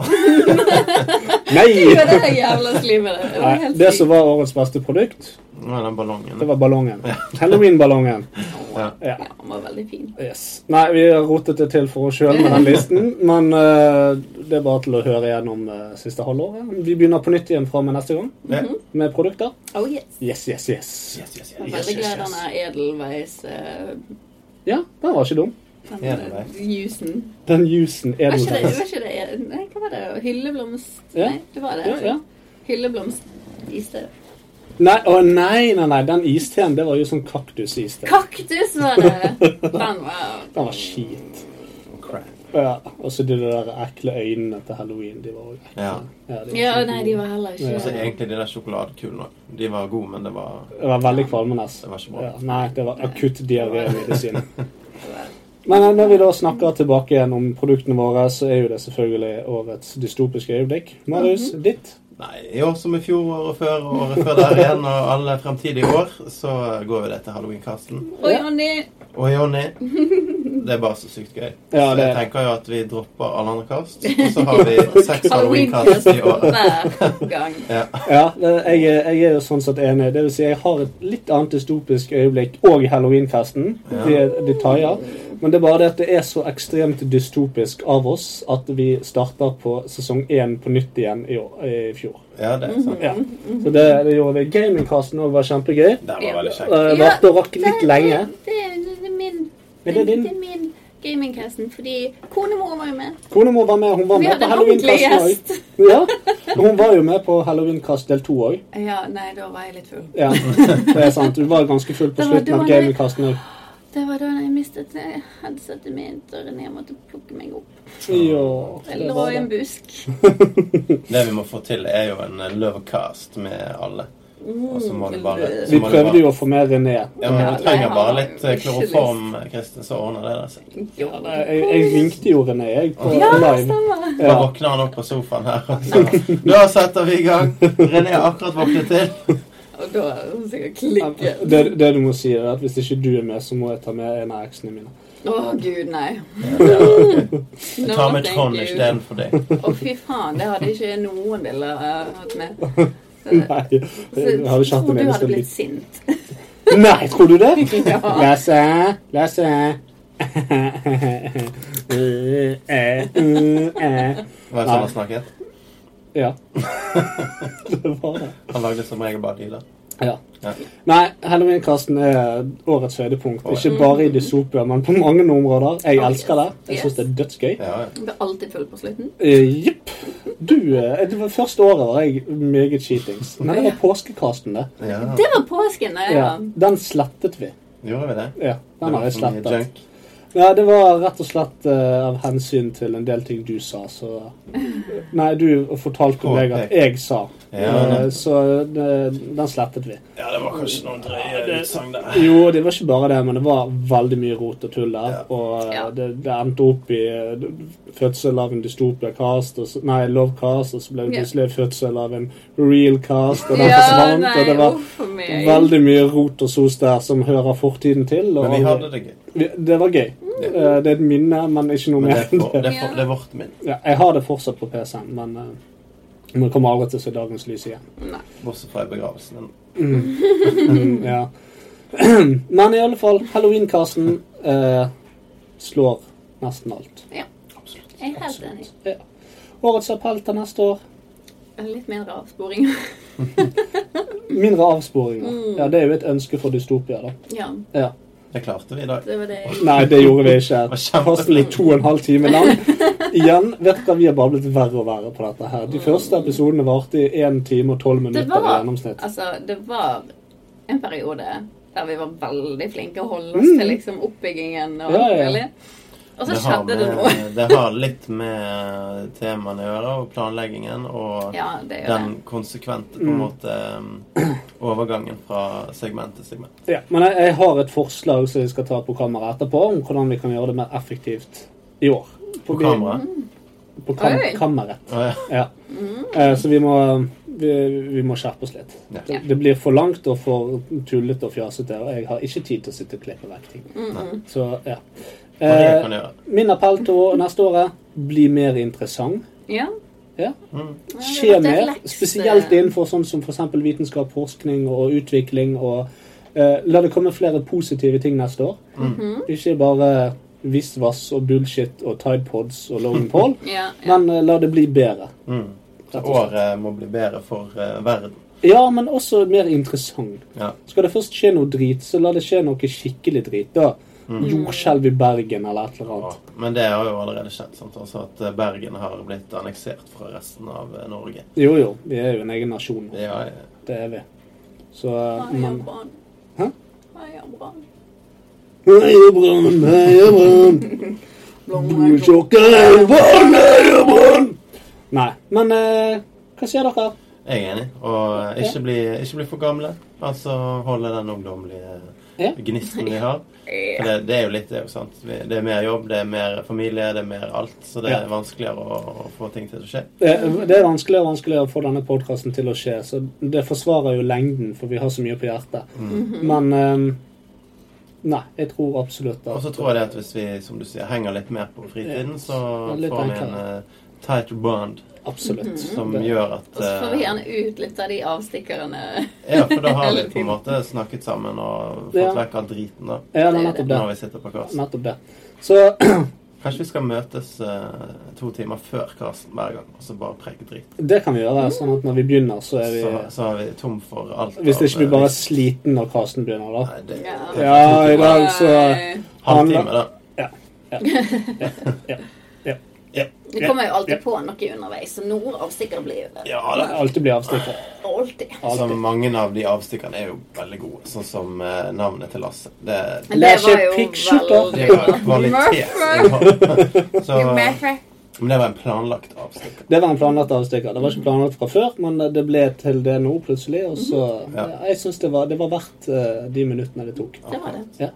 Speaker 3: Nei!
Speaker 1: Det er jævla slimer. Det var
Speaker 3: Nei,
Speaker 1: helt
Speaker 3: det
Speaker 1: sykt.
Speaker 3: som var årets beste produkt,
Speaker 2: Nå er den ballongen.
Speaker 3: det var ballongen. Halloween-ballongen.
Speaker 2: ja.
Speaker 3: Ja.
Speaker 1: Ja, han var veldig fin.
Speaker 3: Yes. Nei, vi har rotet det til for oss sjøl med den listen, men eh, det er bare til å høre gjennom eh, siste halvåret. Vi begynner på nytt igjen fra og med neste gang
Speaker 2: Ja.
Speaker 1: Mhm.
Speaker 3: med produkter.
Speaker 1: Oh yes.
Speaker 3: Yes, yes, yes.
Speaker 2: Yes, yes,
Speaker 1: Jeg
Speaker 2: yes.
Speaker 1: var Veldig glad han er edelveis. eh,
Speaker 3: Ja, den var ikke dum.
Speaker 1: Den eh,
Speaker 2: Edelweiss.
Speaker 1: jusen.
Speaker 3: Den jusen er
Speaker 1: Var
Speaker 3: noe
Speaker 1: ikke det,
Speaker 3: annet.
Speaker 1: var ikke det Nei, hva var det? Hylleblomst
Speaker 3: Ja.
Speaker 1: Nei, det var det.
Speaker 3: Ja, ja.
Speaker 1: Hylleblomst iste.
Speaker 3: Nei, å nei, nei, nei, den isteen, det var jo sånn kaktusiste.
Speaker 1: Kaktus var det! Den var
Speaker 3: Den var skit.
Speaker 2: Crap.
Speaker 3: Ja, og så de der ekle øynene til halloween, de var også
Speaker 2: Ja.
Speaker 3: ja, de var
Speaker 1: Ja,
Speaker 3: ikke
Speaker 1: nei,
Speaker 3: gode.
Speaker 1: de var heller
Speaker 3: Ja.
Speaker 2: Og så
Speaker 1: ikke
Speaker 2: egentlig de der sjokoladekulene òg. De var gode, men det var
Speaker 3: Det var veldig kvalmende. ass.
Speaker 2: Det var ikke bra.
Speaker 3: Ja, nei, det var akutt diarémedisin. Men eh, når vi da snakker tilbake igjen om produktene våre, så er jo det selvfølgelig årets dystopiske øyeblikk. Marius,
Speaker 1: Mhm.
Speaker 3: ditt?
Speaker 2: Nei, i år som i fjor, året før og året før der igjen, og alle fremtidige år, så går jo det til Halloween-casten.
Speaker 1: Oi, Jonny!
Speaker 2: Og Jonny, det er bare så sykt gøy.
Speaker 3: Ja,
Speaker 2: så
Speaker 3: det-
Speaker 2: jeg tenker jo at vi dropper alle andre kast, og så har vi seks Halloween-kast i år.
Speaker 1: hver gang.
Speaker 2: Ja.
Speaker 3: Ja, det- jeg er, jeg er jo sånn sett enig. Det vil si, jeg har et litt annet dystopisk øyeblikk og halloweenfesten. De, de taier. Men det er bare det at det er så ekstremt dystopisk av oss at vi starter på sesong én på nytt igjen i, år, i fjor.
Speaker 2: ja, det er sant.
Speaker 1: Mhm,
Speaker 3: Ja. Så det, det gjorde vi. Gamingcasten òg var kjempegøy.
Speaker 2: Det var veldig kjekt.
Speaker 1: Ja,
Speaker 3: Eh, Varte og rakk litt
Speaker 1: det-
Speaker 3: lenge.
Speaker 1: Det, det, det er min,
Speaker 3: Er det din?
Speaker 1: det er min gamingcasten, fordi konemor var jo med.
Speaker 3: Konemor var med. Hun var
Speaker 1: Vi
Speaker 3: med
Speaker 1: hadde
Speaker 3: på
Speaker 1: en ordentlig
Speaker 3: halloweenkasten
Speaker 1: gjest.
Speaker 3: òg. Ja. Hun var jo med på halloweenkast del to òg.
Speaker 1: Ja, nei, da var jeg litt full.
Speaker 3: Ja, det er sant. Du var ganske full på
Speaker 1: Det var
Speaker 3: slutten av
Speaker 1: dårlig.
Speaker 3: gamingkasten òg.
Speaker 1: Det var da jeg mistet eh, headsetet mitt, og René måtte plukke meg opp.
Speaker 3: Ja,
Speaker 1: Jeg
Speaker 3: det
Speaker 1: lå
Speaker 3: var
Speaker 1: i en
Speaker 3: det.
Speaker 1: busk.
Speaker 2: Det vi må få til, er jo en eh, lovecast med alle. Og så
Speaker 1: Mm,
Speaker 2: må det bare så
Speaker 3: Vi
Speaker 2: må det
Speaker 3: prøvde
Speaker 2: bare-
Speaker 3: jo å få med René.
Speaker 2: Ja, men
Speaker 1: Ja,
Speaker 2: Du trenger
Speaker 1: nei,
Speaker 2: bare
Speaker 1: han-
Speaker 2: litt eh, kloroform, Kristin, så ordner det der seg.
Speaker 1: Ja,
Speaker 3: Jeg, jeg ringte jo René jeg, på
Speaker 1: Ja,
Speaker 3: live.
Speaker 1: stemmer.
Speaker 2: Da
Speaker 3: Ja.
Speaker 2: våkner han opp på sofaen her. og så, Da setter vi i gang! René har akkurat våknet til.
Speaker 1: Og da er hun sikkert klikket.
Speaker 3: Det, det du må si, er at hvis ikke du er med, så må jeg ta med en av eksene mine.
Speaker 1: Å, gud, nei.
Speaker 2: Jeg tar med Trond istedenfor deg.
Speaker 1: Å, fy faen, det hadde ikke noen ville eh, hatt med. Eh, Så,
Speaker 3: Nei, jeg har jo ikke hatt
Speaker 1: tror
Speaker 3: en
Speaker 1: du hadde
Speaker 3: eneste
Speaker 1: blitt
Speaker 3: lyd.
Speaker 1: sint.
Speaker 3: Nei, tror du det?
Speaker 1: Ja.
Speaker 3: Lasse, Lasse. Eh, eh, eh.
Speaker 2: Var det sånn han snakket?
Speaker 3: Ja. Det var det.
Speaker 2: Han lagde som regel bare dealer.
Speaker 3: Ja.
Speaker 2: Ja.
Speaker 3: Nei, halloweenkasten er årets høydepunkt. Ikke bare i dystopier, men på mange områder. Jeg
Speaker 1: Oh,
Speaker 3: elsker det.
Speaker 1: yes.
Speaker 3: Jeg syns det er dødsgøy.
Speaker 2: Ja, ja.
Speaker 1: Ble alltid full på slutten.
Speaker 3: Eh, Jepp. Du eh, Det var første året var jeg meget cheatings. Men det var påskekasten, det.
Speaker 2: ja.
Speaker 1: Det var påsken, det.
Speaker 3: Ja,
Speaker 1: Ja.
Speaker 3: den slettet vi.
Speaker 2: Gjorde vi det?
Speaker 3: Ja,
Speaker 2: Det
Speaker 3: den
Speaker 2: var
Speaker 3: har jeg
Speaker 2: for mye
Speaker 3: slettet.
Speaker 2: junk.
Speaker 3: Ja, det var rett og slett eh, av hensyn til en del ting du sa, så Nei, du fortalte meg at jeg sa,
Speaker 2: Ja.
Speaker 3: Eh, så eh, den slettet vi.
Speaker 2: Ja, det var kanskje noen drøye utsagn der.
Speaker 3: Jo, det var ikke bare det, men det var veldig mye rot og tull der. Og eh,
Speaker 1: Ja.
Speaker 3: det, det endte opp i eh, fødsel av en dystopia-cast, og så- nei, love-cast, og så ble det
Speaker 1: Ja.
Speaker 3: plutselig fødsel av en real-cast, og den
Speaker 1: Ja,
Speaker 3: forsvant,
Speaker 1: nei,
Speaker 3: og det var
Speaker 1: uff a meg.
Speaker 3: veldig mye rot og sos der som hører fortiden til. Og
Speaker 2: Men vi hadde det gøy.
Speaker 3: vi, det var gøy. Eh, Det er et minne, men ikke noe
Speaker 2: Men det
Speaker 3: mer
Speaker 2: er,
Speaker 3: enn
Speaker 2: for, det,
Speaker 3: det.
Speaker 2: er for, det er vårt min.
Speaker 3: Ja, jeg har det fortsatt på PC-en, men eh, men det kommer aldri til å se dagens lys igjen.
Speaker 2: Bortsett fra i begravelsen.
Speaker 3: Ja. Men i alle fall, Halloween-casten eh, slår nesten alt.
Speaker 1: Jeg er helt enig.
Speaker 3: Årets appell til neste år
Speaker 1: Litt mindre avsporing.
Speaker 3: mindre avsporinger.
Speaker 1: Mm.
Speaker 3: Ja, Det er jo et ønske for dystopia, da.
Speaker 1: ja,
Speaker 3: Ja.
Speaker 2: Det klarte vi i dag.
Speaker 1: det var det jeg
Speaker 3: Nei, det gjorde vi ikke.
Speaker 2: var kjempeflink.
Speaker 3: Casten gikk to og en halv time lang. Igjen vet dere, vi har bare blitt verre og verre på dette her. De første episodene varte i 1 time og 12
Speaker 1: Mm. Det
Speaker 3: minutter i
Speaker 1: var,
Speaker 3: gjennomsnitt.
Speaker 1: altså, det var en periode der vi var veldig flinke å holde oss til liksom, oppbyggingen og
Speaker 3: Mm. Ja,
Speaker 1: alt
Speaker 3: ja, ja.
Speaker 1: mulig. Og så
Speaker 2: Det har,
Speaker 1: skjedde det noe.
Speaker 2: med, det har litt med temaene å gjøre, og planleggingen, og
Speaker 1: Ja, det gjør
Speaker 2: den konsekvente
Speaker 3: Mm.
Speaker 2: på en måte um, overgangen fra segment til segment.
Speaker 3: Ja, men jeg, jeg har et forslag som jeg skal ta på kamera etterpå, om hvordan vi kan gjøre det mer effektivt i år.
Speaker 2: På kamera.
Speaker 1: Mm.
Speaker 3: På kam
Speaker 1: Oi.
Speaker 3: kammeret.
Speaker 2: Å, ja.
Speaker 3: Ja. Eh, så vi må, vi, vi må skjerpe oss litt.
Speaker 2: Ja.
Speaker 3: Det, det blir for langt og for tullete og fjasete, og jeg har ikke tid til å sitte og klippe vekk ting. Så, ja.
Speaker 2: Hva det
Speaker 3: Eh,
Speaker 2: kan gjøre.
Speaker 3: min appell til å- neste år er bli mer interessant.
Speaker 1: det. Ja.
Speaker 3: Ja.
Speaker 1: Ja, det
Speaker 3: Skje
Speaker 1: var det
Speaker 3: mer,
Speaker 1: lekse-
Speaker 3: spesielt innenfor sånn som f.eks. vitenskap, forskning og utvikling. og eh, La det komme flere positive ting neste år.
Speaker 2: Mm.
Speaker 1: Mhm.
Speaker 3: Ikke bare visvas og bullshit og Tide Pods og Logan Paul,
Speaker 1: Ja, ja.
Speaker 3: men eh, la det bli bedre.
Speaker 2: Mm.
Speaker 3: rett og slett.
Speaker 2: Året må bli bedre for eh, verden.
Speaker 3: Ja, men også mer interessant.
Speaker 2: Ja.
Speaker 3: Skal det først skje noe drit, så la det skje noe skikkelig drit. da.
Speaker 2: Mm.
Speaker 3: Jordskjelv i Bergen eller et eller
Speaker 2: Ja,
Speaker 3: annet.
Speaker 2: men det har jo allerede skjedd. Sant? Altså at eh, Bergen har blitt anneksert fra resten av eh, Norge.
Speaker 3: Jo, jo, vi er jo en egen nasjon. nå.
Speaker 2: Det er, eh,
Speaker 3: Det er vi. Så eh, men,
Speaker 6: Heia Brann.
Speaker 3: Hæ?
Speaker 6: Heia Brann.
Speaker 3: Heia Brann, heia Brann! Du tjukkere, Brann, heia Brann! Nei, men eh, hva sier dere?
Speaker 2: jeg er enig. Og eh, ikke bli, ikke bli for gamle. Altså holde den ungdommelige
Speaker 3: Ja.
Speaker 2: gnisten vi har. For det, det er jo litt det òg, sant. Vi- Det er mer jobb, det er mer familie, det er mer alt. Så det
Speaker 3: Ja.
Speaker 2: er vanskeligere å, å få ting til å skje.
Speaker 3: Eh, Det er vanskeligere og vanskeligere å få denne podkasten til å skje, så det forsvarer jo lengden, for vi har så mye på hjertet. Men eh, Nei, jeg tror absolutt
Speaker 2: Og
Speaker 3: at
Speaker 2: så tror jeg det at hvis vi som du sier, henger litt mer på fritiden, så
Speaker 3: Ja, litt
Speaker 2: får vi en
Speaker 3: enklere.
Speaker 2: eh, tight bond
Speaker 3: Absolutt.
Speaker 2: som
Speaker 3: Det-
Speaker 2: gjør at
Speaker 6: Og så får vi
Speaker 2: eh,
Speaker 6: gjerne ut litt av de avstikkerne.
Speaker 2: Ja, for da har vi
Speaker 6: hele
Speaker 2: på
Speaker 6: tiden.
Speaker 2: en måte snakket sammen og fått
Speaker 3: Ja.
Speaker 2: vekk all driten, da.
Speaker 3: Ja, det
Speaker 6: Det
Speaker 3: er
Speaker 6: er
Speaker 3: nettopp det.
Speaker 2: Når vi sitter på Karsten.
Speaker 3: Nettopp det. Så
Speaker 2: Kanskje vi skal møtes eh, to timer før Karsten hver gang, og så bare preke drit.
Speaker 3: det kan vi gjøre, sånn at når vi begynner, så er
Speaker 2: Så,
Speaker 3: vi
Speaker 2: så er vi tom for alt.
Speaker 3: Hvis
Speaker 2: av,
Speaker 3: ikke vi
Speaker 2: eh,
Speaker 3: bare er
Speaker 2: vits.
Speaker 3: sliten når Karsten begynner, da.
Speaker 2: Nei, det
Speaker 6: Ja.
Speaker 2: det er
Speaker 3: Ja, i dag så
Speaker 1: eh,
Speaker 6: Nei.
Speaker 2: Halvtime, da.
Speaker 6: Det kommer jo alltid på noe underveis, så noen avstikkere blir det.
Speaker 2: Ja da.
Speaker 3: Alltid blir avstikket.
Speaker 6: Alltid.
Speaker 2: Så
Speaker 3: Alltid.
Speaker 2: Altså, mange av de avstikkene er jo veldig gode, sånn som eh, navnet til Lasse. Det,
Speaker 6: Men
Speaker 3: Lær
Speaker 6: det
Speaker 3: seg
Speaker 6: var jo
Speaker 3: pikkskjorter.
Speaker 2: det er jo
Speaker 6: veldig bra.
Speaker 2: kvalitet. Så, men
Speaker 6: Murphy.
Speaker 2: det var en planlagt avstikker.
Speaker 3: Det var en planlagt avstikker. Det var ikke planlagt fra før, men det ble til det nå plutselig. Og så
Speaker 2: Ja.
Speaker 3: ja, Jeg syns det, var- det var verdt eh, de minuttene det tok.
Speaker 6: Det var det.
Speaker 3: Ja,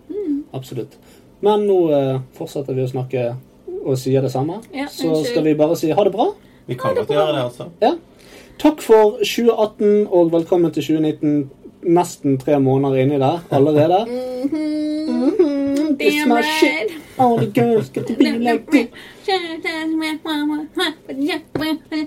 Speaker 3: absolutt. Men nå eh, fortsetter vi å snakke og sier det samme.
Speaker 6: Ja,
Speaker 3: Så
Speaker 6: unnskyld.
Speaker 3: skal vi bare si ha det bra.
Speaker 2: Vi kan godt gjøre det, altså.
Speaker 3: Ja. Takk for 2018, og velkommen til 2019. Nesten tre måneder inni der allerede.
Speaker 6: Mm,
Speaker 3: Mhm, It's
Speaker 6: Damn
Speaker 3: my
Speaker 6: right.
Speaker 3: shit. All the girls get to be like this.
Speaker 6: Shut up, my mama.